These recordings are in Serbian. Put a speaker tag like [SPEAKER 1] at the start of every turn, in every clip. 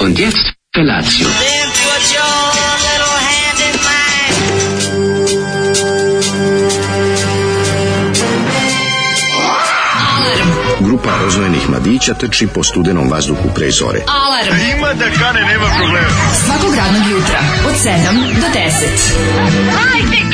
[SPEAKER 1] Und jetzt Felatio.
[SPEAKER 2] Then put your little hand in mine.
[SPEAKER 3] Grupa rozvojenih mladića trči po studenom vazduhu pre zore.
[SPEAKER 4] Alarm. Ima da kane, nema problema. Svakog radnog jutra, od 7 do 10.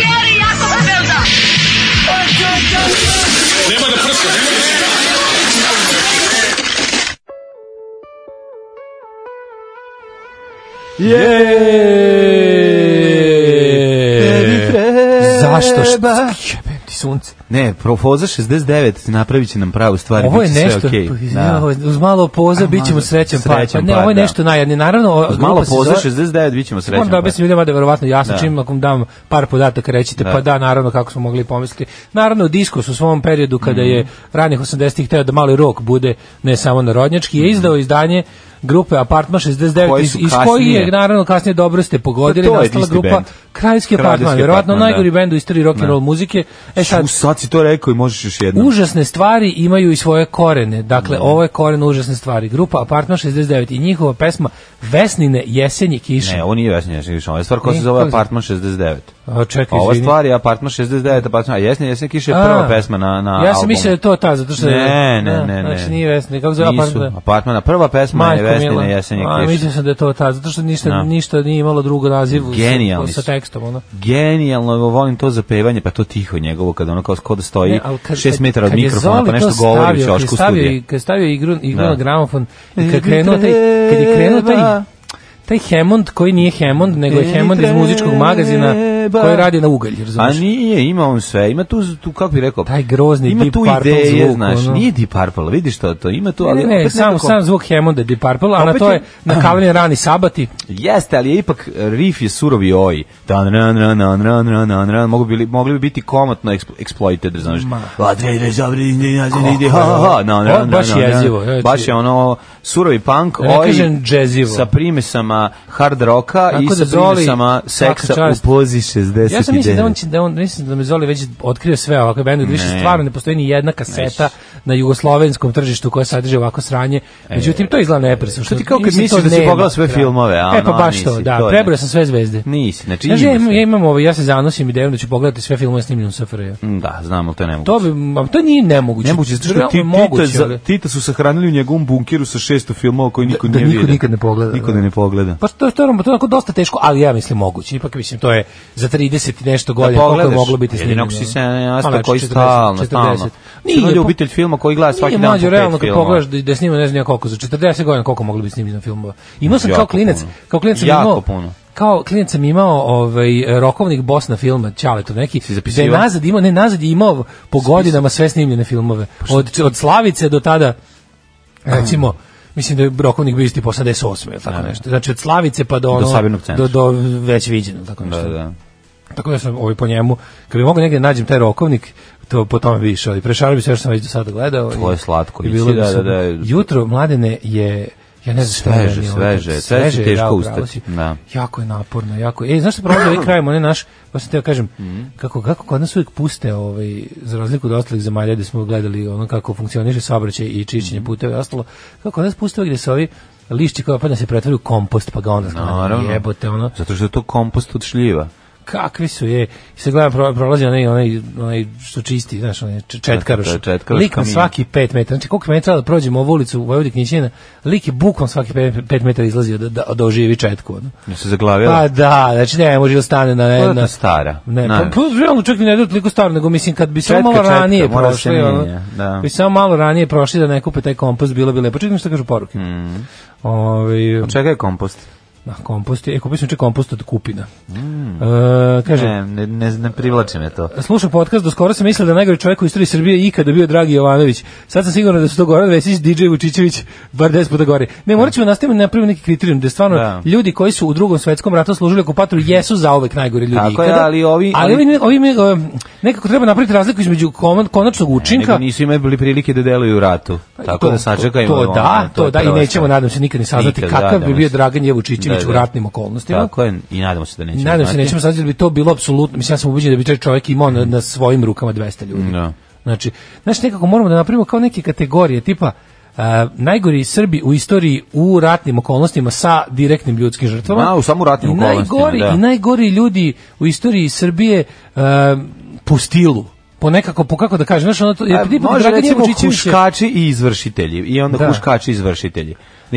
[SPEAKER 5] Zašto? Što?
[SPEAKER 6] Treba.
[SPEAKER 5] Jebem ti sunce.
[SPEAKER 6] Ne, Profoza 69 napravit će nam pravu stvar.
[SPEAKER 5] Ovo je
[SPEAKER 6] bit će sve
[SPEAKER 5] nešto,
[SPEAKER 6] okej. Da.
[SPEAKER 5] ne, ovo je- uz malo poza
[SPEAKER 6] Ajmo,
[SPEAKER 5] bit ćemo srećan par. Pa
[SPEAKER 6] srećan
[SPEAKER 5] ne,
[SPEAKER 6] par,
[SPEAKER 5] ovo je
[SPEAKER 6] da.
[SPEAKER 5] nešto najjadnije. Naravno,
[SPEAKER 6] Uz malo
[SPEAKER 5] grupa se
[SPEAKER 6] poza
[SPEAKER 5] zove-
[SPEAKER 6] 69 bit ćemo srećan
[SPEAKER 5] Moram da objasnim ljudima da je verovatno jasno,
[SPEAKER 6] Da.
[SPEAKER 5] čim ako vam dam par podataka rećete,
[SPEAKER 6] Da.
[SPEAKER 5] pa da, naravno, kako smo mogli pomisliti. Naravno, diskus u svom periodu, kada
[SPEAKER 6] Mhm.
[SPEAKER 5] je ranih 80-ih hteo da mali rok bude ne samo narodnjački, je izdao izdanje grupe Apartman 69,
[SPEAKER 6] Mhm. Koji
[SPEAKER 5] iz,
[SPEAKER 6] su
[SPEAKER 5] iz koji
[SPEAKER 6] kasnije-
[SPEAKER 5] je, naravno, kasnije dobro ste pogodili,
[SPEAKER 6] Pa to je
[SPEAKER 5] nastala
[SPEAKER 6] isti
[SPEAKER 5] grupa
[SPEAKER 6] bend.
[SPEAKER 5] Kraljevski Apartman,
[SPEAKER 6] Kraljevski
[SPEAKER 5] verovatno
[SPEAKER 6] apartman, da.
[SPEAKER 5] najgori bend u istoriji rock'n'roll muzike. E sad,
[SPEAKER 6] U, sad si to rekao i možeš još jednom.
[SPEAKER 5] Užasne stvari imaju i svoje korene.
[SPEAKER 6] Da.
[SPEAKER 5] Dakle, ovo je koren užasne stvari. Grupa Apartman 69 i njihova pesma Vesnine jesenje kiše.
[SPEAKER 6] Ne, ovo nije Vesni Jesenja kiša, ovo je stvar koja se
[SPEAKER 5] Nije,
[SPEAKER 6] zove
[SPEAKER 5] kako se-
[SPEAKER 6] Apartman 69.
[SPEAKER 5] A, čekaj,
[SPEAKER 6] Ova
[SPEAKER 5] izvini.
[SPEAKER 6] stvar je Apartman 69, Apartman, a Jesni Jesenja kiša je
[SPEAKER 5] A,
[SPEAKER 6] prva pesma na, na
[SPEAKER 5] Ja sam
[SPEAKER 6] albumu.
[SPEAKER 5] mislio da je to ta, zato što je...
[SPEAKER 6] Ne, ne,
[SPEAKER 5] Da,
[SPEAKER 6] ne, ne.
[SPEAKER 5] Znači nije Vesna, kako se zove
[SPEAKER 6] Nisu.
[SPEAKER 5] Apartman?
[SPEAKER 6] Apartmana, prva pesma je Vesnina Jesenja
[SPEAKER 5] A,
[SPEAKER 6] kiša.
[SPEAKER 5] mislio sam da je to ta, zato što ništa,
[SPEAKER 6] Da.
[SPEAKER 5] ništa nije imalo drugo nazivu
[SPEAKER 6] Genijalni
[SPEAKER 5] sa,
[SPEAKER 6] su.
[SPEAKER 5] sa tekstom. Ono.
[SPEAKER 6] Genijalno, volim to zapevanje, pa to tiho njegovo, kada ono kao skoda stoji
[SPEAKER 5] Ne, ali kad-
[SPEAKER 6] 6
[SPEAKER 5] kad-
[SPEAKER 6] Pa metara od
[SPEAKER 5] kad je
[SPEAKER 6] mikrofona,
[SPEAKER 5] Zoli to
[SPEAKER 6] pa nešto govori u
[SPEAKER 5] stavio, kad je
[SPEAKER 6] čošku
[SPEAKER 5] stavio
[SPEAKER 6] studija.
[SPEAKER 5] i- Kad je stavio igru, igru
[SPEAKER 6] Da.
[SPEAKER 5] na gramofon i kad krenuo taj, kad je krenuo taj, taj Hammond koji nije Hammond, nego je Hammond iz muzičkog magazina koji radi na ugalj,
[SPEAKER 6] A
[SPEAKER 5] razumiješ?
[SPEAKER 6] nije, ima on sve, ima tu, tu kako bih rekao,
[SPEAKER 5] Taj grozni
[SPEAKER 6] ima
[SPEAKER 5] Deep
[SPEAKER 6] tu
[SPEAKER 5] Purple
[SPEAKER 6] ideje,
[SPEAKER 5] zvuk,
[SPEAKER 6] znaš,
[SPEAKER 5] ono.
[SPEAKER 6] nije Deep Purple, vidiš to, to ima tu, ali
[SPEAKER 5] ne, ne,
[SPEAKER 6] opet
[SPEAKER 5] sam,
[SPEAKER 6] nekako-
[SPEAKER 5] sam zvuk Hammonda Deep Purple, a na
[SPEAKER 6] Opet
[SPEAKER 5] to
[SPEAKER 6] je-
[SPEAKER 5] je nakavljen rani sabati.
[SPEAKER 6] Jeste, ali je ipak e, riff je surovi oj. Dan ran ran ran ran ran ran ran mogu bili mogli bi biti komotno ekspl, exploited, znaš. Va dve dve zabri ne ne ne ide ha ha ha. No, no,
[SPEAKER 5] Ovo je
[SPEAKER 6] no,
[SPEAKER 5] baš
[SPEAKER 6] no, no.
[SPEAKER 5] jezivo, znači-
[SPEAKER 6] Baš je ono surovi punk
[SPEAKER 5] Da ne
[SPEAKER 6] oj.
[SPEAKER 5] kažem jazzivo.
[SPEAKER 6] Sa primesama hard roka i
[SPEAKER 5] Tako da
[SPEAKER 6] sa
[SPEAKER 5] Zoli,
[SPEAKER 6] primesama
[SPEAKER 5] svaka
[SPEAKER 6] seksa u
[SPEAKER 5] čast.
[SPEAKER 6] pozi 69.
[SPEAKER 5] Ja sam mislim da on će da on mislim da me Zoli već otkrio sve ovakve bendove, da više
[SPEAKER 6] Ne.
[SPEAKER 5] stvarno ne postoji ni jedna kaseta na jugoslovenskom tržištu koja sadrži ovako sranje. Međutim to izgleda nepresno. Što
[SPEAKER 6] to E. ti kao kad
[SPEAKER 5] mislim,
[SPEAKER 6] misliš
[SPEAKER 5] to
[SPEAKER 6] da si
[SPEAKER 5] nema
[SPEAKER 6] pogledao sve
[SPEAKER 5] kraja.
[SPEAKER 6] filmove, a
[SPEAKER 5] E pa
[SPEAKER 6] ono,
[SPEAKER 5] baš to,
[SPEAKER 6] nisi,
[SPEAKER 5] da.
[SPEAKER 6] to je.
[SPEAKER 5] Prebrao sam sve zvezde.
[SPEAKER 6] Nisi, znači
[SPEAKER 5] Znaš, ja,
[SPEAKER 6] ima
[SPEAKER 5] imam,
[SPEAKER 6] sve.
[SPEAKER 5] ja imam ovo, ja se zanosim idejom da ću pogledati sve filmove snimljene u SFRJ.
[SPEAKER 6] Da, znam, ali to je nemoguće.
[SPEAKER 5] To bi, ma, to nije nemoguće.
[SPEAKER 6] Nemoguće, zato što
[SPEAKER 5] Realno
[SPEAKER 6] ti,
[SPEAKER 5] je
[SPEAKER 6] Tita,
[SPEAKER 5] moguće,
[SPEAKER 6] za,
[SPEAKER 5] ali-
[SPEAKER 6] Tita su sahranili u njegovom bunkiru sa 600 filmova koji niko
[SPEAKER 5] Da- da
[SPEAKER 6] nije
[SPEAKER 5] niko
[SPEAKER 6] vidio.
[SPEAKER 5] nikad ne pogleda,
[SPEAKER 6] Niko
[SPEAKER 5] da.
[SPEAKER 6] ne pogleda.
[SPEAKER 5] Pa što, to, je, to je onako dosta teško, ali ja mislim moguće. Ipak mislim to je za 30 i nešto
[SPEAKER 6] da
[SPEAKER 5] godina koliko je
[SPEAKER 6] pogledaš.
[SPEAKER 5] moglo biti snimljeno.
[SPEAKER 6] Jedino ako si se
[SPEAKER 5] Pa,
[SPEAKER 6] nasta
[SPEAKER 5] znači,
[SPEAKER 6] koji
[SPEAKER 5] 40,
[SPEAKER 6] stalno, stalno.
[SPEAKER 5] 40.
[SPEAKER 6] Nije
[SPEAKER 5] Nije, pa-
[SPEAKER 6] ljubitelj filma koji gleda svaki
[SPEAKER 5] Nije
[SPEAKER 6] dan po
[SPEAKER 5] mlađe,
[SPEAKER 6] pet
[SPEAKER 5] realno kad
[SPEAKER 6] filmova.
[SPEAKER 5] pogledaš da, da je snimao ne znam ja koliko, za 40 godina koliko moglo biti snimljeno filmova. Imao sam kao
[SPEAKER 6] Jako
[SPEAKER 5] klinac,
[SPEAKER 6] puno.
[SPEAKER 5] kao klinac sam
[SPEAKER 6] Jako
[SPEAKER 5] imao,
[SPEAKER 6] puno.
[SPEAKER 5] kao klinac sam imao ovaj, rokovnik Bosna filma, Ćaletov neki, da je
[SPEAKER 6] zapisivao?
[SPEAKER 5] nazad imao, ne nazad je imao po godinama sve snimljene filmove.
[SPEAKER 6] Pa
[SPEAKER 5] Od, od Slavice do tada, recimo, Mislim da je Brokovnik bio isti po 88. ili tako nešto. Znači od Slavice pa do ono,
[SPEAKER 6] Da, Sabinog centra.
[SPEAKER 5] do, do već viđeno. Tako
[SPEAKER 6] Da,
[SPEAKER 5] nešto.
[SPEAKER 6] da.
[SPEAKER 5] Tako da sam ovaj po njemu, kad bi mogao negdje da nađem taj rokovnik, to po tome bi išao i prešalio bi sve što sam već do sada gledao.
[SPEAKER 6] To je slatko.
[SPEAKER 5] I bilo bi
[SPEAKER 6] Da, da,
[SPEAKER 5] super.
[SPEAKER 6] da.
[SPEAKER 5] Jutro, mladene, je Ja ne znam
[SPEAKER 6] Sveže,
[SPEAKER 5] šta je meni ovo,
[SPEAKER 6] sveže,
[SPEAKER 5] kad-
[SPEAKER 6] sve si
[SPEAKER 5] sveže je,
[SPEAKER 6] teško
[SPEAKER 5] bravo, pravo
[SPEAKER 6] ustati,
[SPEAKER 5] si.
[SPEAKER 6] da.
[SPEAKER 5] Jako je naporno, jako. je- E, znaš što prolazi ovaj kraj, onaj naš, pa sam teo kažem,
[SPEAKER 6] Mhm.
[SPEAKER 5] kako, kako kod nas uvijek puste, ovaj, za razliku od ostalih zemalja gdje smo gledali ono kako funkcioniše saobraćaj i čišćenje
[SPEAKER 6] Mhm.
[SPEAKER 5] puteva i ostalo, kako kod nas puste ovaj gdje se ovi lišći koji opadne se pretvaraju u kompost, pa ga onda
[SPEAKER 6] Naravno.
[SPEAKER 5] sklanjaju, jebote, ono
[SPEAKER 6] Zato što je to kompost od šljiva.
[SPEAKER 5] kakvi su je. I se gledam pro- prolazi onaj, onaj, onaj što čisti, znaš, onaj č- četkaroš.
[SPEAKER 6] Da, to je četkaroš
[SPEAKER 5] Lik na
[SPEAKER 6] kamion.
[SPEAKER 5] svaki 5 metara. Znači, koliko meni treba da prođemo ovu ulicu u Vojvodi Knjićina, lik je bukom svaki 5 metara izlazio da, da, da oživi četku. Ono.
[SPEAKER 6] Ja se zaglavila.
[SPEAKER 5] Pa da, znači ne, može da stane na...
[SPEAKER 6] Pa,
[SPEAKER 5] Ne, na
[SPEAKER 6] stara.
[SPEAKER 5] Ne,
[SPEAKER 6] Na-
[SPEAKER 5] pa, pa realno čak i ne da toliko staro, nego mislim kad bi samo
[SPEAKER 6] Četka,
[SPEAKER 5] malo
[SPEAKER 6] četka,
[SPEAKER 5] ranije
[SPEAKER 6] mora se
[SPEAKER 5] prošli,
[SPEAKER 6] menja,
[SPEAKER 5] ono,
[SPEAKER 6] da.
[SPEAKER 5] bi samo malo ranije prošli da ne kupe taj kompost, bilo bi lepo. Čekaj što da kažu poruke.
[SPEAKER 6] Mm.
[SPEAKER 5] Ovaj,
[SPEAKER 6] Od čega je kompost?
[SPEAKER 5] na kompost, je- e, kupio sam čak kompost od kupina.
[SPEAKER 6] Mm.
[SPEAKER 5] E, kaže,
[SPEAKER 6] Ne, ne, ne, ne privlači me to.
[SPEAKER 5] Slušam podcast, do skoro sam mislio da je najgori čovjek u istoriji Srbije ikada bio Dragi Jovanović. Sad sam siguran da su to Goran Vesić, DJ Vučićević, bar 10 puta gore. Ne, morat ćemo nastaviti da napravimo neki kriterijum, da stvarno
[SPEAKER 6] Da.
[SPEAKER 5] ljudi koji su u drugom svetskom ratu služili okupatoru jesu zaovek najgori ljudi
[SPEAKER 6] Tako je,
[SPEAKER 5] ikada.
[SPEAKER 6] ali ovi-
[SPEAKER 5] ali
[SPEAKER 6] ovi-
[SPEAKER 5] ovi, ovi mi, um, nekako treba napraviti razliku između koman- konačnog učinka Pa
[SPEAKER 6] Nego nisu imali prilike da deluju u ratu. Tako
[SPEAKER 5] to-
[SPEAKER 6] da sačekajmo.
[SPEAKER 5] To,
[SPEAKER 6] ono,
[SPEAKER 5] da, to,
[SPEAKER 6] je
[SPEAKER 5] da i
[SPEAKER 6] prva
[SPEAKER 5] nećemo,
[SPEAKER 6] stvar.
[SPEAKER 5] nadam se, nikad ni saznati
[SPEAKER 6] Nikad,
[SPEAKER 5] kakav
[SPEAKER 6] da,
[SPEAKER 5] bi bio
[SPEAKER 6] da, mislim.
[SPEAKER 5] Dragan Jevučićević
[SPEAKER 6] Da,
[SPEAKER 5] u
[SPEAKER 6] da.
[SPEAKER 5] ratnim okolnostima.
[SPEAKER 6] Tako je, i nadamo se da nećemo
[SPEAKER 5] Nadam se
[SPEAKER 6] znati.
[SPEAKER 5] nećemo saznati da bi to bilo apsolutno, mislim ja sam ubeđen da bi taj čovjek imao na, na svojim rukama 200 ljudi.
[SPEAKER 6] Da.
[SPEAKER 5] Znači, znači nekako moramo da napravimo kao neke kategorije, tipa e, najgori Srbi u istoriji u ratnim okolnostima sa direktnim ljudskim žrtvama.
[SPEAKER 6] Ma, u samo ratnim
[SPEAKER 5] I
[SPEAKER 6] okolnostima,
[SPEAKER 5] najgori,
[SPEAKER 6] da.
[SPEAKER 5] I najgori ljudi u istoriji Srbije e, po stilu po nekako, po kako da kažem, znaš, ono to,
[SPEAKER 6] A,
[SPEAKER 5] jer, tipa
[SPEAKER 6] može
[SPEAKER 5] Dragan
[SPEAKER 6] recimo
[SPEAKER 5] Jevučićević je-
[SPEAKER 6] huškači i izvršitelji i onda
[SPEAKER 5] Da.
[SPEAKER 6] huškači i izvršitelji. Da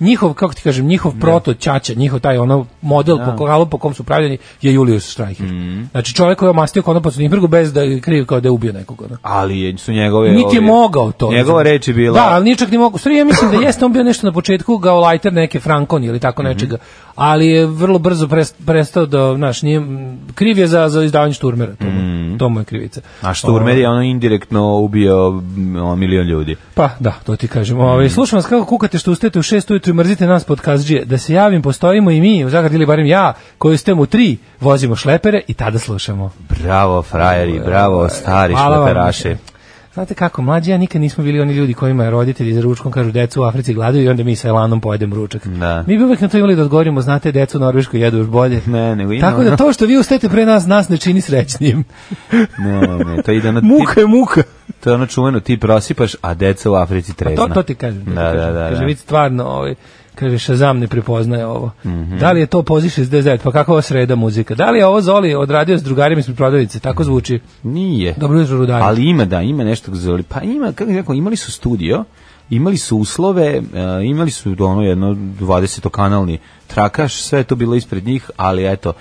[SPEAKER 5] njihov, kako ti kažem, njihov proto ćaća, njihov taj ono model
[SPEAKER 6] Da.
[SPEAKER 5] po koralu po kom su pravljeni je Julius Štrajker.
[SPEAKER 6] Mm.
[SPEAKER 5] Znači, čovjek koji je omastio konopac u Njembergu bez da je kriv kao da je ubio nekog. Ono.
[SPEAKER 6] ali je- su njegove...
[SPEAKER 5] Niti je
[SPEAKER 6] ovi-
[SPEAKER 5] mogao to.
[SPEAKER 6] Njegova
[SPEAKER 5] razumeš.
[SPEAKER 6] reč je bila...
[SPEAKER 5] Da, ali nije čak ni mogao. U stvari, ja mislim da jeste on bio nešto na početku, kao lajter neke Frankon ili tako
[SPEAKER 6] Mhm.
[SPEAKER 5] nečega. Ali je vrlo brzo pres- prestao da, znaš, nije, kriv je za, za izdavanje šturmera. To, mu- to mu je krivica.
[SPEAKER 6] Mhm.
[SPEAKER 5] Ovaj,
[SPEAKER 6] A Šturmer je ono indirektno ubio mm, ono, milion ljudi.
[SPEAKER 5] Pa, da, to ti kažem. Ovaj slušam vas kako kukate što ustajete u 6 ujutru i mrzite nas pod kazđije. Da se javim, postojimo i mi, u Zagradi ili barem ja, koji ste u 3, vozimo šlepere i tada slušamo.
[SPEAKER 6] Bravo, frajeri, bravo, stari
[SPEAKER 5] Hvala vam.
[SPEAKER 6] šleperaše.
[SPEAKER 5] Znate kako, mlađi ja nikad nismo bili oni ljudi kojima roditelji za ručkom kažu decu u Africi gladuju i onda mi sa Elanom pojedemo ručak.
[SPEAKER 6] Da.
[SPEAKER 5] Mi bi uvek na to imali da odgovorimo, znate, decu u Norveškoj jedu još bolje.
[SPEAKER 6] Ne, nego ima
[SPEAKER 5] Tako da
[SPEAKER 6] ono-
[SPEAKER 5] to što vi ustajete pre nas, nas ne čini srećnim.
[SPEAKER 6] Ne, ne, to ide ono...
[SPEAKER 5] muka je muka.
[SPEAKER 6] To je ono čuveno, ti prosipaš, a deca u Africi trezna.
[SPEAKER 5] To, to ti kažem. to ti
[SPEAKER 6] Da,
[SPEAKER 5] kažem.
[SPEAKER 6] da, da,
[SPEAKER 5] Kaže,
[SPEAKER 6] da.
[SPEAKER 5] vidi stvarno, ovaj, kaže, Shazam ne prepoznaje ovo.
[SPEAKER 6] Mhm.
[SPEAKER 5] Da li je to pozi 69, pa kakva ova sreda muzika? Da li je ovo Zoli odradio s drugarima ispred prodavnice? Tako zvuči.
[SPEAKER 6] Nije.
[SPEAKER 5] Dobro jutro, rudari.
[SPEAKER 6] Ali ima, da, ima nešto zoli. Pa ima, kako bih rekao, imali su studio, imali su uslove, e, imali su ono jedno 20-kanalni trakaš, sve je to bilo ispred njih, ali eto,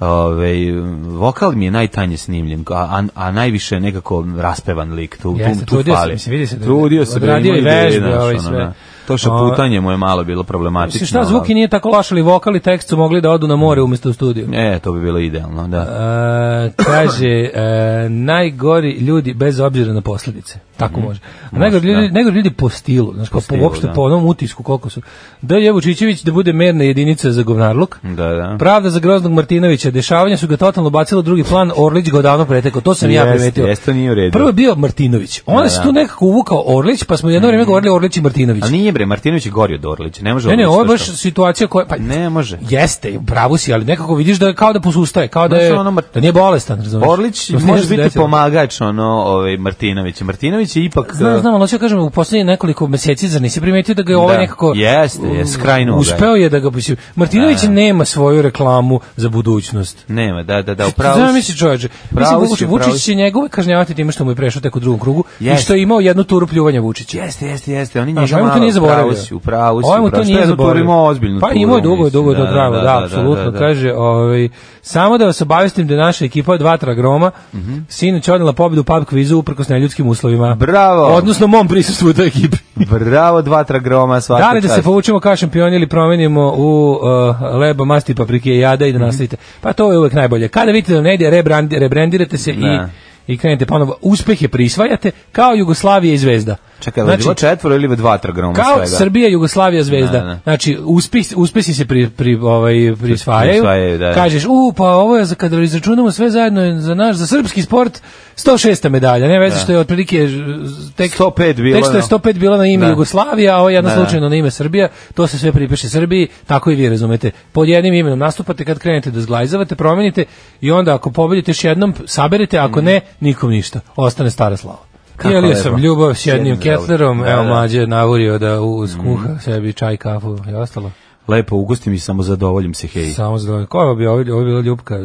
[SPEAKER 6] Ove, vokal mi je najtanje snimljen, a, a, a najviše je nekako raspevan lik, tu,
[SPEAKER 5] Jeste,
[SPEAKER 6] tu, tu
[SPEAKER 5] trudio se,
[SPEAKER 6] fali.
[SPEAKER 5] mislim, vidi se da je
[SPEAKER 6] trudio se,
[SPEAKER 5] odradio
[SPEAKER 6] ima
[SPEAKER 5] i
[SPEAKER 6] ideje,
[SPEAKER 5] vežbe,
[SPEAKER 6] znaš,
[SPEAKER 5] ovo i
[SPEAKER 6] ono,
[SPEAKER 5] sve.
[SPEAKER 6] da. To šaputanje mu je malo bilo problematično.
[SPEAKER 5] Mislim, šta, zvuki
[SPEAKER 6] ali- Mhm.
[SPEAKER 5] nije tako loš, ali vokal i tekst su mogli da odu na more umjesto u studiju.
[SPEAKER 6] E, to bi bilo idealno, da.
[SPEAKER 5] E, kaže e, najgori ljudi bez obzira na posledice. Tako može. A najgori ljudi, najgori ljudi po stilu, znači kao po
[SPEAKER 6] Mhm. da. stilu,
[SPEAKER 5] uopšte
[SPEAKER 6] da.
[SPEAKER 5] po onom utisku koliko su. Da je Vučićević da bude merna jedinica za govnarluk.
[SPEAKER 6] Da, da.
[SPEAKER 5] Pravda za groznog Martinovića, dešavanja su ga totalno bacilo u drugi plan, Orlić ga odavno pretekao, to sam ja
[SPEAKER 6] Jeste,
[SPEAKER 5] primetio.
[SPEAKER 6] jeste, to nije u redu. Da,
[SPEAKER 5] Prvo je bio Martinović, onda se tu nekako uvukao Orlić, pa smo jedno vrijeme govorili Orlić i Martinović.
[SPEAKER 6] Ali Mhm. nije bre, Martinović je gori od Orlića, ne može
[SPEAKER 5] Ne, ne,
[SPEAKER 6] Orlić
[SPEAKER 5] ovo je
[SPEAKER 6] to
[SPEAKER 5] baš
[SPEAKER 6] što-
[SPEAKER 5] situacija koja pa
[SPEAKER 6] Ne može.
[SPEAKER 5] Jeste, u pravu si, ali nekako vidiš da je kao da posustaje, kao da je
[SPEAKER 6] Znaš, ono, Mart-
[SPEAKER 5] da nije bolestan, razumeš?
[SPEAKER 6] Orlić
[SPEAKER 5] To se
[SPEAKER 6] može
[SPEAKER 5] nešto
[SPEAKER 6] biti
[SPEAKER 5] desilo.
[SPEAKER 6] pomagač ono ovaj Martinović. Martinović je ipak
[SPEAKER 5] Znam, znam, ali hoću da kažem, u poslednjih nekoliko meseci zar nisi primetio da ga je ovaj
[SPEAKER 6] Da,
[SPEAKER 5] nekako...
[SPEAKER 6] jeste, je, skrajnuo ga je.
[SPEAKER 5] Uspeo je da ga... mislim, Martinović nema svoju reklamu za budućnost.
[SPEAKER 6] nema, da da da, upravo.
[SPEAKER 5] Znam misli čovječe. Mislim,
[SPEAKER 6] Pravo si,
[SPEAKER 5] Vučić,
[SPEAKER 6] pravo
[SPEAKER 5] Vučić
[SPEAKER 6] si.
[SPEAKER 5] će njegove kažnjavati time što mu je prešao tek u drugom krugu i
[SPEAKER 6] Jeste.
[SPEAKER 5] što je imao jednu turu pljuvanja Vučića.
[SPEAKER 6] Jeste, jeste, jeste. Oni
[SPEAKER 5] Znaš,
[SPEAKER 6] njega
[SPEAKER 5] ovaj mu
[SPEAKER 6] malo
[SPEAKER 5] to nije zaboravio.
[SPEAKER 6] Pravo si, upravo si.
[SPEAKER 5] Ovaj mu
[SPEAKER 6] upravo
[SPEAKER 5] to
[SPEAKER 6] si.
[SPEAKER 5] nije
[SPEAKER 6] Šta je za
[SPEAKER 5] zaboravio.
[SPEAKER 6] turu imao ozbiljnu
[SPEAKER 5] Pa
[SPEAKER 6] turu,
[SPEAKER 5] imao je dugo, je
[SPEAKER 6] mislim,
[SPEAKER 5] dugo, je to pravo, da, apsolutno.
[SPEAKER 6] da, da.
[SPEAKER 5] Kaže, ovaj, samo da vas obavestim da je naša ekipa od Vatra Groma
[SPEAKER 6] Mhm.
[SPEAKER 5] sinoć odnela pobjedu u pub kvizu uprkos neljudskim uslovima.
[SPEAKER 6] Bravo.
[SPEAKER 5] Odnosno mom prisustvu u toj ekipi.
[SPEAKER 6] Bravo, dva tragroma, svaka
[SPEAKER 5] Da li da
[SPEAKER 6] čast.
[SPEAKER 5] se povučemo kao šampioni ili promenimo u uh, leba, masti, paprike i jada i
[SPEAKER 6] Mhm.
[SPEAKER 5] da nastavite? Pa to je uvek najbolje. Kada vidite da ne ide, rebrandi- rebrandirate se
[SPEAKER 6] Da.
[SPEAKER 5] i, i krenete ponovo. Uspehe prisvajate kao Jugoslavija i Zvezda.
[SPEAKER 6] Čekaj, znači, bilo četvoro ili dva trogroma
[SPEAKER 5] Kao
[SPEAKER 6] svega?
[SPEAKER 5] Srbija, Jugoslavija, Zvezda.
[SPEAKER 6] Da, da.
[SPEAKER 5] Znači, uspesi, uspesi se pri, pri, ovaj, prisvajaju.
[SPEAKER 6] prisvajaju, da.
[SPEAKER 5] Kažeš, u, pa ovo je, za, kada izračunamo sve zajedno je za naš, za srpski sport, 106. medalja. Ne veze što je otprilike ž- tek,
[SPEAKER 6] 105 Da. bilo,
[SPEAKER 5] tek što je
[SPEAKER 6] da.
[SPEAKER 5] 105 bilo na ime
[SPEAKER 6] Da.
[SPEAKER 5] Jugoslavija, a ovo je jedno
[SPEAKER 6] Da, da.
[SPEAKER 5] slučajno na ime Srbija. To se sve pripiše Srbiji, tako i vi razumete. Pod jednim imenom nastupate kad krenete da zglajzavate, promenite i onda ako pobedite još jednom, saberete,
[SPEAKER 6] Mhm.
[SPEAKER 5] ako ne, nikom ništa. Ostane stara slava.
[SPEAKER 6] Kako
[SPEAKER 5] Jelio
[SPEAKER 6] lepo.
[SPEAKER 5] sam ljubav s jednim
[SPEAKER 6] Jednim zdravo.
[SPEAKER 5] ketlerom,
[SPEAKER 6] Da, Mhm.
[SPEAKER 5] evo
[SPEAKER 6] da.
[SPEAKER 5] mlađe je navurio da uz kuha sebi čaj, kafu i ostalo.
[SPEAKER 6] Lepo, ugosti mi samo zadovoljim se, hej.
[SPEAKER 5] Samo za Ko je ovo bio? Ovo je bila Ljubka e,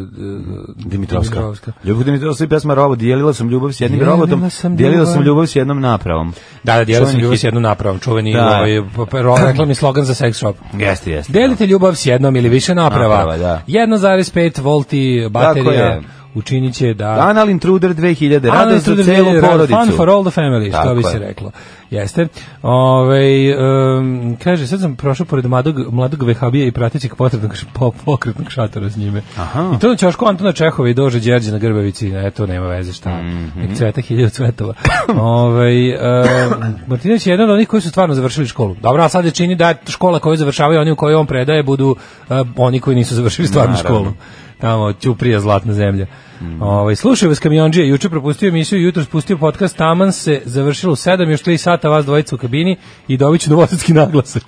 [SPEAKER 6] Dimitrovska. Ljubav Dimitrovska i pesma Robot. Dijelila sam ljubav s jednim
[SPEAKER 5] Dijelila
[SPEAKER 6] robotom,
[SPEAKER 5] sam
[SPEAKER 6] dijelila sam
[SPEAKER 5] ljubav-
[SPEAKER 6] ljubav s jednom napravom.
[SPEAKER 5] Da, da, dijelio sam
[SPEAKER 6] Čuveni
[SPEAKER 5] ljubav
[SPEAKER 6] hit.
[SPEAKER 5] s jednom napravom, čuveni
[SPEAKER 6] Da.
[SPEAKER 5] ovaj, pa- pa- ro- reklamni slogan za sex shop.
[SPEAKER 6] Jeste, jeste.
[SPEAKER 5] Delite ljubav s jednom ili više naprava.
[SPEAKER 6] Naprava, da.
[SPEAKER 5] 1,5 volti baterija
[SPEAKER 6] je.
[SPEAKER 5] učinit će da...
[SPEAKER 6] Anal Intruder 2000, radost za
[SPEAKER 5] Analizu
[SPEAKER 6] celu
[SPEAKER 5] dodjeljuje rad,
[SPEAKER 6] porodicu.
[SPEAKER 5] Fun for all the family, što
[SPEAKER 6] Tako
[SPEAKER 5] bi
[SPEAKER 6] je.
[SPEAKER 5] se reklo. Jeste. Ove, um, kaže, sad sam prošao pored mladog, mladog vehabija i pratećeg potrebnog š- po, pokretnog šatora s njime. I to na Ćošku Antona Čehova i Dože Đerđe na Grbavici. Eto, nema veze šta.
[SPEAKER 6] Mhm.
[SPEAKER 5] Nek cveta hiljadu cvetova. Ove, um, Martinović je jedan od onih koji su stvarno završili školu. Dobro, a sad je čini da škola koju završavaju oni u kojoj on predaje budu uh, oni koji nisu završili stvarnu
[SPEAKER 6] Naravno.
[SPEAKER 5] školu. Tamo, Ćuprija, Zlatna zemlja. Ovaj slušaj vas kamiondžije, juče propustio emisiju, jutros spustio podcast, taman se završilo u 7, još 3 sata vas dvojica u kabini i dobiću novosadski naglasak.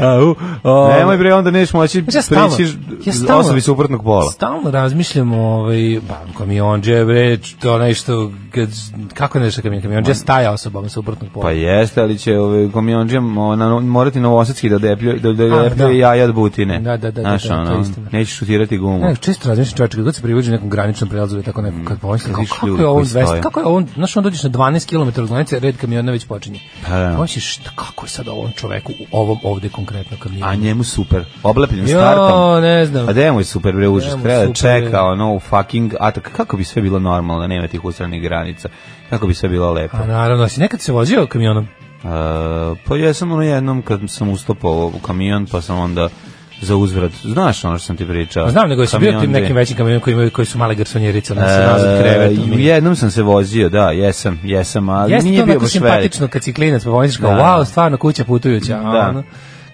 [SPEAKER 5] Au, o,
[SPEAKER 6] Nemoj bre, onda neš moći
[SPEAKER 5] Znači, ja stalno-
[SPEAKER 6] prići
[SPEAKER 5] ja stalno-
[SPEAKER 6] osobi suprotnog pola.
[SPEAKER 5] Stalno razmišljam ovaj ba kamiondže bre to nešto kad kako ne kaže kamion kamiondže staja osobama sa obrtnog pola.
[SPEAKER 6] Pa jeste, ali će ovaj komionđija morati novosadski da deplje da da
[SPEAKER 5] A,
[SPEAKER 6] deplje
[SPEAKER 5] da.
[SPEAKER 6] jaja od butine.
[SPEAKER 5] Da, da, da,
[SPEAKER 6] Znaš,
[SPEAKER 5] da, da, to je
[SPEAKER 6] ono,
[SPEAKER 5] istina.
[SPEAKER 6] neće šutirati gumu.
[SPEAKER 5] Ne, često razmišljam čovječe, kad god se privuđe nekom graničnom prelazu ili tako neko, kad pomislim,
[SPEAKER 6] Vidiš
[SPEAKER 5] kako,
[SPEAKER 6] Mm. ljudi
[SPEAKER 5] je ovo
[SPEAKER 6] koji
[SPEAKER 5] 200,
[SPEAKER 6] stoje.
[SPEAKER 5] kako je ovo, znaš, on dođeš na 12 km od granice, red kamiona već počinje.
[SPEAKER 6] Pa da.
[SPEAKER 5] Pomisliš, šta- kako je sad ovom čoveku u ovom ovde konkretno kamionu?
[SPEAKER 6] A njemu super. Oblepljen
[SPEAKER 5] Jo,
[SPEAKER 6] startom.
[SPEAKER 5] ne znam.
[SPEAKER 6] A da mu je super bre užas.
[SPEAKER 5] Njemu
[SPEAKER 6] Treba da
[SPEAKER 5] super,
[SPEAKER 6] čeka
[SPEAKER 5] je.
[SPEAKER 6] ono u fucking atak. Kako bi sve bilo normalno, da nema tih ustranih granica. Kako bi sve bilo lepo.
[SPEAKER 5] A Pa naravno, a si nekad se vozio kamionom?
[SPEAKER 6] E, pa ja sam ono jednom kad sam ustopao u kamion, pa sam onda za uzvrat. Znaš ono što sam ti pričao?
[SPEAKER 5] Pa znam, nego si bio u tim
[SPEAKER 6] Da. Kamion
[SPEAKER 5] nekim
[SPEAKER 6] gde-
[SPEAKER 5] većim kamionima koji, imaju, koji su male garsonjerice, ono se
[SPEAKER 6] E,
[SPEAKER 5] nazad krevetom.
[SPEAKER 6] u
[SPEAKER 5] i-
[SPEAKER 6] jednom sam se vozio, da, jesam, jesam, ali
[SPEAKER 5] Jeste
[SPEAKER 6] nije
[SPEAKER 5] to
[SPEAKER 6] bio
[SPEAKER 5] onako
[SPEAKER 6] baš veliki.
[SPEAKER 5] simpatično kad si klinac, pa pomisliš kao,
[SPEAKER 6] Da.
[SPEAKER 5] wow, stvarno kuća putujuća. a
[SPEAKER 6] Da.
[SPEAKER 5] ono,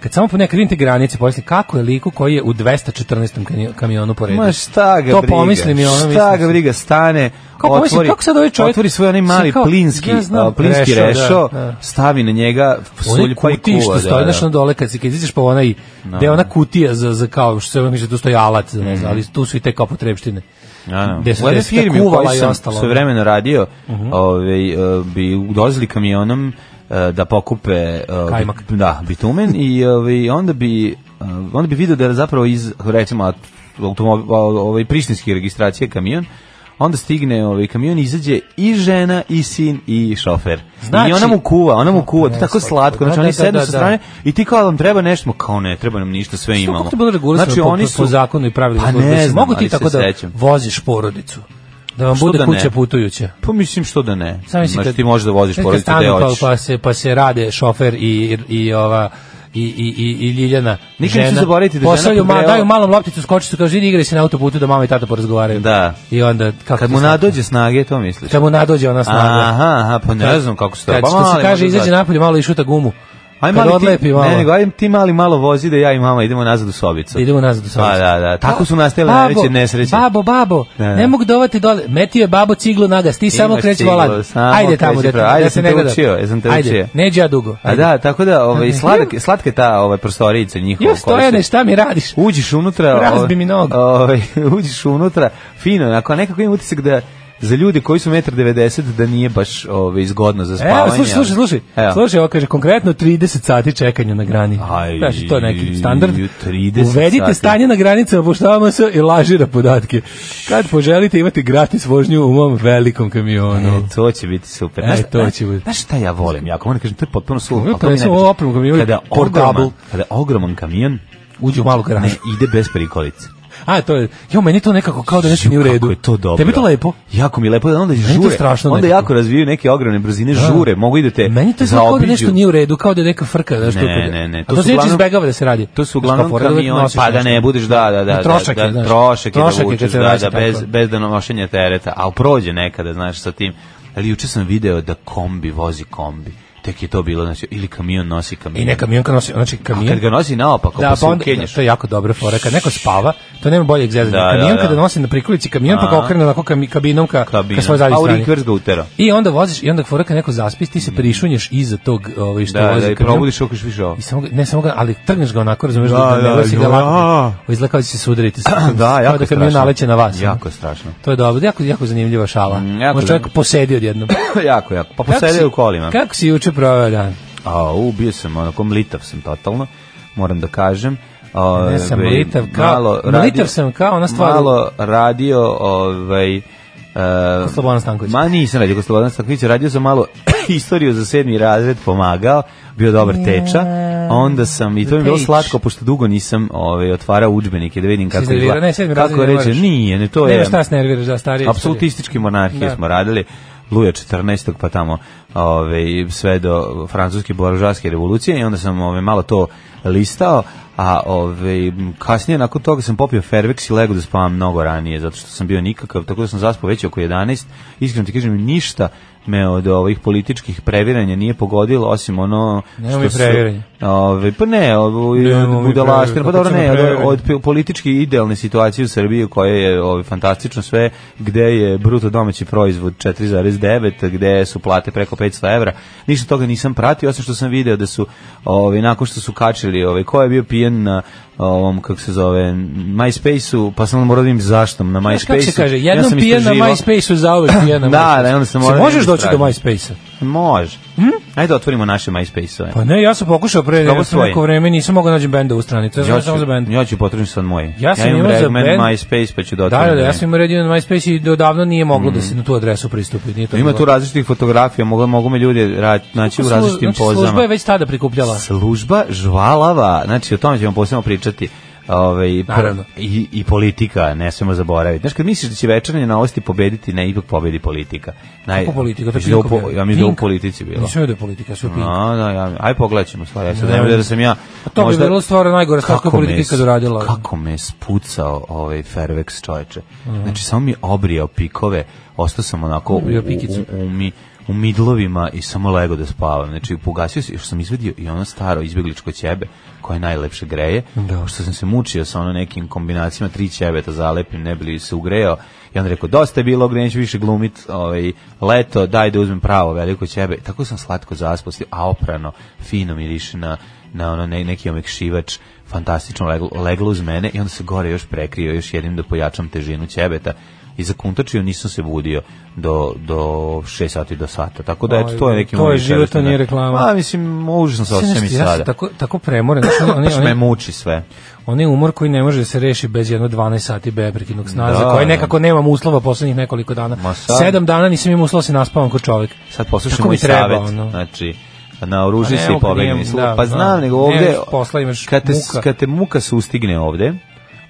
[SPEAKER 5] kad samo ponekad vidim te granice, pomislim kako je liku koji je u 214. kanio- kamionu po redu.
[SPEAKER 6] Ma šta ga
[SPEAKER 5] To
[SPEAKER 6] briga?
[SPEAKER 5] pomislim i ono,
[SPEAKER 6] Šta
[SPEAKER 5] mislim
[SPEAKER 6] ga
[SPEAKER 5] si.
[SPEAKER 6] briga stane?
[SPEAKER 5] Kao pomislim,
[SPEAKER 6] otvori,
[SPEAKER 5] kako sad ovaj čovjek-
[SPEAKER 6] otvori svoj onaj
[SPEAKER 5] Sad
[SPEAKER 6] mali
[SPEAKER 5] kao,
[SPEAKER 6] plinski,
[SPEAKER 5] ja znam,
[SPEAKER 6] a, plinski
[SPEAKER 5] rešo, da,
[SPEAKER 6] rešo,
[SPEAKER 5] da.
[SPEAKER 6] stavi na njega
[SPEAKER 5] Onaj
[SPEAKER 6] sulj pa i
[SPEAKER 5] kutiji
[SPEAKER 6] kuva.
[SPEAKER 5] što
[SPEAKER 6] da,
[SPEAKER 5] stoji,
[SPEAKER 6] da.
[SPEAKER 5] znaš, ono dole, kad, si, kad izađeš po onaj, gde je ona kutija za, za kao, što se ono kaže, tu stoji alat, za
[SPEAKER 6] Mhm.
[SPEAKER 5] ne znam, ali tu su i te kao potrebštine.
[SPEAKER 6] Da, da.
[SPEAKER 5] Gde su
[SPEAKER 6] U jednoj
[SPEAKER 5] gde su ta
[SPEAKER 6] firmi u
[SPEAKER 5] kuvala
[SPEAKER 6] kojoj
[SPEAKER 5] i
[SPEAKER 6] sam
[SPEAKER 5] ostalo. da. Mhm.
[SPEAKER 6] sve vremeno radio, ovaj, e, bi dolazili kamionom e, da pokupe e,
[SPEAKER 5] Kajmak.
[SPEAKER 6] bit- da, bitumen i ovaj, onda bi e, onda bi video da je zapravo iz recimo at- automob- o- ovaj prištinske registracije kamion onda stigne ovaj kamion izađe i žena i sin i šofer.
[SPEAKER 5] Znači-
[SPEAKER 6] I ona mu kuva, ona mu kuva, to je tako
[SPEAKER 5] slatko.
[SPEAKER 6] slatko. Znači
[SPEAKER 5] Da,
[SPEAKER 6] oni
[SPEAKER 5] da,
[SPEAKER 6] sednu
[SPEAKER 5] da,
[SPEAKER 6] sa
[SPEAKER 5] da.
[SPEAKER 6] strane i ti kao vam treba nešto, Ma kao ne, treba nam ništa, sve imamo. Znači,
[SPEAKER 5] Kako to bilo regulisano po, po, po zakonu i pravilima?
[SPEAKER 6] Pa
[SPEAKER 5] službe?
[SPEAKER 6] ne
[SPEAKER 5] Jesi
[SPEAKER 6] znam,
[SPEAKER 5] Mogu ti
[SPEAKER 6] ali
[SPEAKER 5] tako
[SPEAKER 6] se
[SPEAKER 5] da
[SPEAKER 6] sećam.
[SPEAKER 5] voziš porodicu? Da vam
[SPEAKER 6] Što
[SPEAKER 5] bude
[SPEAKER 6] da ne?
[SPEAKER 5] kuća putujuća?
[SPEAKER 6] Pa mislim što da ne.
[SPEAKER 5] Sam mislim
[SPEAKER 6] Znaš, ti možeš da voziš porodicu gde
[SPEAKER 5] pa,
[SPEAKER 6] hoćeš.
[SPEAKER 5] pa, se, pa se rade šofer i, i ova i, i, i, i Ljiljana
[SPEAKER 6] Nikad neću
[SPEAKER 5] žena,
[SPEAKER 6] zaboraviti da žena
[SPEAKER 5] pošalju ma,
[SPEAKER 6] pobrela-
[SPEAKER 5] daju malom lopticu skočicu kaže idi igraj se na autoputu da mama i tata porazgovaraju
[SPEAKER 6] Da.
[SPEAKER 5] i onda kako
[SPEAKER 6] Kad
[SPEAKER 5] ti
[SPEAKER 6] mu
[SPEAKER 5] slatko?
[SPEAKER 6] nadođe snage, to misliš?
[SPEAKER 5] kad mu nadođe ona snaga
[SPEAKER 6] Aha, aha, pa ne znam kako se to...
[SPEAKER 5] Kad
[SPEAKER 6] pa
[SPEAKER 5] što se
[SPEAKER 6] mali
[SPEAKER 5] kaže,
[SPEAKER 6] možda
[SPEAKER 5] izađe
[SPEAKER 6] dođe.
[SPEAKER 5] napolje malo i šuta gumu.
[SPEAKER 6] Aj,
[SPEAKER 5] kad
[SPEAKER 6] mali,
[SPEAKER 5] odlepi
[SPEAKER 6] ti,
[SPEAKER 5] malo.
[SPEAKER 6] Ne, nego, ajde ti mali malo vozi da ja i mama idemo nazad u sobicu.
[SPEAKER 5] Da idemo nazad u sobicu.
[SPEAKER 6] Pa da, da, tako su nastajale
[SPEAKER 5] Babo,
[SPEAKER 6] najveće nesreće.
[SPEAKER 5] Babo, babo,
[SPEAKER 6] Da, da.
[SPEAKER 5] ne mogu dovati dole. Metio je babo ciglu nagas, ti samo
[SPEAKER 6] Imaš
[SPEAKER 5] kreći
[SPEAKER 6] ciglu,
[SPEAKER 5] volan.
[SPEAKER 6] samo
[SPEAKER 5] Ajde tamo,
[SPEAKER 6] kreći
[SPEAKER 5] dete,
[SPEAKER 6] pravo. Ajde,
[SPEAKER 5] da se
[SPEAKER 6] sam
[SPEAKER 5] ne
[SPEAKER 6] te
[SPEAKER 5] gleda.
[SPEAKER 6] učio, jesam te
[SPEAKER 5] Ajde,
[SPEAKER 6] učio.
[SPEAKER 5] neđe ja dugo.
[SPEAKER 6] A da, tako da, ovaj, slatke, slatke ta ovaj, prostorijica njihova.
[SPEAKER 5] Jo,
[SPEAKER 6] koja su-
[SPEAKER 5] Stojane, šta mi radiš?
[SPEAKER 6] Uđeš unutra,
[SPEAKER 5] Razbi
[SPEAKER 6] ovaj,
[SPEAKER 5] mi nogu.
[SPEAKER 6] Ovaj uđeš unutra, fino, ako nekako imam utisak da za ljude koji su 1,90 m da nije baš ovaj izgodno za spavanje.
[SPEAKER 5] Evo, slušaj, slušaj, slušaj.
[SPEAKER 6] Evo.
[SPEAKER 5] Slušaj, ovo kaže, konkretno 30 sati čekanja na grani.
[SPEAKER 6] Aj,
[SPEAKER 5] Znači, to je neki standard.
[SPEAKER 6] 30
[SPEAKER 5] Uvedite
[SPEAKER 6] sati.
[SPEAKER 5] stanje na granici, obuštavamo se i lažira podatke. Kad poželite imati gratis vožnju u mom velikom kamionu.
[SPEAKER 6] E, to će biti super.
[SPEAKER 5] E, to će biti. da
[SPEAKER 6] Znaš šta ja volim? Jako moram da kažem, to je potpuno
[SPEAKER 5] Ovo je
[SPEAKER 6] suludo. ali to
[SPEAKER 5] prvenstveno
[SPEAKER 6] mi najviše-
[SPEAKER 5] ovo opremu kamionu,
[SPEAKER 6] Kada
[SPEAKER 5] portable.
[SPEAKER 6] ogroman, kada ogroman kamion
[SPEAKER 5] Uđi u malu
[SPEAKER 6] ne
[SPEAKER 5] garažu.
[SPEAKER 6] ide bez prikolice.
[SPEAKER 5] A, to je, jo, meni to nekako kao da nešto nije u redu.
[SPEAKER 6] Kako je to dobro.
[SPEAKER 5] Tebi to lepo?
[SPEAKER 6] Jako mi je lepo, onda
[SPEAKER 5] Meni to
[SPEAKER 6] žure.
[SPEAKER 5] strašno
[SPEAKER 6] onda
[SPEAKER 5] nekako.
[SPEAKER 6] jako razvijaju neke ogromne brzine, žure, mogu idete
[SPEAKER 5] Meni to je
[SPEAKER 6] za
[SPEAKER 5] kao da nešto nije u redu, kao da je neka frka. Znaš,
[SPEAKER 6] E, Ne,
[SPEAKER 5] tu kod-
[SPEAKER 6] ne, ne,
[SPEAKER 5] A
[SPEAKER 6] to
[SPEAKER 5] to
[SPEAKER 6] su
[SPEAKER 5] se neće
[SPEAKER 6] uglavnom-
[SPEAKER 5] izbegava da se radi.
[SPEAKER 6] To su
[SPEAKER 5] Znaš,
[SPEAKER 6] uglavnom
[SPEAKER 5] kao fora da uvek
[SPEAKER 6] kamioni,
[SPEAKER 5] nosiš
[SPEAKER 6] pa da
[SPEAKER 5] nešto.
[SPEAKER 6] ne budeš, da, da, da.
[SPEAKER 5] Na trošak
[SPEAKER 6] da,
[SPEAKER 5] je,
[SPEAKER 6] da,
[SPEAKER 5] znaš.
[SPEAKER 6] trošak je
[SPEAKER 5] Trošak je
[SPEAKER 6] da
[SPEAKER 5] kad
[SPEAKER 6] vučeš,
[SPEAKER 5] se
[SPEAKER 6] da,
[SPEAKER 5] vraća
[SPEAKER 6] da, bez,
[SPEAKER 5] tako.
[SPEAKER 6] bez donošenja tereta, ali prođe nekada, znaš, sa tim. Ali juče sam video da kombi vozi kombi. Tek je to bilo, znači, ili kamion nosi kamion.
[SPEAKER 5] I ne kamion kad nosi, znači kamion.
[SPEAKER 6] Kad ga nosi naopako,
[SPEAKER 5] Da,
[SPEAKER 6] pa,
[SPEAKER 5] pa
[SPEAKER 6] se
[SPEAKER 5] onda,
[SPEAKER 6] ukenješ.
[SPEAKER 5] to je jako dobra fora. Kad neko spava, to nema boljeg zezanja.
[SPEAKER 6] Da,
[SPEAKER 5] kamion
[SPEAKER 6] da, da.
[SPEAKER 5] kada nosi na prikolici kamion, pa ga
[SPEAKER 6] Aha.
[SPEAKER 5] okrene onako kami, kabinom ka,
[SPEAKER 6] Kabina.
[SPEAKER 5] ka svojoj zadnjoj
[SPEAKER 6] A u
[SPEAKER 5] strani.
[SPEAKER 6] rikverz ga utera.
[SPEAKER 5] I onda voziš, i onda fora kad neko zaspi, ti se prišunješ iza tog ovaj, što
[SPEAKER 6] Mm. Da,
[SPEAKER 5] vozi
[SPEAKER 6] da, i
[SPEAKER 5] kamion.
[SPEAKER 6] probudiš okriš više ovo.
[SPEAKER 5] I samo ga, ne samo ga, ali trgneš ga onako, razumeš da,
[SPEAKER 6] Da,
[SPEAKER 5] da,
[SPEAKER 6] da,
[SPEAKER 5] ne da,
[SPEAKER 6] joj,
[SPEAKER 5] da,
[SPEAKER 6] a.
[SPEAKER 5] lako. Izgleda kao da će se sudariti. sa-
[SPEAKER 6] Da,
[SPEAKER 5] kao
[SPEAKER 6] jako
[SPEAKER 5] da kamion
[SPEAKER 6] je strašno.
[SPEAKER 5] naleće na vas.
[SPEAKER 6] Jako je strašno.
[SPEAKER 5] To je dobro, jako, jako zanimljiva šala.
[SPEAKER 6] Mm, jako
[SPEAKER 5] Možda čovjek
[SPEAKER 6] zanimljivo.
[SPEAKER 5] posedi odjednom.
[SPEAKER 6] jako, jako. Pa
[SPEAKER 5] Kako si-
[SPEAKER 6] posedeo u kolima.
[SPEAKER 5] Kako si juče proveo dan?
[SPEAKER 6] A, u, bio sam, onako, mlitav sam totalno, moram da kažem. Ove,
[SPEAKER 5] Ne sam mlitav, kao- mlitav sam kao ona stvar u-
[SPEAKER 6] Malo radio, ovaj... Uh,
[SPEAKER 5] Slobodan Stanković.
[SPEAKER 6] Ma nisam radio kod Slobodana Stankovića, radio sam malo istoriju za sedmi razred, pomagao, bio dobar teča, onda sam, i to mi je bilo
[SPEAKER 5] Teć.
[SPEAKER 6] slatko, pošto dugo nisam ovaj, otvarao udžbenike da vidim kako
[SPEAKER 5] iznervirao?
[SPEAKER 6] izgleda.
[SPEAKER 5] Ne, sedmi razred
[SPEAKER 6] kako
[SPEAKER 5] ne
[SPEAKER 6] reče,
[SPEAKER 5] moraš.
[SPEAKER 6] nije, ne, to
[SPEAKER 5] Ne,
[SPEAKER 6] je...
[SPEAKER 5] šta se nerviraš da starije?
[SPEAKER 6] Apsolutistički monarhije
[SPEAKER 5] Da.
[SPEAKER 6] smo radili. Luja 14. pa tamo ove, sve do francuske boražarske revolucije i onda sam ove, malo to listao, a ove, m, kasnije nakon toga sam popio Fairvex i lego da spavam mnogo ranije, zato što sam bio nikakav, tako da sam zaspao već oko 11, iskreno ti kažem ništa me od ovih političkih previranja nije pogodilo, osim ono...
[SPEAKER 5] Nemamo mi previranja.
[SPEAKER 6] Ove, pa ne, ovo,
[SPEAKER 5] Nemamo mi
[SPEAKER 6] budalaština,
[SPEAKER 5] previranja,
[SPEAKER 6] pa dobro
[SPEAKER 5] kako
[SPEAKER 6] ne,
[SPEAKER 5] ćemo
[SPEAKER 6] od,
[SPEAKER 5] previranja?
[SPEAKER 6] od pi- politički idealne situacije u Srbiji u kojoj je ovaj, fantastično sve, gde je bruto domaći proizvod 4,9, gde su plate preko 500 evra. Ništa toga nisam pratio, osim što sam video da su, ovaj, nakon što su kačili, ovaj, ko je bio pijen na ovom, kako se zove, MySpace-u, pa sam morao da im zaštom na MySpace-u.
[SPEAKER 5] Kako se kaže,
[SPEAKER 6] Ja
[SPEAKER 5] jednom
[SPEAKER 6] sam
[SPEAKER 5] pijen na
[SPEAKER 6] istraživao-
[SPEAKER 5] MySpace-u, zauvek pijen na
[SPEAKER 6] Da,
[SPEAKER 5] MySpace-u.
[SPEAKER 6] da, onda sam
[SPEAKER 5] Se
[SPEAKER 6] morao da
[SPEAKER 5] možeš doći do
[SPEAKER 6] istražim.
[SPEAKER 5] MySpace-a?
[SPEAKER 6] Može. Ajde da otvorimo naše MySpace-ove.
[SPEAKER 5] Hm? Pa ne, ja sam pokušao pre
[SPEAKER 6] Kako
[SPEAKER 5] ja sam
[SPEAKER 6] svoje?
[SPEAKER 5] neko vreme, nisam mogao naći benda u stranicu, ja sam
[SPEAKER 6] ja
[SPEAKER 5] samo za bend.
[SPEAKER 6] ću, ja ću potražiti sad moje.
[SPEAKER 5] Ja sam
[SPEAKER 6] imam
[SPEAKER 5] imao za
[SPEAKER 6] Redman,
[SPEAKER 5] band.
[SPEAKER 6] MySpace, pa ću da
[SPEAKER 5] Da,
[SPEAKER 6] otvorim.
[SPEAKER 5] da, da, ja
[SPEAKER 6] mene.
[SPEAKER 5] sam imao redio na MySpace i do davno nije moglo da se na tu adresu pristupi. Nije to
[SPEAKER 6] Mhm. Ima
[SPEAKER 5] bilo.
[SPEAKER 6] tu različitih fotografija, mogu, mogu me ljudi ra- naći u
[SPEAKER 5] Slu-
[SPEAKER 6] različitim
[SPEAKER 5] znači,
[SPEAKER 6] pozama.
[SPEAKER 5] Služba je već tada prikupljala.
[SPEAKER 6] Služba žvalava, znači o tome ćemo posebno pričati. Ove,
[SPEAKER 5] Naravno.
[SPEAKER 6] i, I politika, ne smemo zaboraviti. Znaš, kad misliš da će večernje novosti pobediti, ne, ipak pobedi politika. Naj,
[SPEAKER 5] Kako politika? To je
[SPEAKER 6] Mislim da u
[SPEAKER 5] Pink
[SPEAKER 6] po-
[SPEAKER 5] objavio.
[SPEAKER 6] Ja mislim da u
[SPEAKER 5] Pink.
[SPEAKER 6] politici bilo.
[SPEAKER 5] Nisam vidio da je politika, sve pink.
[SPEAKER 6] A, da, ja, aj pogledat ćemo stvar. Ja sad
[SPEAKER 5] Da.
[SPEAKER 6] ne vidim da sam ja...
[SPEAKER 5] A to bi
[SPEAKER 6] možda-
[SPEAKER 5] bilo stvarno najgore stvar koju
[SPEAKER 6] Kako me
[SPEAKER 5] politika
[SPEAKER 6] s-
[SPEAKER 5] ikad uradila.
[SPEAKER 6] Kako me spucao ovaj Fairvex čoveče.
[SPEAKER 5] Mhm.
[SPEAKER 6] Znači, samo mi je obrijao pikove, ostao sam onako u,
[SPEAKER 5] Obrijao
[SPEAKER 6] u-
[SPEAKER 5] pikicu.
[SPEAKER 6] u, u, mi, u midlovima i samo lego da spavam. Znači, pogasio se, što sam izvedio i ono staro izbjegličko ćebe, koje najlepše greje, da. što sam se mučio sa ono nekim kombinacijama, tri ćebeta zalepim, ne bili se ugrejao. I onda rekao, dosta je bilo, gde neću više glumit ovaj, leto, daj da uzmem pravo veliko ćebe. Tako sam slatko zaspostio, a oprano, fino miriše na, na ono ne, neki omekšivač fantastično leglo, leglo uz mene i onda se gore još prekrio još jednim da pojačam težinu ćebeta i zakuntačio nisam se budio do, do 6 sati do sata tako da eto to je neki
[SPEAKER 5] To je
[SPEAKER 6] moj
[SPEAKER 5] život, to
[SPEAKER 6] večerašnji
[SPEAKER 5] nije
[SPEAKER 6] dan.
[SPEAKER 5] reklama.
[SPEAKER 6] a mislim užasno se
[SPEAKER 5] Sve
[SPEAKER 6] osjećam i
[SPEAKER 5] nešto, ja sam
[SPEAKER 6] sada
[SPEAKER 5] tako, tako premoren, znači, oni,
[SPEAKER 6] baš me
[SPEAKER 5] oni,
[SPEAKER 6] muči sve
[SPEAKER 5] oni umor koji ne može da se reši bez jedno 12 sati beprekidnog sna,
[SPEAKER 6] Da.
[SPEAKER 5] za koje nekako nemam uslova poslednjih nekoliko dana.
[SPEAKER 6] Ma sad-
[SPEAKER 5] Sedam dana nisam imao uslova da se naspavam kod čovjek.
[SPEAKER 6] sad poslušaj
[SPEAKER 5] Tako mi
[SPEAKER 6] moj
[SPEAKER 5] treba,
[SPEAKER 6] savet
[SPEAKER 5] ono.
[SPEAKER 6] znači naoruži
[SPEAKER 5] Pa ne
[SPEAKER 6] se i
[SPEAKER 5] mogu,
[SPEAKER 6] pobegni
[SPEAKER 5] nije-
[SPEAKER 6] Slu-
[SPEAKER 5] da,
[SPEAKER 6] pa
[SPEAKER 5] da.
[SPEAKER 6] znam nego
[SPEAKER 5] Ne,
[SPEAKER 6] ovde
[SPEAKER 5] posla imaš
[SPEAKER 6] kad te,
[SPEAKER 5] muka.
[SPEAKER 6] kad te muka sustigne ovde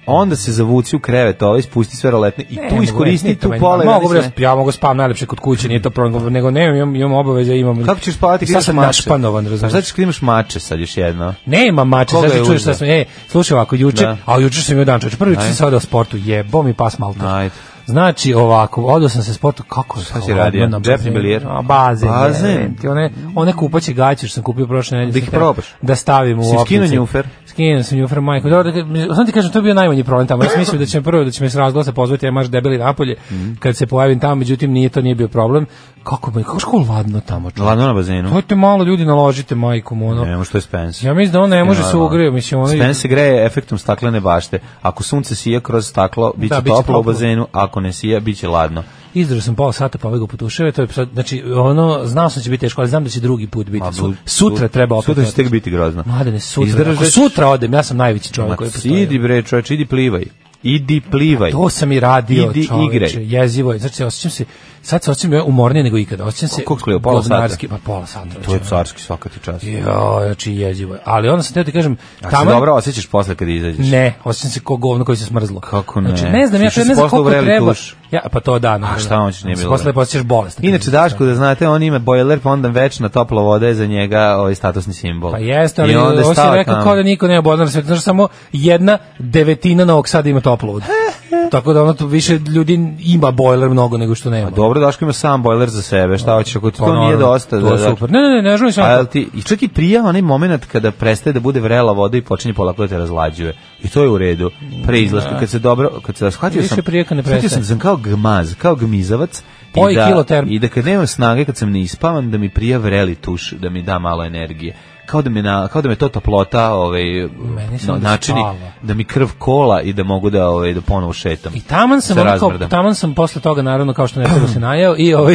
[SPEAKER 6] onda se zavuci u krevet ovaj spusti sve roletne i
[SPEAKER 5] Ne
[SPEAKER 6] tu
[SPEAKER 5] mogu,
[SPEAKER 6] iskoristi
[SPEAKER 5] ne,
[SPEAKER 6] tu da
[SPEAKER 5] ne,
[SPEAKER 6] pola i
[SPEAKER 5] mogu,
[SPEAKER 6] radi sve.
[SPEAKER 5] bre, ja mogu spavam najlepše kod kuće, nije to problem, nego ne, imam, imam obaveze, imam...
[SPEAKER 6] Kako ćeš spavati
[SPEAKER 5] I
[SPEAKER 6] kad
[SPEAKER 5] sad
[SPEAKER 6] imaš
[SPEAKER 5] sam
[SPEAKER 6] mače?
[SPEAKER 5] našpanovan, razumiješ?
[SPEAKER 6] Znači kad imaš mače sad još jedno.
[SPEAKER 5] Nema mače,
[SPEAKER 6] Koga
[SPEAKER 5] sad
[SPEAKER 6] je
[SPEAKER 5] se čuješ
[SPEAKER 6] uzeo?
[SPEAKER 5] da smo, ej, slušaj ovako, juče,
[SPEAKER 6] Da.
[SPEAKER 5] a juče sam imao dan čoveče, prvi juče
[SPEAKER 6] Ajde.
[SPEAKER 5] sam se odao sportu, jebo mi pas malter.
[SPEAKER 6] Ajde.
[SPEAKER 5] Znači ovako, odao sam se sportu, kako je
[SPEAKER 6] si
[SPEAKER 5] hladno
[SPEAKER 6] radio?
[SPEAKER 5] na
[SPEAKER 6] Džepni
[SPEAKER 5] bazenu.
[SPEAKER 6] bilijer?
[SPEAKER 5] A, bazen,
[SPEAKER 6] Bazen?
[SPEAKER 5] bazen. Ti one, one kupaće gaće što sam kupio prošle nedelje.
[SPEAKER 6] Da ih
[SPEAKER 5] sam teo
[SPEAKER 6] probaš?
[SPEAKER 5] Da stavim u
[SPEAKER 6] Si
[SPEAKER 5] opticu.
[SPEAKER 6] skinuo njufer?
[SPEAKER 5] Skinuo sam njufer, majko. Dobro, da, sam ti kažem, to je bio najmanji problem tamo. Ja sam mislio da će me prvo, da će me s razglasa pozvati, ja maš debeli napolje,
[SPEAKER 6] Mhm.
[SPEAKER 5] kad se pojavim tamo, međutim nije, to nije bio problem. Kako, me- kako školu ladno tamo, čovječe?
[SPEAKER 6] Ladno na bazenu.
[SPEAKER 5] Hojte malo ljudi naložite majkom, ono.
[SPEAKER 6] Ne, što je Spence.
[SPEAKER 5] Ja mislim da on ne može se
[SPEAKER 6] Naravno.
[SPEAKER 5] ugrije, mislim on
[SPEAKER 6] Spence se greje efektom staklene bašte. Ako sunce sije kroz staklo, biće
[SPEAKER 5] Da, biće
[SPEAKER 6] toplo,
[SPEAKER 5] toplo.
[SPEAKER 6] u bazenu, ako ne sije, biće ladno.
[SPEAKER 5] izdržao sam pola sata pa ovego potuševe, to je sad, znači ono znao sam da će biti teško, ali znam da će drugi put biti.
[SPEAKER 6] Ma,
[SPEAKER 5] Su-
[SPEAKER 6] bu-
[SPEAKER 5] sutra treba opet.
[SPEAKER 6] Sutra će tek
[SPEAKER 5] otići.
[SPEAKER 6] biti grozno.
[SPEAKER 5] Mladene, sutra. Ako
[SPEAKER 6] Izdržeš-
[SPEAKER 5] sutra odem, ja sam najveći
[SPEAKER 6] Ma,
[SPEAKER 5] čovjek da, koji postoji.
[SPEAKER 6] idi bre, čoveče, idi plivaj. Idi plivaj.
[SPEAKER 5] To sam i radio,
[SPEAKER 6] Idi
[SPEAKER 5] čoveče,
[SPEAKER 6] igraj.
[SPEAKER 5] jezivo je. Znači, osjećam se, sad se osjećam umornije nego ikada. Osjećam se
[SPEAKER 6] Koliko si kleo, pola sata?
[SPEAKER 5] govnarski, pa pola sata.
[SPEAKER 6] To je
[SPEAKER 5] čoveče.
[SPEAKER 6] carski svaka ti čast.
[SPEAKER 5] Jo, znači jezivo je. Ali onda sam teo ti kažem,
[SPEAKER 6] A se
[SPEAKER 5] tamo
[SPEAKER 6] dobro osjećaš posle kad izađeš.
[SPEAKER 5] Ne, osim se kao govno koji se smrzlo.
[SPEAKER 6] Kako ne?
[SPEAKER 5] Znači, ne znam, ja
[SPEAKER 6] Išao si
[SPEAKER 5] ne znam
[SPEAKER 6] posla u
[SPEAKER 5] koliko
[SPEAKER 6] vreli
[SPEAKER 5] treba.
[SPEAKER 6] tuš.
[SPEAKER 5] Ja, pa to da, naravno.
[SPEAKER 6] šta hoćeš, nije bilo.
[SPEAKER 5] Posle posjećaš bolest.
[SPEAKER 6] Inače, Daško, da znate, on ima bojler, pa onda večna topla voda je za njega ovaj statusni simbol.
[SPEAKER 5] Pa jeste,
[SPEAKER 6] I
[SPEAKER 5] ali
[SPEAKER 6] onda je
[SPEAKER 5] ovo si
[SPEAKER 6] stao
[SPEAKER 5] rekao
[SPEAKER 6] tamo.
[SPEAKER 5] kao da niko nema bodnar sveta, znaš samo jedna devetina Novog Sada ima toplovod. Tako da ono tu više ljudi ima bojler mnogo nego što nema.
[SPEAKER 6] Pa dobro, Daško ima sam bojler za sebe, šta hoćeš, ako ti to nije
[SPEAKER 5] Pa naravno,
[SPEAKER 6] dosta. da,
[SPEAKER 5] To je super. Ne, ne, ne, ne želim
[SPEAKER 6] A
[SPEAKER 5] sam.
[SPEAKER 6] Pa, jel ti, i čak i prija onaj moment kada prestaje da bude vrela voda i počinje polako da te razlađuje. I to je u redu. Pre izlaska, kad se dobro, kad se shvatio
[SPEAKER 5] Da. Više
[SPEAKER 6] sam,
[SPEAKER 5] prije kad ne
[SPEAKER 6] shvatio sam,
[SPEAKER 5] prestaje.
[SPEAKER 6] da sam kao gmaz, kao gmizavac.
[SPEAKER 5] Poj
[SPEAKER 6] i da,
[SPEAKER 5] kiloterm.
[SPEAKER 6] I da kad nemam snage, kad sam ne ispavan, da mi prija vreli tuš, da mi da malo energije. Kao da me, na, kao da me to toplota ovaj,
[SPEAKER 5] samo da
[SPEAKER 6] načini,
[SPEAKER 5] spava.
[SPEAKER 6] da mi krv kola i da mogu da, ovaj, da ponovo šetam.
[SPEAKER 5] I taman sam,
[SPEAKER 6] Sa
[SPEAKER 5] ono kao,
[SPEAKER 6] razmrdam.
[SPEAKER 5] taman sam posle toga, naravno, kao što ne treba se najao, i ovaj,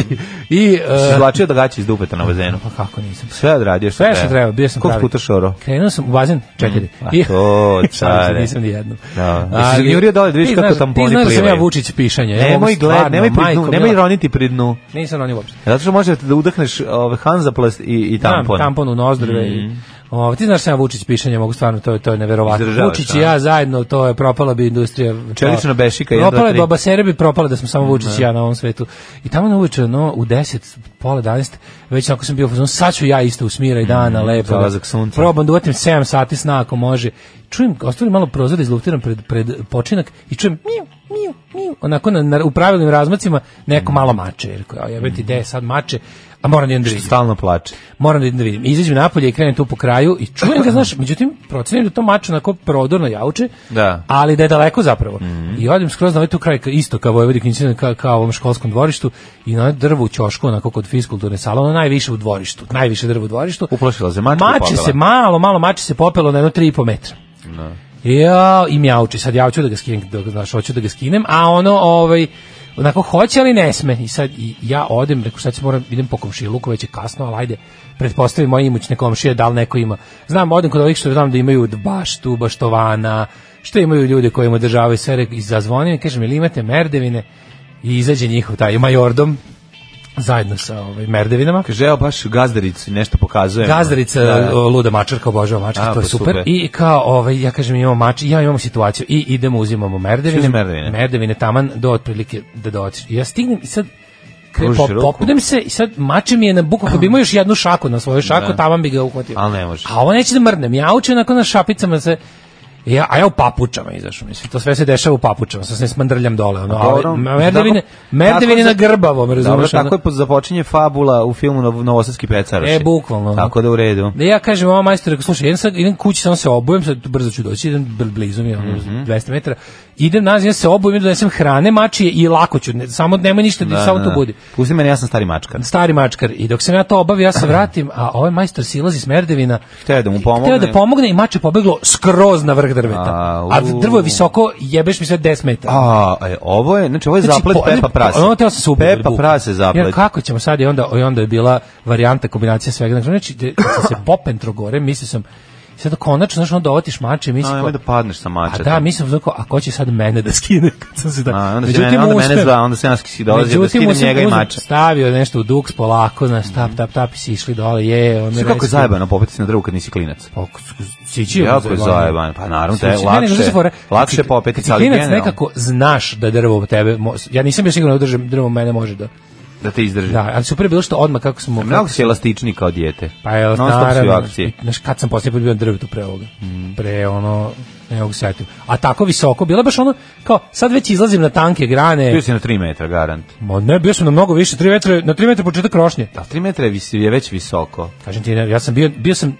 [SPEAKER 5] i...
[SPEAKER 6] Si
[SPEAKER 5] e,
[SPEAKER 6] izvlačio da gaće iz dupeta na bazenu.
[SPEAKER 5] pa kako nisam.
[SPEAKER 6] Sve odradio što
[SPEAKER 5] Sve što treba, bio sam
[SPEAKER 6] Koliko
[SPEAKER 5] pravi.
[SPEAKER 6] puta šoro?
[SPEAKER 5] Krenuo sam u bazen, četiri.
[SPEAKER 6] a to,
[SPEAKER 5] Šalim se,
[SPEAKER 6] care.
[SPEAKER 5] nisam ni jednom.
[SPEAKER 6] Da.
[SPEAKER 5] Ali-
[SPEAKER 6] Jesi zajurio dole da vidiš
[SPEAKER 5] Ti
[SPEAKER 6] kako
[SPEAKER 5] znaš-
[SPEAKER 6] tamponi
[SPEAKER 5] Ti znaš da sam
[SPEAKER 6] plivaju?
[SPEAKER 5] ja Vučić pišanje. ja
[SPEAKER 6] Nemoj
[SPEAKER 5] mogu stvarno,
[SPEAKER 6] gled, nemoj pri dnu,
[SPEAKER 5] majko
[SPEAKER 6] nemoj
[SPEAKER 5] mila.
[SPEAKER 6] roniti pri dnu.
[SPEAKER 5] Nisam ronio uopšte.
[SPEAKER 6] Zato što možete da udahneš ove Hanzaplast i i tampon. Mhm.
[SPEAKER 5] Znam, tampon u nozdrave. i O, ti znaš sam ja Vučić pišanje, mogu stvarno, to je, to je neverovatno.
[SPEAKER 6] Izdržavaš,
[SPEAKER 5] Vučić
[SPEAKER 6] a?
[SPEAKER 5] i ja zajedno, to je propala bi industrija.
[SPEAKER 6] Čelična bešika, jedan, dva,
[SPEAKER 5] Propala je
[SPEAKER 6] tri. Mhm.
[SPEAKER 5] baba sere bi propala da smo samo Vučić i ja na ovom svetu. I tamo na uveče, no, u 10, pola 11, već ako sam bio, u fazonu, sad ću ja isto u smira i dana, lepo.
[SPEAKER 6] Mhm, zalazak sunca.
[SPEAKER 5] Probam da uvatim 7 sati da sna ako može. Čujem, ostavim malo prozor, izluftiram pred, pred počinak i čujem miu, miu, onako na, na, u pravilnim razmacima neko
[SPEAKER 6] Mhm.
[SPEAKER 5] malo mače, jer kao jebe ti gde je sad mače, a moram da idem da vidim.
[SPEAKER 6] Stalno plače.
[SPEAKER 5] Moram da idem da vidim. Izađem napolje i krenem tu po kraju i čujem ga, znaš, međutim, procenim da to mače onako prodorno jauče,
[SPEAKER 6] Da.
[SPEAKER 5] ali da je daleko zapravo. I odim skroz na ovaj tu kraj, ka- isto kao Vojvodik, kao, kao ovom školskom dvorištu i na ono drvo u ćošku, onako kod fiskulturne sale, ono najviše u dvorištu, najviše drvo u dvorištu.
[SPEAKER 6] Uplašila se mačka i
[SPEAKER 5] Mače
[SPEAKER 6] pobila.
[SPEAKER 5] se malo, malo mače se popelo na jedno 3,5 metra. Ja, i mjauči, sad ja hoću da ga skinem, da, ga, znaš, hoću da ga skinem, a ono, ovaj, onako hoće, ali ne sme. I sad i ja odem, rekao, sad se moram, idem po komšiluku, već je kasno, ali ajde, pretpostavim moje imućne komšije, da li neko ima. Znam, odem kod ovih što znam da imaju baštu, baštovana, što imaju ljude koji im održavaju sve, rek- i zazvonim, i kažem, ili imate merdevine? I izađe njihov taj majordom, zajedno sa ovaj, merdevinama.
[SPEAKER 6] Kaže, evo baš gazdaricu nešto pokazujem. Da,
[SPEAKER 5] Gazdarica, o, luda mačarka, obožava mačke,
[SPEAKER 6] A,
[SPEAKER 5] to je
[SPEAKER 6] pa
[SPEAKER 5] super.
[SPEAKER 6] super.
[SPEAKER 5] I kao, ovaj, ja kažem, imamo mač, ja imamo situaciju i idemo, uzimamo merdevine,
[SPEAKER 6] Šta su merdevine?
[SPEAKER 5] merdevine taman do otprilike da doći. Ja stignem i sad kre-
[SPEAKER 6] Pružiš
[SPEAKER 5] pop-
[SPEAKER 6] ruku.
[SPEAKER 5] popnem se i sad mače mi je na buku, ako bi imao još jednu šaku na svoju šaku, taman bi ga uhvatio.
[SPEAKER 6] Da. Ali ne može.
[SPEAKER 5] A ovo neće da mrdnem, ja učem onako na šapicama se, Ja, a ja u papučama izašao, mislim, to sve se dešava u papučama, sad se ne smandrljam dole, ono, ali, merdevine, merdevine na grbavom,
[SPEAKER 6] Dobro,
[SPEAKER 5] razumeš? ono.
[SPEAKER 6] tako je po- započinje fabula u filmu Nov- Novosadski pecaroši.
[SPEAKER 5] E, bukvalno.
[SPEAKER 6] Tako da u redu.
[SPEAKER 5] Da ja kažem ovom majstoru, rekao, slušaj, idem, sad, idem kući, samo se obujem, sad brzo ću doći, idem bl- blizu mi, je, ono,
[SPEAKER 6] Mhm.
[SPEAKER 5] 200 metara, idem nazad, ja se obujem, idem da donesem hrane, mačije i lako ću, ne, samo nemoj ništa, da, samo to budi.
[SPEAKER 6] Pusti mene, ja sam stari mačkar.
[SPEAKER 5] Stari mačkar, i dok sam ja to obavio, ja se vratim, a ovaj majstor silazi s merdevina,
[SPEAKER 6] Hteo je da mu
[SPEAKER 5] Hteo
[SPEAKER 6] pomogne.
[SPEAKER 5] da pomogne i mače pobeglo skroz na vrh drveta.
[SPEAKER 6] A,
[SPEAKER 5] A,
[SPEAKER 6] u.
[SPEAKER 5] drvo je visoko, jebeš mi sad 10 metara.
[SPEAKER 6] A, e, ovo je, znači ovo je zaplet
[SPEAKER 5] po-
[SPEAKER 6] Pepa
[SPEAKER 5] ali-
[SPEAKER 6] Prase.
[SPEAKER 5] Ono teo sam se ubiti od
[SPEAKER 6] Pepa
[SPEAKER 5] buke.
[SPEAKER 6] Prase
[SPEAKER 5] Ja,
[SPEAKER 6] zaplet.
[SPEAKER 5] kako ćemo sad i onda, i onda je bila varijanta, kombinacija svega. Znači, znači de, kad sam se popentro gore, mislio sam, sad konačno, znaš, onda otiš mače, i
[SPEAKER 6] A,
[SPEAKER 5] mislim,
[SPEAKER 6] nemoj da padneš sa mača.
[SPEAKER 5] a da, mislim, znači, a ko će sad mene da skine? Kad sam se da,
[SPEAKER 6] A, onda, se mene, onda mene zva, onda se naski dolazio da
[SPEAKER 5] Međutim,
[SPEAKER 6] skinem
[SPEAKER 5] uspem-
[SPEAKER 6] njega i
[SPEAKER 5] uspem-
[SPEAKER 6] mača.
[SPEAKER 5] Stavio nešto u duks polako, znaš, tap, tap, tap, i si išli dole, je, on
[SPEAKER 6] Sve kako je zajebano popeti se na drvu kad nisi klinac.
[SPEAKER 5] Pa, Sići je
[SPEAKER 6] Jako je zajebano. Pa naravno, da je
[SPEAKER 5] Znači,
[SPEAKER 6] lakše, lakše popeti, ali
[SPEAKER 5] generalno.
[SPEAKER 6] generalno
[SPEAKER 5] nekako znaš da drvo u tebe, mo- ja nisam bio siguran da držim, drvo mene može da,
[SPEAKER 6] da te izdrži.
[SPEAKER 5] da, ali super je bilo što odmah kako smo...
[SPEAKER 6] Mnogo si elastični kao dijete.
[SPEAKER 5] Pa je,
[SPEAKER 6] Non stop si u
[SPEAKER 5] naravno,
[SPEAKER 6] akciji.
[SPEAKER 5] znaš, kad sam posljednji put bio na drvetu pre ovoga,
[SPEAKER 6] Mhm.
[SPEAKER 5] pre ono, ne mogu se setiti. A tako visoko, bilo je baš ono, kao, sad već izlazim na tanke grane,
[SPEAKER 6] Bio si na 3 metra, garant.
[SPEAKER 5] Ma ne, bio sam na mnogo više, 3 metra, na 3 metra početak krošnje.
[SPEAKER 6] Da, 3 metra je, visi, je već visoko.
[SPEAKER 5] Kažem ti, ne, ja sam bio, bio sam,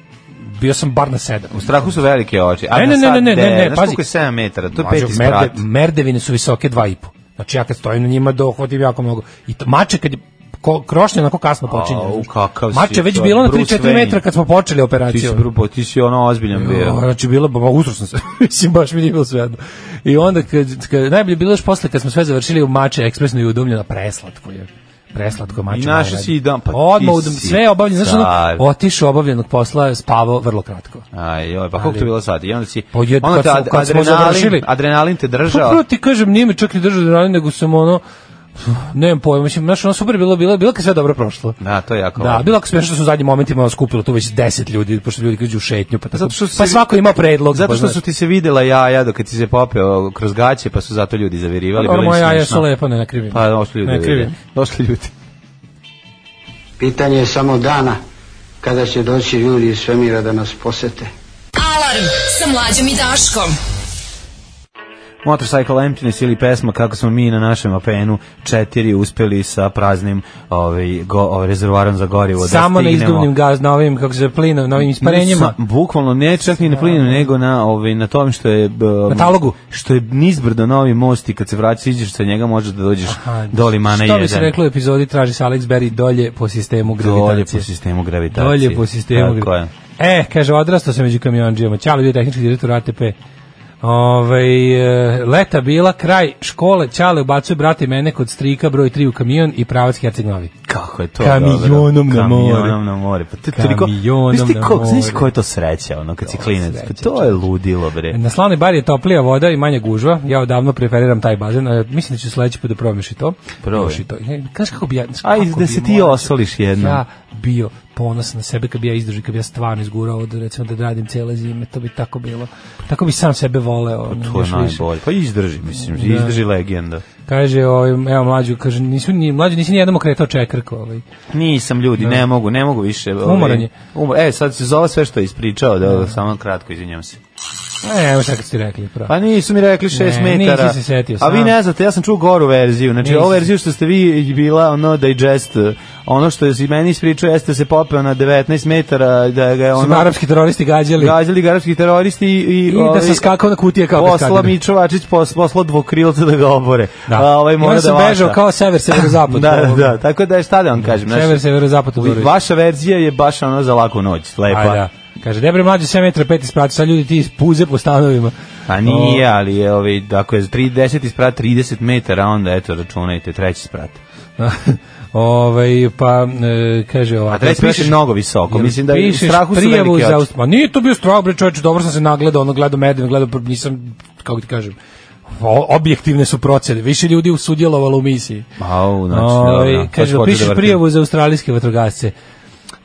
[SPEAKER 5] bio sam bar na 7.
[SPEAKER 6] U strahu su velike oči. A
[SPEAKER 5] Ne,
[SPEAKER 6] na
[SPEAKER 5] ne, ne,
[SPEAKER 6] sad
[SPEAKER 5] ne, ne, ne,
[SPEAKER 6] de-
[SPEAKER 5] ne,
[SPEAKER 6] znaš
[SPEAKER 5] pazi.
[SPEAKER 6] koliko je 7 metara? To je
[SPEAKER 5] Mlađo,
[SPEAKER 6] peti sprat.
[SPEAKER 5] merde- merdevine su visoke 2,5. Znači ja kad stojim na njima dohvatim jako mnogo. I to, mače kad je ko, krošnje onako kasno počinje.
[SPEAKER 6] Au,
[SPEAKER 5] znaš.
[SPEAKER 6] kakav si
[SPEAKER 5] Mače već
[SPEAKER 6] to,
[SPEAKER 5] bilo na
[SPEAKER 6] Bruce
[SPEAKER 5] 3-4 metra
[SPEAKER 6] Wayne.
[SPEAKER 5] kad smo počeli
[SPEAKER 6] Ti si,
[SPEAKER 5] operaciju.
[SPEAKER 6] brupo, ti si ono ozbiljan bio.
[SPEAKER 5] Jo, Znači bilo ba, usro sam se. Mislim baš mi nije bilo svejedno. I onda kad, kad najbolje je bilo još posle kad smo sve završili u mače ekspresno i udomljena preslatko je. Preslatko je mače.
[SPEAKER 6] I našao
[SPEAKER 5] najradije.
[SPEAKER 6] si i dan, pa ti
[SPEAKER 5] Odmah udom,
[SPEAKER 6] si
[SPEAKER 5] sve obavljeno, znači
[SPEAKER 6] car.
[SPEAKER 5] ono, otišao obavljenog posla, spavao vrlo kratko.
[SPEAKER 6] Aj, joj, pa koliko to je bilo sad? I onda si,
[SPEAKER 5] Pa jed-
[SPEAKER 6] onda
[SPEAKER 5] kad
[SPEAKER 6] te
[SPEAKER 5] smo-
[SPEAKER 6] ad-
[SPEAKER 5] kad smo završili.
[SPEAKER 6] adrenalin, adrenalin te
[SPEAKER 5] Pa
[SPEAKER 6] držao.
[SPEAKER 5] prvo ti kažem, nije me čak ni držao adrenalin, nego sam ono, nemam pojma, mislim, znaš, ono super je bilo, bilo, bilo kad je sve dobro prošlo.
[SPEAKER 6] Da, to je jako
[SPEAKER 5] Da,
[SPEAKER 6] važno.
[SPEAKER 5] bilo ako smiješno što su u zadnjim momentima ono skupilo tu već 10 ljudi, pošto ljudi kažu u šetnju, pa, tako,
[SPEAKER 6] Zato što su
[SPEAKER 5] pa
[SPEAKER 6] se-
[SPEAKER 5] svako ima predlog.
[SPEAKER 6] Zato
[SPEAKER 5] pa
[SPEAKER 6] što
[SPEAKER 5] znaš.
[SPEAKER 6] su ti se videla jaja dok ti se popeo kroz gaće, pa su zato ljudi zavirivali.
[SPEAKER 5] Ono,
[SPEAKER 6] bilo je
[SPEAKER 5] Pa moja jaja
[SPEAKER 6] smešno.
[SPEAKER 5] su lepa, ne nakrivim.
[SPEAKER 6] Pa došli ljudi.
[SPEAKER 5] Ne
[SPEAKER 6] da
[SPEAKER 5] krivim.
[SPEAKER 6] vide. Došli ljudi.
[SPEAKER 1] Pitanje je samo dana kada će doći ljudi iz svemira da nas posete.
[SPEAKER 4] Alarm sa mlađom i Daškom.
[SPEAKER 6] Motorcycle Emptiness ili pesma kako smo mi na našem APN-u četiri uspeli sa praznim ovaj, go, ovaj, rezervoarom za gorivo
[SPEAKER 5] Samo
[SPEAKER 6] da
[SPEAKER 5] na
[SPEAKER 6] stignemo.
[SPEAKER 5] izduvnim gaz, na ovim, kako se zove, plinom, na ovim isparenjima.
[SPEAKER 6] Sa- bukvalno ne čak ni na plinu, nego na, ovaj, na tom što je... b-
[SPEAKER 5] Na talogu.
[SPEAKER 6] Što je nizbrdo novi most i kad se vraćaš, iđeš sa njega, možeš da dođeš do limana 1.
[SPEAKER 5] Što bi se reklo u epizodi, traži se Alex Berry dolje po sistemu gravitacije.
[SPEAKER 6] Dolje po sistemu gravitacije.
[SPEAKER 5] Dolje po sistemu.
[SPEAKER 6] Tako je.
[SPEAKER 5] E, kaže, odrastao sam među kamionđijama. Ćao, bio je tehnički direktor ATP. Ove, Ovaj, eh, leta bila, kraj škole, Ćale ubacuje brate i mene kod strika broj 3 u kamion i pravac Herceg Novi.
[SPEAKER 6] Kako je to
[SPEAKER 5] Kamionom
[SPEAKER 6] dobro.
[SPEAKER 5] na more.
[SPEAKER 6] Kamionom na more. Pa to je toliko...
[SPEAKER 5] Kamionom
[SPEAKER 6] Znaš ti
[SPEAKER 5] na
[SPEAKER 6] ko-
[SPEAKER 5] more.
[SPEAKER 6] Znaš koja je to sreća, ono, kad si klinec? Pa To je ludilo, bre.
[SPEAKER 5] Na slavni bar je toplija voda i manja gužva. Ja odavno preferiram taj bazen. a Mislim da ću sledeći put da probaš i to.
[SPEAKER 6] Probaj.
[SPEAKER 5] Još i to. Ne, Znaš kako bi ja... znaš
[SPEAKER 6] Aj,
[SPEAKER 5] kako
[SPEAKER 6] da
[SPEAKER 5] bi Da,
[SPEAKER 6] se ti
[SPEAKER 5] moram-
[SPEAKER 6] osoliš jednom.
[SPEAKER 5] Ja bio ponosan na sebe kad bi ja izdržao, kad bi ja stvarno izgurao od, recimo da radim cijele zime. To bi tako bilo. Tako bi sam sebe voleo. ono,
[SPEAKER 6] To je
[SPEAKER 5] još više.
[SPEAKER 6] najbolje. Pa izdrži, mislim,
[SPEAKER 5] Da.
[SPEAKER 6] izdrži legenda.
[SPEAKER 5] Kaže, ovaj, evo mlađu, kaže, nisu, ni, mlađu nisi nijednom okretao čekrko. Ovaj.
[SPEAKER 6] Nisam ljudi, ne mogu, ne mogu više. ovaj,
[SPEAKER 5] Da. Umoran je. Da.
[SPEAKER 6] umo- E, sad se zove sve što je ispričao, da, samo kratko, izvinjam se.
[SPEAKER 5] E, evo šta kad ste rekli, pravo.
[SPEAKER 6] Pa nisu mi rekli 6
[SPEAKER 5] Ne,
[SPEAKER 6] metara.
[SPEAKER 5] nisi se setio
[SPEAKER 6] A vi
[SPEAKER 5] sam.
[SPEAKER 6] ne znate, ja sam čuo goru verziju. Znači,
[SPEAKER 5] Nisi.
[SPEAKER 6] ovu verziju što ste vi bila, ono, digest, ono što si meni ispričao jeste da se popeo na 19 metara, da ga je
[SPEAKER 5] Su
[SPEAKER 6] ono...
[SPEAKER 5] me arapski teroristi gađali.
[SPEAKER 6] Gađali ga arapski teroristi i... I, ovaj,
[SPEAKER 5] I da sam skakao na kutije kao bez
[SPEAKER 6] Posla
[SPEAKER 5] kagnja.
[SPEAKER 6] Mičovačić, pos, posla dvokrilca da ga obore.
[SPEAKER 5] Da.
[SPEAKER 6] A, ovaj
[SPEAKER 5] I
[SPEAKER 6] mora
[SPEAKER 5] onda sam
[SPEAKER 6] da
[SPEAKER 5] bežao
[SPEAKER 6] vaša.
[SPEAKER 5] kao sever, severozapad. ovaj.
[SPEAKER 6] da, da, da, tako da je šta da vam kažem. znaš,
[SPEAKER 5] Sever, severozapad. u Boroviću.
[SPEAKER 6] vaša pa. verzija je baš ono za laku noć, lepa.
[SPEAKER 5] Aj, da. Kaže, debre mlađe 7 metra 5 isprati, sad ljudi ti iz puze po stanovima.
[SPEAKER 6] Pa nije, ali je, ovaj, ako je za 30 isprat 30 metara, onda eto, računajte, treći sprat.
[SPEAKER 5] Ove, pa, e, kaže ovako.
[SPEAKER 6] A treći
[SPEAKER 5] pišeš-
[SPEAKER 6] piše mnogo visoko,
[SPEAKER 5] Jel
[SPEAKER 6] mislim da je u
[SPEAKER 5] pišeš
[SPEAKER 6] strahu su
[SPEAKER 5] prijavu
[SPEAKER 6] veliki
[SPEAKER 5] za
[SPEAKER 6] oči.
[SPEAKER 5] ust- Ma nije to bio strah, bre čoveče, dobro sam se nagledao, ono gledao medve, gledao, pr- nisam, kako ti kažem, o- objektivne su procene, više ljudi usudjelovalo u misiji.
[SPEAKER 6] Au, znači,
[SPEAKER 5] Ovaj,
[SPEAKER 6] dobro, sad ću
[SPEAKER 5] kaže,
[SPEAKER 6] početi da
[SPEAKER 5] pišeš
[SPEAKER 6] vrtim.
[SPEAKER 5] prijavu za australijske vatrogasce,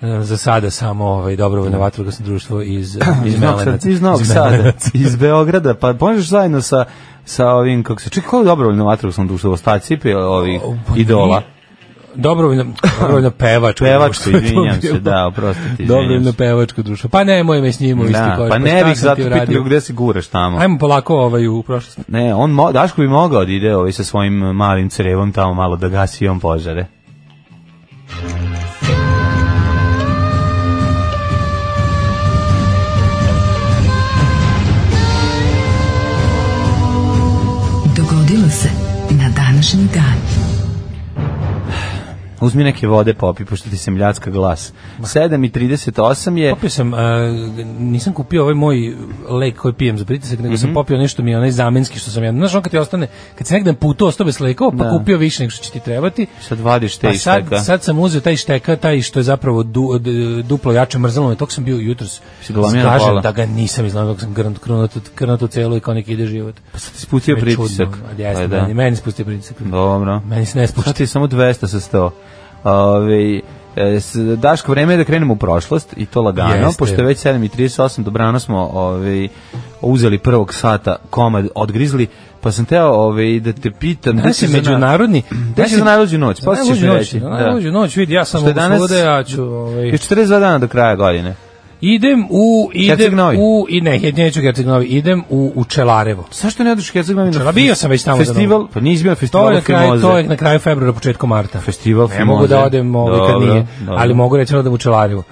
[SPEAKER 5] E, za sada samo ovaj, dobrovoljno vatrogasno društvo iz, iz
[SPEAKER 6] Da. Iz Novog Sada,
[SPEAKER 5] Melenaca.
[SPEAKER 6] iz Novog Sada,
[SPEAKER 5] Melenaca.
[SPEAKER 6] iz Beograda, pa možeš zajedno sa sa ovim, kako se čekao dobrovoljno vatrogasno društvo, ostaci pe- ovih
[SPEAKER 5] pa
[SPEAKER 6] idola.
[SPEAKER 5] Dobrovoljno, dobrovoljno pevačko
[SPEAKER 6] Pevačko,
[SPEAKER 5] društvo je to
[SPEAKER 6] izvinjam se,
[SPEAKER 5] bilo.
[SPEAKER 6] da, oprostite, izvinjam
[SPEAKER 5] Dobrovoljno
[SPEAKER 6] se.
[SPEAKER 5] pevačko društvo. Pa nemoj me s njim u isti
[SPEAKER 6] Da,
[SPEAKER 5] koš,
[SPEAKER 6] pa ne
[SPEAKER 5] šta
[SPEAKER 6] bih
[SPEAKER 5] sam
[SPEAKER 6] zato
[SPEAKER 5] ti uradio?
[SPEAKER 6] pitao gde se guraš tamo.
[SPEAKER 5] Ajmo polako ovaj u prošlost.
[SPEAKER 6] Ne, on mo, Daško bi mogao da ide ovaj sa svojim malim crevom tamo malo da gasi i on požare.
[SPEAKER 4] Dogodilo se na današnji dan.
[SPEAKER 6] Uzmi neke vode popi, pošto ti se mljacka glas. 7.38 je...
[SPEAKER 5] Popio sam, a, nisam kupio ovaj moj lek koji pijem za pritisak, nego
[SPEAKER 6] Mhm.
[SPEAKER 5] sam popio nešto mi je onaj zamenski što sam ja. Znaš, on kad ti ostane, kad se negdje putu ostao bez lekova, pa
[SPEAKER 6] Da.
[SPEAKER 5] kupio više nego što će ti trebati.
[SPEAKER 6] Sad vadiš te
[SPEAKER 5] Pa
[SPEAKER 6] iz
[SPEAKER 5] sad,
[SPEAKER 6] teka.
[SPEAKER 5] sad sam uzeo taj šteka, taj što je zapravo du, d- duplo jače mrzalo me, tog sam bio jutros.
[SPEAKER 6] Si dolomio na
[SPEAKER 5] Kažem
[SPEAKER 6] pola?
[SPEAKER 5] da ga nisam izgledao, dok sam grnut, krnuto, krnuto celo i kao neki ide život.
[SPEAKER 6] Pa sad ti spustio
[SPEAKER 5] Me
[SPEAKER 6] pritisak.
[SPEAKER 5] čudno, ali
[SPEAKER 6] Pa
[SPEAKER 5] Jeste,
[SPEAKER 6] da.
[SPEAKER 5] meni, meni spustio pritisak.
[SPEAKER 6] Dobro.
[SPEAKER 5] Meni se ne spušta.
[SPEAKER 6] Sad ti je samo 200 sa 100. Ove, e, s- Daško, vreme je da krenemo u prošlost i to lagano,
[SPEAKER 5] Jeste.
[SPEAKER 6] pošto je već 7.38, dobrano smo ove, uzeli prvog sata komad, odgrizli, pa sam teo ove, da te pitam... gde
[SPEAKER 5] Danas
[SPEAKER 6] si
[SPEAKER 5] je
[SPEAKER 6] za na-
[SPEAKER 5] međunarodni...
[SPEAKER 6] Gde si za najluđu noć? Pa ćeš
[SPEAKER 5] Najluđu
[SPEAKER 6] mi
[SPEAKER 5] noć,
[SPEAKER 6] reći. Da.
[SPEAKER 5] najluđu noć, vidi, ja sam
[SPEAKER 6] Što je danas-
[SPEAKER 5] ovdje, ja ću... Ovaj,
[SPEAKER 6] Još 42 dana do kraja godine.
[SPEAKER 5] idem u...
[SPEAKER 6] Herceg
[SPEAKER 5] Idem
[SPEAKER 6] Novi.
[SPEAKER 5] u... I ne, ja neću Herceg Novi, idem u, u Čelarevo.
[SPEAKER 6] Zašto ne odeš Herceg Novi? na
[SPEAKER 5] Čela, bio sam već tamo za
[SPEAKER 6] Festival,
[SPEAKER 5] novo.
[SPEAKER 6] pa nisi bio na
[SPEAKER 5] To je,
[SPEAKER 6] festivalu
[SPEAKER 5] na kraju, to je
[SPEAKER 6] Fimoze.
[SPEAKER 5] na kraju februara, početkom marta.
[SPEAKER 6] Festival
[SPEAKER 5] Ne mogu
[SPEAKER 6] Fimoze.
[SPEAKER 5] da odem ovaj, kad
[SPEAKER 6] Dobro,
[SPEAKER 5] nije,
[SPEAKER 6] dobro. Mm.
[SPEAKER 5] ali mogu reći da odem u Čelarevo.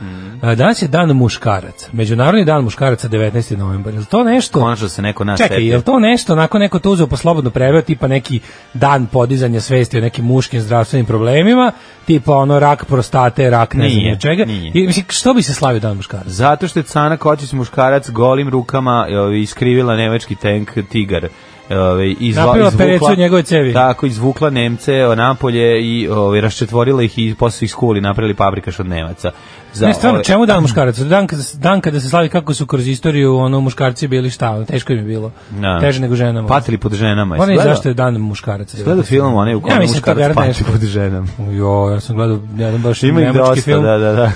[SPEAKER 5] A, Danas je dan muškaraca, Međunarodni dan muškaraca 19. novembar. Je li to nešto?
[SPEAKER 6] Konačno se neko nas
[SPEAKER 5] Čekaj,
[SPEAKER 6] setio.
[SPEAKER 5] je li to nešto, onako neko to uzeo po slobodno preveo, tipa neki dan podizanja svesti o nekim muškim zdravstvenim problemima, tipa ono rak prostate, rak ne znam
[SPEAKER 6] Nije,
[SPEAKER 5] ni čega.
[SPEAKER 6] nije.
[SPEAKER 5] I, mislim, što bi se slavio dan muškaraca?
[SPEAKER 6] Zato što je Cana Kočić muškarac golim rukama e, iskrivila nemački tank Tigar. Ove, izva,
[SPEAKER 5] Napravila perecu od njegove cevi.
[SPEAKER 6] Tako, izvukla Nemce o napolje i ove, raščetvorila ih i posle ih skuli napravili paprikaš od Nemaca. Za, ovaj,
[SPEAKER 5] Ne, stvarno,
[SPEAKER 6] ove-
[SPEAKER 5] čemu dan muškaraca? Dan, kada- dan kada se slavi kako su kroz istoriju ono, muškarci bili šta, ono, teško im je bilo.
[SPEAKER 6] Da.
[SPEAKER 5] Teže nego ženama.
[SPEAKER 6] Patili pod ženama.
[SPEAKER 5] Moram reći
[SPEAKER 6] Gledao-
[SPEAKER 5] zašto je dan muškaraca.
[SPEAKER 6] Gledao film onaj u kojem
[SPEAKER 5] ja mislim, to
[SPEAKER 6] muškarac
[SPEAKER 5] garantne
[SPEAKER 6] pati pod ženama.
[SPEAKER 5] Jo, ja sam gledao jedan baš
[SPEAKER 6] Ima ih
[SPEAKER 5] nemački
[SPEAKER 6] dosta,
[SPEAKER 5] film
[SPEAKER 6] da, da, da.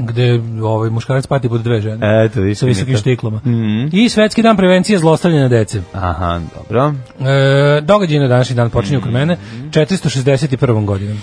[SPEAKER 5] gde ovaj, muškarac pati pod dve žene.
[SPEAKER 6] Eto, više
[SPEAKER 5] sa visokim
[SPEAKER 6] nikad.
[SPEAKER 5] štiklama.
[SPEAKER 6] E, Mhm.
[SPEAKER 5] I svetski dan prevencije zlostavljanja dece.
[SPEAKER 6] Aha, dobro.
[SPEAKER 5] E, događaj na današnji dan počinju kod mene
[SPEAKER 6] Mhm.
[SPEAKER 5] 461. godinom.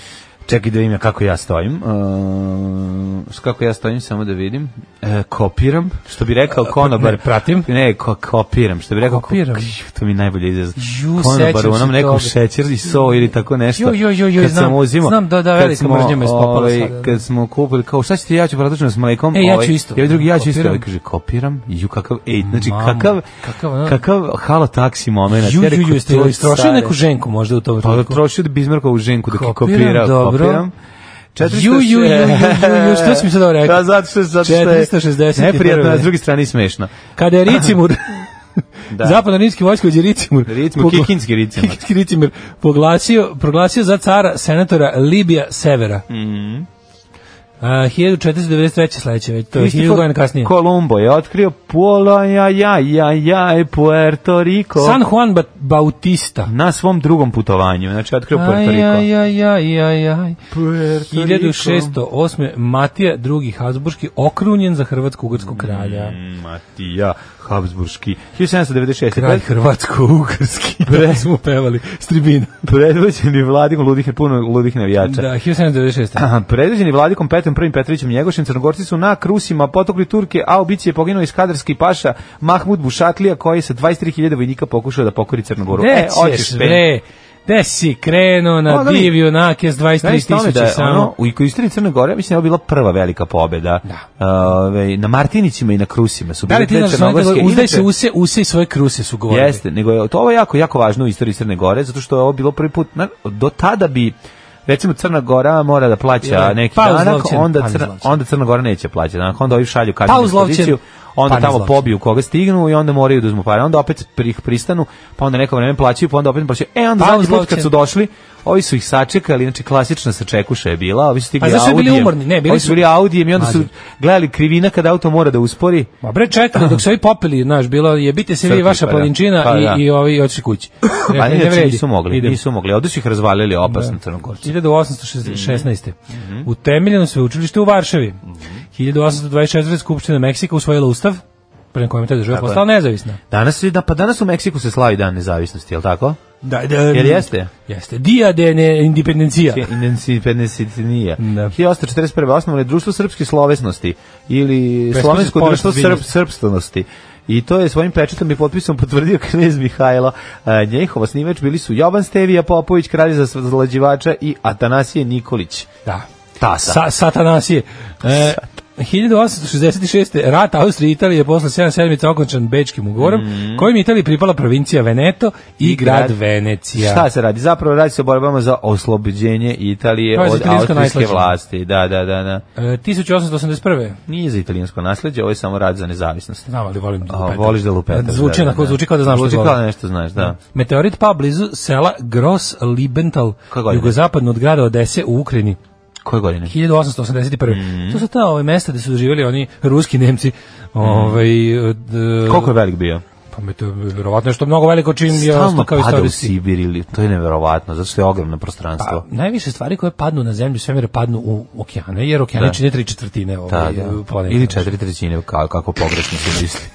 [SPEAKER 6] Čekaj da vidim ja kako ja stojim. Ehm, s kako ja stojim, samo da vidim. E, kopiram, što bi rekao konobar.
[SPEAKER 5] ne, pratim.
[SPEAKER 6] Ne, ko, kopiram, što bi rekao.
[SPEAKER 5] Kopiram.
[SPEAKER 6] Ko- to mi je najbolje izraz.
[SPEAKER 5] Ju, sećam
[SPEAKER 6] Konobar
[SPEAKER 5] se
[SPEAKER 6] u onom nekom
[SPEAKER 5] toga.
[SPEAKER 6] šećer i so ili tako nešto.
[SPEAKER 5] Ju, ju, ju, ju,
[SPEAKER 6] Kad
[SPEAKER 5] znam,
[SPEAKER 6] sam uzimao-
[SPEAKER 5] znam, da, da,
[SPEAKER 6] kad
[SPEAKER 5] velika
[SPEAKER 6] smo,
[SPEAKER 5] mržnja me iskopala
[SPEAKER 6] ovaj,
[SPEAKER 5] sada, da.
[SPEAKER 6] Kad smo kupili, kao šta ćete, ja ću pratučno s mlekom.
[SPEAKER 5] E, ja ću
[SPEAKER 6] ovaj,
[SPEAKER 5] isto.
[SPEAKER 6] I ovaj drugi, ja ću isto.
[SPEAKER 5] Kopiram.
[SPEAKER 6] Ovaj kaže, kopiram. Ju, kakav, ej, znači,
[SPEAKER 5] Mamo,
[SPEAKER 6] kakav,
[SPEAKER 5] kakav, ono-
[SPEAKER 6] kakav halo taksi moment.
[SPEAKER 5] Ju,
[SPEAKER 6] Ja
[SPEAKER 5] ju,
[SPEAKER 6] rekao,
[SPEAKER 5] ju, ste
[SPEAKER 6] to je
[SPEAKER 5] istrošio
[SPEAKER 6] stare.
[SPEAKER 5] neku ženku možda u tom
[SPEAKER 6] Pa da
[SPEAKER 5] trenutku?
[SPEAKER 6] trošio da Bizmarkovu ženku da
[SPEAKER 5] Kopiram,
[SPEAKER 6] kopira,
[SPEAKER 5] dobro.
[SPEAKER 6] kopiram. 400...
[SPEAKER 5] Ju, ju, ju, ju, ju, ju, što si mi sad ovo rekao?
[SPEAKER 6] Da, zato što, zato što je
[SPEAKER 5] 461.
[SPEAKER 6] neprijatno, a s druge strane i smešno.
[SPEAKER 5] Kada je Ricimur,
[SPEAKER 6] Da.
[SPEAKER 5] da. zapadno-rimski vojskovođe Ricimur,
[SPEAKER 6] Ricimur,
[SPEAKER 5] pogla-
[SPEAKER 6] kikinski Ricimur.
[SPEAKER 5] kikinski Ricimur poglasio, proglasio za cara senatora Libija Severa. Mm
[SPEAKER 6] Mhm.
[SPEAKER 5] A, 1493. sledeće, već to je 1000 godina kasnije.
[SPEAKER 6] Kolumbo je otkrio Puolo, ja, ja, ja, ja, i Puerto Rico.
[SPEAKER 5] San Juan Bat- Bautista.
[SPEAKER 6] Na svom drugom putovanju, znači otkrio Puerto
[SPEAKER 5] Aj,
[SPEAKER 6] Rico.
[SPEAKER 5] aj, aj, aj, aj, aj.
[SPEAKER 6] Puerto Rico.
[SPEAKER 5] 1608. Matija II. Habsburški okrunjen za Hrvatsko-Ugorskog kralja.
[SPEAKER 6] Mm, Matija, Habsburški. 1796.
[SPEAKER 5] Kralj Hrvatsko-Ugrski, da smo pevali, s tribina.
[SPEAKER 6] Predvođeni vladikom ludih, puno ludih navijača.
[SPEAKER 5] Da, 1796.
[SPEAKER 6] Predviđeni vladikom Petrom Petom I Petrovićem Njegošem, Crnogorci su na Krusima potokli Turke, a u bici je poginuo iskadarski paša Mahmud Bušatlija, koji je sa 23.000 vojnika pokušao da pokori Crnogoru.
[SPEAKER 5] Gde ćeš, bre? e, Gde si krenuo na
[SPEAKER 6] Ono, ali-
[SPEAKER 5] div junake s
[SPEAKER 6] Znaš
[SPEAKER 5] 23
[SPEAKER 6] tome da
[SPEAKER 5] tisuća
[SPEAKER 6] je ono,
[SPEAKER 5] samo?
[SPEAKER 6] u u istoriji Crne Gore, mislim da je ovo bila prva velika pobeda.
[SPEAKER 5] Da.
[SPEAKER 6] Ove, na Martinićima i na Krusima su
[SPEAKER 5] Da
[SPEAKER 6] bile
[SPEAKER 5] li ti
[SPEAKER 6] te
[SPEAKER 5] znaš,
[SPEAKER 6] crnogorske.
[SPEAKER 5] ono, uzdaj
[SPEAKER 6] Inače-
[SPEAKER 5] se use, use i svoje kruse su govorili.
[SPEAKER 6] Jeste, nego je to ovo je jako jako važno u istoriji Crne Gore zato što je ovo bilo prvi put na, do tada bi recimo Crna Gora mora da plaća
[SPEAKER 5] Ja,
[SPEAKER 6] neki
[SPEAKER 5] pa
[SPEAKER 6] danak,
[SPEAKER 5] uzlovčen,
[SPEAKER 6] onda
[SPEAKER 5] pa
[SPEAKER 6] Crna,
[SPEAKER 5] uzlovčen.
[SPEAKER 6] onda Crna Gora neće plaćati danak, onda ovi šalju kaznenu
[SPEAKER 5] uzlovčen,
[SPEAKER 6] ekspediciju, onda
[SPEAKER 5] pa
[SPEAKER 6] tamo
[SPEAKER 5] uzlovčen.
[SPEAKER 6] pobiju koga stignu i onda moraju da uzmu pare, onda opet pri, pristanu, pa onda neko vreme plaćaju, pa onda opet plaćaju. E onda
[SPEAKER 5] Pa
[SPEAKER 6] zadnji put kad
[SPEAKER 5] uzlovčen.
[SPEAKER 6] su došli, ovi su ih sačekali, znači klasična sačekuša je bila, ovi su stigli
[SPEAKER 5] A Pa zašto su bili
[SPEAKER 6] Audijem.
[SPEAKER 5] umorni? Ne, bili
[SPEAKER 6] ovi su
[SPEAKER 5] su-
[SPEAKER 6] bili Audijem i onda su
[SPEAKER 5] Mlađe.
[SPEAKER 6] gledali krivina kada auto mora da uspori.
[SPEAKER 5] Ma bre, čekali dok su ovi popili, znaš, bilo je bite se vi
[SPEAKER 6] Crkvi,
[SPEAKER 5] i vaša
[SPEAKER 6] pa da.
[SPEAKER 5] palinčina
[SPEAKER 6] Pa
[SPEAKER 5] i,
[SPEAKER 6] da.
[SPEAKER 5] i ovi otišli kući.
[SPEAKER 6] Pa
[SPEAKER 5] Rekli,
[SPEAKER 6] ne, znači
[SPEAKER 5] vredi, Da.
[SPEAKER 6] nisu mogli,
[SPEAKER 5] idem.
[SPEAKER 6] nisu mogli. Ovde su ih razvalili opasno Crnogorci. Mhm.
[SPEAKER 5] 1816. Utemeljeno sveučilište u Varšavi. 1824. Skupština Meksika usvojila ustav, prema kojem je ta država
[SPEAKER 6] Tako je.
[SPEAKER 5] postala nezavisna.
[SPEAKER 6] Danas je da pa danas u Meksiku se slavi dan nezavisnosti, je l' tako?
[SPEAKER 5] Da, da,
[SPEAKER 6] Jel jeste?
[SPEAKER 5] Jeste. Dia de ne- independencija.
[SPEAKER 6] pa Independencija.
[SPEAKER 5] Da.
[SPEAKER 6] 1841. osnovano je društvo srpske slovesnosti ili
[SPEAKER 5] Preskušaj
[SPEAKER 6] slovensko
[SPEAKER 5] sport
[SPEAKER 6] društvo
[SPEAKER 5] zbilja.
[SPEAKER 6] srp, srpstvenosti. I to je svojim pečetom i potpisom potvrdio knez Mihajlo. E, njihov osnivač bili su Jovan Stevija Popović, kralj za zlađivača i Atanasije Nikolić.
[SPEAKER 5] Da.
[SPEAKER 6] Tasa.
[SPEAKER 5] Sa, satanasije. E, 1866. Rat Austrije i Italije je posle 7 sedmica okončan Bečkim ugorom, kojim je Italiji pripala provincija Veneto i,
[SPEAKER 6] Mhm. I grad-
[SPEAKER 5] grad, Venecija.
[SPEAKER 6] Šta se radi? Zapravo radi se o borbama za oslobođenje Italije
[SPEAKER 5] To je za
[SPEAKER 6] od
[SPEAKER 5] italijansko
[SPEAKER 6] austrijske
[SPEAKER 5] najslađe.
[SPEAKER 6] vlasti. Da, da, da, da.
[SPEAKER 5] E, 1881.
[SPEAKER 6] Nije za italijansko nasleđe, ovo je samo rad za nezavisnost.
[SPEAKER 5] Znam, ali volim da
[SPEAKER 6] A,
[SPEAKER 5] lupetam.
[SPEAKER 6] voliš da lupetaš.
[SPEAKER 5] Zvuči,
[SPEAKER 6] da,
[SPEAKER 5] onako,
[SPEAKER 6] da, da.
[SPEAKER 5] zvuči kao da znaš
[SPEAKER 6] Zvuči
[SPEAKER 5] što
[SPEAKER 6] kao da
[SPEAKER 5] govorim.
[SPEAKER 6] nešto znaš, da.
[SPEAKER 5] Meteorit pa blizu sela Gros Libental,
[SPEAKER 6] Koje godine?
[SPEAKER 5] jugozapadno od grada Odese u Ukrajini.
[SPEAKER 6] Koje godine?
[SPEAKER 5] 1881.
[SPEAKER 6] Mhm.
[SPEAKER 5] To su ta ove mesta gde su živjeli oni ruski Nemci. Ovaj od, e,
[SPEAKER 6] Koliko je velik bio?
[SPEAKER 5] Pa me to je verovatno što mnogo veliko čim je
[SPEAKER 6] Stalno
[SPEAKER 5] ostao kao
[SPEAKER 6] pada u
[SPEAKER 5] istorijski.
[SPEAKER 6] Sibir ili, to je neverovatno, zato što je ogromno prostranstvo.
[SPEAKER 5] Pa, najviše stvari koje padnu na zemlju svemira padnu u okeane, jer okeane
[SPEAKER 6] Da.
[SPEAKER 5] čine tri četvrtine
[SPEAKER 6] Da,
[SPEAKER 5] ovaj,
[SPEAKER 6] da.
[SPEAKER 5] planete.
[SPEAKER 6] Ili četiri trećine, kako, kako pogrešno se misli.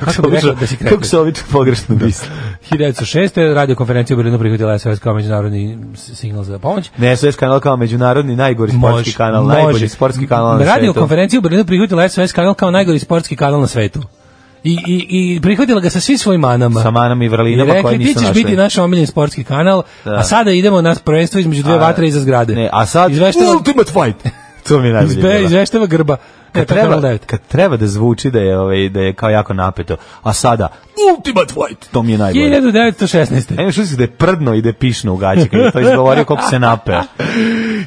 [SPEAKER 5] Kako bi rekao da si Da. kretan?
[SPEAKER 6] Kako se obično pogrešno misli?
[SPEAKER 5] 1906. radio konferencija u Berlinu prihvatila SOS kao međunarodni s- signal za pomoć.
[SPEAKER 6] Ne, SOS kanal kao međunarodni najgori sportski
[SPEAKER 5] Može,
[SPEAKER 6] kanal,
[SPEAKER 5] može.
[SPEAKER 6] najbolji sportski kanal na
[SPEAKER 5] Radio
[SPEAKER 6] svetu.
[SPEAKER 5] konferenciju u Berlinu prihvatila SOS kanal kao najgori sportski kanal na svetu. I, i, i prihvatila ga sa svim svojim manama.
[SPEAKER 6] Sa manama i vrlinama
[SPEAKER 5] I
[SPEAKER 6] koje
[SPEAKER 5] rekli, ti
[SPEAKER 6] nisu
[SPEAKER 5] ćeš
[SPEAKER 6] našli."
[SPEAKER 5] biti naš omiljeni sportski kanal,
[SPEAKER 6] Da.
[SPEAKER 5] a sada idemo na prvenstvo između dve
[SPEAKER 6] A,
[SPEAKER 5] vatre iza zgrade.
[SPEAKER 6] Ne, a sad
[SPEAKER 5] Izveštava,
[SPEAKER 6] Ultimate Fight. to mi je najbolje.
[SPEAKER 5] izbe,
[SPEAKER 6] bilo.
[SPEAKER 5] izveštava grba.
[SPEAKER 6] Kad
[SPEAKER 5] Ne, to je Kanal
[SPEAKER 6] treba,
[SPEAKER 5] 9.
[SPEAKER 6] kad treba da zvuči da je ovaj da je kao jako napeto. A sada Ultimate Fight. To mi je najbolje.
[SPEAKER 5] 1916.
[SPEAKER 6] Ajme što se da je prdno i da je pišno u gaći kad je to izgovorio koliko se napeo.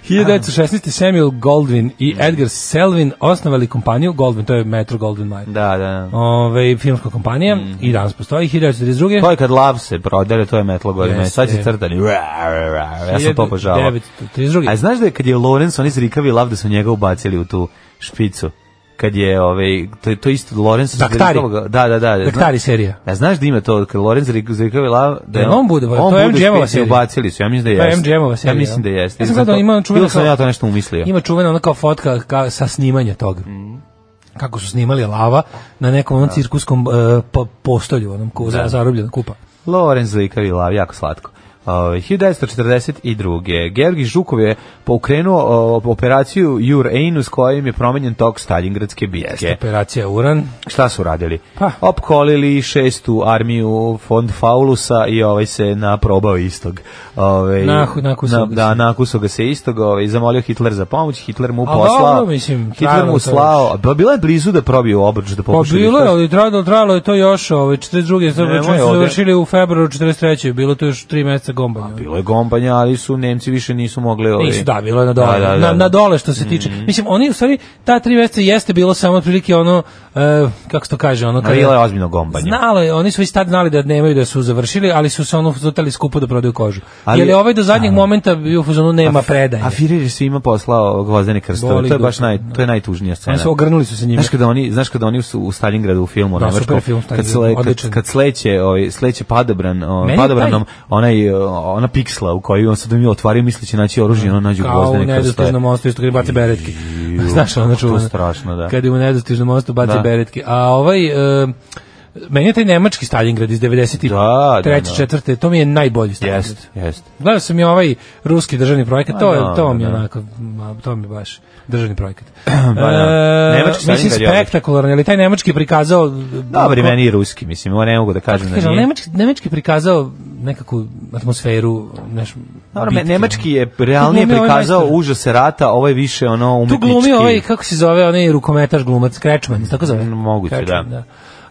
[SPEAKER 5] 1916. Samuel Goldwyn i Edgar Selvin osnovali kompaniju Goldwyn, to je Metro Goldwyn Mayer.
[SPEAKER 6] Da, Mhm. da, da.
[SPEAKER 5] Ove, filmska kompanija i danas postoji 1932.
[SPEAKER 6] To je kad lav se prodere, to je metlo godine.
[SPEAKER 5] Jeste.
[SPEAKER 6] Sad će crtani. Ja sam to obožavao.
[SPEAKER 5] 1932.
[SPEAKER 6] A znaš da je kad je Lorenz, oni zrikavi lav da su njega ubacili u tu špicu? Kad je, ovaj, to, je- to je isto Lorenz...
[SPEAKER 5] Daktari.
[SPEAKER 6] Da, da, da. da.
[SPEAKER 5] Daktari Dakle, serija.
[SPEAKER 6] A znaš da ima to kad Lorenz Rik- Zrikavi lav da
[SPEAKER 5] Jel on bude, to je
[SPEAKER 6] bude
[SPEAKER 5] MGM-ova
[SPEAKER 6] špic i
[SPEAKER 5] serija.
[SPEAKER 6] ubacili su, ja mislim da
[SPEAKER 5] To je
[SPEAKER 6] jeste.
[SPEAKER 5] MGM-ova serija,
[SPEAKER 6] Ja mislim da
[SPEAKER 5] jel?
[SPEAKER 6] jeste.
[SPEAKER 5] Ja sam
[SPEAKER 6] Znam
[SPEAKER 5] gledao,
[SPEAKER 6] to-
[SPEAKER 5] ima ono čuveno
[SPEAKER 6] Ili sam
[SPEAKER 5] kao-
[SPEAKER 6] ja to nešto umislio.
[SPEAKER 5] Ima čuvena ona kao fotka ka, sa snimanja toga.
[SPEAKER 6] Mm.
[SPEAKER 5] Kako su snimali lava na nekom
[SPEAKER 6] Da.
[SPEAKER 5] onom cirkuskom uh, po- postolju, onom ko, za, zarobljena kupa.
[SPEAKER 6] Lorenz Zlikavi lav, jako slatko. Ovaj, 1942. Georgi Žukov je pokrenuo o, operaciju Jur Einus kojim je promenjen tok Staljingradske
[SPEAKER 5] pa
[SPEAKER 6] bitke.
[SPEAKER 5] Operacija Uran.
[SPEAKER 6] Šta su radili?
[SPEAKER 5] Pa.
[SPEAKER 6] Opkolili šestu armiju fond Faulusa i ovaj se naprobao istog. Ovaj,
[SPEAKER 5] Nahu- nakusao
[SPEAKER 6] na-
[SPEAKER 5] ga
[SPEAKER 6] Da,
[SPEAKER 5] se.
[SPEAKER 6] nakusao ga se istog, ovaj, zamolio Hitler za pomoć, Hitler mu
[SPEAKER 5] A
[SPEAKER 6] poslao.
[SPEAKER 5] dobro, mislim,
[SPEAKER 6] Hitler
[SPEAKER 5] trajalo
[SPEAKER 6] mu
[SPEAKER 5] je to
[SPEAKER 6] slao. Pa bila je blizu da probiju obruč, da
[SPEAKER 5] Pa
[SPEAKER 6] pokušaju.
[SPEAKER 5] bilo je,
[SPEAKER 6] šta-
[SPEAKER 5] ali trajalo, trajalo je to još, ovaj, 42.
[SPEAKER 6] Nemoj
[SPEAKER 5] Završili su
[SPEAKER 6] ovde.
[SPEAKER 5] završili u februaru 43. Bilo to još 3 meseca gombanja.
[SPEAKER 6] Bilo je gombanja, ali su Nemci više nisu mogli... Ovaj,
[SPEAKER 5] Nisu, da, bilo je na dole.
[SPEAKER 6] Da, da, da.
[SPEAKER 5] na, na dole što se tiče. Mislim, oni u stvari, ta tri meseca jeste bilo samo otprilike ono, e, kako se to kaže, ono... kada-
[SPEAKER 6] Bilo je ozbiljno gombanje.
[SPEAKER 5] Znalo je, oni su i tad znali da nemaju da su završili, ali su se ono zutali skupo da prodaju kožu.
[SPEAKER 6] Ali-
[SPEAKER 5] Ali, Jer je ovaj do zadnjeg momenta bio u fazonu nema predaje.
[SPEAKER 6] A Firer je svima poslao gvozdene krstove.
[SPEAKER 5] Boli
[SPEAKER 6] To je baš
[SPEAKER 5] dupe,
[SPEAKER 6] naj, to je najtužnija scena.
[SPEAKER 5] Oni su ogrnuli su se njime.
[SPEAKER 6] Znaš kada oni, znaš kada oni su u Stalingradu u filmu
[SPEAKER 5] Da,
[SPEAKER 6] nemačkom,
[SPEAKER 5] super film
[SPEAKER 6] kad,
[SPEAKER 5] Stalingrad,
[SPEAKER 6] sle, kad,
[SPEAKER 5] odličan.
[SPEAKER 6] kad sleće, ovaj, sleće padobran, ovaj,
[SPEAKER 5] Meni
[SPEAKER 6] padobranom onaj, o, ona piksla u kojoj on sad mi otvario misli će naći oružje, ono nađu
[SPEAKER 5] Kao u
[SPEAKER 6] gvozdene krstove.
[SPEAKER 5] nedostižnom mostu isto kada bace beretke.
[SPEAKER 6] Iu,
[SPEAKER 5] Znaš,
[SPEAKER 6] kako
[SPEAKER 5] ono
[SPEAKER 6] to
[SPEAKER 5] čuvano.
[SPEAKER 6] strašno, da.
[SPEAKER 5] Kada je u nedostižnom mostu bace
[SPEAKER 6] Da.
[SPEAKER 5] beretke. A ovaj... e, Meni je taj nemački Stalingrad iz 93.
[SPEAKER 6] Da, da, da.
[SPEAKER 5] 4. To mi je najbolji Stalingrad.
[SPEAKER 6] Jeste, jeste.
[SPEAKER 5] Gledao sam i ovaj ruski državni projekat, to,
[SPEAKER 6] A,
[SPEAKER 5] je, to
[SPEAKER 6] da,
[SPEAKER 5] mi je
[SPEAKER 6] da.
[SPEAKER 5] onako, ma, to mi je baš državni projekat.
[SPEAKER 6] da.
[SPEAKER 5] Nemački
[SPEAKER 6] Nemački
[SPEAKER 5] mislim,
[SPEAKER 6] Stalingrad je odličan.
[SPEAKER 5] spektakularan, ali taj nemački je prikazao...
[SPEAKER 6] Dobar je meni i ruski, mislim, ovo ne mogu da kažem da
[SPEAKER 5] Kaže, ali
[SPEAKER 6] nije.
[SPEAKER 5] nemački, nemački je prikazao nekakvu atmosferu, znaš,
[SPEAKER 6] Dobro, me-
[SPEAKER 5] bitke.
[SPEAKER 6] nemački je realnije
[SPEAKER 5] glumi ovaj
[SPEAKER 6] prikazao
[SPEAKER 5] majstor.
[SPEAKER 6] užase rata, ovo je više ono
[SPEAKER 5] Tu
[SPEAKER 6] umetnički.
[SPEAKER 5] glumi ovaj, kako se zove, onaj rukometaš glumac, Krečman, tako zove?
[SPEAKER 6] Moguće,
[SPEAKER 5] Krečman,
[SPEAKER 6] da.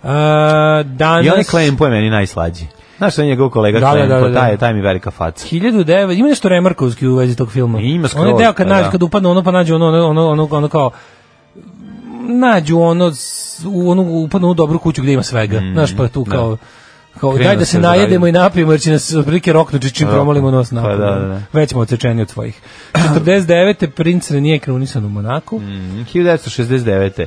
[SPEAKER 5] A, danas...
[SPEAKER 6] I onaj Klempo je meni najslađi. Znaš što je njegov kolega
[SPEAKER 5] Da, da, da,
[SPEAKER 6] Klempo,
[SPEAKER 5] da, da.
[SPEAKER 6] taj, je- taj mi je velika faca.
[SPEAKER 5] 1009, ima nešto Remarkovski u vezi tog filma.
[SPEAKER 6] Ima skroz,
[SPEAKER 5] Onaj deo kad,
[SPEAKER 6] pa
[SPEAKER 5] nađu,
[SPEAKER 6] da.
[SPEAKER 5] kad upadne ono pa nađu ono, ono, ono, ono, ono kao nađu ono s- u onu upadnu u onu dobru kuću gdje ima svega. Znaš pa tu kao kao
[SPEAKER 6] Mm, da. Krenu
[SPEAKER 5] daj da
[SPEAKER 6] se
[SPEAKER 5] se najedemo
[SPEAKER 6] zajedno.
[SPEAKER 5] i napijemo jer će nas otprilike roknuti čim
[SPEAKER 6] Roknu.
[SPEAKER 5] promolimo nos
[SPEAKER 6] Pa
[SPEAKER 5] napolju.
[SPEAKER 6] da, da, da.
[SPEAKER 5] Već smo odsečeni od svojih. 49. princ nije krunisan u Monaku.
[SPEAKER 6] Mm. 1969.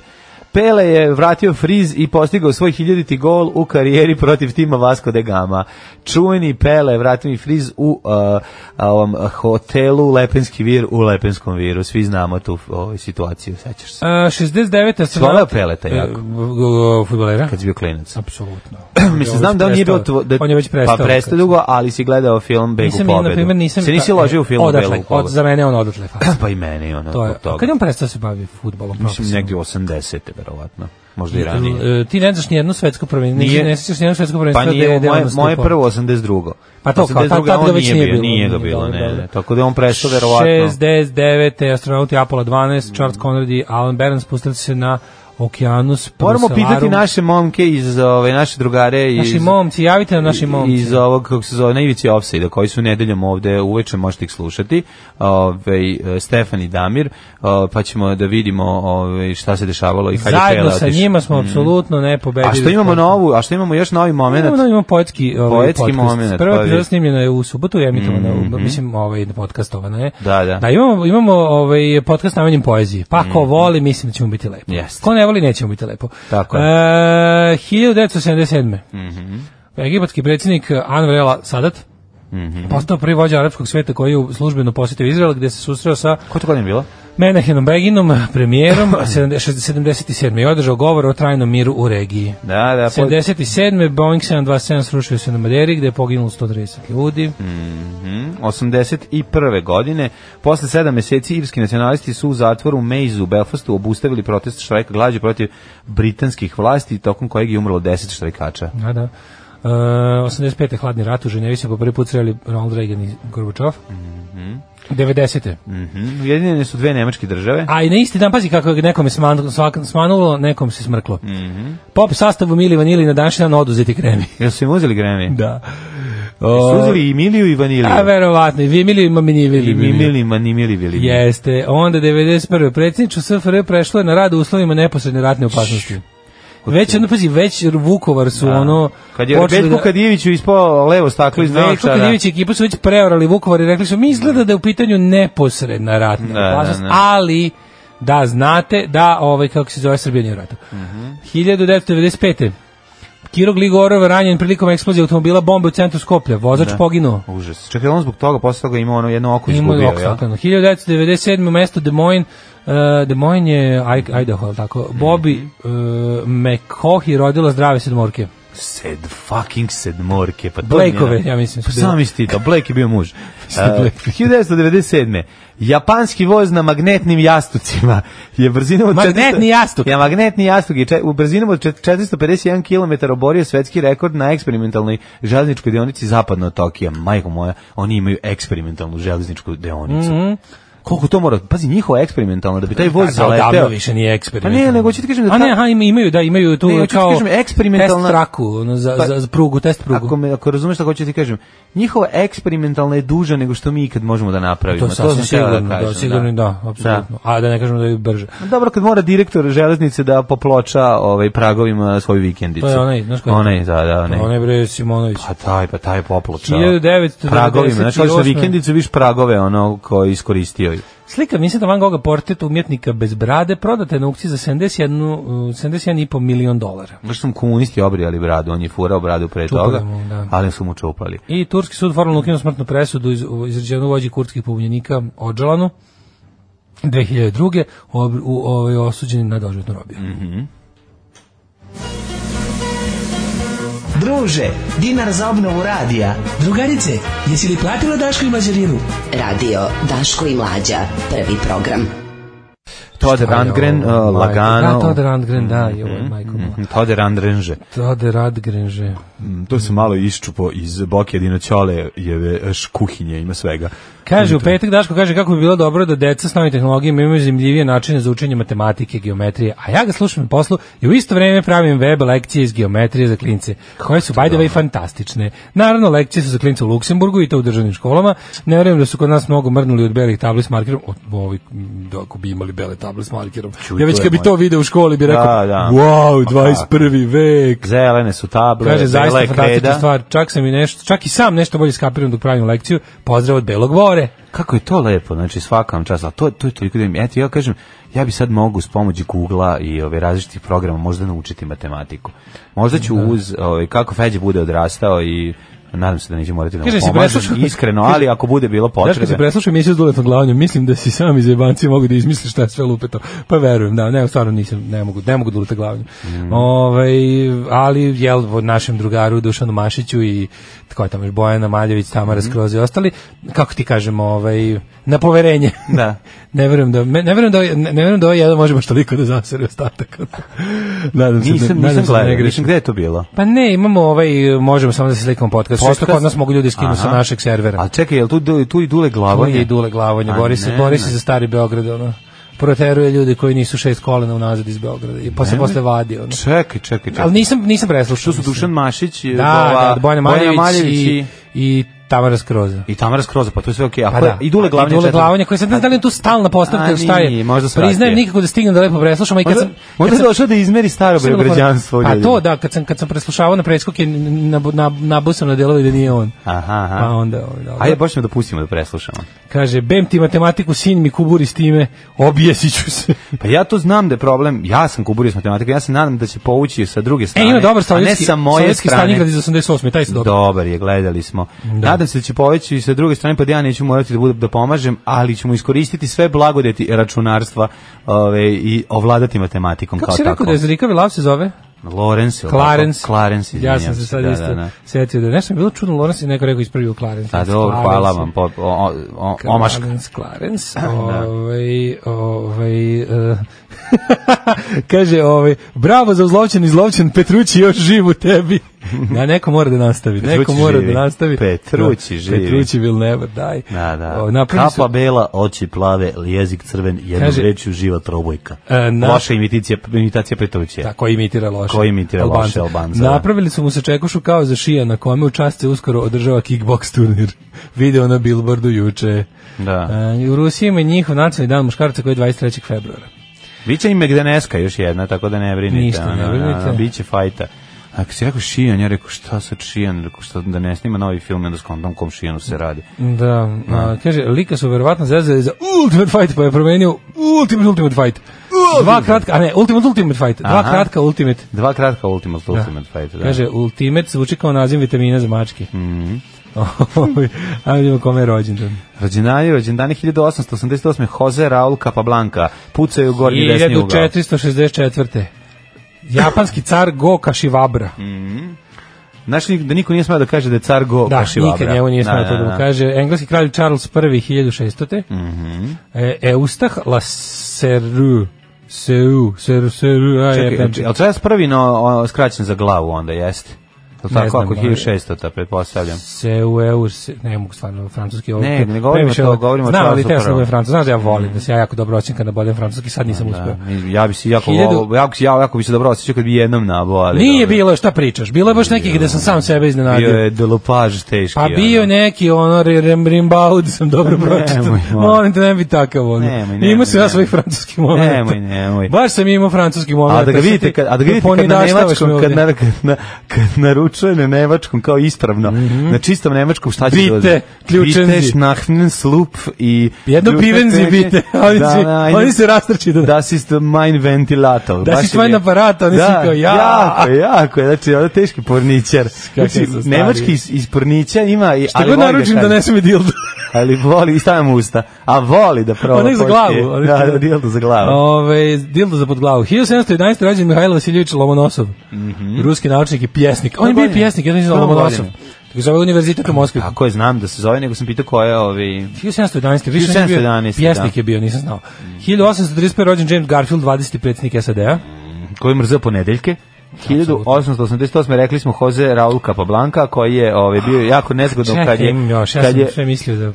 [SPEAKER 6] Pele je vratio friz i postigao svoj hiljaditi gol u karijeri protiv tima Vasco de Gama. Čuveni Pele je vratio i friz u uh, ovom hotelu Lepenski vir u Lepenskom viru. Svi znamo tu ovaj, situaciju, sećaš se.
[SPEAKER 5] A, e, 69.
[SPEAKER 6] Voleo
[SPEAKER 5] astronaut
[SPEAKER 6] Peleta jako?
[SPEAKER 5] fudbalera.
[SPEAKER 6] Kad si bio klinac.
[SPEAKER 5] Apsolutno.
[SPEAKER 6] Mislim, znam da on nije bio... tvo- da,
[SPEAKER 5] on je već prestao.
[SPEAKER 6] Pa prestao dugo, ali si gledao film Beg u
[SPEAKER 5] Nisam,
[SPEAKER 6] pobedu.
[SPEAKER 5] na primjer, nisam... da,
[SPEAKER 6] Se nisi ložio u film
[SPEAKER 5] odatle,
[SPEAKER 6] Beg u
[SPEAKER 5] od,
[SPEAKER 6] pobedu?
[SPEAKER 5] za mene je on odatle. faca.
[SPEAKER 6] Pa i meni, ono,
[SPEAKER 5] to je.
[SPEAKER 6] zbog
[SPEAKER 5] A
[SPEAKER 6] toga.
[SPEAKER 5] kad je on prestao da se bavi futbolom?
[SPEAKER 6] Mislim, negdje 80. verovatno. Možda i ranije.
[SPEAKER 5] E, Ti ne znaš nijedno svetsko prvenstvo,
[SPEAKER 6] Nije.
[SPEAKER 5] ne, ne sjećaš nijedno svetsko prvenstvo.
[SPEAKER 6] Pa nije,
[SPEAKER 5] gde je on
[SPEAKER 6] moje, moje
[SPEAKER 5] nastupao.
[SPEAKER 6] prvo 82.
[SPEAKER 5] Pa to kao, tad-
[SPEAKER 6] 82.
[SPEAKER 5] tad ga
[SPEAKER 6] on
[SPEAKER 5] već
[SPEAKER 6] nije
[SPEAKER 5] nije
[SPEAKER 6] bio,
[SPEAKER 5] bilo.
[SPEAKER 6] nije ga bilo,
[SPEAKER 5] Dobro,
[SPEAKER 6] ne,
[SPEAKER 5] dobro.
[SPEAKER 6] ne. Tako da je on prešao verovatno.
[SPEAKER 5] 69. astronauti Apollo 12, Charles Conrad i Alan Beran spustili su se na okeanus.
[SPEAKER 6] Moramo
[SPEAKER 5] Proslaru.
[SPEAKER 6] pitati naše momke iz ove naše drugare iz
[SPEAKER 5] Naši momci, javite nam naši momci.
[SPEAKER 6] iz ovog kako se zove na ivici offside koji su nedeljom ovde uveče možete ih slušati. Ovaj Stefan i Damir, o, pa ćemo da vidimo ovaj šta se dešavalo i kad je
[SPEAKER 5] Zajedno
[SPEAKER 6] Pele
[SPEAKER 5] sa
[SPEAKER 6] otišao.
[SPEAKER 5] njima smo apsolutno nepobedivi.
[SPEAKER 6] Mhm. A što imamo novu, a što imamo još novi momenat?
[SPEAKER 5] Imamo, imamo poetski, ovaj,
[SPEAKER 6] Poetski
[SPEAKER 5] podcast.
[SPEAKER 6] moment,
[SPEAKER 5] Prva
[SPEAKER 6] pa
[SPEAKER 5] epizoda
[SPEAKER 6] vidi.
[SPEAKER 5] snimljena je u subotu i emitovana, mm mislim, ovaj, podcastovana je.
[SPEAKER 6] Da, da. Mhm.
[SPEAKER 5] Da, imamo, imamo ovaj, podcast namenjen poeziji. Pa ko voli, mislim da ćemo biti lepo.
[SPEAKER 6] Jeste.
[SPEAKER 5] Ko ne voli, nećemo biti lepo.
[SPEAKER 6] Tako
[SPEAKER 5] E,
[SPEAKER 6] je.
[SPEAKER 5] 1977.
[SPEAKER 6] Mhm.
[SPEAKER 5] Egipatski predsjednik Anwar el Sadat
[SPEAKER 6] Mhm.
[SPEAKER 5] postao prvi vođa arapskog sveta koji je službeno posjetio Izrael gdje se susreo sa
[SPEAKER 6] Koja je to godina bila?
[SPEAKER 5] Menahenom Beginom, premijerom 77. i održao govor o trajnom miru u regiji.
[SPEAKER 6] Da, da, po-
[SPEAKER 5] 77. Boeing 727 srušio se na Maderi gde je poginulo 130 ljudi.
[SPEAKER 6] mm, 81. godine. Posle sedam meseci irski nacionalisti su u zatvoru Mejzu u Belfastu obustavili protest štrajka glađu protiv britanskih vlasti tokom kojeg je umrlo 10 štrajkača.
[SPEAKER 5] Da, da. E, 85. hladni rat u Ženevi se po prvi put sreli Ronald Reagan i Gorbačov. 90.
[SPEAKER 6] Mhm. Ujedinjene su dve nemačke države.
[SPEAKER 5] A i na isti dan, pazi kako je nekom je sman, svak- smanulo, nekom se smrklo.
[SPEAKER 6] Mhm.
[SPEAKER 5] Pop sastavu Mili Vanili na današnji dan oduzeti kremi.
[SPEAKER 6] Jel su im uzeli Grammy?
[SPEAKER 5] da.
[SPEAKER 6] Su uzeli i Miliju i Vaniliju.
[SPEAKER 5] A verovatno, i vi Miliju ima mini
[SPEAKER 6] I
[SPEAKER 5] Vili.
[SPEAKER 6] Mimili, ma ni Mili Vili.
[SPEAKER 5] Jeste, onda 91. predsjedničko SFRJ prešlo je na rad u uslovima neposredne ratne opasnosti. Već, ono, pazi, već Vukovar su ono...
[SPEAKER 6] Da. Kad je
[SPEAKER 5] počeli
[SPEAKER 6] Veljko
[SPEAKER 5] da-
[SPEAKER 6] Kadijeviću ispao levo staklo iz
[SPEAKER 5] Veljko
[SPEAKER 6] naočara.
[SPEAKER 5] Kadijević i ekipa su već preorali Vukovar i rekli su, mi izgleda da je u pitanju neposredna ratna
[SPEAKER 6] da,
[SPEAKER 5] opasnost,
[SPEAKER 6] da.
[SPEAKER 5] ali da znate da, ovaj, kako se zove Srbija nije u ratu. 1995. Kiro Gligorov ranjen prilikom eksplozije automobila bombe u centru Skoplja. Vozač
[SPEAKER 6] Da.
[SPEAKER 5] poginuo.
[SPEAKER 6] Užas. Čekaj, on zbog toga posle toga imao ono jedno oko
[SPEAKER 5] Imao
[SPEAKER 6] izgubio.
[SPEAKER 5] je
[SPEAKER 6] Ima
[SPEAKER 5] ok sakrano. 1997. u mesto Des Moines, uh, Des Moines je I- Idaho, jel tako? Bobby uh,
[SPEAKER 6] Mhm.
[SPEAKER 5] McCohy rodila zdrave sedmorke.
[SPEAKER 6] Sed fucking sedmorke. Pa to
[SPEAKER 5] Blakeove,
[SPEAKER 6] je njena-
[SPEAKER 5] ja mislim, su
[SPEAKER 6] Pa
[SPEAKER 5] bile.
[SPEAKER 6] sam isti, da, Blake je bio muž.
[SPEAKER 5] Isti Blake.
[SPEAKER 6] Uh, 1997. Japanski voz na magnetnim jastucima je brzinom od...
[SPEAKER 5] Magnetni
[SPEAKER 6] 400
[SPEAKER 5] jastuk.
[SPEAKER 6] Ja, magnetni jastuk je če- u brzinom od 451 km oborio svetski rekord na eksperimentalnoj železničkoj deonici zapadno od Tokija. Majko moja, oni imaju eksperimentalnu železničku deonicu. Koliko to mora... Pazi, njihova eksperimentalna, da bi taj voz
[SPEAKER 5] Mhm. Da, da, odavno
[SPEAKER 6] zaleteo...
[SPEAKER 5] više nije eksperimentalno.
[SPEAKER 6] Pa ne, nego ću ti kažem da
[SPEAKER 5] A ne,
[SPEAKER 6] ta-
[SPEAKER 5] aha, ima- imaju, da, imaju tu
[SPEAKER 6] Ne, hoću ti
[SPEAKER 5] kao
[SPEAKER 6] kažem, eksperimentalna-
[SPEAKER 5] test traku, ono, za,
[SPEAKER 6] Pa-
[SPEAKER 5] za, za prugu, test prugu.
[SPEAKER 6] Ako, me, ako razumeš šta hoću ti kažem, njihova eksperimentalna je duža nego što mi ikad možemo da napravimo.
[SPEAKER 5] to je sasvim
[SPEAKER 6] sam htio
[SPEAKER 5] sigurno, da,
[SPEAKER 6] kažem,
[SPEAKER 5] sigurno, da, apsolutno. A da ne kažemo da je brže.
[SPEAKER 6] Da. Dobro, kad mora direktor železnice da poploča ovaj, pragovima svoju vikendicu.
[SPEAKER 5] To je onaj, znaš koji je?
[SPEAKER 6] Onaj, da, da, onaj.
[SPEAKER 5] Onaj bre Simonović.
[SPEAKER 6] Pa taj, pa taj poploča.
[SPEAKER 5] 1998.
[SPEAKER 6] Pragovima, znači hoćeš na vikendicu, viš pragove ono koji je iskoristio. i-
[SPEAKER 5] Slika Vincenta Van Gogha portret umjetnika bez brade prodata je na aukciji za 71, uh, 71,5 milion dolara.
[SPEAKER 6] Znaš su mu komunisti obrijali bradu, on je furao bradu pre
[SPEAKER 5] Čupali
[SPEAKER 6] toga,
[SPEAKER 5] mu, da.
[SPEAKER 6] ali su mu čupali.
[SPEAKER 5] I turski sud formalno ukinuo smrtnu presudu iz, u- izrečenu vođi kurdskih pobunjenika Odžalanu 2002. U, obr-
[SPEAKER 6] Mm.
[SPEAKER 5] u, ovaj, osuđen na doživotnu robiju.
[SPEAKER 7] druže, dinar za obnovu radija. Drugarice, jesi li platila Daško i Mađarinu?
[SPEAKER 8] Radio Daško i Mlađa. Prvi program.
[SPEAKER 6] Todd Rundgren, uh,
[SPEAKER 5] Da,
[SPEAKER 6] Lagano.
[SPEAKER 5] Todd Rundgren, da, i ovo je majko moja.
[SPEAKER 6] Mhm, Todd Rundgrenže.
[SPEAKER 5] Todd Rundgren, že.
[SPEAKER 6] Mm, To se malo iščupo iz Boke Dinoćole jeve š- kuhinje, ima svega.
[SPEAKER 5] Kaže, u petak Daško kaže kako bi bilo dobro da deca s novim tehnologijama imaju zanimljivije načine za učenje matematike, geometrije, a ja ga slušam na poslu i u isto vreme pravim web lekcije iz geometrije za klince, koje su by the way fantastične. Naravno, lekcije su za klince u Luksemburgu i to u državnim školama. Ne verujem da su kod nas mnogo mrnuli od belih tabli s markerom. O, ovi, m, da, ako bi imali bele table s markerom. ja već
[SPEAKER 6] to je
[SPEAKER 5] kad bi
[SPEAKER 6] moj-
[SPEAKER 5] to video u školi bi rekao,
[SPEAKER 6] Da, da.
[SPEAKER 5] wow, 21. vek.
[SPEAKER 6] Zelene su table,
[SPEAKER 5] Kaže,
[SPEAKER 6] bela
[SPEAKER 5] zaista
[SPEAKER 6] je
[SPEAKER 5] fantastična
[SPEAKER 6] kreda.
[SPEAKER 5] stvar. Čak sam i nešto, čak i sam nešto bolje skapiram dok pravim lekciju. Pozdrav od Belog Vore.
[SPEAKER 6] Kako je to lepo, znači svaka vam čast, ali to, to je toliko da im, eto ja kažem, ja bi sad mogu s pomoći Google-a i ove različitih programa možda naučiti matematiku. Možda
[SPEAKER 5] Da.
[SPEAKER 6] ću uz, ove, kako Feđe bude odrastao i nadam se da neće morati da mu
[SPEAKER 5] Kaže, si
[SPEAKER 6] pomažem,
[SPEAKER 5] preslušao-
[SPEAKER 6] iskreno, ali ako bude bilo
[SPEAKER 5] Daš kad se
[SPEAKER 6] potrebe.
[SPEAKER 5] preslušam emisiju s duletom glavanjem, mislim da si sam iz jebanci mogu da izmisliš šta je sve lupeto. Pa verujem, da, ne, stvarno nisam, ne mogu, ne mogu duleta glavanjem.
[SPEAKER 6] Mm.
[SPEAKER 5] Ovaj, ali, jel, od našem drugaru Dušanu Mašiću i tko je tamo još, Bojana Maljević, Tamara
[SPEAKER 6] Mhm.
[SPEAKER 5] Skroz i ostali, kako ti kažem, ovaj, na poverenje.
[SPEAKER 6] Da.
[SPEAKER 5] ne verujem da, me- ne verujem da, ne, ne verujem da ovaj jedan može baš toliko da zasere ostatak. nadam se,
[SPEAKER 6] Nisam,
[SPEAKER 5] da, nadam
[SPEAKER 6] nisam
[SPEAKER 5] se da ne
[SPEAKER 6] gledao,
[SPEAKER 5] grešim.
[SPEAKER 6] nisam, gde je to bilo?
[SPEAKER 5] Pa ne, imamo ovaj, e, možemo samo da se slikamo podcast. podcast? Što
[SPEAKER 6] Podcast?
[SPEAKER 5] kod nas mogu ljudi da skinu sa
[SPEAKER 6] Aha.
[SPEAKER 5] našeg servera.
[SPEAKER 6] A čekaj, jel tu, du- tu i Dule
[SPEAKER 5] Ovo
[SPEAKER 6] Glavonje?
[SPEAKER 5] je i Dule Glavonje,
[SPEAKER 6] A
[SPEAKER 5] bori se,
[SPEAKER 6] ne,
[SPEAKER 5] bori
[SPEAKER 6] ne.
[SPEAKER 5] se za stari Beograd, ono. Proteruje ljude koji nisu šest kolena unazad iz Beograda i pa se posle vadi, ono.
[SPEAKER 6] Čekaj, čekaj, čekaj.
[SPEAKER 5] Ali nisam, nisam preslušao.
[SPEAKER 6] Što su Dušan Mašić,
[SPEAKER 5] Da,
[SPEAKER 6] ova,
[SPEAKER 5] da, Bojana Maljević, i, i Tamara Skroza.
[SPEAKER 6] i Tamara Skroza, pa to je sve okej.
[SPEAKER 5] Pa
[SPEAKER 6] Okay.
[SPEAKER 5] da.
[SPEAKER 6] I Dule Glavonje.
[SPEAKER 5] I Dule
[SPEAKER 6] četvrti.
[SPEAKER 5] Glavonje, koji sad ne znam da li je tu stalna postavka
[SPEAKER 6] A,
[SPEAKER 5] ili šta je.
[SPEAKER 6] nije, možda svratio.
[SPEAKER 5] Priznajem nikako da stignem da lepo preslušam. a I kad
[SPEAKER 6] Možda,
[SPEAKER 5] sam,
[SPEAKER 6] možda
[SPEAKER 5] kad
[SPEAKER 6] je
[SPEAKER 5] sam,
[SPEAKER 6] došao da izmeri staro
[SPEAKER 5] Što je bilo
[SPEAKER 6] beograđanstvo.
[SPEAKER 5] Pa
[SPEAKER 6] ljudima.
[SPEAKER 5] to da, kad sam kad sam preslušavao na preskoke na na nabusam na delove da nije on.
[SPEAKER 6] Aha, aha.
[SPEAKER 5] Pa onda ovaj da.
[SPEAKER 6] Ajde, baš ćemo da pustimo da preslušamo.
[SPEAKER 5] Kaže, bem ti matematiku, sin mi kuburi s time, objesit ću se. E,
[SPEAKER 6] Pa ja to znam da je problem, ja sam kuburio s matematikom, ja se nadam da će povući sa druge
[SPEAKER 5] E,
[SPEAKER 6] strane,
[SPEAKER 5] ima dobar
[SPEAKER 6] a ne
[SPEAKER 5] sovjetski,
[SPEAKER 6] sa moje
[SPEAKER 5] sovjetski Stanigrad
[SPEAKER 6] strane.
[SPEAKER 5] iz 88. Taj se dobro.
[SPEAKER 6] Dobar je, gledali smo. Nadam se da će poveći sa druge strane, pa da ja neću morati da budem da pomažem, ali ćemo iskoristiti sve blagodeti računarstva ove, i ovladati matematikom
[SPEAKER 5] Kako
[SPEAKER 6] kao
[SPEAKER 5] si
[SPEAKER 6] tako.
[SPEAKER 5] rekao da je Zrikavi Lav se zove?
[SPEAKER 6] Lawrence.
[SPEAKER 5] Clarence.
[SPEAKER 6] Clarence,
[SPEAKER 5] ja sam se sad
[SPEAKER 6] izvinjam
[SPEAKER 5] isto
[SPEAKER 6] Da, da, da.
[SPEAKER 5] setio da je nešto mi je bilo čudno, Lawrence je neko rekao ispravio Clarence.
[SPEAKER 6] Pa dobro,
[SPEAKER 5] Clarence.
[SPEAKER 6] hvala vam. Po, o, o, o, omaška.
[SPEAKER 5] Clarence, Clarence,
[SPEAKER 6] da.
[SPEAKER 5] ovaj, ovaj, eh, kaže, ovaj, bravo za uzlovčen i zlovčen, Petrući još živ u tebi. Da, neko mora da nastavi, neko
[SPEAKER 6] Petrucci
[SPEAKER 5] mora
[SPEAKER 6] živi.
[SPEAKER 5] da nastavi. Da,
[SPEAKER 6] Petrucci živi.
[SPEAKER 5] Petrući will never die.
[SPEAKER 6] Da, da.
[SPEAKER 5] O, napravili su-
[SPEAKER 6] Kapa bela, oči plave, jezik crven, jednom
[SPEAKER 5] Kaže-
[SPEAKER 6] rečju živa trobojka.
[SPEAKER 5] E, na-
[SPEAKER 6] Loša imitacija, imitacija Petrovića.
[SPEAKER 5] Da, koji imitira loše.
[SPEAKER 6] Koji imitira loše Albanca, da.
[SPEAKER 5] Napravili su mu se čekušu kao za šija na kome u čast se uskoro održava kickbox turnir. Video na Billboardu juče.
[SPEAKER 6] Da.
[SPEAKER 5] E, u Rusiji ima njihov nacionalni dan muškarca koji je 23. februara.
[SPEAKER 6] Biće i Megdaneska još jedna, tako da ne brinite.
[SPEAKER 5] Ništa,
[SPEAKER 6] ono,
[SPEAKER 5] ne
[SPEAKER 6] ono,
[SPEAKER 5] brinite.
[SPEAKER 6] ono, Biće fajta. A kad si rekao Šijan, ja rekao šta sad Šijan, rekao šta da ne snima novi film, i onda skontam kom Šijanu se radi.
[SPEAKER 5] Da, a, kaže, lika su verovatno zezali za Ultimate Fight, pa je promenio Ultimate Ultimate Fight. Dva kratka, a ne, Ultimate Ultimate Fight. Dva
[SPEAKER 6] Aha.
[SPEAKER 5] kratka Ultimate.
[SPEAKER 6] Dva kratka Ultimate, Ultimate Fight. Da.
[SPEAKER 5] Kaže, Ultimate zvuči kao naziv vitamina za mačke. Mhm. Ajde vidimo kome je rođendan.
[SPEAKER 6] Rođendani, rođendani 1888. Jose Raul Capablanca, pucaju u gornji desni ugao.
[SPEAKER 5] 1464. Japanski car Go Kashivabra.
[SPEAKER 6] Znaš li da niko nije smeo da kaže da je car go
[SPEAKER 5] Da,
[SPEAKER 6] Kašivabra?
[SPEAKER 5] nikad njemu nije smelo to da mu kaže. Engleski kralj Charles I 1600. Mm
[SPEAKER 6] Mhm.
[SPEAKER 5] e, Eustah Laseru. Seu, Seru, Seru, a je
[SPEAKER 6] Čekaj, znači,
[SPEAKER 5] Benji.
[SPEAKER 6] jel Charles prvi no, o, skraćen za glavu onda, jeste? Jel
[SPEAKER 5] Ne
[SPEAKER 6] tako
[SPEAKER 5] znam,
[SPEAKER 6] ako je
[SPEAKER 5] ali-
[SPEAKER 6] 1600, ta pretpostavljam.
[SPEAKER 5] Seu, Eur, se, ne mogu stvarno francuski ovo.
[SPEAKER 6] Ne, ne govorimo
[SPEAKER 5] previše
[SPEAKER 6] to,
[SPEAKER 5] ovo-
[SPEAKER 6] govorimo o
[SPEAKER 5] Znam, ali
[SPEAKER 6] Charlesu
[SPEAKER 5] teo sam da
[SPEAKER 6] prvom.
[SPEAKER 5] budem francus. Znaš da ja volim, da se ja jako dobro oćem kada bodem francuski, sad nisam uspeo.
[SPEAKER 6] Da, ja bi se jako,
[SPEAKER 5] Pa, Hiljadu-
[SPEAKER 6] volao- jako, jako, jako bi se dobro osjećao kad bi jednom nabao, ali...
[SPEAKER 5] Nije
[SPEAKER 6] dobro.
[SPEAKER 5] bilo šta pričaš, bilo je baš nekih gde sam sam sebe iznenadio.
[SPEAKER 6] Bio je delopaž teški.
[SPEAKER 5] Pa bio je
[SPEAKER 6] ono.
[SPEAKER 5] neki ono re- rem- Rimbaud sam dobro pročitao.
[SPEAKER 6] Nemoj, molim.
[SPEAKER 5] Molim te ne bi takav ono.
[SPEAKER 6] Nemoj, nemoj,
[SPEAKER 5] Imao sam ja
[SPEAKER 6] nemoj.
[SPEAKER 5] svojih francuskih momenta.
[SPEAKER 6] Nemoj, nemoj.
[SPEAKER 5] Baš sam imao francuski moment.
[SPEAKER 6] A da ga vidite kad, a da ga vidite kad na nemačkom kad, na, kad, na, kad naručuje na nemačkom kao ispravno na čistom nemačkom šta će
[SPEAKER 5] Mhm. Bite,
[SPEAKER 6] dođe
[SPEAKER 5] ključenzi.
[SPEAKER 6] bite šnachnen slup i
[SPEAKER 5] Jedno
[SPEAKER 6] ključne
[SPEAKER 5] pivenzi
[SPEAKER 6] tenje.
[SPEAKER 5] bite, a
[SPEAKER 6] Da,
[SPEAKER 5] oni, će, oni se Da rastrči da,
[SPEAKER 6] Das ist mein Ventilator.
[SPEAKER 5] Das
[SPEAKER 6] Baš
[SPEAKER 5] ist
[SPEAKER 6] je
[SPEAKER 5] mein
[SPEAKER 6] lijepo.
[SPEAKER 5] Apparat, oni
[SPEAKER 6] da,
[SPEAKER 5] svi kao, ja.
[SPEAKER 6] Jako, je, jako, je, znači, ono teški porničar. Znači,
[SPEAKER 5] su stari.
[SPEAKER 6] nemački iz, iz pornića ima... i-
[SPEAKER 5] Šta
[SPEAKER 6] ali
[SPEAKER 5] god
[SPEAKER 6] voli ga
[SPEAKER 5] naručim da
[SPEAKER 6] stavlja.
[SPEAKER 5] nesi mi dildo.
[SPEAKER 6] Ali voli, i stavim u usta. A voli da prova.
[SPEAKER 5] Onih za
[SPEAKER 6] počne.
[SPEAKER 5] glavu. onih
[SPEAKER 6] Da, da, dildo za glavu.
[SPEAKER 5] Ove, dildo za pod glavu. 1711. rođen Mihajlo Vasiljević Lomonosov. Ruski naučnik i pjesnik. On je bio prvi pjesnik, jedan iz
[SPEAKER 6] Mhm. Koje
[SPEAKER 5] Lomonosov.
[SPEAKER 6] godine?
[SPEAKER 5] Tako zove Univerzitet u Moskvi.
[SPEAKER 6] Tako je, znam da se zove, nego sam pitao ko je ovi...
[SPEAKER 5] 1711. Više nije bio
[SPEAKER 6] 1711,
[SPEAKER 5] pjesnik
[SPEAKER 6] da.
[SPEAKER 5] je bio, nisam znao. 1835. rođen James Garfield, 20. predsjednik SAD-a.
[SPEAKER 6] koji mrze ponedeljke. 1888. rekli smo Jose Raul Capablanca koji je ovaj bio jako nezgodno kad je
[SPEAKER 5] imam još, ja
[SPEAKER 6] kad
[SPEAKER 5] sam
[SPEAKER 6] je
[SPEAKER 5] sve mislio da...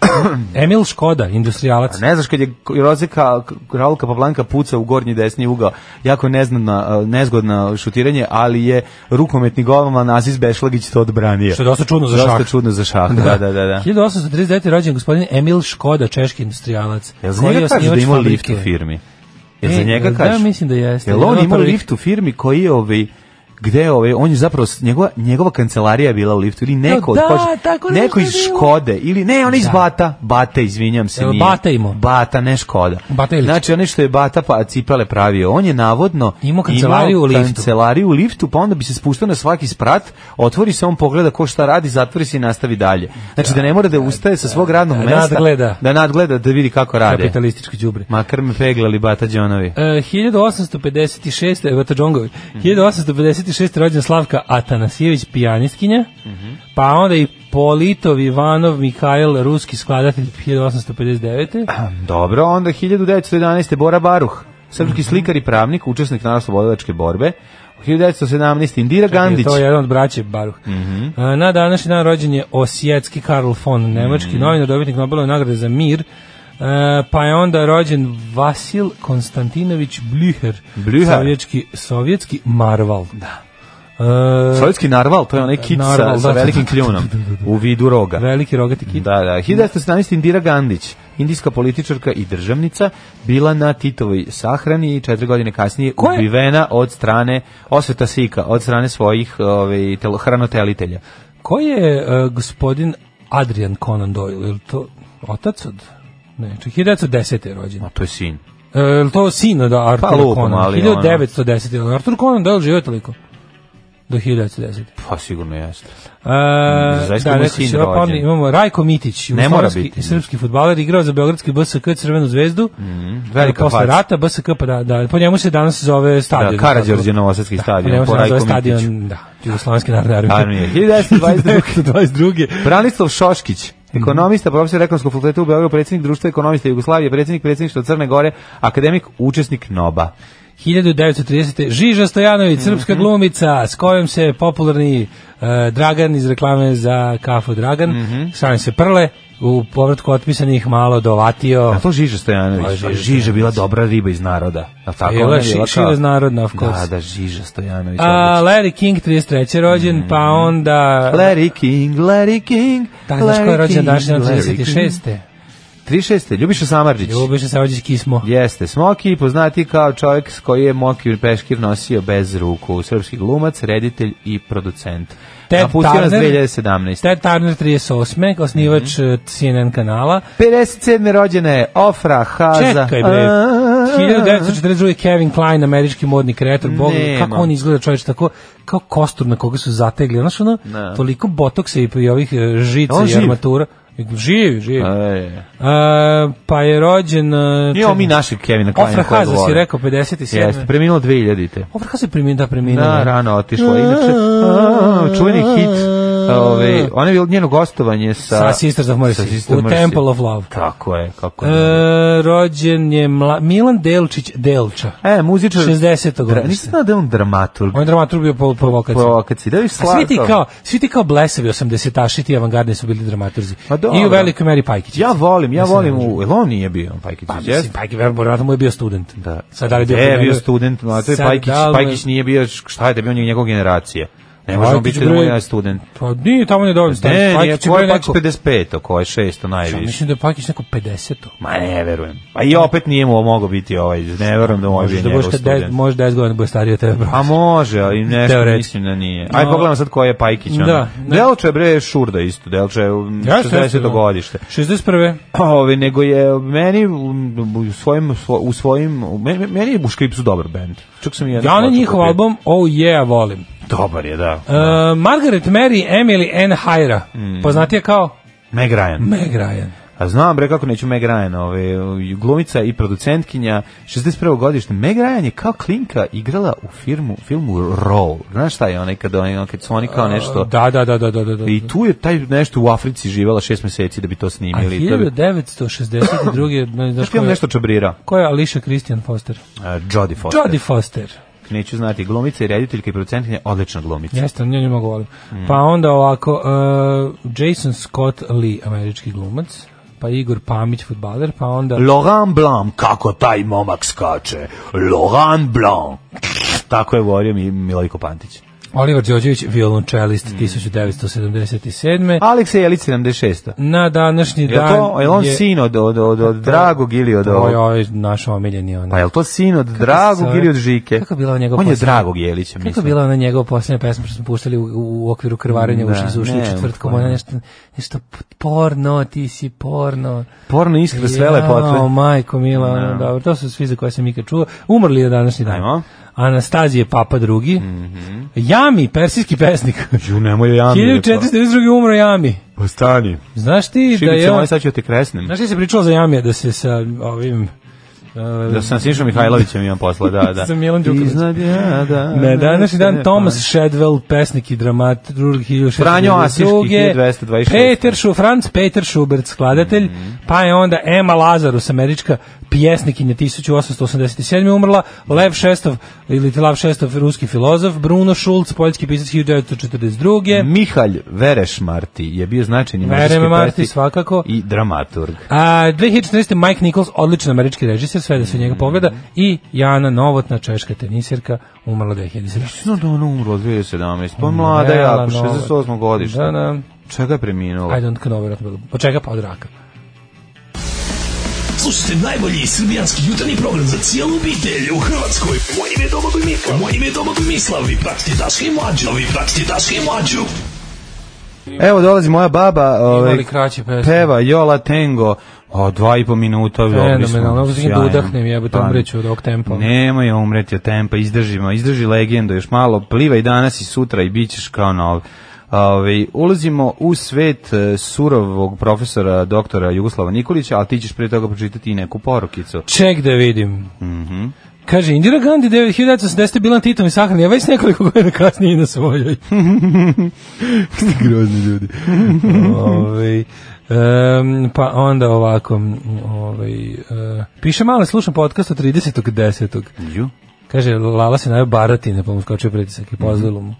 [SPEAKER 5] Emil Škoda, industrijalac.
[SPEAKER 6] ne znaš kad je Jose Ka- Raul Capablanca puca u gornji desni ugao jako nezgodna nezgodna šutiranje ali je rukometni golman Aziz Bešlagić to odbranio
[SPEAKER 5] Što je dosta čudno za šah.
[SPEAKER 6] dosta čudno za šah da da da, da.
[SPEAKER 5] 1839. rođen gospodin Emil Škoda, češki industrijalac.
[SPEAKER 6] Jel za
[SPEAKER 5] koji je
[SPEAKER 6] njega kažu da
[SPEAKER 5] osnivač
[SPEAKER 6] ima lift
[SPEAKER 5] fabrike.
[SPEAKER 6] u firmi? Jel za
[SPEAKER 5] E,
[SPEAKER 6] njega
[SPEAKER 5] da,
[SPEAKER 6] kažu?
[SPEAKER 5] mislim da jeste.
[SPEAKER 6] Jel on
[SPEAKER 5] Jedan
[SPEAKER 6] ima
[SPEAKER 5] od prvih.
[SPEAKER 6] lift u firmi koji je ovaj gde je ovaj, on je zapravo, s- njegova, njegova kancelarija je bila u liftu, ili neko,
[SPEAKER 5] da,
[SPEAKER 6] od kože-
[SPEAKER 5] tako nešto
[SPEAKER 6] neko iz
[SPEAKER 5] je bilo.
[SPEAKER 6] Škode, ili ne, on je iz
[SPEAKER 5] Da.
[SPEAKER 6] Bata, Bata, izvinjam se,
[SPEAKER 5] Jel
[SPEAKER 6] nije.
[SPEAKER 5] Bata imao?
[SPEAKER 6] Bata, ne Škoda.
[SPEAKER 5] Bata Ilić.
[SPEAKER 6] Znači, onaj što je Bata pa cipele pravio, on je navodno
[SPEAKER 5] Imao kancelariju u liftu.
[SPEAKER 6] kancelariju u liftu, pa onda bi se spuštao na svaki sprat, otvori se, on pogleda ko šta radi, zatvori se i nastavi dalje. Znači, da, ne mora da ustaje sa svog radnog
[SPEAKER 5] da,
[SPEAKER 6] mesta,
[SPEAKER 5] nadgleda.
[SPEAKER 6] da nadgleda, da vidi kako radi.
[SPEAKER 5] Kapitalistički đubre.
[SPEAKER 6] Makar me peglali Bata Đonovi.
[SPEAKER 5] E, 1856. Evo Džongovi. 1856. rođen Slavka Atanasijević, pijanistkinja. Pa onda i Politov Ivanov Mihajl, ruski skladatelj 1859.
[SPEAKER 6] Dobro, onda 1911. Bora Baruh,
[SPEAKER 5] Mhm.
[SPEAKER 6] srpski slikar i pravnik, učesnik narodno-slobodovačke borbe. 1917. Indira Gandić.
[SPEAKER 5] To je jedan od braće Baruh. E, Na današnji dan rođen je Osjetski Karl von, nemački novinar, dobitnik Nobelove nagrade za mir. E, pa je onda rođen Vasil Konstantinović Blüher,
[SPEAKER 6] Blüher.
[SPEAKER 5] sovjetski, sovjetski marval. Da.
[SPEAKER 6] Sovjetski narval, to je onaj kit sa,
[SPEAKER 5] Narval,
[SPEAKER 6] sa
[SPEAKER 5] da.
[SPEAKER 6] velikim kljunom u vidu roga.
[SPEAKER 5] veliki rogati kit.
[SPEAKER 6] Da, da. 1917. Indira Gandić, indijska političarka i državnica, bila na Titovoj sahrani i četiri godine kasnije
[SPEAKER 5] Ko je-
[SPEAKER 6] ubivena od strane Osveta Sika, od strane svojih ovaj, ove, tel, hranotelitelja.
[SPEAKER 5] Ko je e, gospodin Adrian Conan Doyle? Je li to otac od... Ne, čak 1910. je rođen.
[SPEAKER 6] A to je sin.
[SPEAKER 5] E, je li to sin od Artura
[SPEAKER 6] lupom,
[SPEAKER 5] Conan?
[SPEAKER 6] ali
[SPEAKER 5] 1910. Je li Artur Conan Doyle živio toliko? Do 1910.
[SPEAKER 6] Pa sigurno jeste.
[SPEAKER 5] E,
[SPEAKER 6] Zaista
[SPEAKER 5] da,
[SPEAKER 6] mu je
[SPEAKER 5] rekao
[SPEAKER 6] sin
[SPEAKER 5] si, ovaj, pa
[SPEAKER 6] rođen.
[SPEAKER 5] onda imamo Rajko Mitić,
[SPEAKER 6] Ne mora
[SPEAKER 5] jugoslovenski
[SPEAKER 6] biti,
[SPEAKER 5] i srpski fudbaler, igrao za beogradski BSK Crvenu zvezdu.
[SPEAKER 6] Mhm. Hm? velika
[SPEAKER 5] posle
[SPEAKER 6] faca.
[SPEAKER 5] rata BSK pa da, da, po njemu se danas zove stadion. da,
[SPEAKER 6] Da, Karađorđe Novosadski
[SPEAKER 5] Po
[SPEAKER 6] stadion,
[SPEAKER 5] njemu se
[SPEAKER 6] po
[SPEAKER 5] danas
[SPEAKER 6] Rajko
[SPEAKER 5] zove
[SPEAKER 6] Mitiću.
[SPEAKER 5] stadion, da, Jugoslovenske narodne
[SPEAKER 6] Armije.
[SPEAKER 5] armije.
[SPEAKER 6] 1922.
[SPEAKER 5] 1922.
[SPEAKER 6] Branislav Šoškić,
[SPEAKER 5] Mhm.
[SPEAKER 6] ekonomista, profesor ekonomskog fakulteta u Beogradu, predsjednik društva ekonomista Jugoslavije, predsjednik predsjedništva Crne Gore, akademik, učesnik NOBA.
[SPEAKER 5] 1930. Žiža Stojanović, srpska
[SPEAKER 6] Mhm.
[SPEAKER 5] glumica, s kojom se popularni e, Dragan iz reklame za kafu Dragan, mm
[SPEAKER 6] Mhm.
[SPEAKER 5] se prle, u povratku otpisanih malo dovatio.
[SPEAKER 6] A to Žiža Stojanović.
[SPEAKER 5] To je Pa, Žiža
[SPEAKER 6] Žiža bila dobra riba iz naroda. A tako
[SPEAKER 5] Bila
[SPEAKER 6] ona je
[SPEAKER 5] ši-
[SPEAKER 6] bila
[SPEAKER 5] šira
[SPEAKER 6] kao-
[SPEAKER 5] iz naroda, of course.
[SPEAKER 6] Da, da, Žiža Stojanović.
[SPEAKER 5] A, Larry King, 33. rođen, pa onda...
[SPEAKER 6] odlično. Mhm. Larry King, Larry King,
[SPEAKER 5] Da, znaš ko je rođen danas dan
[SPEAKER 6] Larry King.
[SPEAKER 5] 36.
[SPEAKER 6] 36. Ljubiša Samarđić.
[SPEAKER 5] Ljubiše se rođe Kismo.
[SPEAKER 6] Jeste, Smoki, poznati kao čovjek s koji je Mokir Peškir nosio bez ruku, srpski glumac, reditelj i producent.
[SPEAKER 5] Ted
[SPEAKER 6] Napustio nas
[SPEAKER 5] Turner.
[SPEAKER 6] 2017.
[SPEAKER 5] Ted Turner, 38. Osnivač
[SPEAKER 6] Mhm.
[SPEAKER 5] e, CNN kanala.
[SPEAKER 6] 57. rođena je Ofra Haza.
[SPEAKER 5] Čekaj bre.
[SPEAKER 6] A,
[SPEAKER 5] 1942. Kevin Klein, američki modni kreator, bog,
[SPEAKER 6] Nema.
[SPEAKER 5] kako on izgleda čovječ, tako, kao kostur na koga su zategli, znaš ono,
[SPEAKER 6] Da.
[SPEAKER 5] toliko botoksa i, i ovih e, žica
[SPEAKER 6] On
[SPEAKER 5] i
[SPEAKER 6] živ?
[SPEAKER 5] armatura. Živ, živ.
[SPEAKER 6] Ej.
[SPEAKER 5] A, pa je rođen... e,
[SPEAKER 6] Nije ovo E. mi
[SPEAKER 5] čekaj,
[SPEAKER 6] našeg Kevina Kleina
[SPEAKER 5] Ofra
[SPEAKER 6] koji
[SPEAKER 5] Haza si
[SPEAKER 6] govori.
[SPEAKER 5] rekao, 57.
[SPEAKER 6] Jeste, preminulo 2000-te.
[SPEAKER 5] Ofra Haza je primjena, da primjena.
[SPEAKER 6] Da, rano otišla. Inače, a, čuveni hit. Ove, ona je bilo njeno gostovanje sa...
[SPEAKER 5] Sa Sisters of Mercy,
[SPEAKER 6] sa Sisters
[SPEAKER 5] u
[SPEAKER 6] Mercy.
[SPEAKER 5] Temple of Love.
[SPEAKER 6] Tako je, kako je.
[SPEAKER 5] E, rođen je Mla, Milan Delčić Delča.
[SPEAKER 6] E, muzičar...
[SPEAKER 5] 60.
[SPEAKER 6] Dra-
[SPEAKER 5] godište.
[SPEAKER 6] Nisam znao da je on dramaturg.
[SPEAKER 5] On je dramaturg bio po provokaciji.
[SPEAKER 6] Provokaciji. Da je
[SPEAKER 5] A
[SPEAKER 6] slatko.
[SPEAKER 5] svi ti kao, svi ti kao blesavi 80-taši, ti avangardni su bili dramaturzi.
[SPEAKER 6] Pa dobro.
[SPEAKER 5] I u velikoj meri Pajkić.
[SPEAKER 6] Ja volim, ja volim u... Jel on nije bio Pajkić?
[SPEAKER 5] Pa,
[SPEAKER 6] jeste?
[SPEAKER 5] mislim, Pajkić, verovatno mu je bio student.
[SPEAKER 6] Da.
[SPEAKER 5] Sad da li je bio...
[SPEAKER 6] E,
[SPEAKER 5] kod njega-
[SPEAKER 6] bio student, no, a to je
[SPEAKER 5] Sad
[SPEAKER 6] Pajkić,
[SPEAKER 5] da li mu je-
[SPEAKER 6] Pajkić nije bio, šta je da je bio njegov generacije. Ne možemo
[SPEAKER 5] Pajkić,
[SPEAKER 6] biti da mu
[SPEAKER 5] bre,
[SPEAKER 6] je student.
[SPEAKER 5] Pa nije, tamo ne dovoljno.
[SPEAKER 6] Ne,
[SPEAKER 5] stari.
[SPEAKER 6] ne, nije,
[SPEAKER 5] Pajkić je
[SPEAKER 6] ko
[SPEAKER 5] bio
[SPEAKER 6] je Pajkić
[SPEAKER 5] neko...
[SPEAKER 6] 55, ko je 600
[SPEAKER 5] Ja
[SPEAKER 6] najviše.
[SPEAKER 5] mislim da je Pajkić neko 50-o.
[SPEAKER 6] Ma ne verujem. Pa i opet nije mu mogao biti ovaj, ne verujem da mu je bio
[SPEAKER 5] Možeš da
[SPEAKER 6] njegov
[SPEAKER 5] budeš kad de-
[SPEAKER 6] student.
[SPEAKER 5] možeš 10 godina da budeš stariji od tebe. bro.
[SPEAKER 6] Pa može, ali nešto
[SPEAKER 5] Teoretski.
[SPEAKER 6] mislim da nije. Aj
[SPEAKER 5] No.
[SPEAKER 6] pogledamo sad ko je Pajkić. ono.
[SPEAKER 5] Da, ne.
[SPEAKER 6] Delče je bre Šurda isto, Delče je um,
[SPEAKER 5] Jeste, jeste,
[SPEAKER 6] 60. godište. Znači,
[SPEAKER 5] 61.
[SPEAKER 6] Ove, nego je meni um, u svojim, u svojim, u- meni, meni je Buškrip su dobar band. Čak sam i jednu
[SPEAKER 5] Ja na
[SPEAKER 6] ploču
[SPEAKER 5] njihov
[SPEAKER 6] kupio.
[SPEAKER 5] album Oh Yeah volim.
[SPEAKER 6] Dobar je, da. Mm.
[SPEAKER 5] E, Margaret Mary Emily Ann Hyra, poznatija kao
[SPEAKER 6] Meg Ryan.
[SPEAKER 5] Meg Ryan.
[SPEAKER 6] A znam bre kako neću Meg Ryan, ove, glumica i producentkinja, 61. godište. Meg Ryan je kao klinka igrala u firmu, filmu Roll. Znaš šta je onaj kada, on, kad su oni kao nešto...
[SPEAKER 5] Da, da, da, da, da, da. da.
[SPEAKER 6] I tu je taj nešto u Africi živela šest meseci da bi to
[SPEAKER 5] A da,
[SPEAKER 6] snimili. To bi,
[SPEAKER 5] 1962. ne
[SPEAKER 6] Taj
[SPEAKER 5] znaš ko
[SPEAKER 6] film
[SPEAKER 5] je,
[SPEAKER 6] nešto čabrira.
[SPEAKER 5] ko je Alicia Christian Foster?
[SPEAKER 6] Uh, Jodie Foster.
[SPEAKER 5] Jodie Foster.
[SPEAKER 6] Neću znati, glumica i rediteljka i producentkinja, odlična glumica.
[SPEAKER 5] Jeste, nju ne mogu volim.
[SPEAKER 6] Mm.
[SPEAKER 5] Pa onda ovako, uh, Jason Scott Lee, američki glumac, pa Igor Pamić, futbaler, pa onda...
[SPEAKER 6] Laurent Blanc, kako taj momak skače. Laurent Blanc. Tako je govorio mi Milojko Pantić.
[SPEAKER 5] Oliver Đorđević, violončelist
[SPEAKER 6] Mm.
[SPEAKER 5] 1977.
[SPEAKER 6] Aleksa Jelić 76.
[SPEAKER 5] Na današnji
[SPEAKER 6] Je
[SPEAKER 5] dan
[SPEAKER 6] to, je on sin od, od, od, od Dragog ili od
[SPEAKER 5] Ovo je
[SPEAKER 6] ovog?
[SPEAKER 5] ovaj naš omiljeni onaj.
[SPEAKER 6] Pa je to sin od Dragog
[SPEAKER 5] zove?
[SPEAKER 6] ili od Žike?
[SPEAKER 5] Kako je bila njegova
[SPEAKER 6] On je
[SPEAKER 5] posljednja?
[SPEAKER 6] Dragog Jelića, mislim.
[SPEAKER 5] Kako je bila ona njegova posljednja pesma što smo puštali u, u okviru krvarenja
[SPEAKER 6] Da,
[SPEAKER 5] uši za uši
[SPEAKER 6] ne,
[SPEAKER 5] u četvrtkom,
[SPEAKER 6] pojma.
[SPEAKER 5] ona nešto, nešto porno, ti si porno.
[SPEAKER 6] Porno iskra da sve
[SPEAKER 5] Jao,
[SPEAKER 6] lepote.
[SPEAKER 5] majko mila, ono, dobro, to su svi za koje sam ikad čuo. Umrli je današnji dan.
[SPEAKER 6] Ajmo. Mhm.
[SPEAKER 5] Anastazije Papa drugi. Jami, persijski pesnik.
[SPEAKER 6] Ju, nemoj ja mi.
[SPEAKER 5] 1492. umro Jami.
[SPEAKER 6] Pa Ostani.
[SPEAKER 5] Znaš ti da
[SPEAKER 6] Šibice,
[SPEAKER 5] je...
[SPEAKER 6] moj,
[SPEAKER 5] on-
[SPEAKER 6] ovaj sad ću te kresnem.
[SPEAKER 5] Znaš ti se pričalo za Jamija da se sa ovim... uh,
[SPEAKER 6] Da sam s Nišom Mihajlovićem imam posla, da, da.
[SPEAKER 5] Sa Milom Đukanovićem.
[SPEAKER 6] Iznad, ja, da. pa-
[SPEAKER 5] Na današnji dan
[SPEAKER 6] Ne,
[SPEAKER 5] Thomas Shadwell, pesnik i dramat, drugog 1692.
[SPEAKER 6] Franjo Asiški, 1226.
[SPEAKER 5] Peter Schu, Franz Peter Schubert, skladatelj,
[SPEAKER 6] Mhm.
[SPEAKER 5] pa je onda Emma Lazarus, američka pjesnikinja 1887. umrla, Lev Šestov, ili Lav Šestov, ruski filozof, Bruno Schulz, poljski pisac 1942.
[SPEAKER 6] Mhm. Mihalj Vereš Marti je bio značajni
[SPEAKER 5] Vereš
[SPEAKER 6] muzički
[SPEAKER 5] Marti,
[SPEAKER 6] pesnik
[SPEAKER 5] svakako.
[SPEAKER 6] i dramaturg.
[SPEAKER 5] A 2014. Mike Nichols, odličan američki režiser, sve da se u
[SPEAKER 6] Mhm.
[SPEAKER 5] njega pogleda, i Jana Novotna, češka tenisirka, umrla 2017.
[SPEAKER 6] Što da ona umrla 2017? Pa mlada je,
[SPEAKER 5] Jela
[SPEAKER 6] jako,
[SPEAKER 5] Novotna.
[SPEAKER 6] 68. godište.
[SPEAKER 5] Da, da.
[SPEAKER 6] Čega je preminula?
[SPEAKER 5] I don't know, vjerojatno bilo. Od čega pa od raka?
[SPEAKER 7] Slušajte najbolji srbijanski jutarnji program za cijelu obitelj u Hrvatskoj. Moje ime je Domagoj Mislav. Moje ime je Domagoj Mislav. Vi pratite Daška i Mlađu. Vi pratite Daška i Mlađu.
[SPEAKER 6] Evo dolazi moja baba,
[SPEAKER 5] Ima
[SPEAKER 6] ovaj,
[SPEAKER 5] li kraće pesme?
[SPEAKER 6] peva Jola Tengo, o, dva i po minuta, dobri smo.
[SPEAKER 5] Fenomenalno, mogu da
[SPEAKER 6] sjajno.
[SPEAKER 5] udahnem, jebote,
[SPEAKER 6] Pa,
[SPEAKER 5] umreću od ovog tempa.
[SPEAKER 6] Nemoj umreti od tempa, izdrži, ma, izdrži legendu, još malo, plivaj danas i sutra i bit ćeš kao nov. Ove, ulazimo u svet e, surovog profesora doktora Jugoslava Nikolića, ali ti ćeš prije toga pročitati i neku porukicu.
[SPEAKER 5] Ček da vidim.
[SPEAKER 6] Mhm.
[SPEAKER 5] Kaže, Indira Gandhi 1980. bila na Titovi sahrani, a već nekoliko godina kasnije i na svojoj.
[SPEAKER 6] Grozni ljudi.
[SPEAKER 5] Ovaj, em, pa onda ovako, m, ovaj, eh, piše malo, slušam podcast od 30.10.
[SPEAKER 6] Ju.
[SPEAKER 5] Kaže, Lala se najao baratine, pa mu skočio pritisak i pozdravilo mu.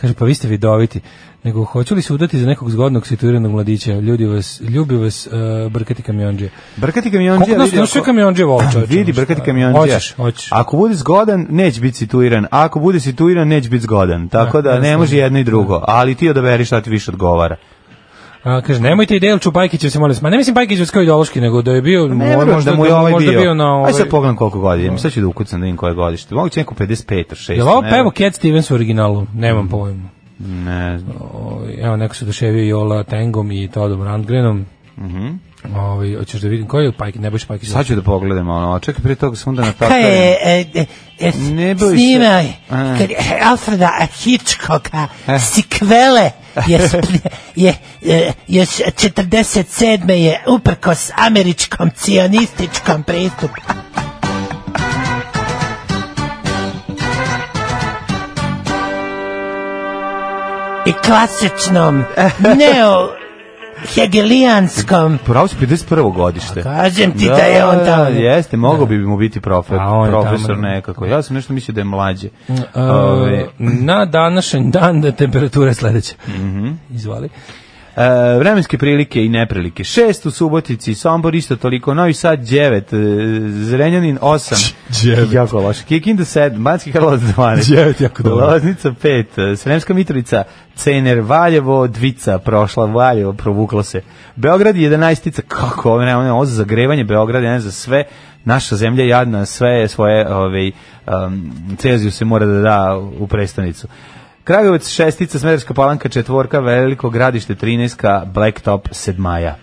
[SPEAKER 5] Kaže, pa vi ste vidoviti. Nego, hoću li se udati za nekog zgodnog situiranog mladića? Ljudi vas, ljubi vas eh, brkati kamionđe.
[SPEAKER 6] Brkati kamionđija.
[SPEAKER 5] Koliko nas
[SPEAKER 6] vidi
[SPEAKER 5] slušaju
[SPEAKER 6] ako- Ah,
[SPEAKER 5] kamionđe voli čovječe,
[SPEAKER 6] Vidi,
[SPEAKER 5] ono,
[SPEAKER 6] brkati
[SPEAKER 5] šta?
[SPEAKER 6] kamionđija.
[SPEAKER 5] Hoćeš, hoćeš.
[SPEAKER 6] Ako bude zgodan, neće biti situiran. A Ako bude situiran, neće biti zgodan.
[SPEAKER 5] Da,
[SPEAKER 6] Tako da ne
[SPEAKER 5] jednostavno.
[SPEAKER 6] može jedno i drugo. Ali ti odaberi šta ti više odgovara.
[SPEAKER 5] A, kaže, nemojte i Delču Bajkićevce, molim vas. Ma ne mislim Bajkićevce kao ideološki, nego da je bio,
[SPEAKER 6] Ne verujem
[SPEAKER 5] možda,
[SPEAKER 6] da mu je ovaj
[SPEAKER 5] možda
[SPEAKER 6] bio.
[SPEAKER 5] bio. na ovaj...
[SPEAKER 6] Aj sad pogledam koliko godina. ima. Sad ću da ukucam da vidim koje godište. Mogu će neko 55 or 6.
[SPEAKER 5] Je li ovo
[SPEAKER 6] ne Mhm.
[SPEAKER 5] pevo Cat Stevens u originalu? Nemam pojma.
[SPEAKER 6] znam. Ne znam.
[SPEAKER 5] Ovaj, evo, neko se duševio i Ola Tengom i Todom Randgrenom. Ovaj, hoćeš da vidim koji je Pajkić, ne boš Pajkić.
[SPEAKER 6] Mhm. Sad ću da pogledam ono. a Čekaj prije toga sam onda na
[SPEAKER 9] Pa
[SPEAKER 6] tako. Pa
[SPEAKER 9] e,
[SPEAKER 6] Ne boj se.
[SPEAKER 9] snimao
[SPEAKER 6] A. Eh.
[SPEAKER 9] kod Alfreda Hitchcocka Sikvele je, sp- je, je, je s- 47. je uprkos američkom cionističkom pristupu. I klasičnom
[SPEAKER 6] Eh.
[SPEAKER 9] neo hegelijanskom
[SPEAKER 6] Pravo si 51. godište.
[SPEAKER 9] kažem ti da je on tamo.
[SPEAKER 6] jeste, mogao bi mu biti profet,
[SPEAKER 5] da. A on je
[SPEAKER 6] profesor
[SPEAKER 5] tamo.
[SPEAKER 6] nekako. Ja sam nešto mislio da je mlađe.
[SPEAKER 5] E,
[SPEAKER 6] Ove,
[SPEAKER 5] na današnji dan da temperatura je sledeća.
[SPEAKER 6] Mhm.
[SPEAKER 5] Izvali.
[SPEAKER 6] E, vremenske prilike i neprilike. 6 u Subotici, Sombor isto toliko, Novi Sad 9, Zrenjanin 8. 9. Jako loše. Kikinda 7, Banski Karlovac 12.
[SPEAKER 5] 9 jako dobro.
[SPEAKER 6] Loznica 5, e, Sremska Mitrovica, Cener, Valjevo, Dvica, prošla Valjevo, provuklo se. Beograd 11, kako, ovo ne, ovo za zagrevanje Beograda, ne za sve. Naša zemlja je jadna, sve svoje, ovaj, um, Ceziju se mora da da u prestanicu. Kragovac šestica, Smederska palanka četvorka, Veliko gradište 13, Blacktop sedmaja.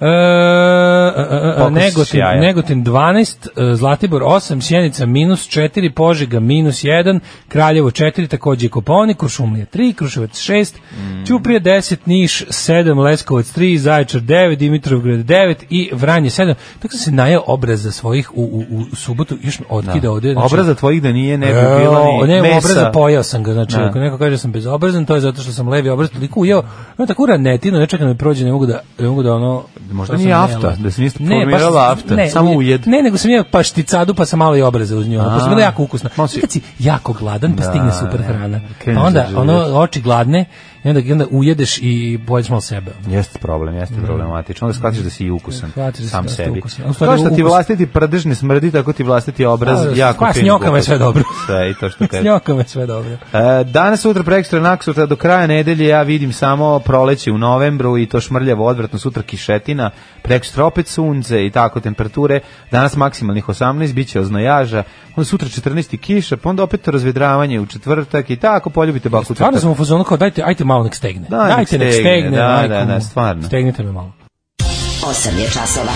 [SPEAKER 5] E, e, e, e,
[SPEAKER 6] Pokus
[SPEAKER 5] Negotin,
[SPEAKER 6] sjaja.
[SPEAKER 5] Negotin 12, e, Zlatibor 8, Sjenica minus 4, Požega minus 1, Kraljevo 4, takođe i Koponik, Kuršumlija 3, Kruševac 6,
[SPEAKER 6] Mhm.
[SPEAKER 5] Ćuprija 10, Niš 7, Leskovac 3, Zaječar 9, Dimitrovgrad 9 i Vranje 7. Tako sam se najao obraza svojih u, u, u subotu, još me otkida da. ovde. znači-
[SPEAKER 6] Obraza tvojih da nije ne bi
[SPEAKER 5] E,
[SPEAKER 6] bilo
[SPEAKER 5] o,
[SPEAKER 6] ni
[SPEAKER 5] ne,
[SPEAKER 6] mesa.
[SPEAKER 5] obraza pojao sam ga, znači
[SPEAKER 6] Da.
[SPEAKER 5] ako neko kaže da sam bezobrazan, to je zato što sam levi obraz toliko ujeo. Ima tako ranetinu, ne čekam da mi prođe, ne mogu da ne mogu da ono
[SPEAKER 6] Možda
[SPEAKER 5] to
[SPEAKER 6] nije
[SPEAKER 5] sam
[SPEAKER 6] afta,
[SPEAKER 5] jeo.
[SPEAKER 6] da se niste
[SPEAKER 5] Ne, baš-
[SPEAKER 6] formirala afta,
[SPEAKER 5] ne,
[SPEAKER 6] samo
[SPEAKER 5] ne,
[SPEAKER 6] ujed.
[SPEAKER 5] Ne, nego sam jeo pašticadu pa sam malo i obraza uz nju. ono, Pa
[SPEAKER 6] A,
[SPEAKER 5] sam bila jako ukusna.
[SPEAKER 6] malo si-
[SPEAKER 5] Kad si jako gladan pa
[SPEAKER 6] Da,
[SPEAKER 5] stigne super hrana.
[SPEAKER 6] kreneš
[SPEAKER 5] Pa onda
[SPEAKER 6] da
[SPEAKER 5] ono
[SPEAKER 6] živeš.
[SPEAKER 5] oči gladne i onda i onda ujedeš i bojiš malo sebe.
[SPEAKER 6] Jeste problem, jeste problematično. Onda shvatiš da si i ukusan
[SPEAKER 5] Shvatiš da si
[SPEAKER 6] sam
[SPEAKER 5] dosta
[SPEAKER 6] sebi.
[SPEAKER 5] ukusan. A u stvari
[SPEAKER 6] Kao što ti
[SPEAKER 5] ukus-
[SPEAKER 6] vlastiti prdež ne smrdi, tako ti vlastiti obraz
[SPEAKER 5] A,
[SPEAKER 6] jako
[SPEAKER 5] koja
[SPEAKER 6] fin
[SPEAKER 5] snjokama je
[SPEAKER 6] gubac.
[SPEAKER 5] sve dobro.
[SPEAKER 6] Sve i to što
[SPEAKER 5] S
[SPEAKER 6] kaže.
[SPEAKER 5] njokama je sve dobro.
[SPEAKER 6] E, danas, sutra, prekstra, naksutra, do kraja nedelje ja vidim samo proleće u novembru i to šmrljavo, odvratno, sutra kišetina, prekstra opet sunce i tako temperature, danas maksimalnih 18, bit će oznojaža, onda sutra 14 i kiša, pa onda opet razvedravanje u četvrtak i tako, poljubite baku
[SPEAKER 5] Stvarno
[SPEAKER 6] crtač.
[SPEAKER 5] sam u fazonu kao dajte, ajte malo nek stegne.
[SPEAKER 6] Da, nek
[SPEAKER 5] dajte nek
[SPEAKER 6] stegne,
[SPEAKER 5] stegne.
[SPEAKER 6] da,
[SPEAKER 5] majko
[SPEAKER 6] da, da,
[SPEAKER 5] mu.
[SPEAKER 6] stvarno.
[SPEAKER 5] Stegnite me malo.
[SPEAKER 8] 8 je časova.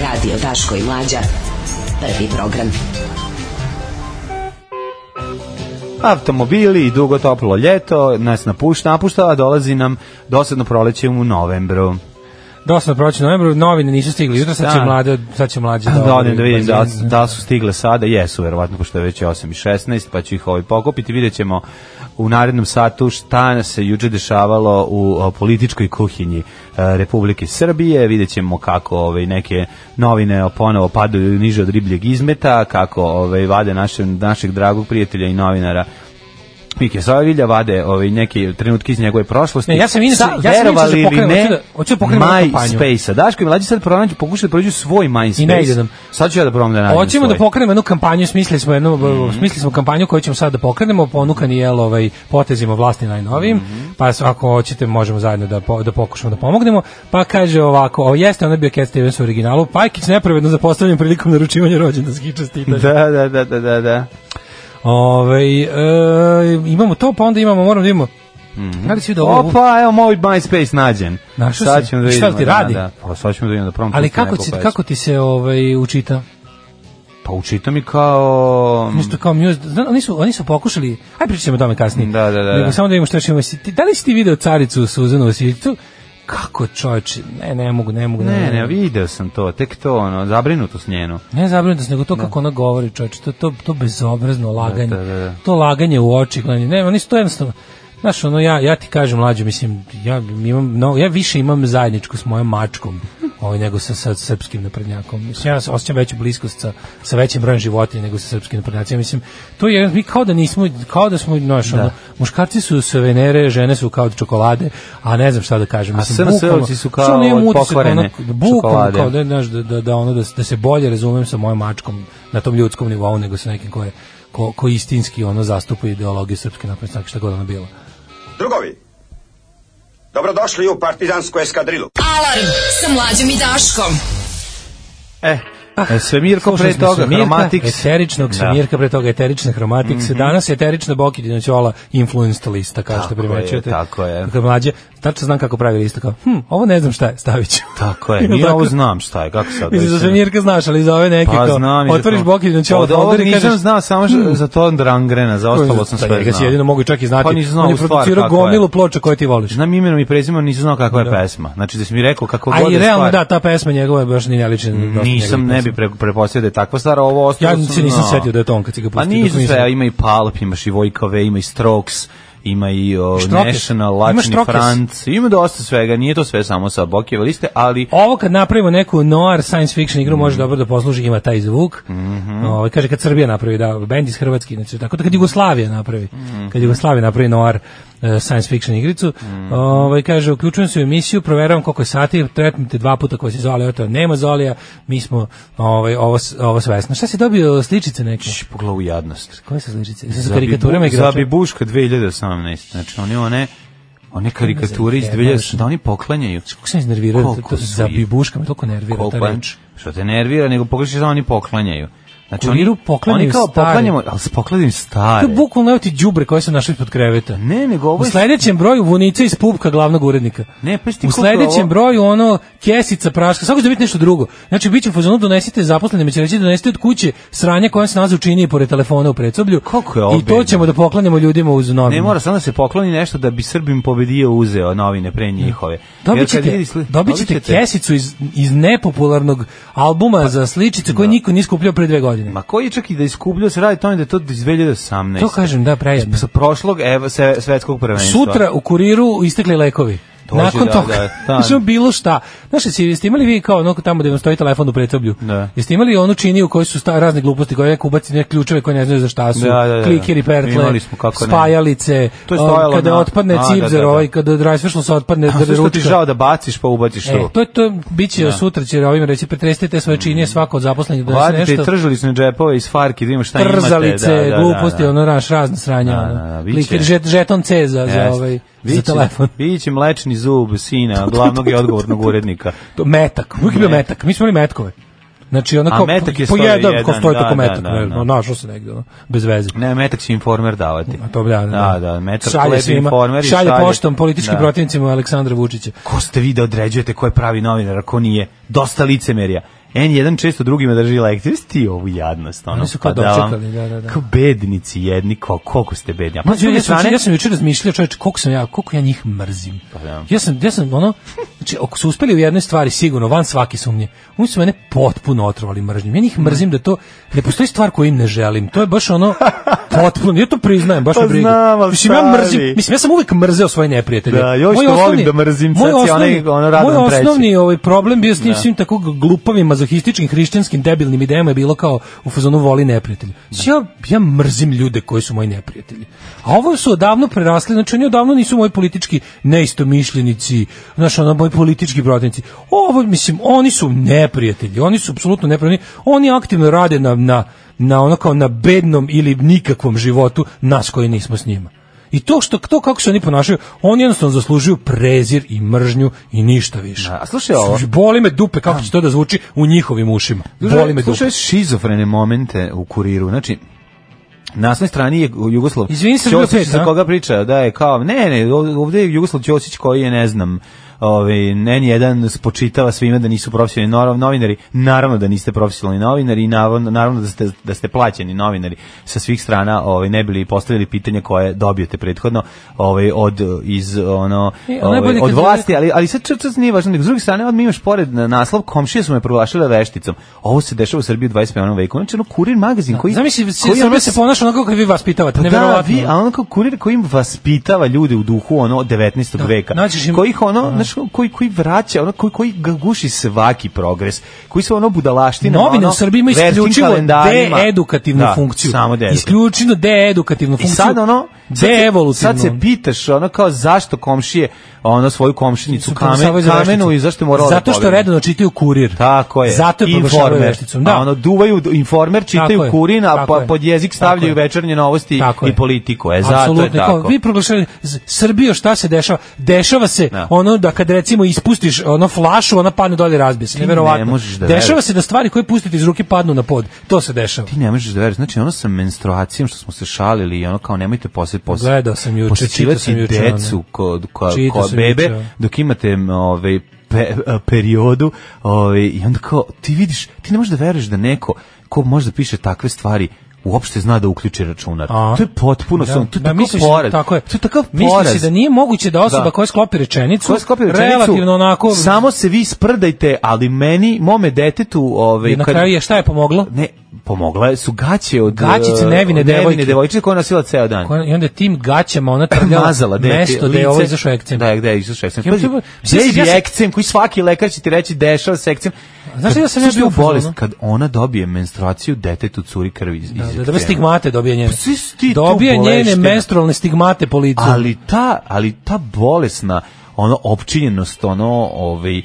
[SPEAKER 8] Radio Daško i Mlađa. Prvi program.
[SPEAKER 6] Automobili i dugo toplo ljeto nas napušta, napušta, a dolazi nam dosadno proleće u novembru.
[SPEAKER 5] Dosta da proći novembru, novine nisu stigli. Jutro sad će
[SPEAKER 6] Da.
[SPEAKER 5] mlade, sad će mlađe
[SPEAKER 6] Da, odem da
[SPEAKER 5] odradi
[SPEAKER 6] vidim da,
[SPEAKER 5] bazen.
[SPEAKER 6] da su stigle sada, jesu verovatno ko što je već 8 i 16, pa ću ih ovaj pokupiti, vidjet ćemo u narednom satu šta se juče dešavalo u o, političkoj kuhinji e, Republike Srbije, vidjet ćemo kako ovaj, neke novine ponovo padaju niže od ribljeg izmeta, kako ovaj, vade naše, našeg dragog prijatelja i novinara Mike Savilja vade ovaj neki trenutki iz njegove prošlosti.
[SPEAKER 5] Ne, ja sam inače-
[SPEAKER 6] Sa-
[SPEAKER 5] ja sam inače
[SPEAKER 6] verovali
[SPEAKER 5] za
[SPEAKER 6] ili
[SPEAKER 5] pokrenuo,
[SPEAKER 6] ne,
[SPEAKER 5] hoću da- hoću da pokrenem ovu kampanju.
[SPEAKER 6] MySpace-a. Daško i mlađi sad pronađu, pokušaju da prođu svoj MySpace.
[SPEAKER 5] I ne ide nam.
[SPEAKER 6] Sad ću ja da probam da nađem
[SPEAKER 5] Hoćemo da
[SPEAKER 6] svoj. Mhm.
[SPEAKER 5] pokrenemo jednu kampanju, smislili smo jednu, smislili smo kampanju koju ćemo sad da pokrenemo, ponukani jel ovaj potezima vlasti najnovijim,
[SPEAKER 6] Mhm.
[SPEAKER 5] pa s- ako hoćete možemo zajedno da po- da pokušamo da pomognemo. Pa kaže ovako, o jeste ona bio Cat Stevens u originalu, Pajkić nepravedno zapostavljen prilikom naručivanja rođendanskih čestitanja.
[SPEAKER 6] Da, da, da, da, da, da.
[SPEAKER 5] Ovaj e, imamo to, pa onda imamo, moramo da imamo. Mm -hmm. da ovo,
[SPEAKER 6] Mhm. Opa, evo moj MySpace nađen.
[SPEAKER 5] Našao
[SPEAKER 6] sad
[SPEAKER 5] si?
[SPEAKER 6] ćemo da
[SPEAKER 5] I šta
[SPEAKER 6] vidimo.
[SPEAKER 5] ti
[SPEAKER 6] da,
[SPEAKER 5] radi?
[SPEAKER 6] Da, Pa sad ćemo da vidimo da probam.
[SPEAKER 5] ali
[SPEAKER 6] pusti
[SPEAKER 5] kako
[SPEAKER 6] neku
[SPEAKER 5] ti,
[SPEAKER 6] pesmu.
[SPEAKER 5] kako ti se ovaj, učita?
[SPEAKER 6] Pa učita mi kao...
[SPEAKER 5] Nešto kao muse, zna, oni, su, oni su pokušali, aj pričamo o tome kasnije.
[SPEAKER 6] Da, da, da,
[SPEAKER 5] Nego
[SPEAKER 6] da.
[SPEAKER 5] samo da vidimo što još imamo. Si ti- Da li si ti video caricu Suzanu Vasiljicu? Kako čovječe, ne, ne mogu, ne mogu.
[SPEAKER 6] Ne, ne, video sam to, tek to, ono, zabrinutost njenu.
[SPEAKER 5] Ne zabrinutost, nego to kako ona govori, čovječe, to, to, to bezobrazno laganje,
[SPEAKER 6] da, da, da.
[SPEAKER 5] to laganje u oči, gledanje, ne, oni su to jednostavno, znaš, ono, ja, ja ti kažem, mlađo, mislim, ja, imam, mnogo, ja više imam zajedničku s mojom mačkom, ovaj, nego sa, sa srpskim naprednjakom. Mislim, ja se osjećam veću bliskost sa, sa većim brojem životinja nego sa srpskim naprednjacima. Mislim, to je, mi kao da nismo, kao da smo, znaš, ono, muškarci su sa Venere, žene su kao od čokolade, a ne znam šta da kažem.
[SPEAKER 6] A
[SPEAKER 5] Mislim,
[SPEAKER 6] SNS-ovci
[SPEAKER 5] bukvalno-
[SPEAKER 6] su kao
[SPEAKER 5] Što ono, imam
[SPEAKER 6] od
[SPEAKER 5] utisak,
[SPEAKER 6] pokvarene
[SPEAKER 5] ono, Bukvalno
[SPEAKER 6] čokolade.
[SPEAKER 5] kao da, znaš, da, da, da, ono, da, da se bolje razumem sa mojom mačkom na tom ljudskom nivou nego sa nekim koje, ko, ko istinski ono zastupa ideologiju srpske napredne stranke, šta god ona bila.
[SPEAKER 10] Drugovi, dobrodošli u partizansku eskadrilu.
[SPEAKER 4] Alarm sa mlađom i Daškom.
[SPEAKER 6] E, e, Svemirko pre
[SPEAKER 5] Ah, Slušali smo
[SPEAKER 6] toga, Da.
[SPEAKER 5] Svemirka,
[SPEAKER 6] Chromatics.
[SPEAKER 5] Eteričnog Svemirka, pre toga eterična Chromatics.
[SPEAKER 6] Mhm.
[SPEAKER 5] Danas je eterična Bokidina Ćola influenced lista, kao što
[SPEAKER 6] Tako je,
[SPEAKER 5] primećujete.
[SPEAKER 6] tako je.
[SPEAKER 5] Kako mlađe, tačno znam kako pravi listu, kao, hm, ovo ne znam šta je, stavit ću.
[SPEAKER 6] Tako je, nije
[SPEAKER 5] Tako. da-
[SPEAKER 6] ovo znam šta je, kako sad.
[SPEAKER 5] Mislim, da za Svemirka znaš, ali za ove neke,
[SPEAKER 6] Pa
[SPEAKER 5] kao,
[SPEAKER 6] znam. i za
[SPEAKER 5] otvoriš
[SPEAKER 6] to.
[SPEAKER 5] Bokidina Ćola,
[SPEAKER 6] Od ovog
[SPEAKER 5] folder i
[SPEAKER 6] nisam
[SPEAKER 5] kažeš, "Hmm,
[SPEAKER 6] znao, samo ž- za to Drangrena, za ostalo sam sve
[SPEAKER 5] Da, njega si
[SPEAKER 6] znao.
[SPEAKER 5] jedino mogu čak i znati.
[SPEAKER 6] Pa nisam znao
[SPEAKER 5] On je
[SPEAKER 6] u stvar
[SPEAKER 5] producirao
[SPEAKER 6] kakva je.
[SPEAKER 5] gomilu ploča koje ti voliš.
[SPEAKER 6] Znam imenom i prezimenom, nisam znao kakva je pesma. Znači da si mi rekao kako
[SPEAKER 5] A
[SPEAKER 6] god
[SPEAKER 5] i
[SPEAKER 6] je
[SPEAKER 5] realno
[SPEAKER 6] stvar.
[SPEAKER 5] da, ta pesma njegova je baš ni nelična. dosta njegovih
[SPEAKER 6] Nisam, ne bi
[SPEAKER 5] pesama.
[SPEAKER 6] pre- prepostavio da je takva stvar, a ovo ostalo
[SPEAKER 5] Ja
[SPEAKER 6] sam,
[SPEAKER 5] se nisam
[SPEAKER 6] no.
[SPEAKER 5] setio da je to on kad si ga
[SPEAKER 6] Pa
[SPEAKER 5] pustio. dok
[SPEAKER 6] nisu
[SPEAKER 5] nisam-
[SPEAKER 6] sve, ima i Palp, imaš i Vojkove, ima i Strokes, ima i o,
[SPEAKER 5] Štrokes.
[SPEAKER 6] National,
[SPEAKER 5] Ima
[SPEAKER 6] Lačni
[SPEAKER 5] Štrokes.
[SPEAKER 6] Franc, ima dosta svega, nije to sve samo sa Bokijeva liste, ali
[SPEAKER 5] Ovo kad napravimo neku noir science fiction
[SPEAKER 6] Mm.
[SPEAKER 5] igru može dobro da posluži, ima taj zvuk.
[SPEAKER 6] Mhm.
[SPEAKER 5] Ovaj, kaže kad Srbija napravi, da, bend iz Hrvatske, znači, tako da kad Jugoslavija napravi,
[SPEAKER 6] Mhm.
[SPEAKER 5] kad Jugoslavija napravi noir e, science fiction igricu,
[SPEAKER 6] Mhm.
[SPEAKER 5] ovaj, kaže uključujem se u emisiju, proveravam koliko je sati, tretnite dva puta koji se zvali, eto, nema Zolija, mi smo ovaj, ovo, s- ovo svesno. Šta si dobio sličice neke?
[SPEAKER 6] Č, pogledaj u jadnost.
[SPEAKER 5] Koje su sličice? Jesu Sa
[SPEAKER 6] Za
[SPEAKER 5] karikaturama
[SPEAKER 6] Bibu- Za
[SPEAKER 5] igrača?
[SPEAKER 6] Bibuška 2018, znači oni one, one karikature iz
[SPEAKER 5] zajebavaš.
[SPEAKER 6] 2018, da oni poklanjaju.
[SPEAKER 5] Kako sam iznervirao,
[SPEAKER 6] Koliko
[SPEAKER 5] to, to,
[SPEAKER 6] su
[SPEAKER 5] za
[SPEAKER 6] jadni.
[SPEAKER 5] bibuška me toliko nervira ta
[SPEAKER 6] Koliko je-
[SPEAKER 5] reč.
[SPEAKER 6] Što te nervira, nego pogledaš da oni poklanjaju. Znači,
[SPEAKER 5] Kuriru poklanjaju
[SPEAKER 6] oni kao
[SPEAKER 5] stare.
[SPEAKER 6] poklanjamo, ali se poklanjaju stare.
[SPEAKER 5] To je bukvalno evo ti đubre koje su našli ispod kreveta.
[SPEAKER 6] Ne, nego ovo
[SPEAKER 5] U
[SPEAKER 6] je...
[SPEAKER 5] sledećem broju vunica iz pupka glavnog urednika.
[SPEAKER 6] Ne, pa jesi ti
[SPEAKER 5] U
[SPEAKER 6] koliko
[SPEAKER 5] sledećem
[SPEAKER 6] ovo-
[SPEAKER 5] broju ono kesica praška, svako će da biti nešto drugo. Znači biće u fazonu donesite zaposlenima će reći donesite od kuće sranje koje se nalazi u čini i pored telefona u predsoblju.
[SPEAKER 6] Koliko
[SPEAKER 5] I
[SPEAKER 6] je
[SPEAKER 5] to
[SPEAKER 6] obedno.
[SPEAKER 5] ćemo da poklanjamo ljudima uz novine.
[SPEAKER 6] Ne mora samo da se pokloni nešto da bi Srbim pobedio uzeo novine pre njihove. Jer
[SPEAKER 5] Dobit
[SPEAKER 6] kad
[SPEAKER 5] ćete,
[SPEAKER 6] vidi sli-
[SPEAKER 5] dobit ćete kesicu iz, iz nepopularnog albuma za sličice koje niko nije skupljao pre dve godine.
[SPEAKER 6] Pa- Da. Ma koji čak i da iskupljio se radi tome da je to iz 2018.
[SPEAKER 5] To kažem, da, preizme.
[SPEAKER 6] Sa prošlog evo, se, svetskog prvenstva.
[SPEAKER 5] Sutra u kuriru istekli lekovi.
[SPEAKER 6] Dođe,
[SPEAKER 5] Nakon
[SPEAKER 6] da,
[SPEAKER 5] toga,
[SPEAKER 6] da, da.
[SPEAKER 5] mislim, bilo šta. Znaš, jesi- jeste imali vi kao ono tamo gde vam stoji telefon u pretoblju?
[SPEAKER 6] Da.
[SPEAKER 5] Jeste imali onu činiju u kojoj su sta, razne gluposti, koje neko ubaci neke ključeve koje ne znaju za šta su,
[SPEAKER 6] Da, da, da.
[SPEAKER 5] klikeri, pertle,
[SPEAKER 6] Imali smo, kako ne.
[SPEAKER 5] spajalice,
[SPEAKER 6] To je
[SPEAKER 5] um,
[SPEAKER 6] stojalo
[SPEAKER 5] kada
[SPEAKER 6] na-
[SPEAKER 5] otpadne
[SPEAKER 6] A, da,
[SPEAKER 5] cipzer,
[SPEAKER 6] da, da.
[SPEAKER 5] ovaj, kada drajsvešlo se otpadne,
[SPEAKER 6] Sve
[SPEAKER 5] da
[SPEAKER 6] što ti žao da baciš pa ubaciš
[SPEAKER 5] E,
[SPEAKER 6] to.
[SPEAKER 5] to je to biće sutra će ovim reći pretresite te svoje činije svako od zaposlenih da donese
[SPEAKER 6] Vadite i
[SPEAKER 5] nešto.
[SPEAKER 6] tržili su na džepove iz farki da imamo šta imate.
[SPEAKER 5] Trzalice,
[SPEAKER 6] da, da, da,
[SPEAKER 5] gluposti,
[SPEAKER 6] da.
[SPEAKER 5] ono raš, razna sranja.
[SPEAKER 6] Da,
[SPEAKER 5] ono.
[SPEAKER 6] da, da, biće.
[SPEAKER 5] Klikeri, žet, žeton C za, za,
[SPEAKER 6] Jeste.
[SPEAKER 5] ovaj, za
[SPEAKER 6] Biće-
[SPEAKER 5] telefon.
[SPEAKER 6] Biće mlečni zub sina, glavnog i odgovornog urednika.
[SPEAKER 5] To, metak, uvijek je bio metak, mi smo imali metkove. Znači ono
[SPEAKER 6] A
[SPEAKER 5] kao
[SPEAKER 6] metak je
[SPEAKER 5] po
[SPEAKER 6] stoji
[SPEAKER 5] jedan, ko
[SPEAKER 6] jedan,
[SPEAKER 5] stoji
[SPEAKER 6] da,
[SPEAKER 5] tako
[SPEAKER 6] da,
[SPEAKER 5] metak,
[SPEAKER 6] da,
[SPEAKER 5] ne,
[SPEAKER 6] da.
[SPEAKER 5] no, našao se negde, ono, bez veze.
[SPEAKER 6] Ne, metak će informer davati.
[SPEAKER 5] A to da, da,
[SPEAKER 6] Da, da, metak
[SPEAKER 5] šalje
[SPEAKER 6] lepi
[SPEAKER 5] svima,
[SPEAKER 6] informer i
[SPEAKER 5] šalje
[SPEAKER 6] šalje-
[SPEAKER 5] poštom političkim
[SPEAKER 6] Da.
[SPEAKER 5] protivnicima Aleksandra Vučića.
[SPEAKER 6] Ko ste vi da određujete ko je pravi novinar, a ko nije? Dosta licemerja. N1 često drugima drži lekcije. Jesi ti ovu jadnost, ono,
[SPEAKER 5] Oni su kao
[SPEAKER 6] pa da vam-
[SPEAKER 5] dočekali, da, da, da.
[SPEAKER 6] Kao bednici jedni, kao, koliko ste bedni. A pa
[SPEAKER 5] Ma,
[SPEAKER 6] s
[SPEAKER 5] ja,
[SPEAKER 6] druge
[SPEAKER 5] sam,
[SPEAKER 6] strane,
[SPEAKER 5] ja sam juče razmišljao, čoveč, koliko sam ja, koliko ja njih mrzim.
[SPEAKER 6] da.
[SPEAKER 5] Ja sam, ja sam, ono, znači, ako su uspeli u jednoj stvari, sigurno, van svake sumnje, oni su mene potpuno otrovali mržnjom. Ja njih mrzim da to, ne postoji stvar koju im ne želim. To je baš ono, potpuno, ja to priznajem, baš
[SPEAKER 6] Pa
[SPEAKER 5] me briga.
[SPEAKER 6] znam, ali
[SPEAKER 5] mislim, ja
[SPEAKER 6] stari.
[SPEAKER 5] mrzim, mislim, ja sam uvek mrzeo svoje neprijatelje.
[SPEAKER 6] Da, još
[SPEAKER 5] Moj
[SPEAKER 6] što volim
[SPEAKER 5] osnovni-
[SPEAKER 6] da mrzim,
[SPEAKER 5] moj
[SPEAKER 6] sad si onaj,
[SPEAKER 5] osnovni-
[SPEAKER 6] ono, Radovan
[SPEAKER 5] Moj
[SPEAKER 6] treći.
[SPEAKER 5] osnovni ovaj problem bio s tim svim tako glupavim, mazohističkim, hrišćanskim, debilnim idejama je bilo kao u fazonu voli neprijatelj. Znači, ja, ja mrzim ljude koji su moji neprijatelji. A ovo su odavno prerasli, znači oni odavno nisu moji politički neistomišljenici, znači ono, moji politički protivnici. Ovo, mislim, oni su neprijatelji, oni su apsolutno neprijatelji, oni aktivno rade na, na, na ono kao na bednom ili nikakvom životu nas koji nismo s njima. I to što to kako se oni ponašaju, oni jednostavno zaslužuju prezir i mržnju i ništa više.
[SPEAKER 6] Da, a slušaj ovo.
[SPEAKER 5] Boli me dupe kako će to da zvuči u njihovim ušima. Boli me dupe.
[SPEAKER 6] Slušaj šizofrene momente u kuriru. Znači, na svoj strani je Jugoslav
[SPEAKER 5] Izvini, Srbija
[SPEAKER 6] Ćosić
[SPEAKER 5] pet, a?
[SPEAKER 6] za koga priča, da je kao, ne, ne, ovde je Jugoslav Ćosić koji je, ne znam, ovaj, N1 spočitava svima da nisu profesionalni nor- novinari, naravno da niste profesionalni novinari i naravno, naravno da, ste, da ste plaćeni novinari sa svih strana, ovaj, ne bili postavili pitanje koje dobijete prethodno ovaj, od, iz, ono,
[SPEAKER 5] E, a najbolje
[SPEAKER 6] ovaj,
[SPEAKER 5] kad
[SPEAKER 6] od
[SPEAKER 5] je-
[SPEAKER 6] vlasti, ali, ali sad čas, čas nije važno, nego s druge strane, odmah imaš pored na naslov, komšije su me proglašile vešticom. Ovo se dešava u Srbiji u 21. veku. Znači, ono, kurir magazin koji...
[SPEAKER 5] Da. Zamisli, se-
[SPEAKER 6] koji, ono,
[SPEAKER 5] Srbija se ponaša onako kako vi vaspitavate,
[SPEAKER 6] da,
[SPEAKER 5] neverovatno.
[SPEAKER 6] vi, a ono kao kurir koji im vaspitava ljude u duhu ono 19. veka.
[SPEAKER 5] Da, nađeš im- da.
[SPEAKER 6] Kojih ono, znaš, koji koji vraća, ono koji koji ga guši svaki progres. Koji su ono budalaština,
[SPEAKER 5] Novine
[SPEAKER 6] ono,
[SPEAKER 5] u Srbiji imaju
[SPEAKER 6] verskim
[SPEAKER 5] isključivo
[SPEAKER 6] kalendarima.
[SPEAKER 5] deedukativnu
[SPEAKER 6] da,
[SPEAKER 5] funkciju.
[SPEAKER 6] Samo de
[SPEAKER 5] Isključivo deedukativnu
[SPEAKER 6] I
[SPEAKER 5] funkciju.
[SPEAKER 6] sad ono, sad se-
[SPEAKER 5] deevolutivnu.
[SPEAKER 6] Sad se pitaš ono kao zašto komšije ono svoju komšinicu
[SPEAKER 5] Su
[SPEAKER 6] kamen,
[SPEAKER 5] proglašavaju za
[SPEAKER 6] kamenu
[SPEAKER 5] vešticu.
[SPEAKER 6] i zašto je morala
[SPEAKER 5] Zato
[SPEAKER 6] da
[SPEAKER 5] što
[SPEAKER 6] pobegne?
[SPEAKER 5] redovno čitaju kurir.
[SPEAKER 6] Tako je.
[SPEAKER 5] Zato je proglašavaju
[SPEAKER 6] Informer.
[SPEAKER 5] vešticom. Da.
[SPEAKER 6] A ono duvaju d- informer,
[SPEAKER 5] Tako
[SPEAKER 6] čitaju
[SPEAKER 5] je,
[SPEAKER 6] kurin, a
[SPEAKER 5] tako
[SPEAKER 6] pa,
[SPEAKER 5] je.
[SPEAKER 6] pod jezik stavljaju
[SPEAKER 5] Tako je.
[SPEAKER 6] večernje novosti
[SPEAKER 5] Tako
[SPEAKER 6] i
[SPEAKER 5] je.
[SPEAKER 6] politiku. E, zato je
[SPEAKER 5] Apsolutno, kao,
[SPEAKER 6] tako.
[SPEAKER 5] Vi proglašavate Z- Srbijo šta se dešava? Dešava se
[SPEAKER 6] Da.
[SPEAKER 5] ono da kad recimo ispustiš ono flašu, ona padne dolje i razbije se. Neverovatno.
[SPEAKER 6] ne možeš da
[SPEAKER 5] dešava
[SPEAKER 6] veruješ.
[SPEAKER 5] se da stvari koje pustite iz ruke padnu na pod. To se dešava.
[SPEAKER 6] Ti ne možeš da veruješ. Znači, ono sa menstruacijom što smo se šalili i ono kao nemojte posle posle.
[SPEAKER 5] Gledao sam juče, čitao sam juče,
[SPEAKER 6] decu
[SPEAKER 5] ono.
[SPEAKER 6] ko, ko,
[SPEAKER 5] Čitao
[SPEAKER 6] ko
[SPEAKER 5] sam
[SPEAKER 6] bebe
[SPEAKER 5] juče, ono.
[SPEAKER 6] dok imate m, ovaj pe, a, periodu ovaj, i onda kao ti vidiš, ti ne možeš da veruješ da neko ko može da piše takve stvari uopšte zna da uključi računar.
[SPEAKER 5] A.
[SPEAKER 6] To je potpuno sam, to je
[SPEAKER 5] da,
[SPEAKER 6] takav
[SPEAKER 5] misliš,
[SPEAKER 6] poraz.
[SPEAKER 5] Tako je.
[SPEAKER 6] To je takav
[SPEAKER 5] Misliš si
[SPEAKER 6] poraz.
[SPEAKER 5] da nije moguće da osoba
[SPEAKER 6] Da.
[SPEAKER 5] koja sklopi rečenicu,
[SPEAKER 6] Koja sklopi rečenicu,
[SPEAKER 5] relativno onako
[SPEAKER 6] Samo se vi sprdajte, ali meni, mome detetu, ovaj,
[SPEAKER 5] je na
[SPEAKER 6] kad-
[SPEAKER 5] kraju je šta je pomoglo?
[SPEAKER 6] ne, pomogla su gaće od
[SPEAKER 5] Gaćice
[SPEAKER 6] e,
[SPEAKER 5] nevine devojke.
[SPEAKER 6] devojčice koja je nosila ceo dan.
[SPEAKER 5] Koja- I onda je tim gaćama ona trljala
[SPEAKER 6] mazala dete,
[SPEAKER 5] mesto gde je
[SPEAKER 6] lice.
[SPEAKER 5] ovo izašao ekcem.
[SPEAKER 6] Da, gde je izašao ekcem.
[SPEAKER 5] Ja,
[SPEAKER 6] Pazi,
[SPEAKER 5] to- ja sam-
[SPEAKER 6] Baby
[SPEAKER 5] ja sam-
[SPEAKER 6] ekcem, koji svaki lekar će ti reći dešava se ekcem.
[SPEAKER 5] Znaš
[SPEAKER 6] Kad-
[SPEAKER 5] da sam ja
[SPEAKER 6] znaš
[SPEAKER 5] bio
[SPEAKER 6] tu
[SPEAKER 5] u fazonu?
[SPEAKER 6] bolest kad ona dobije menstruaciju, detetu curi krv iz, iz
[SPEAKER 5] Da, da,
[SPEAKER 6] ekcema.
[SPEAKER 5] da, stigmate dobije njene.
[SPEAKER 6] Pa svi su ti tu
[SPEAKER 5] Dobije njene
[SPEAKER 6] bolešteni.
[SPEAKER 5] menstrualne stigmate po licu.
[SPEAKER 6] Ali ta, ali ta bolesna ono opčinjenost, ono ovaj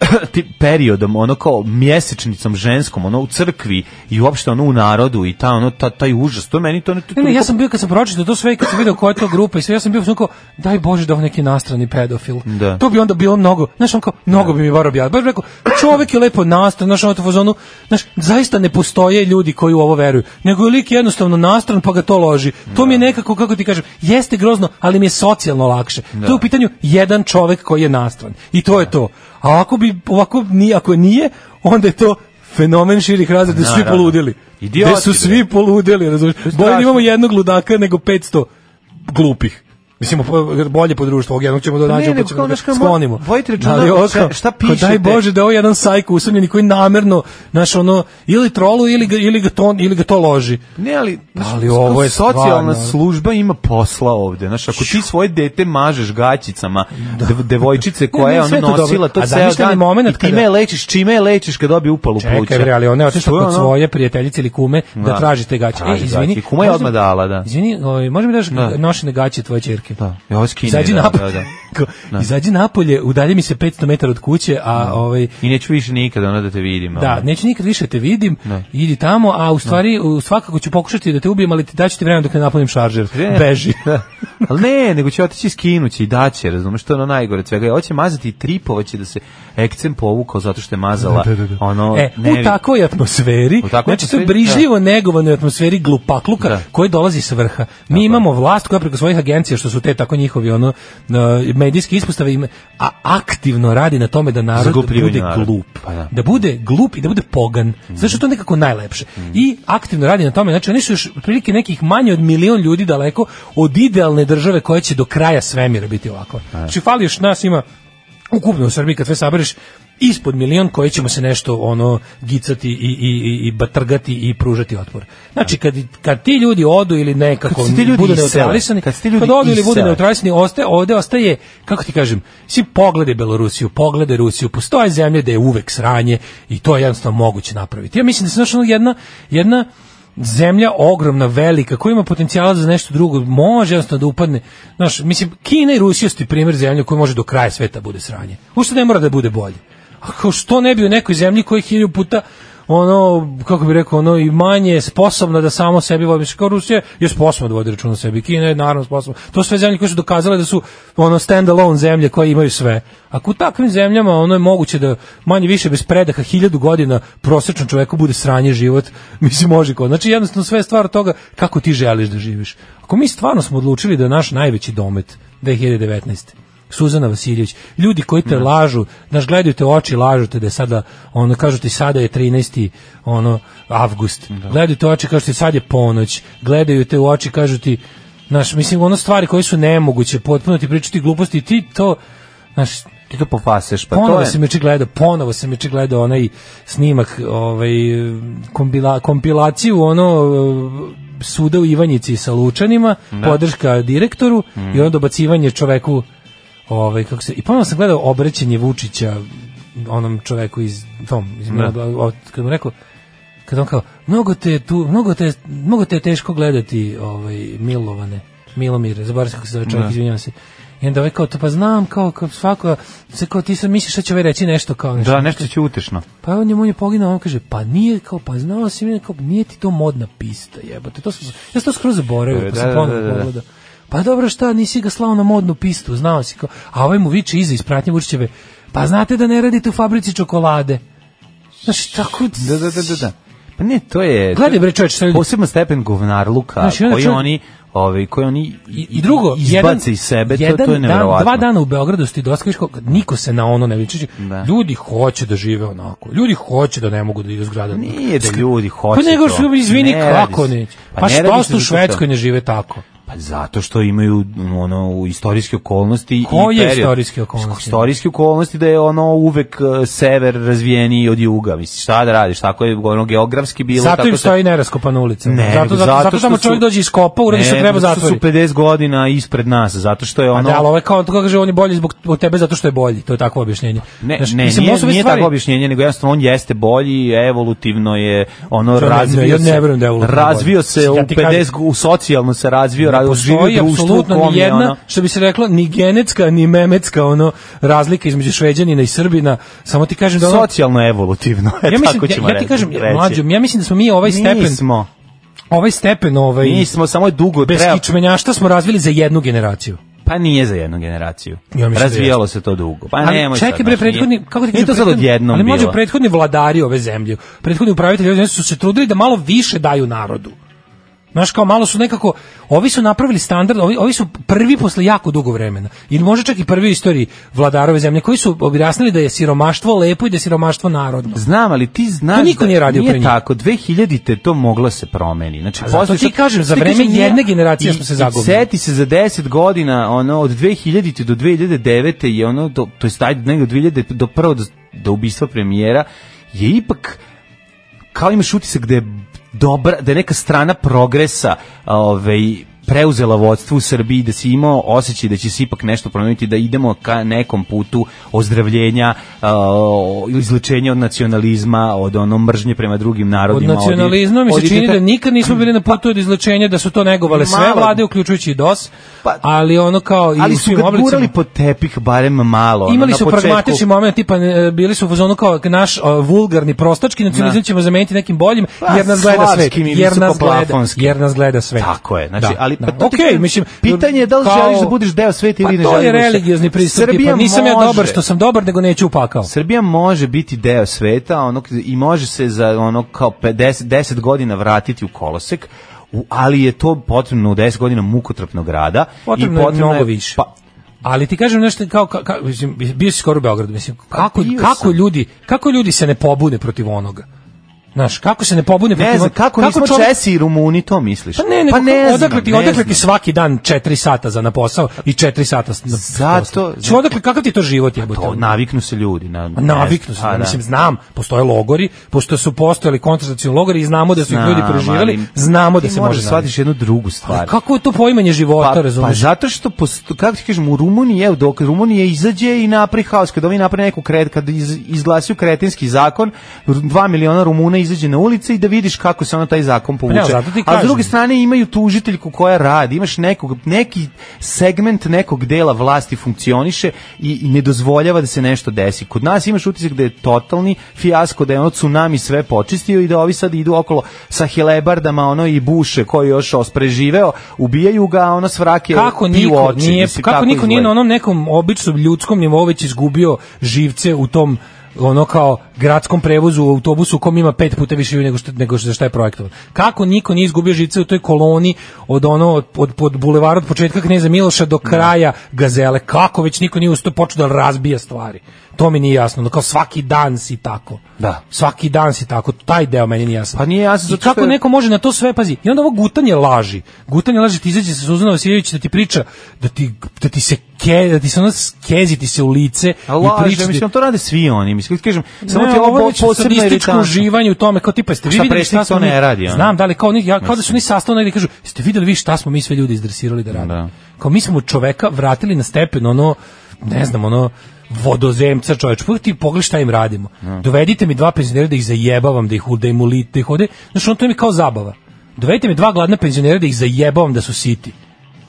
[SPEAKER 6] ti periodom, ono kao mjesečnicom ženskom, ono u crkvi i uopšte ono u narodu i ta, ono, ta, taj užas, to je meni to... Ne,
[SPEAKER 5] Ne, ne, ja sam bio kad sam pročitao to sve i kad sam video koja je to grupa i sve, ja sam bio sam kao, daj Bože da ovo neki nastrani pedofil.
[SPEAKER 6] Da.
[SPEAKER 5] To bi onda bilo mnogo, znaš, on kao, mnogo bi mi varao objavio. Baš bi rekao, čovek je lepo nastran, znaš, ono to u fazonu, znaš, zaista ne postoje ljudi koji u ovo veruju, nego je lik jednostavno nastran pa ga to loži. To mi
[SPEAKER 6] Da.
[SPEAKER 5] je nekako, kako ti kažem, jeste grozno, ali mi je socijalno lakše. To je
[SPEAKER 6] Da.
[SPEAKER 5] u pitanju jedan čovek koji je nastran. I to je to. A ako bi, ovako, nije, ako nije, onda je to fenomen širih razreda, da svi
[SPEAKER 6] Naravno.
[SPEAKER 5] poludili.
[SPEAKER 6] Idioti,
[SPEAKER 5] Gde su
[SPEAKER 6] bre.
[SPEAKER 5] svi poludeli, razumiješ?
[SPEAKER 6] je
[SPEAKER 5] Bolje da
[SPEAKER 6] strašno.
[SPEAKER 5] imamo jednog ludaka nego 500 glupih. Mislim, po- bolje po društvu, ovog jednog ćemo da
[SPEAKER 6] ne,
[SPEAKER 5] nađemo, pa
[SPEAKER 6] nego
[SPEAKER 5] ćemo
[SPEAKER 6] kao,
[SPEAKER 5] da ga
[SPEAKER 6] znaš, kao,
[SPEAKER 5] sklonimo.
[SPEAKER 6] vodite računa
[SPEAKER 5] ovo
[SPEAKER 6] šta-
[SPEAKER 5] kao-
[SPEAKER 6] šta
[SPEAKER 5] kao Daj
[SPEAKER 6] pišete.
[SPEAKER 5] Bože da je ovo jedan sajko usamljeni koji namerno, znaš, ono, ili trolu, ili ga, ili ga, to, ili ga to loži.
[SPEAKER 6] Ne, ali, znaš,
[SPEAKER 5] Ali ovo je
[SPEAKER 6] socijalna
[SPEAKER 5] stvarno-
[SPEAKER 6] služba ima posla ovde. Znaš, ako ti svoje dete mažeš gaćicama dev- devojčice koja
[SPEAKER 5] Da. ne,
[SPEAKER 6] je
[SPEAKER 5] sve
[SPEAKER 6] ono
[SPEAKER 5] je to dobro.
[SPEAKER 6] nosila to
[SPEAKER 5] A
[SPEAKER 6] ceo
[SPEAKER 5] zamišljeni
[SPEAKER 6] dan
[SPEAKER 5] moment
[SPEAKER 6] i time
[SPEAKER 5] kada-
[SPEAKER 6] je lečiš, čime je lečiš kad dobije upalu pluća.
[SPEAKER 5] Čekaj, bre, ali ona je otišla
[SPEAKER 6] Što je
[SPEAKER 5] kod
[SPEAKER 6] ono?
[SPEAKER 5] svoje prijateljice ili kume da,
[SPEAKER 6] Da.
[SPEAKER 5] traži te gaće. E,
[SPEAKER 6] Traži
[SPEAKER 5] izvini.
[SPEAKER 6] gaće. Kuma je
[SPEAKER 5] može-
[SPEAKER 6] odmah dala, da.
[SPEAKER 5] Izvini, ovaj, može mi daš
[SPEAKER 6] Da.
[SPEAKER 5] nošene gaće tvoje čerke?
[SPEAKER 6] Da, ja ovo skine,
[SPEAKER 5] Izađi
[SPEAKER 6] da,
[SPEAKER 5] napolje.
[SPEAKER 6] da,
[SPEAKER 5] Kao, Izađi napolje, udalji mi se 500 metara od kuće, a ovaj,
[SPEAKER 6] I neću više nikada ono da te vidim.
[SPEAKER 5] Da,
[SPEAKER 6] ono.
[SPEAKER 5] neću nikad više te vidim,
[SPEAKER 6] Ne.
[SPEAKER 5] idi tamo, a
[SPEAKER 6] Da.
[SPEAKER 5] u stvari u- svakako ću pokušati da te ubijem, ali ti daću ti vremena dok ne napunim šaržer.
[SPEAKER 6] Ne.
[SPEAKER 5] Beži.
[SPEAKER 6] Da. Ali ne, nego će otići i skinući i daće, razumeš, to je ono najgore od svega. Hoće mazati i tripovaće da se ekcem povukao zato što je mazala ono...
[SPEAKER 5] e, u
[SPEAKER 6] nevi-
[SPEAKER 5] takvoj atmosferi,
[SPEAKER 6] U takvoj
[SPEAKER 5] znači to je
[SPEAKER 6] atmosferi,
[SPEAKER 5] brižljivo negovanoj atmosferi glupakluka
[SPEAKER 6] Da.
[SPEAKER 5] koji dolazi s vrha. Mi imamo vlast koja preko svojih agencija, što su te tako njihovi ono, e, medijske ispostave, ime, a aktivno radi na tome da narod
[SPEAKER 6] Zaglupljivanje
[SPEAKER 5] bude
[SPEAKER 6] naroda.
[SPEAKER 5] glup.
[SPEAKER 6] Pa da.
[SPEAKER 5] da bude glup i da bude pogan. Zato što je to nekako najlepše. I aktivno radi na tome, znači oni su još otprilike nekih manje od milion ljudi daleko od idealne države koja će do kraja svemira biti ovakva.
[SPEAKER 6] Pa da.
[SPEAKER 5] Znači fali još nas ima ukupno u Srbiji kad sve sabereš ispod milion koji ćemo se nešto ono gicati i, i, i, i batrgati i pružati otpor. Znači kad, kad ti ljudi odu ili nekako
[SPEAKER 6] Kad se ti ljudi
[SPEAKER 5] budu
[SPEAKER 6] isele,
[SPEAKER 5] neutralisani,
[SPEAKER 6] kad se ti ljudi
[SPEAKER 5] kad odu ili budu
[SPEAKER 6] isele.
[SPEAKER 5] neutralisani, ostaje, ovde ostaje, kako ti kažem, svi poglede Belorusiju, poglede Rusiju, postoje zemlje da je uvek sranje i to je jednostavno moguće napraviti. Ja mislim da se našla jedna, jedna zemlja ogromna, velika, koja ima potencijala za nešto drugo, može jednostavno da upadne. Znaš, mislim, Kina i Rusija su ti primjer zemlje koja može do kraja sveta bude sranje. Ušte ne mora da bude bolje. A kao što ne bi u nekoj zemlji koja je hilju puta ono, kako bi rekao, ono i manje je sposobna da samo sebi vodi. Mislim, Kao Rusija je sposobna da vodi račun o sebi. Kina je naravno sposobna. To su sve zemlje koje su dokazale da su ono stand alone zemlje koje imaju sve. Ako u takvim zemljama ono je moguće da manje više bez predaha hiljadu godina prosječnom čoveku bude sranje život, mislim može kod. Znači jednostavno sve je stvar toga kako ti želiš da živiš. Ako mi stvarno smo odlučili da je naš najveći domet 2019. Suzana Vasiljević, ljudi koji te lažu, znaš, gledaju te u oči, lažu te da je sada, ono, kažu ti sada je 13. ono, avgust, gledaju te u oči, kažu ti sad je ponoć, gledaju te u oči, kažu ti, znaš, mislim, ono stvari koje su nemoguće, potpuno ti pričati gluposti, i ti to, znaš,
[SPEAKER 6] Ti to popaseš, pa
[SPEAKER 5] ponovo
[SPEAKER 6] to je...
[SPEAKER 5] sam juče gledao, ponovo sam juče gledao onaj snimak, ovaj kombila, kompilaciju ono eh, suda u Ivanjici sa Lučanima,
[SPEAKER 6] Da.
[SPEAKER 5] podrška direktoru
[SPEAKER 6] Mm.
[SPEAKER 5] i onda dobacivanje čoveku ovaj kako se i ponovo sam gledao obraćanje Vučića onom čoveku iz tom
[SPEAKER 6] Da.
[SPEAKER 5] iz Milana- kad mu rekao kad on kao mnogo te je tu mnogo te mnogo te je teško gledati ovaj Milovane Milomire zaboravio sam kako se zove
[SPEAKER 6] Da.
[SPEAKER 5] čovjek izvinjavam se i onda ovaj kao to pa znam kao, kao svako se kao ti sam misliš da će ovaj reći nešto kao nešto
[SPEAKER 6] Da, nešto će utešno.
[SPEAKER 5] pa on je on je poginuo, on kaže, pa nije kao, pa znao si mi, kao, nije ti to modna pista, jebote, to sam, ja sam to skroz zaboravio,
[SPEAKER 6] Da,
[SPEAKER 5] pa sam
[SPEAKER 6] da,
[SPEAKER 5] ponovno
[SPEAKER 6] da, da.
[SPEAKER 5] pogledao. Pa dobro, šta, nisi ga slao na modnu pistu, znao si kao, a ovaj mu viče iza ispratnje Vučićeve, pa znate da ne radite u fabrici čokolade. Znaš, tako...
[SPEAKER 6] Da, da, da, da, da. Pa ne, to je...
[SPEAKER 5] E, Gledaj, bre, čoveče, šta ljudi-
[SPEAKER 6] Posebno stepen govnarluka
[SPEAKER 5] Znači, onda
[SPEAKER 6] koji
[SPEAKER 5] čovjek-
[SPEAKER 6] oni ovaj koji oni
[SPEAKER 5] I, i drugo,
[SPEAKER 6] izbace
[SPEAKER 5] jedan,
[SPEAKER 6] iz sebe, to,
[SPEAKER 5] jedan
[SPEAKER 6] to je
[SPEAKER 5] dan,
[SPEAKER 6] neverovatno.
[SPEAKER 5] dva dana u Beogradu ste doskaviš kako niko se na ono ne viče.
[SPEAKER 6] Da.
[SPEAKER 5] Ljudi hoće da žive onako. Ljudi hoće da ne mogu da idu iz grada.
[SPEAKER 6] Nije da ljudi hoće
[SPEAKER 5] Pa nego
[SPEAKER 6] to.
[SPEAKER 5] što izvini
[SPEAKER 6] Ne radi
[SPEAKER 5] kako
[SPEAKER 6] se.
[SPEAKER 5] neće. Pa,
[SPEAKER 6] ne radi
[SPEAKER 5] što
[SPEAKER 6] se
[SPEAKER 5] ste u
[SPEAKER 6] zato što-
[SPEAKER 5] Švedskoj ne žive tako?
[SPEAKER 6] Pa zato što imaju m, ono u istorijske okolnosti
[SPEAKER 5] Koje
[SPEAKER 6] i period.
[SPEAKER 5] istorijske okolnosti?
[SPEAKER 6] Istorijske okolnosti da je ono uvek e, sever razvijeniji od juga. Misliš šta da radiš? Tako je ono geografski bilo
[SPEAKER 5] zato
[SPEAKER 6] tako
[SPEAKER 5] im
[SPEAKER 6] se-
[SPEAKER 5] stoji neraskopana ulica.
[SPEAKER 6] Ne,
[SPEAKER 5] zato, zato, zato,
[SPEAKER 6] što
[SPEAKER 5] tamo
[SPEAKER 6] su-
[SPEAKER 5] čovjek dođe iz kopa, uradi što
[SPEAKER 6] Ne,
[SPEAKER 5] treba
[SPEAKER 6] zato
[SPEAKER 5] zatvori.
[SPEAKER 6] su 50 godina ispred nas, zato što je
[SPEAKER 5] Pa
[SPEAKER 6] ono
[SPEAKER 5] da, ali ovo je kao, kako kaže, on je bolji zbog, zbog tebe zato što je bolji. To je takvo objašnjenje.
[SPEAKER 6] Ne,
[SPEAKER 5] Znaš,
[SPEAKER 6] ne,
[SPEAKER 5] mislim,
[SPEAKER 6] nije,
[SPEAKER 5] ovo su već
[SPEAKER 6] nije
[SPEAKER 5] stvari-
[SPEAKER 6] tako objašnjenje, nego jednostavno on jeste bolji, evolutivno je, ono,
[SPEAKER 5] To ne-
[SPEAKER 6] razvio
[SPEAKER 5] ne, ja
[SPEAKER 6] se,
[SPEAKER 5] ne verujem da je evolutivno
[SPEAKER 6] razvio
[SPEAKER 5] bolji.
[SPEAKER 6] se
[SPEAKER 5] Ja
[SPEAKER 6] u
[SPEAKER 5] ti
[SPEAKER 6] 50,
[SPEAKER 5] kažem-
[SPEAKER 6] u socijalno se razvio, radi, živi
[SPEAKER 5] postoji
[SPEAKER 6] u društvu u
[SPEAKER 5] apsolutno
[SPEAKER 6] kom
[SPEAKER 5] ni
[SPEAKER 6] je
[SPEAKER 5] jedna,
[SPEAKER 6] ono...
[SPEAKER 5] što bi se reklo, ni genetska, ni memetska ono, razlika između Šveđanina i Srbina. Samo ti kažem da ono,
[SPEAKER 6] Socijalno evolutivno, e,
[SPEAKER 5] ja mislim,
[SPEAKER 6] tako ćemo
[SPEAKER 5] ja, ja ti
[SPEAKER 6] reći-
[SPEAKER 5] kažem,
[SPEAKER 6] reći.
[SPEAKER 5] mlađom, ja mislim da smo mi ovaj stepen,
[SPEAKER 6] Nismo,
[SPEAKER 5] ovaj stepen ovaj,
[SPEAKER 6] nismo, samo je dugo
[SPEAKER 5] bez
[SPEAKER 6] treba...
[SPEAKER 5] kičmenjašta smo razvili za jednu generaciju.
[SPEAKER 6] Pa nije za jednu generaciju.
[SPEAKER 5] Ja mislim da
[SPEAKER 6] Razvijalo se to dugo. Pa
[SPEAKER 5] ali
[SPEAKER 6] nemoj
[SPEAKER 5] čekaj
[SPEAKER 6] sad,
[SPEAKER 5] bre
[SPEAKER 6] znaš, nije-
[SPEAKER 5] prethodni kako ti
[SPEAKER 6] Nije
[SPEAKER 5] kažem,
[SPEAKER 6] to sad
[SPEAKER 5] prethodni-
[SPEAKER 6] odjednom
[SPEAKER 5] ali
[SPEAKER 6] bilo.
[SPEAKER 5] mlađi prethodni vladari ove zemlje prethodni upravitelji ove zemlje su se trudili da malo više daju narodu Znaš, kao malo su nekako, ovi su napravili standard, ovi, ovi su prvi posle jako dugo vremena, ili možda čak i prvi u istoriji vladarove zemlje, koji su objasnili da je siromaštvo lepo i da je siromaštvo narodno.
[SPEAKER 6] Znam, ali ti znaš
[SPEAKER 5] To niko
[SPEAKER 6] da
[SPEAKER 5] nije radio
[SPEAKER 6] nije
[SPEAKER 5] pre njih.
[SPEAKER 6] tako. 2000-te to moglo se promeni. Znači,
[SPEAKER 5] A zato
[SPEAKER 6] posle
[SPEAKER 5] ti
[SPEAKER 6] sad-
[SPEAKER 5] kažem, za
[SPEAKER 6] ti
[SPEAKER 5] vreme
[SPEAKER 6] nije-
[SPEAKER 5] jedne generacije
[SPEAKER 6] i-
[SPEAKER 5] smo se
[SPEAKER 6] i
[SPEAKER 5] zagubili.
[SPEAKER 6] Seti se za 10 godina, ono, od 2000-te do 2009-te je ono, do, to je stajde negdje od 2000 do prvo do, do ubistva premijera, je ipak, kao imaš utisak da je dobra, da je neka strana progresa ovaj, preuzela vodstvo u Srbiji, da si imao osjećaj da će se ipak nešto promijeniti, da idemo ka nekom putu ozdravljenja, o, izlečenja od nacionalizma, od ono mržnje prema drugim
[SPEAKER 5] Od
[SPEAKER 6] narodima.
[SPEAKER 5] nacionalizma mi se čini
[SPEAKER 6] idete-
[SPEAKER 5] da nikad nismo bili na putu od izlečenja, da su to negovale sve
[SPEAKER 6] Malo-
[SPEAKER 5] vlade, uključujući i DOS,
[SPEAKER 6] Pa-
[SPEAKER 5] ali ono kao i
[SPEAKER 6] ali
[SPEAKER 5] u
[SPEAKER 6] su
[SPEAKER 5] svim
[SPEAKER 6] ga
[SPEAKER 5] oblicima.
[SPEAKER 6] gurali po tepih barem malo. ono,
[SPEAKER 5] Imali
[SPEAKER 6] na
[SPEAKER 5] su
[SPEAKER 6] početku.
[SPEAKER 5] pragmatični moment, tipa e, bili su u fazonu kao naš e, vulgarni prostački nacionalizam
[SPEAKER 6] Da.
[SPEAKER 5] ćemo zameniti nekim boljim
[SPEAKER 6] Pa,
[SPEAKER 5] jer nas gleda svet,
[SPEAKER 6] slavskim i
[SPEAKER 5] jer nas gleda,
[SPEAKER 6] visokoplafonskim.
[SPEAKER 5] jer nas gleda svet.
[SPEAKER 6] Tako je, znači,
[SPEAKER 5] Da,
[SPEAKER 6] ali
[SPEAKER 5] da.
[SPEAKER 6] pa to ti
[SPEAKER 5] Okej,
[SPEAKER 6] kažem,
[SPEAKER 5] mislim
[SPEAKER 6] pitanje je da li
[SPEAKER 5] kao-
[SPEAKER 6] želiš da budeš deo sveta ili ne
[SPEAKER 5] Pa to je
[SPEAKER 6] želiš da se-
[SPEAKER 5] religiozni pristup,
[SPEAKER 6] Srbija
[SPEAKER 5] tipa nisam ja
[SPEAKER 6] može.
[SPEAKER 5] dobar što sam dobar, nego neću upakao.
[SPEAKER 6] Srbija može biti deo sveta ono, i može se za ono kao 50, 10 godina vratiti u kolosek, u- ali je to potrebno u 10 godina mukotrpnog rada.
[SPEAKER 5] Potrebno
[SPEAKER 6] i
[SPEAKER 5] je
[SPEAKER 6] potrebno
[SPEAKER 5] mnogo više.
[SPEAKER 6] Pa,
[SPEAKER 5] Ali ti kažem nešto kao, ka, ka- mislim, bio si skoro u Beogradu, mislim, kako,
[SPEAKER 6] Pa bio
[SPEAKER 5] kako
[SPEAKER 6] sam.
[SPEAKER 5] ljudi, kako ljudi se ne pobune protiv onoga? Znaš, kako se ne pobune protiv
[SPEAKER 6] ne znam,
[SPEAKER 5] onoga?
[SPEAKER 6] kako, nismo
[SPEAKER 5] čovjek-
[SPEAKER 6] Česi i Rumuni, to misliš?
[SPEAKER 5] Pa ne, nego kako- odakle ti,
[SPEAKER 6] ne
[SPEAKER 5] odakle
[SPEAKER 6] znam.
[SPEAKER 5] ti svaki dan 4 sata za na posao i 4 sata s- na
[SPEAKER 6] Zato- Pa
[SPEAKER 5] posao? Ču, odakle, kakav ti to život jebote?
[SPEAKER 6] To, naviknu se ljudi. Na,
[SPEAKER 5] Ma Naviknu se,
[SPEAKER 6] A, da.
[SPEAKER 5] mislim, znam, postoje logori, pošto su postojali koncentracioni logori i znamo da su ih
[SPEAKER 6] Znam,
[SPEAKER 5] ljudi preživjeli,
[SPEAKER 6] ali
[SPEAKER 5] znamo da
[SPEAKER 6] ti
[SPEAKER 5] se
[SPEAKER 6] moraš
[SPEAKER 5] može
[SPEAKER 6] da
[SPEAKER 5] shvatiti.
[SPEAKER 6] shvatiš jednu drugu stvar.
[SPEAKER 5] Kako je to poimanje života,
[SPEAKER 6] Pa, pa
[SPEAKER 5] razumeš?
[SPEAKER 6] zato što posto, kako ti kažem u Rumuniji evo dok Rumunija izađe i napravi haos kad oni naprave neku kret kad iz, izglasaju kretenski zakon r- dva miliona Rumuna izađe na ulice i da vidiš kako se ono taj zakon
[SPEAKER 5] Pa ne,
[SPEAKER 6] povuče.
[SPEAKER 5] zato ti
[SPEAKER 6] A s
[SPEAKER 5] kažem.
[SPEAKER 6] druge strane imaju tužiteljku koja radi, imaš nekog neki segment nekog dela vlasti funkcioniše i, i ne dozvoljava da se nešto desi. Kod nas imaš utisak da je totalni fijasko da je ono tsunami sve počistio i da ovi sad idu okolo sa helebardama ono i buše koji još os- preživeo, ubijaju ga a ono svrake
[SPEAKER 5] kako
[SPEAKER 6] piju
[SPEAKER 5] niko
[SPEAKER 6] oči,
[SPEAKER 5] nije
[SPEAKER 6] mislim,
[SPEAKER 5] kako
[SPEAKER 6] tako
[SPEAKER 5] niko nije
[SPEAKER 6] izgleda.
[SPEAKER 5] na onom nekom običnom ljudskom nivou već izgubio živce u tom ono kao gradskom prevozu u autobusu u kom ima pet puta više ljudi nego što nego što za šta je projektovan. Kako niko nije izgubio živce u toj koloni od ono od od, od bulevara od početka Kneza Miloša do
[SPEAKER 6] Da.
[SPEAKER 5] kraja Gazele? Kako već niko nije usto počeo da razbija stvari? To mi nije jasno. Ono kao svaki dan si tako.
[SPEAKER 6] Da.
[SPEAKER 5] Svaki dan si tako. Taj deo meni nije jasno.
[SPEAKER 6] Pa nije jasno
[SPEAKER 5] I
[SPEAKER 6] zato što
[SPEAKER 5] kako
[SPEAKER 6] je-
[SPEAKER 5] neko može na to sve pazi. I onda ovo gutanje laži. Gutanje laži ti izađe sa Suzana Vasiljević da ti priča da ti da ti se ke, da ti se ona skezi ti se u lice
[SPEAKER 6] A
[SPEAKER 5] i
[SPEAKER 6] laže,
[SPEAKER 5] priča. da ti-
[SPEAKER 6] mislim, to rade svi oni, mislim, kažem, samo
[SPEAKER 5] ne,
[SPEAKER 6] ti
[SPEAKER 5] je
[SPEAKER 6] je ovo
[SPEAKER 5] već
[SPEAKER 6] posebno
[SPEAKER 5] sadističko
[SPEAKER 6] iritantno.
[SPEAKER 5] uživanje u tome, kao tipa jeste vi
[SPEAKER 6] Šta
[SPEAKER 5] videli šta
[SPEAKER 6] predsjednik
[SPEAKER 5] smo
[SPEAKER 6] to ne
[SPEAKER 5] mi-
[SPEAKER 6] radi, ono?
[SPEAKER 5] Znam, da li kao, oni, ja, kao da su oni sastavno negdje kažu, jeste videli vi šta smo mi sve ljudi izdresirali da radimo.
[SPEAKER 6] Da.
[SPEAKER 5] Kao mi smo čoveka vratili na stepen ono, ne znam, ono vodozemca čoveč, pa ti pogledaj šta im radimo.
[SPEAKER 6] Da.
[SPEAKER 5] Dovedite mi dva penzionera da ih zajebavam, da ih, da im ulit, da ih ode, znaš, on to mi kao zabava. Dovedite mi dva gladna penzionera da ih zajebavam da su siti.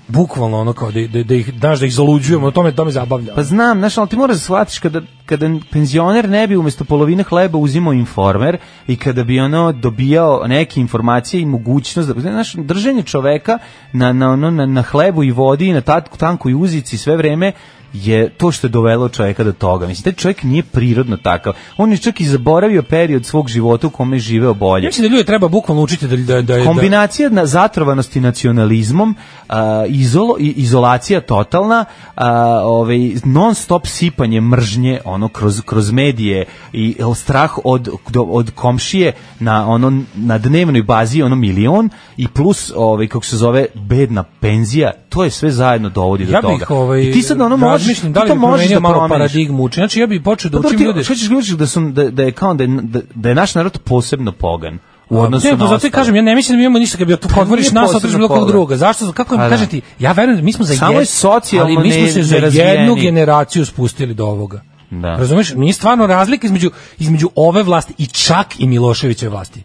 [SPEAKER 5] Bukvalno ono kao da, da, da ih, znaš, da ih zaluđujemo, to me, to me zabavlja.
[SPEAKER 6] Pa znam, znaš, ali ti moraš da shvatiš kada, kada penzioner ne bi umjesto polovine hleba uzimao informer i kada bi ono dobijao neke informacije i mogućnost, da, znaš, držanje čoveka na, na, ono, na, na hlebu i vodi i na tatku, tankoj uzici sve vreme je to što je dovelo čoveka do toga. Mislim, taj čovjek nije prirodno takav. On je čak i zaboravio period svog života u kome je živeo bolje.
[SPEAKER 5] Ja mislim da ljude treba bukvalno učiti da, da, da, da,
[SPEAKER 6] Kombinacija na zatrovanosti nacionalizmom, a, izolo, i- izolacija totalna, a, ovaj, non stop sipanje mržnje ono kroz, kroz medije i el, strah od, do- od komšije na ono na dnevnoj bazi ono milion i plus ovaj kako se zove bedna penzija, to je sve zajedno dovodi
[SPEAKER 5] ja
[SPEAKER 6] do toga.
[SPEAKER 5] bih ovaj
[SPEAKER 6] I ti sad ono možeš,
[SPEAKER 5] razmišljam da
[SPEAKER 6] ti
[SPEAKER 5] li
[SPEAKER 6] to
[SPEAKER 5] bi
[SPEAKER 6] možeš da
[SPEAKER 5] promenio malo
[SPEAKER 6] promeniš.
[SPEAKER 5] paradigmu učenja. Znači ja bih počeo da
[SPEAKER 6] Pa dobro,
[SPEAKER 5] učim
[SPEAKER 6] ti
[SPEAKER 5] ljude.
[SPEAKER 6] šta ćeš gledaš da su da, da je kao da je, da, da je naš narod posebno pogan u odnosu
[SPEAKER 5] Ne,
[SPEAKER 6] na
[SPEAKER 5] pa zato i
[SPEAKER 6] ostale.
[SPEAKER 5] kažem, ja ne mislim da mi imamo ništa kad bi
[SPEAKER 6] Pa
[SPEAKER 5] otvorili otvoriš
[SPEAKER 6] nije
[SPEAKER 5] nas,
[SPEAKER 6] posebno
[SPEAKER 5] otvoriš bilo
[SPEAKER 6] pogled.
[SPEAKER 5] kog druga. Zašto? Kako
[SPEAKER 6] Pa
[SPEAKER 5] im
[SPEAKER 6] da.
[SPEAKER 5] kažete? Ja verujem da mi smo za
[SPEAKER 6] Samo
[SPEAKER 5] jed-
[SPEAKER 6] je socijalno
[SPEAKER 5] ali mi smo
[SPEAKER 6] ne-
[SPEAKER 5] se za
[SPEAKER 6] nerazvijeni.
[SPEAKER 5] jednu generaciju spustili do ovoga.
[SPEAKER 6] Da.
[SPEAKER 5] Razumeš? Nije stvarno razlika između, između ove vlasti i čak i Miloševićeve vlasti.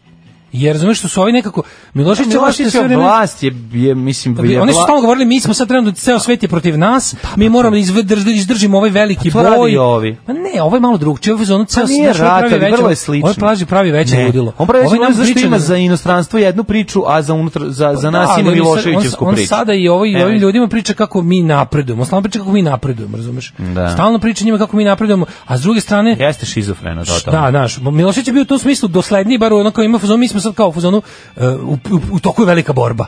[SPEAKER 5] Jer razumeš što su ovi nekako Milošević
[SPEAKER 6] Miloševićeva vlast je, je mislim,
[SPEAKER 5] Da bi-
[SPEAKER 6] je
[SPEAKER 5] oni su
[SPEAKER 6] vla-
[SPEAKER 5] stalno govorili mi smo sad trenutno ceo svet je protiv nas, mi moramo da izvdrž- izdržimo ovaj veliki
[SPEAKER 6] Pa to rade
[SPEAKER 5] boj.
[SPEAKER 6] i ovi.
[SPEAKER 5] Pa ne, ovo je malo drugčije, ovo je ono
[SPEAKER 6] Pa
[SPEAKER 5] ceo
[SPEAKER 6] nije
[SPEAKER 5] znaš, ovo
[SPEAKER 6] rat,
[SPEAKER 5] pravi
[SPEAKER 6] ali
[SPEAKER 5] veće-
[SPEAKER 6] vrlo je slično.
[SPEAKER 5] Ovo pravi pravi veće
[SPEAKER 6] Ne.
[SPEAKER 5] ludilo.
[SPEAKER 6] On pravi
[SPEAKER 5] Ovaj
[SPEAKER 6] veće
[SPEAKER 5] nam
[SPEAKER 6] ludilo zašto
[SPEAKER 5] priča
[SPEAKER 6] ima
[SPEAKER 5] na-
[SPEAKER 6] za inostranstvo jednu priču, a za, unutra, za, za nas
[SPEAKER 5] Da,
[SPEAKER 6] ima
[SPEAKER 5] ali on sad-
[SPEAKER 6] Miloševićevsku
[SPEAKER 5] on,
[SPEAKER 6] priču. E.
[SPEAKER 5] On sada i ovi,
[SPEAKER 6] Ne.
[SPEAKER 5] ovim ljudima priča kako mi napredujemo. On stalno priča kako mi napredujemo, razumeš?
[SPEAKER 6] Da.
[SPEAKER 5] Stalno priča njima kako mi napredujemo, a s druge strane
[SPEAKER 6] Jeste šizofreno, totalno.
[SPEAKER 5] Da, znaš, Milošević je bio u tom smislu dosledniji, bar ono kao ima fazon, mi smo sad kao u fazonu, e, u, u, u toku je velika borba.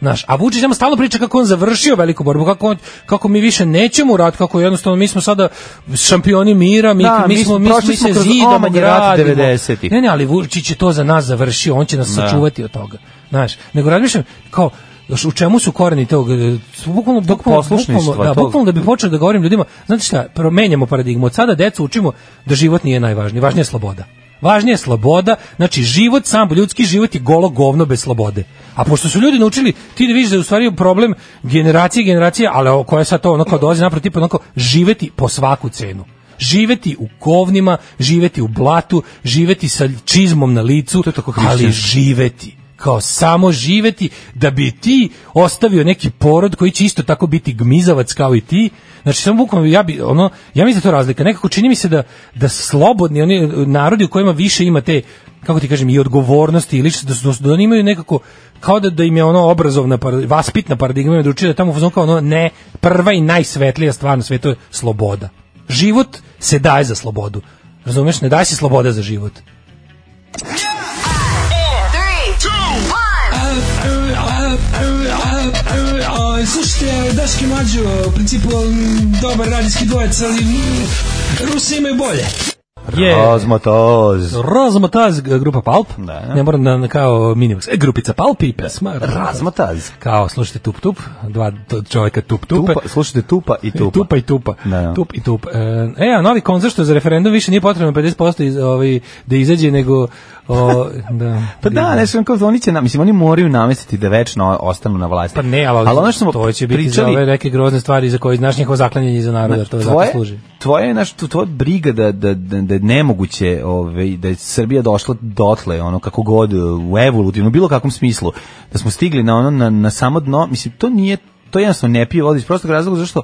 [SPEAKER 5] Znaš, a Vučić nam stalno priča kako on završio veliku borbu, kako, on, kako mi više nećemo u rat, kako jednostavno mi smo sada šampioni mira, mi,
[SPEAKER 6] Da,
[SPEAKER 5] mi, smo,
[SPEAKER 6] mi smo-
[SPEAKER 5] mi, smo,
[SPEAKER 6] prošli
[SPEAKER 5] mi
[SPEAKER 6] smo
[SPEAKER 5] se
[SPEAKER 6] kroz
[SPEAKER 5] zidamo,
[SPEAKER 6] omanje rat
[SPEAKER 5] gradimo.
[SPEAKER 6] 90-ih.
[SPEAKER 5] Ne, ne, ali Vučić je to za nas završio, on će
[SPEAKER 6] Da.
[SPEAKER 5] nas sačuvati od toga. Znaš, nego razmišljam, kao, znaš, u čemu su koreni tog, e, bukvalno, bukvalno,
[SPEAKER 6] poslušništva,
[SPEAKER 5] bukvalno, da,
[SPEAKER 6] tog-
[SPEAKER 5] bukvalno da bi počeo da govorim ljudima, znate šta, promenjamo paradigmu. Od sada decu učimo da život nije najvažniji, važnija je sloboda. Važnija je sloboda, znači život sam, ljudski život je golo govno bez slobode. A pošto su ljudi naučili, ti da vidiš da je u stvari problem generacije i generacije, ali ovo koja sad to ono kao dolazi napravo, tipa ono kao živeti po svaku cenu. Živeti u kovnima, živeti u blatu, živeti sa čizmom na licu, ali
[SPEAKER 6] hrišćansko.
[SPEAKER 5] živeti kao samo živeti da bi ti ostavio neki porod koji će isto tako biti gmizavac kao i ti znači samo bukvalno ja bi ono ja mislim da je to razlika nekako čini mi se da da slobodni oni e, narodi u kojima više ima te kako ti kažem i odgovornosti i lično da, su, da oni imaju nekako kao da, da im je ono obrazovna par- vaspitna paradigma im je dručija da tamo u fazonu kao ono ne prva i najsvetlija stvar na svetu je sloboda život se daje za slobodu razumeš ne daje se sloboda za život
[SPEAKER 7] Slušajte, Daški Mađo, u principu um, dobar radijski dvojec, ali mm, Rusi imaju bolje.
[SPEAKER 5] Yeah.
[SPEAKER 6] Ozmotoz.
[SPEAKER 5] Razmataz grupa Palp.
[SPEAKER 6] Da.
[SPEAKER 5] Ne moram na, na kao minimax. E, grupica Palp i pesma Razmat.
[SPEAKER 6] Razmotaz.
[SPEAKER 5] Kao slušajte tup tup, dva t- čovjeka tup tupe.
[SPEAKER 6] Tupa, slušajte, tupa i tupa.
[SPEAKER 5] Tupa. tupa i tupa.
[SPEAKER 6] Da, da.
[SPEAKER 5] Tup i tup. E, E, a novi koncert što je za referendum više nije potrebno 50% iz, ovaj, da izađe nego... O, da,
[SPEAKER 6] Pa da, nešto on kao oni će, na, mislim, oni moraju namestiti da večno ostanu na vlasti.
[SPEAKER 5] Pa ne, ali,
[SPEAKER 6] ono što smo
[SPEAKER 5] to će biti za
[SPEAKER 6] pričali,
[SPEAKER 5] ove neke grozne stvari za koje znaš njihovo zaklanjanje za naroda, da to zato
[SPEAKER 6] tvoje,
[SPEAKER 5] služi.
[SPEAKER 6] tvoje je naš, tvoja briga da, da, da, da je nemoguće ovaj, da je Srbija došla dotle, ono kako god, u evolutivno, bilo kakvom smislu, da smo stigli na ono, na, na samo dno, mislim, to nije, to je jednostavno ne pije voda iz prostog razloga, zašto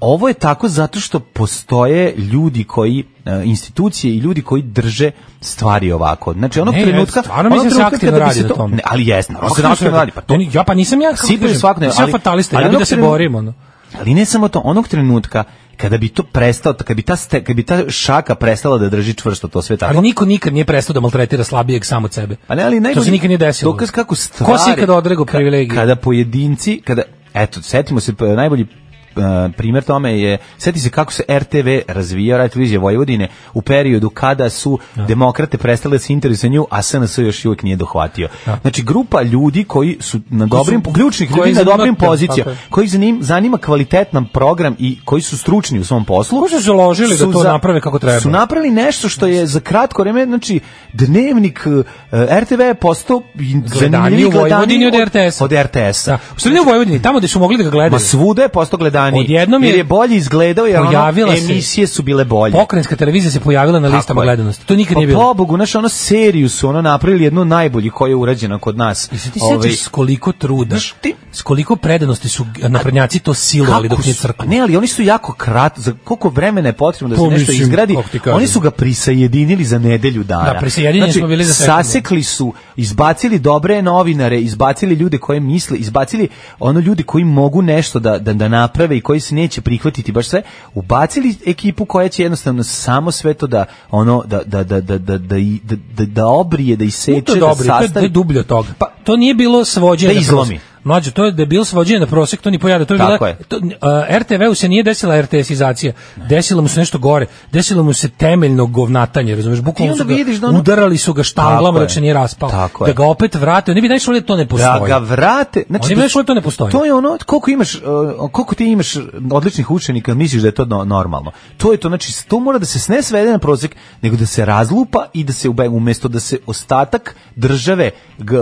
[SPEAKER 6] Ovo je tako zato što postoje ljudi koji, e, institucije i ljudi koji drže stvari ovako. Znači, onog
[SPEAKER 5] Ne, ja
[SPEAKER 6] trenutka...
[SPEAKER 5] stvarno
[SPEAKER 6] onog
[SPEAKER 5] mislim da se
[SPEAKER 6] trenutka
[SPEAKER 5] aktivno
[SPEAKER 6] kada bi
[SPEAKER 5] radi na tome.
[SPEAKER 6] Ne, ali jesno, naravno se
[SPEAKER 5] Kako
[SPEAKER 6] aktivno
[SPEAKER 5] što-
[SPEAKER 6] radi. Pa to,
[SPEAKER 5] Ja pa nisam ja, kako ti
[SPEAKER 6] Sipaju
[SPEAKER 5] kažem,
[SPEAKER 6] svakodnevno,
[SPEAKER 5] nisam ja
[SPEAKER 6] ali-
[SPEAKER 5] fatalista,
[SPEAKER 6] ali
[SPEAKER 5] ja bi
[SPEAKER 6] onog
[SPEAKER 5] da se
[SPEAKER 6] trenutka-
[SPEAKER 5] borim, ono.
[SPEAKER 6] Ali ne samo to, onog trenutka kada bi to prestao, kada bi ta, ste- kada bi ta šaka prestala da drži čvrsto to sve tako.
[SPEAKER 5] Ali niko nikad nije prestao da maltretira slabijeg samo od sebe.
[SPEAKER 6] Pa ne, ali najbolji
[SPEAKER 5] To se nikad nije desilo.
[SPEAKER 6] Dokaz kako stvari...
[SPEAKER 5] Ko se ikada odrego
[SPEAKER 6] ka-
[SPEAKER 5] privilegije?
[SPEAKER 6] Kada pojedinci, kada, eto, setimo se, p- najbolji e, primer tome je, seti se kako se RTV razvijao, Radio Televizija Vojvodine, u periodu kada su demokrate prestale da se interesuju nju, a SNS još uvijek nije dohvatio. Znači, grupa ljudi koji su na dobrim,
[SPEAKER 5] su-
[SPEAKER 6] ključnih
[SPEAKER 5] Da. koji
[SPEAKER 6] ljudi na
[SPEAKER 5] zanima-
[SPEAKER 6] dobrim
[SPEAKER 5] tako
[SPEAKER 6] pozicijama,
[SPEAKER 5] je.
[SPEAKER 6] koji zanim, zanima kvalitetan program i koji su stručni u svom poslu.
[SPEAKER 5] Koji su se ložili da
[SPEAKER 6] su
[SPEAKER 5] to naprave kako treba.
[SPEAKER 6] Su napravili nešto što je za kratko vreme, znači, dnevnik e, RTV je postao i
[SPEAKER 5] Gledaniji
[SPEAKER 6] zanimljiviji,
[SPEAKER 5] u Vojvodini
[SPEAKER 6] gledaniji
[SPEAKER 5] od RTS-a.
[SPEAKER 6] Od RTS-a.
[SPEAKER 5] Da. Što ne u Vojvodini, tamo gde su mogli da ga
[SPEAKER 6] Ma
[SPEAKER 5] gledaju.
[SPEAKER 6] svuda je postao gledaniji.
[SPEAKER 5] Odjednom je-
[SPEAKER 6] jer je bolje izgledao, jer ono,
[SPEAKER 5] Pojavila se-
[SPEAKER 6] emisije su bile bolje.
[SPEAKER 5] Pokrenjska televizija se pojavila na
[SPEAKER 6] Tako
[SPEAKER 5] listama
[SPEAKER 6] je.
[SPEAKER 5] gledanosti. To nikad
[SPEAKER 6] pa
[SPEAKER 5] nije bilo.
[SPEAKER 6] pobogu, znaš, ono seriju su ono napravili jednu od najboljih koja je urađena kod nas.
[SPEAKER 5] I se ti
[SPEAKER 6] Ovaj,
[SPEAKER 5] sjećaš s koliko truda,
[SPEAKER 6] Znaš, ti-
[SPEAKER 5] s koliko predanosti su naprednjaci to silovali dok
[SPEAKER 6] Kako
[SPEAKER 5] nije
[SPEAKER 6] su-
[SPEAKER 5] crkla.
[SPEAKER 6] Ne, ali oni su jako krat, za koliko vremena je potrebno da
[SPEAKER 5] Pa,
[SPEAKER 6] se nešto
[SPEAKER 5] mislim,
[SPEAKER 6] izgradi,
[SPEAKER 5] kako ti kažem.
[SPEAKER 6] oni su ga prisajedinili za nedelju dana.
[SPEAKER 5] Da, prisajedinjeni
[SPEAKER 6] Znači,
[SPEAKER 5] smo bili za sekundu.
[SPEAKER 6] sasekli su, izbacili dobre novinare, izbacili ljude koje misle, izbacili ono ljude koji mogu nešto da, da, da naprave i koji se neće prihvatiti baš sve, ubacili ekipu koja će jednostavno samo sve to da ono da da da da da da i- da, da, da obrije, da
[SPEAKER 5] Nije
[SPEAKER 6] iseče,
[SPEAKER 5] to dobro,
[SPEAKER 6] da
[SPEAKER 5] to je, to je
[SPEAKER 6] sastavi.
[SPEAKER 5] dublje od toga. Pa, to nije bilo svođenje. na
[SPEAKER 6] Da izlomi.
[SPEAKER 5] prosek. Mlađo, to je da je bilo svođenje na prosek, to ni pojada. To je
[SPEAKER 6] Tako
[SPEAKER 5] bila,
[SPEAKER 6] je.
[SPEAKER 5] To, a, RTV-u se nije desila RTS-izacija, desilo mu se nešto gore, desilo mu se temeljno govnatanje, razumeš, bukvalno
[SPEAKER 6] onda
[SPEAKER 5] su ga,
[SPEAKER 6] vidiš da ono-
[SPEAKER 5] udarali su ga štanglama
[SPEAKER 6] Tako
[SPEAKER 5] da
[SPEAKER 6] je.
[SPEAKER 5] se nije raspao,
[SPEAKER 6] Tako
[SPEAKER 5] da
[SPEAKER 6] je.
[SPEAKER 5] ga opet vrate, oni bi najviše volili da to ne postoji.
[SPEAKER 6] da ga vrate.
[SPEAKER 5] Oni bi rekli da to ne postoji.
[SPEAKER 6] To je ono koliko imaš uh, koliko ti imaš odličnih učenika, misliš da je to no- normalno. To je to znači to mora da se ne svede na prosek, nego da se razlupa i da se ube- umesto da se ostatak države g-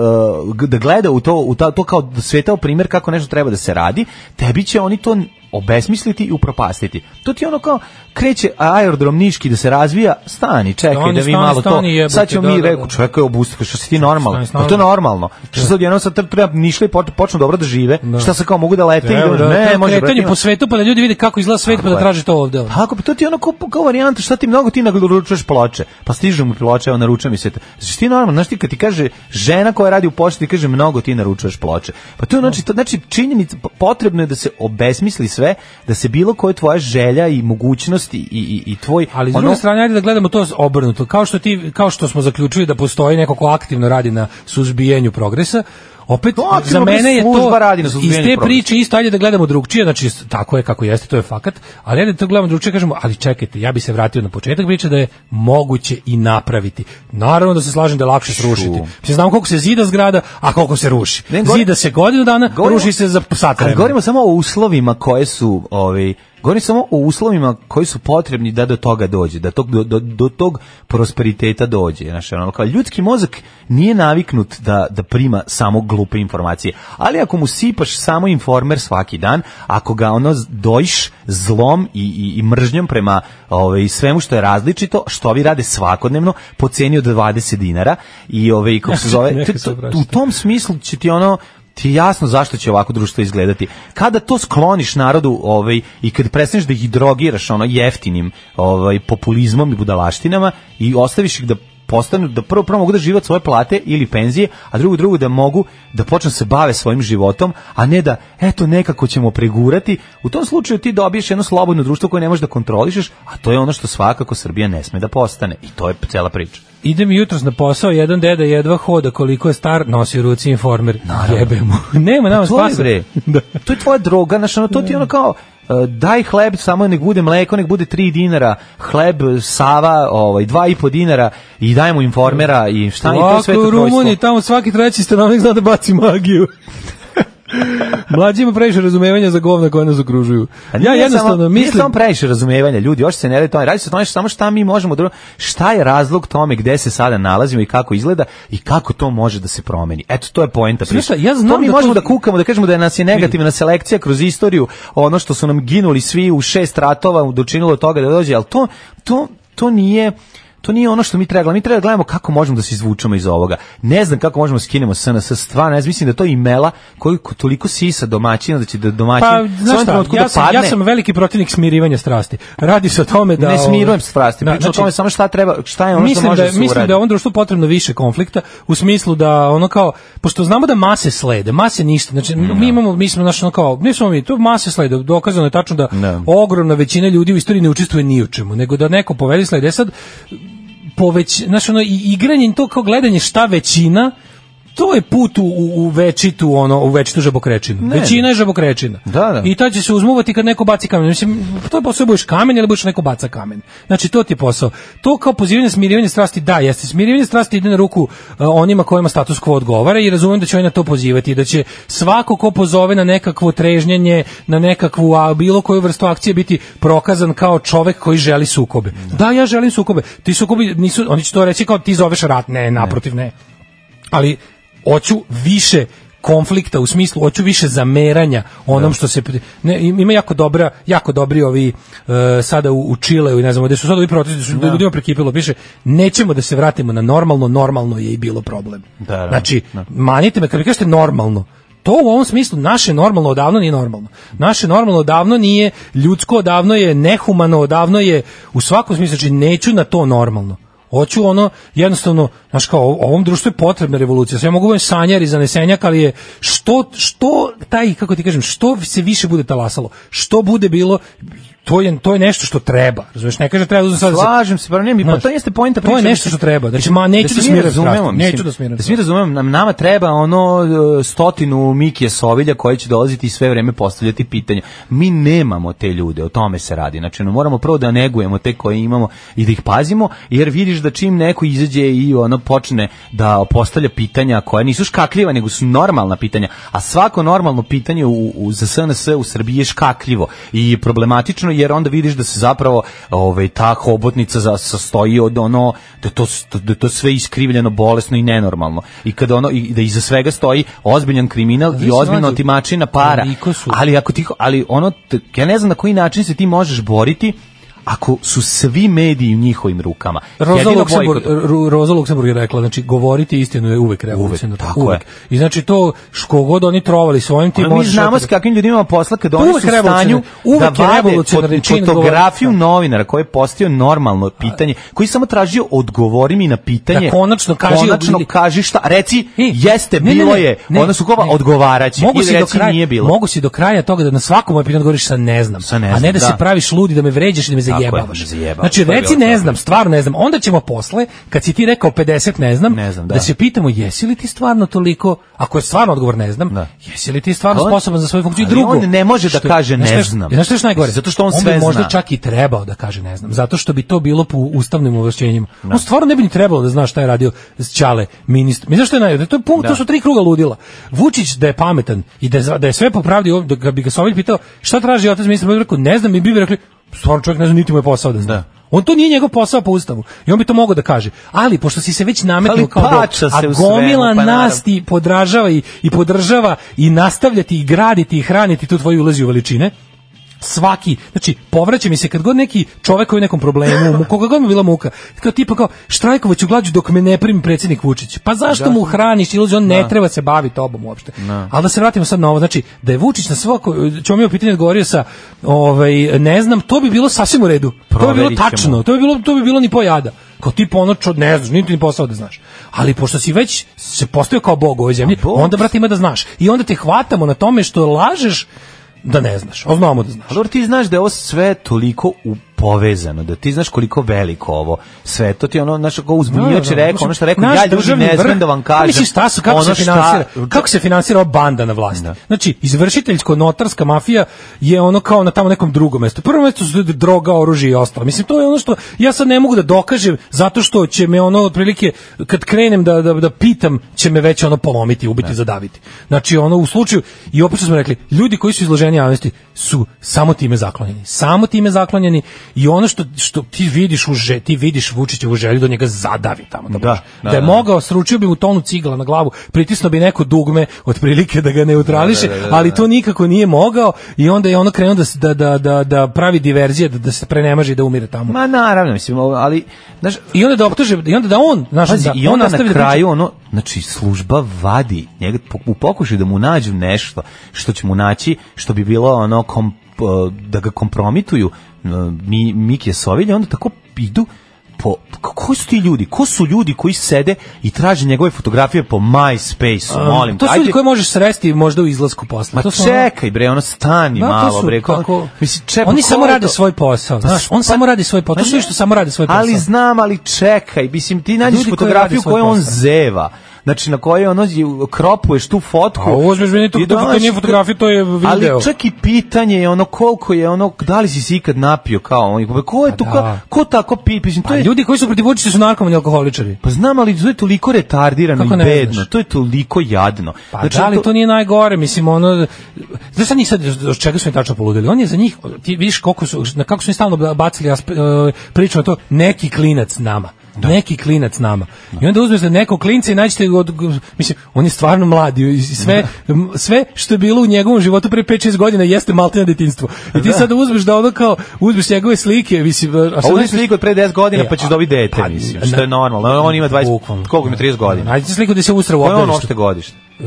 [SPEAKER 6] g- da gleda u to u ta, to kao svetao primjer kako nešto treba da se radi, tebi će oni to obesmisliti i upropastiti. To ti je ono kao kreće aerodrom Niški da se razvija, stani, čekaj
[SPEAKER 5] Stani,
[SPEAKER 6] da vi
[SPEAKER 5] stani,
[SPEAKER 6] malo
[SPEAKER 5] stani,
[SPEAKER 6] to.
[SPEAKER 5] jebote,
[SPEAKER 6] sad ćemo
[SPEAKER 5] da,
[SPEAKER 6] mi
[SPEAKER 5] da,
[SPEAKER 6] reku,
[SPEAKER 5] da.
[SPEAKER 6] čovjek je obustio, što si ti normalno?
[SPEAKER 5] Stani,
[SPEAKER 6] Pa to je
[SPEAKER 5] stani.
[SPEAKER 6] normalno. Što
[SPEAKER 5] Da.
[SPEAKER 6] sad jedno sad tr- treba nišli i poč- počnu dobro da žive. Šta se kao mogu da lete i
[SPEAKER 5] Evo,
[SPEAKER 6] da,
[SPEAKER 5] da,
[SPEAKER 6] ne,
[SPEAKER 5] to je
[SPEAKER 6] može brate,
[SPEAKER 5] kretanje
[SPEAKER 6] ima-
[SPEAKER 5] po svetu pa da ljudi vide kako izgleda svet pa da
[SPEAKER 6] je.
[SPEAKER 5] traže to ovde. ono.
[SPEAKER 6] Pa ako bi to ti je ono kao, kao varijanta, šta ti mnogo ti naručuješ ploče? Pa stižu mu ploče, evo naručujem mi se. Znači ti normalno, znaš ti kad ti kaže žena koja radi u pošti, ti kaže mnogo ti naručuješ ploče. Pa to je znači, to, znači činjenica, p- potrebno je da se obesmisli sve, da se bilo koja tvoja želja i mogućnosti i, i, i tvoj...
[SPEAKER 5] Ali s druge strane ajde da gledamo to obrnuto. Kao što ti kao što smo zaključili da postoji neko ko aktivno radi na suzbijanju progresa, opet
[SPEAKER 6] To aktivno
[SPEAKER 5] za mene je
[SPEAKER 6] služba
[SPEAKER 5] to
[SPEAKER 6] radi na
[SPEAKER 5] iz
[SPEAKER 6] suzbijanju
[SPEAKER 5] te
[SPEAKER 6] progresa.
[SPEAKER 5] priče isto ajde da gledamo drugčije, znači s- tako je kako jeste, to je fakat, ali ajde da to gledamo drugčije, kažemo, ali čekajte, ja bi se vratio na početak priče da je moguće i napraviti. Naravno da se slažem da je lakše srušiti. Mislim znam koliko se zida zgrada, a koliko se ruši.
[SPEAKER 6] Ne, govorim-
[SPEAKER 5] zida se godinu dana,
[SPEAKER 6] Govorimo-
[SPEAKER 5] ruši se za sat
[SPEAKER 6] Ali
[SPEAKER 5] vremena.
[SPEAKER 6] govorimo samo o uslovima koje su, ovaj, govorimo samo o uslovima koji su potrebni da do toga dođe, da tog, do, do, do tog prosperiteta dođe. Znaš, ono, kao ljudski mozak nije naviknut da, da prima samo glupe informacije, ali ako mu sipaš samo informer svaki dan, ako ga ono z- dojiš zlom i, i, i mržnjom prema ovaj, svemu što je različito, što vi rade svakodnevno, po ceni od 20 dinara i ovaj, kako se zove,
[SPEAKER 5] Neka
[SPEAKER 6] to-
[SPEAKER 5] se
[SPEAKER 6] to-
[SPEAKER 5] obraća.
[SPEAKER 6] u tom smislu će ti ono ti je jasno zašto će ovako društvo izgledati. Kada to skloniš narodu ovaj, i kad prestaneš da ih drogiraš ono jeftinim ovaj, populizmom i budalaštinama i ostaviš ih da postanu da prvo prvo mogu da žive od svoje plate ili penzije, a drugo drugo da mogu da počnu se bave svojim životom, a ne da eto nekako ćemo pregurati. U tom slučaju ti dobiješ jedno slobodno društvo koje ne možeš da kontrolišeš, a to je ono što svakako Srbija ne sme da postane i to je cela priča.
[SPEAKER 5] Idem jutros na posao, jedan deda jedva hoda, koliko je star, nosi u ruci informer. Jebe mu. Nema nama
[SPEAKER 6] Pa to je
[SPEAKER 5] spasa.
[SPEAKER 6] bre. To je tvoja droga, znaš, ono, to ti je ono kao e, daj hleb, samo nek bude mleko, nek bude 3 dinara, hleb, sava, ovaj, 2,5 dinara i daj mu informera i šta mi to
[SPEAKER 5] Ovako
[SPEAKER 6] sve
[SPEAKER 5] u
[SPEAKER 6] to
[SPEAKER 5] Rumuniji,
[SPEAKER 6] trojstvo.
[SPEAKER 5] tamo svaki treći stanovnik zna da baci magiju. Mlađi ima previše razumevanja za govna koja nas okružuju.
[SPEAKER 6] A
[SPEAKER 5] Ja
[SPEAKER 6] nije
[SPEAKER 5] jednostavno
[SPEAKER 6] samo, Nije
[SPEAKER 5] mislim...
[SPEAKER 6] samo previše razumevanja, ljudi, još se ne radi o tome, radi se o tome samo šta mi možemo drugo, šta je razlog tome gde se sada nalazimo i kako izgleda i kako to može da se promeni. Eto, to je poenta priče.
[SPEAKER 5] šta, ja znam
[SPEAKER 6] to mi
[SPEAKER 5] da to-
[SPEAKER 6] možemo da kukamo, da kažemo da je nas je negativna selekcija kroz istoriju, ono što su nam ginuli svi u šest ratova, dočinilo od toga da dođe, ali to, to, to nije... To nije ono što mi treba gledamo. Mi treba da gledamo kako možemo da se izvučemo iz ovoga. Ne znam kako možemo da skinemo SNS, stvarno, ja mislim da to i mela koji toliko sisa domaćina da će da domaćin
[SPEAKER 5] Pa,
[SPEAKER 6] u
[SPEAKER 5] znaš
[SPEAKER 6] svom
[SPEAKER 5] šta,
[SPEAKER 6] trenutku
[SPEAKER 5] ja
[SPEAKER 6] da
[SPEAKER 5] sam, ja
[SPEAKER 6] padne.
[SPEAKER 5] sam veliki protivnik smirivanja strasti. Radi se o tome da...
[SPEAKER 6] ne
[SPEAKER 5] ovaj,
[SPEAKER 6] smirujem strasti,
[SPEAKER 5] da,
[SPEAKER 6] pričam o tome samo šta treba, šta je ono što
[SPEAKER 5] mislim
[SPEAKER 6] može
[SPEAKER 5] da
[SPEAKER 6] da, se
[SPEAKER 5] mislim
[SPEAKER 6] uradi.
[SPEAKER 5] da je ovom društvu potrebno više konflikta u smislu da ono kao pošto znamo da mase slede, mase ništa. Znači
[SPEAKER 6] Da.
[SPEAKER 5] mi imamo mi smo znači ono kao ne smo mi to mase slede, dokazano je tačno da
[SPEAKER 6] Da.
[SPEAKER 5] ogromna većina ljudi u istoriji ne učestvuje ni u čemu, nego da neko povede slede E sad poveć, znači ono i igranje to kao gledanje šta većina to je put u, u, u večitu ono u večitu žabokrečinu.
[SPEAKER 6] Ne.
[SPEAKER 5] Većina je žabokrečina.
[SPEAKER 6] Da, da.
[SPEAKER 5] I tad će se uzmuvati kad neko baci kamen. Mislim, to je posao, budeš kamen ili budeš neko baca kamen. Znači, to ti je posao. To kao pozivanje smirivanje strasti, da, jeste. Smirivanje strasti ide na ruku e, onima kojima status quo odgovara i razumijem da će oni na to pozivati i da će svako ko pozove na nekakvo trežnjenje, na nekakvu a, bilo koju vrstu akcije biti prokazan kao čovek koji želi sukobe. Da, ja želim sukobe. Ti sukobi nisu, oni će to reći kao ti zoveš rat. Ne, naprotiv, ne ali hoću više konflikta u smislu hoću više zameranja onom
[SPEAKER 6] Da.
[SPEAKER 5] što se pri- ne, im- ima jako dobra jako dobri ovi e, sada u, u Čileu i ne znam gde su sad ovi protesti su da. ljudima prekipilo piše nećemo da se vratimo na normalno normalno je i bilo problem
[SPEAKER 6] Da, da,
[SPEAKER 5] znači
[SPEAKER 6] da.
[SPEAKER 5] manite me kad vi kažete normalno To u ovom smislu naše normalno odavno nije normalno. Naše normalno odavno nije ljudsko, odavno je nehumano, odavno je u svakom smislu, znači neću na to normalno. Hoću ono, jednostavno, znaš kao, o- ovom društvu je potrebna revolucija. Sve ja mogu da budem sanjar i zanesenjak, ali je što, što taj, kako ti kažem, što se više bude talasalo, što bude bilo, to je, to je nešto što treba. Razumeš, ne kaže treba da uzmem sad... da se-
[SPEAKER 6] Slažem se, pa ne, mi- pa
[SPEAKER 5] Znaš,
[SPEAKER 6] to jeste poenta
[SPEAKER 5] To je
[SPEAKER 6] priče,
[SPEAKER 5] nešto
[SPEAKER 6] mislim-
[SPEAKER 5] što treba. Znači, ma, neću da,
[SPEAKER 6] se mi
[SPEAKER 5] smirim
[SPEAKER 6] razumemo,
[SPEAKER 5] strasti,
[SPEAKER 6] mislim,
[SPEAKER 5] Neću da smirim
[SPEAKER 6] Da se mi razumemo, nam, nama treba ono e, stotinu Mikije Sovilja koji će dolaziti i sve vreme postavljati pitanja. Mi nemamo te ljude, o tome se radi. Znači, no, moramo prvo da negujemo te koje imamo i da ih pazimo, jer vidiš da čim neko izađe i ono počne da postavlja pitanja koja nisu škakljiva, nego su normalna pitanja. A svako normalno pitanje u, u, za SNS u Srbiji je škakljivo i problematično jer onda vidiš da se zapravo ovaj ta hobotnica za- sastoji od ono da je to s- da je to sve iskrivljeno, bolesno i nenormalno. I kada ono i da iza svega stoji ozbiljan kriminal
[SPEAKER 5] Ali
[SPEAKER 6] i
[SPEAKER 5] se
[SPEAKER 6] ozbiljna
[SPEAKER 5] nađu-
[SPEAKER 6] otimačina para.
[SPEAKER 5] Koliko su-
[SPEAKER 6] Ali ako ti ali ono t- ja ne znam na koji način se ti možeš boriti ako su svi mediji u njihovim rukama.
[SPEAKER 5] Roza
[SPEAKER 6] Jedino
[SPEAKER 5] Luksemburg,
[SPEAKER 6] bojkot-
[SPEAKER 5] Ru- Roza Luksemburg je rekla, znači govoriti istinu je uvek revolucionarno.
[SPEAKER 6] tako je.
[SPEAKER 5] I znači to što god oni trovali svojim tim
[SPEAKER 6] Ali mi znamo s kakvim ljudima imamo posla kada oni
[SPEAKER 5] da Pa Uvek
[SPEAKER 6] su u stanju
[SPEAKER 5] revolucionarni, uvek
[SPEAKER 6] da
[SPEAKER 5] je
[SPEAKER 6] vade
[SPEAKER 5] revolucionarni
[SPEAKER 6] fot-
[SPEAKER 5] čin
[SPEAKER 6] fotografiju
[SPEAKER 5] govoriti.
[SPEAKER 6] novinara koji je postio normalno pitanje, koji je samo tražio odgovori mi na pitanje.
[SPEAKER 5] Da konačno kaži-
[SPEAKER 6] konačno kaži šta, reci
[SPEAKER 5] I,
[SPEAKER 6] jeste,
[SPEAKER 5] ne, ne,
[SPEAKER 6] bilo
[SPEAKER 5] ne,
[SPEAKER 6] je,
[SPEAKER 5] ne,
[SPEAKER 6] onda su kova
[SPEAKER 5] ne.
[SPEAKER 6] odgovaraći
[SPEAKER 5] Mogu
[SPEAKER 6] ili
[SPEAKER 5] si, do
[SPEAKER 6] reci
[SPEAKER 5] kraja,
[SPEAKER 6] nije bilo.
[SPEAKER 5] mogu si do kraja toga da na svakom moje pitanje odgovoriš sa ne znam,
[SPEAKER 6] Sa ne znam,
[SPEAKER 5] a ne da,
[SPEAKER 6] da.
[SPEAKER 5] se praviš ludi da me vređaš i da me
[SPEAKER 6] Tako je,
[SPEAKER 5] zajebavaš.
[SPEAKER 6] da me zajebavaš,
[SPEAKER 5] znači
[SPEAKER 6] to je
[SPEAKER 5] reci
[SPEAKER 6] bilo
[SPEAKER 5] ne
[SPEAKER 6] to.
[SPEAKER 5] znam, stvarno ne znam. Onda ćemo posle, kad si ti rekao 50 ne znam,
[SPEAKER 6] Ne znam,
[SPEAKER 5] da.
[SPEAKER 6] da.
[SPEAKER 5] se pitamo jesi li ti stvarno toliko, ako je stvarno odgovor ne znam,
[SPEAKER 6] Da.
[SPEAKER 5] jesi li ti stvarno
[SPEAKER 6] Ali on-
[SPEAKER 5] sposoban za svoju funkciju I
[SPEAKER 6] ali
[SPEAKER 5] drugo.
[SPEAKER 6] on ne može da
[SPEAKER 5] što-
[SPEAKER 6] kaže
[SPEAKER 5] znaš
[SPEAKER 6] ne
[SPEAKER 5] šta-
[SPEAKER 6] znam.
[SPEAKER 5] Znaš šta je još najgore?
[SPEAKER 6] Zato što on sve
[SPEAKER 5] bi možda
[SPEAKER 6] zna.
[SPEAKER 5] čak i trebao da kaže ne znam, zato što bi to bilo po ustavnim ovlašćenjima. On stvarno ne bi ni trebalo da zna šta je radio s Ćale ministar. Mi znaš šta je najgore? To je punkt,
[SPEAKER 6] Da.
[SPEAKER 5] to su tri kruga ludila. Vučić da je pametan i da, je za- da je sve popravdio, da ga bi ga Sovilj pitao šta traži otac ministra, bi rekao ne znam i bi bi rekli stvarno čovjek ne zna niti mu je posao da zna.
[SPEAKER 6] Da.
[SPEAKER 5] On to nije njegov posao po ustavu. I on bi to mogao da kaže. Ali pošto si se već nametnuo
[SPEAKER 6] Ali
[SPEAKER 5] kao do-
[SPEAKER 6] pača se
[SPEAKER 5] a
[SPEAKER 6] u svemu,
[SPEAKER 5] gomila
[SPEAKER 6] pa naravno.
[SPEAKER 5] nas ti podražava i, i podržava i nastavljati i graditi i hraniti tu tvoju ulazi u veličine svaki, znači povraća mi se kad god neki čovek koji je u nekom problemu, mu- koga god mu bila muka, kao tipa kao štrajkovaću glađu dok me ne primi predsjednik Vučić. Pa zašto mu hraniš iluziju, on ne
[SPEAKER 6] Da.
[SPEAKER 5] treba se baviti tobom uopšte. Ali da se vratimo sad na ovo, znači da je Vučić na svako, ćemo mi pitanje odgovorio sa ovaj, ne znam, to bi bilo sasvim u redu. to bi
[SPEAKER 6] Proverit
[SPEAKER 5] bilo
[SPEAKER 6] ćemo.
[SPEAKER 5] tačno, to bi bilo, to bi bilo ni pojada. Kao ti ponoć ne znaš, niti ni posao da znaš. Ali pošto si već se postavio kao bog u ovoj zemlji,
[SPEAKER 6] bog.
[SPEAKER 5] onda brate ima da znaš. I onda te hvatamo na tome što lažeš da ne znaš. A znamo da znaš.
[SPEAKER 6] Ali dobro, ti znaš da je ovo sve toliko u- povezano, da ti znaš koliko veliko ovo sve, to ti je ono, znaš, ako
[SPEAKER 5] Da,
[SPEAKER 6] uzbunjivač je rekao, ono što je rekao,
[SPEAKER 5] Naš
[SPEAKER 6] ja ljudi
[SPEAKER 5] državni
[SPEAKER 6] ne
[SPEAKER 5] vrh- pa
[SPEAKER 6] znam da vam kažem.
[SPEAKER 5] Misliš, šta su, kako, se
[SPEAKER 6] ono
[SPEAKER 5] finansira,
[SPEAKER 6] šta-
[SPEAKER 5] kako se finansira ova banda na vlasti?
[SPEAKER 6] Da.
[SPEAKER 5] Znači, izvršiteljsko-notarska mafija je ono kao na tamo nekom drugom mestu. Prvo mesto su droga, oružje i ostalo. Mislim, to je ono što ja sad ne mogu da dokažem zato što će me ono, otprilike, kad krenem da, da, da pitam, će me već ono polomiti, ubiti,
[SPEAKER 6] Da.
[SPEAKER 5] zadaviti. Znači, ono, u slučaju, i opet što smo rekli, ljudi koji su izloženi javnosti su samo time zaklonjeni. Samo time zaklonjeni i ono što, što ti vidiš u že, ti vidiš Vučićevu želju da njega zadavi tamo. Da,
[SPEAKER 6] Da,
[SPEAKER 5] može.
[SPEAKER 6] da,
[SPEAKER 5] da je
[SPEAKER 6] da, da.
[SPEAKER 5] mogao, sručio bi mu tonu cigla na glavu, pritisnuo bi neko dugme otprilike da ga neutrališe, ali to nikako nije mogao i onda je ono krenuo da, s- da, da, da, da pravi diverzije, da, da se prenemaže i da umire tamo.
[SPEAKER 6] Ma naravno, mislim, ovo, ali, znaš,
[SPEAKER 5] I onda da optuže, i onda da on, znaš,
[SPEAKER 6] Pazi,
[SPEAKER 5] da,
[SPEAKER 6] i onda
[SPEAKER 5] nastavi
[SPEAKER 6] na
[SPEAKER 5] da priča-
[SPEAKER 6] kraju ono, znači služba vadi njega po- u pokušaju da mu nađu nešto što će mu naći, što bi bilo ono kom, da ga kompromituju eh, mi, Mike Sovilje, onda tako idu po, ko- ko su ti ljudi? Ko su ljudi koji sede i traže njegove fotografije po MySpace-u, molim?
[SPEAKER 5] Um, to
[SPEAKER 6] te,
[SPEAKER 5] su ljudi
[SPEAKER 6] ajde.
[SPEAKER 5] koje možeš sresti možda u izlasku posle.
[SPEAKER 6] Ma
[SPEAKER 5] to su ono-
[SPEAKER 6] čekaj bre, ono stani
[SPEAKER 5] Da, to
[SPEAKER 6] malo
[SPEAKER 5] su
[SPEAKER 6] bre. ko-
[SPEAKER 5] tako-
[SPEAKER 6] mislim, čekaj,
[SPEAKER 5] Oni
[SPEAKER 6] ko
[SPEAKER 5] samo
[SPEAKER 6] je
[SPEAKER 5] rade
[SPEAKER 6] to?
[SPEAKER 5] svoj posao,
[SPEAKER 6] Pa
[SPEAKER 5] znaš,
[SPEAKER 6] s-
[SPEAKER 5] on
[SPEAKER 6] pa-
[SPEAKER 5] samo radi svoj posao, to su
[SPEAKER 6] ne,
[SPEAKER 5] ljudi što samo rade svoj posao.
[SPEAKER 6] Ali znam, ali čekaj, mislim ti nađeš
[SPEAKER 5] Ljudi koji rade
[SPEAKER 6] fotografiju
[SPEAKER 5] svoj
[SPEAKER 6] koju on
[SPEAKER 5] posao.
[SPEAKER 6] zeva. Znači na kojoj ono je- kropuješ tu fotku.
[SPEAKER 5] A uzmeš meni to-
[SPEAKER 6] i
[SPEAKER 5] to- to
[SPEAKER 6] daš-
[SPEAKER 5] nije fotografija, to je video.
[SPEAKER 6] Ali čak i pitanje je ono koliko je ono da li si se ikad napio kao on. Ko je to
[SPEAKER 5] Pa
[SPEAKER 6] ko,
[SPEAKER 5] da.
[SPEAKER 6] ko tako pi, mislim to
[SPEAKER 5] Pa
[SPEAKER 6] je
[SPEAKER 5] ljudi koji su protiv Vučića su narkomani i alkoholičari.
[SPEAKER 6] Pa znam, ali to je toliko retardirano
[SPEAKER 5] Kako
[SPEAKER 6] i
[SPEAKER 5] ne
[SPEAKER 6] bedno.
[SPEAKER 5] znaš?
[SPEAKER 6] To je toliko jadno.
[SPEAKER 5] Pa da li
[SPEAKER 6] Znači, to-
[SPEAKER 5] to nije najgore, mislim ono znaš šta njih sad od čega su oni tačno poludeli? On je za njih ti vidiš koliko su na kako su oni stalno bacili aspe- e, priču na to neki klinac nama.
[SPEAKER 6] Da.
[SPEAKER 5] Neki klinac nama. I onda uzmeš da nekog klinca i nađete ga od mislim on je stvarno mlad i i sve
[SPEAKER 6] Da.
[SPEAKER 5] m, sve što je bilo u njegovom životu pre 5-6 godina jeste maltene detinjstvo. I ti sad uzmeš da ono kao uzmeš njegove slike, mislim a sad
[SPEAKER 6] A uzmi
[SPEAKER 5] nađeš-
[SPEAKER 6] sliku od pre 10 godina
[SPEAKER 5] E,
[SPEAKER 6] pa ćeš
[SPEAKER 5] a-
[SPEAKER 6] dobiti dete,
[SPEAKER 5] pa,
[SPEAKER 6] mislim,
[SPEAKER 5] na-
[SPEAKER 6] što je normalno. On ima 20,
[SPEAKER 5] Bukvalno.
[SPEAKER 6] koliko ima 30 godina.
[SPEAKER 5] Nađete sliku da se usra u
[SPEAKER 6] Koje je on
[SPEAKER 5] obdaništu.
[SPEAKER 6] opšte godište?
[SPEAKER 5] E,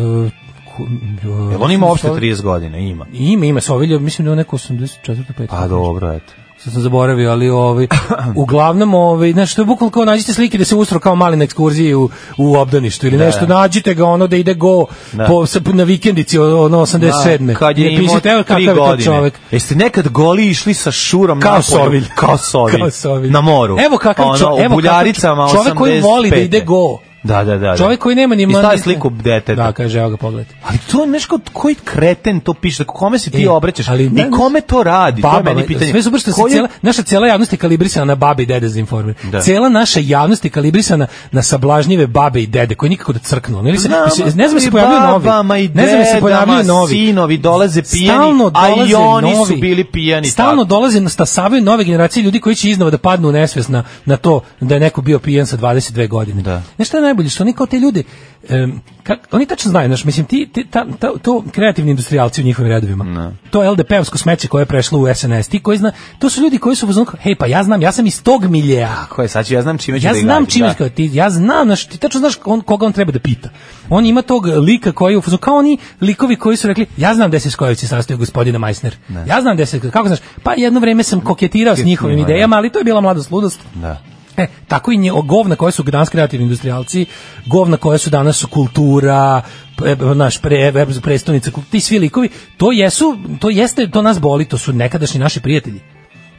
[SPEAKER 5] ko- Pa
[SPEAKER 6] Jel on ima opšte
[SPEAKER 5] Sovilj-
[SPEAKER 6] 30 godina? Ima.
[SPEAKER 5] Ima, ima Sovilja, mislim da je on neko 84. 5.
[SPEAKER 6] Pa dobro, eto.
[SPEAKER 5] Sad sam zaboravio, ali ovaj, uglavnom, ovaj, znaš, to je bukvalno kao nađite slike da se ustro kao mali na ekskurziji u, u obdaništu ili nešto, nađite ga ono da ide go
[SPEAKER 6] Da.
[SPEAKER 5] po, sa- na vikendici ono 87.
[SPEAKER 6] Da, kad je
[SPEAKER 5] Ne
[SPEAKER 6] imao
[SPEAKER 5] pišite, evo kakav
[SPEAKER 6] tri
[SPEAKER 5] je to
[SPEAKER 6] godine.
[SPEAKER 5] čovek.
[SPEAKER 6] Jeste nekad goli išli sa šurom
[SPEAKER 5] Kao
[SPEAKER 6] na
[SPEAKER 5] Sovilj.
[SPEAKER 6] Kao sovilj.
[SPEAKER 5] Kao Sovilj.
[SPEAKER 6] Na moru.
[SPEAKER 5] Evo kakav
[SPEAKER 6] ono,
[SPEAKER 5] čo- evo
[SPEAKER 6] u buljaricama
[SPEAKER 5] kakav čovek koji voli da
[SPEAKER 6] 85.
[SPEAKER 5] ide go.
[SPEAKER 6] Da, da, da.
[SPEAKER 5] Čovjek koji nema ni
[SPEAKER 6] I stavi
[SPEAKER 5] mandata.
[SPEAKER 6] sliku deteta.
[SPEAKER 5] Da, kaže, evo ga pogledaj.
[SPEAKER 6] Ali to je nešto koji kreten to piše, tako kome se ti
[SPEAKER 5] E,
[SPEAKER 6] obraćaš
[SPEAKER 5] ali
[SPEAKER 6] i
[SPEAKER 5] ne-
[SPEAKER 6] kome to radi, to je
[SPEAKER 5] Baba,
[SPEAKER 6] meni pitanje.
[SPEAKER 5] Sve super što se
[SPEAKER 6] Koji-
[SPEAKER 5] cijela, naša cijela javnost je kalibrisana na babe i dede za informer.
[SPEAKER 6] Da.
[SPEAKER 5] Cijela naša javnost je kalibrisana na sablažnjive babe i dede koji nikako da crknu. Ne, znam,
[SPEAKER 6] Znamo,
[SPEAKER 5] mislim, ne znam da se
[SPEAKER 6] ali
[SPEAKER 5] pojavljuju
[SPEAKER 6] babama
[SPEAKER 5] novi.
[SPEAKER 6] i
[SPEAKER 5] Ne znam da se
[SPEAKER 6] dedama,
[SPEAKER 5] pojavljuju novi.
[SPEAKER 6] sinovi dolaze pijani,
[SPEAKER 5] Stalno
[SPEAKER 6] a i
[SPEAKER 5] dolaze
[SPEAKER 6] oni su
[SPEAKER 5] novi.
[SPEAKER 6] bili pijani,
[SPEAKER 5] Stalno
[SPEAKER 6] tako.
[SPEAKER 5] dolaze, stasavaju nove generacije ljudi koji će iznova da padnu u nesvest na, na to da je neko bio pijan sa 22 godine.
[SPEAKER 6] Da.
[SPEAKER 5] Znaš šta je najbolje? Što oni kao te ljude, em, kak- oni tačno znaju, znaš, mislim, ti, ti- ta, ta- to kreativni industrijalci u njihovim redovima, to LDP-ovsko smeće koje je prešlo u SNS, ti koji zna, to su ljudi koji su u fazonu kao, hej, pa ja znam, ja sam iz tog miljeja.
[SPEAKER 6] Tako je, sad ću, ja znam čime ću
[SPEAKER 5] Ja
[SPEAKER 6] da
[SPEAKER 5] znam
[SPEAKER 6] igradim,
[SPEAKER 5] čime
[SPEAKER 6] da.
[SPEAKER 5] kao ti, ja znam, znaš, ti tačno znaš on, koga on treba da pita. On ima tog lika koji je u fazonu, kao oni likovi koji su rekli, ja znam gde se Skojevići sastoji gospodina Majsner. Ja znam gde se, kako znaš, pa jedno vreme sam koketirao s njihovim
[SPEAKER 6] Koketirao, da.
[SPEAKER 5] idejama, ali to je bila mladost ludost.
[SPEAKER 6] Da.
[SPEAKER 5] E, tako i nje, o, govna koje su danas kreativni industrijalci, govna koje su danas su kultura, pre, naš pre, pre- predstavnica, kul- ti svi likovi, to jesu, to jeste, to nas boli, to su nekadašnji naši prijatelji.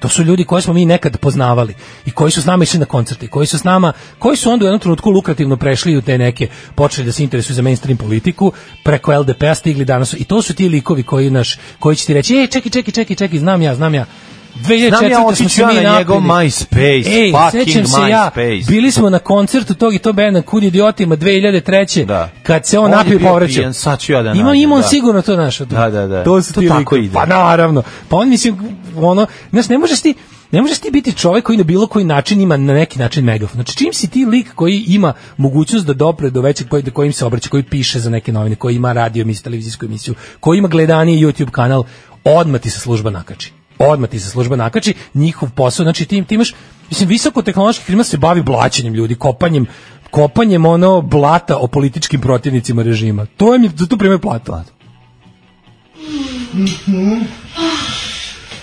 [SPEAKER 5] To su ljudi koje smo mi nekad poznavali i koji su s nama išli na koncerte, i koji su s nama, koji su onda u jednom trenutku lukrativno prešli u te neke, počeli da se interesuju za mainstream politiku, preko LDP-a stigli danas. I to su ti likovi koji naš, koji će ti reći, ej, čekaj, čekaj, čekaj, čekaj, znam ja, znam ja. 2004.
[SPEAKER 6] Znam ja,
[SPEAKER 5] smo
[SPEAKER 6] otiću
[SPEAKER 5] se
[SPEAKER 6] ja
[SPEAKER 5] mi
[SPEAKER 6] na njegov
[SPEAKER 5] napili.
[SPEAKER 6] MySpace,
[SPEAKER 5] Ej,
[SPEAKER 6] fucking
[SPEAKER 5] sećam se ja,
[SPEAKER 6] MySpace.
[SPEAKER 5] bili smo na koncertu tog i to benda Kud idiotima 2003.
[SPEAKER 6] Da.
[SPEAKER 5] Kad se on,
[SPEAKER 6] On je
[SPEAKER 5] napio i
[SPEAKER 6] bio
[SPEAKER 5] povraćao.
[SPEAKER 6] pijan, sad ću ja da
[SPEAKER 5] Ima,
[SPEAKER 6] nađem,
[SPEAKER 5] ima on
[SPEAKER 6] da.
[SPEAKER 5] sigurno to našo.
[SPEAKER 6] Da, da, da.
[SPEAKER 5] To su
[SPEAKER 6] To
[SPEAKER 5] ti
[SPEAKER 6] tako
[SPEAKER 5] likovi.
[SPEAKER 6] ide.
[SPEAKER 5] Pa naravno. Pa on mislim, ono, znaš, ne možeš ti, ne možeš ti biti čovjek koji na bilo koji način ima na neki način megafon. Znači, čim si ti lik koji ima mogućnost da dopre do većeg koji, kojim se obraća, koji piše za neke novine, koji ima radio emisiju, televizijsku emisiju, koji ima gledanije YouTube kanal, odmah ti se služba nakači. Odmah ti se služba nakači, njihov posao, znači ti, ti imaš, mislim, visoko tehnološki firma se bavi blaćenjem ljudi, kopanjem, kopanjem ono blata o političkim protivnicima režima. To im je, za to primaju platu.
[SPEAKER 6] Pa,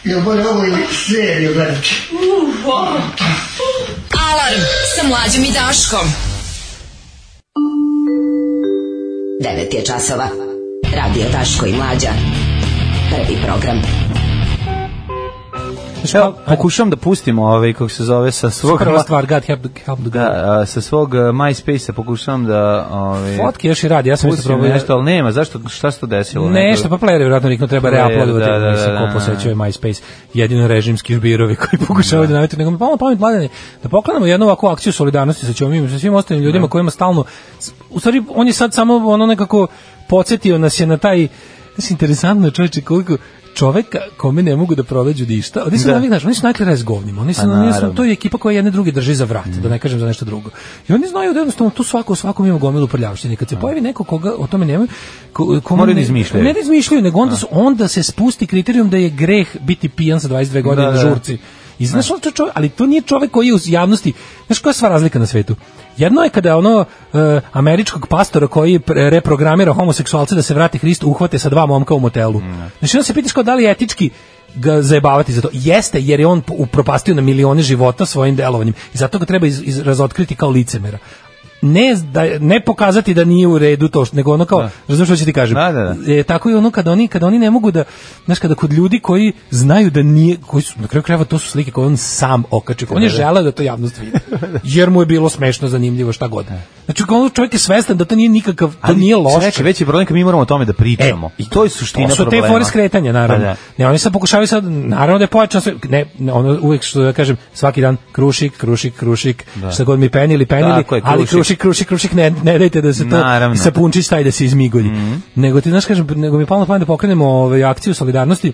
[SPEAKER 11] Ja moram ovu seriju gledati.
[SPEAKER 4] Alarm sa mlađom i Daškom.
[SPEAKER 8] 9 je časova. Radio Daško i Mlađa. Prvi program.
[SPEAKER 5] Znači,
[SPEAKER 6] Evo,
[SPEAKER 5] pa-
[SPEAKER 6] pokušavam da pustim ovaj, kako se zove, sa svog...
[SPEAKER 5] Prva stvar, God help the, help the
[SPEAKER 6] Da, a, sa svog a, MySpace-a pokušavam da... Ovaj,
[SPEAKER 5] Fotke još i radi, ja sam isto
[SPEAKER 6] pustim
[SPEAKER 5] probao
[SPEAKER 6] nešto, ali nema, zašto, šta se to desilo?
[SPEAKER 5] Nešto, pa player je vjerojatno nikno treba
[SPEAKER 6] Player,
[SPEAKER 5] reuploadovati,
[SPEAKER 6] da, da,
[SPEAKER 5] da, mislim,
[SPEAKER 6] da,
[SPEAKER 5] ko
[SPEAKER 6] da.
[SPEAKER 5] posećuje MySpace, jedino režimski žbirovi koji pokušavaju da, nametu, nego mi palo na pamet mladene, da poklanamo jednu ovakvu akciju solidarnosti sa čomim, sa svim
[SPEAKER 6] Da.
[SPEAKER 5] ostalim ljudima kojima stalno, u stvari, on je sad samo ono nekako podsjetio nas je na taj, znaš, interesantno je čovječe koliko, čoveka kome ne mogu da proleđu ništa. Oni su
[SPEAKER 6] Da.
[SPEAKER 5] da. navik, znaš, oni su najkle razgovnima. Oni
[SPEAKER 6] Pa
[SPEAKER 5] su, oni su,
[SPEAKER 6] naravno. Mm.
[SPEAKER 5] to je ekipa koja jedne druge drži za vrat, da ne kažem za nešto drugo. I oni znaju da jednostavno tu svako, svakom ima gomilu prljavštine.
[SPEAKER 6] Da.
[SPEAKER 5] Kad se pojavi neko koga o tome nemaju, ko, ko
[SPEAKER 6] Moraju da
[SPEAKER 5] ne-
[SPEAKER 6] izmišljaju.
[SPEAKER 5] Ne da izmišljaju, nego onda, su, onda se spusti kriterijum da je greh biti pijan sa 22 godine
[SPEAKER 6] Da,
[SPEAKER 5] na
[SPEAKER 6] da.
[SPEAKER 5] žurci. I znaš, on to čovjek, ali to nije čovjek koji je u javnosti, znaš koja je sva razlika na svetu? Jedno je kada ono e, američkog pastora koji pre- reprogramira homoseksualce da se vrati Hristu uhvate sa dva momka u motelu.
[SPEAKER 6] Mm,
[SPEAKER 5] Znači, onda se pitaš kao da li je etički ga zajebavati za to. Jeste, jer je on po- upropastio na milione života svojim delovanjem. I zato ga treba iz, iz- razotkriti kao licemera. Ne, da, ne pokazati da nije u redu to, što, nego ono kao, razumiješ što ću ti kažem?
[SPEAKER 6] Da, da, da.
[SPEAKER 5] e, tako je ono kada oni kada oni ne mogu da znaš kada kod ljudi koji znaju da nije koji su na kraju krajeva to su slike koje on sam okači on je želeo da to javnost vidi jer mu je bilo smešno zanimljivo šta god znači on čovjek je svestan da to nije nikakav to
[SPEAKER 6] Ali,
[SPEAKER 5] nije loše
[SPEAKER 6] Čekaj, veći je problem kad mi moramo o tome da pričamo.
[SPEAKER 5] E,
[SPEAKER 6] I to je suština
[SPEAKER 5] to su
[SPEAKER 6] problema.
[SPEAKER 5] te fore skretanja, naravno.
[SPEAKER 6] Pa da.
[SPEAKER 5] Ne, oni sad pokušavaju sad, naravno da je pojačano sve, ne, ne, ono uvek što ja kažem, svaki dan krušik, krušik, krušik, šta god mi penili, penili,
[SPEAKER 6] Da. Tako je,
[SPEAKER 5] ali
[SPEAKER 6] krušik.
[SPEAKER 5] krušik, krušik, krušik, ne, ne dajte da se to
[SPEAKER 6] Naravno. Mhm.
[SPEAKER 5] sa punčić taj da se izmigolji. Nego ti, znaš, kažem, nego mi je palo na pamet da pokrenemo ovaj, akciju solidarnosti,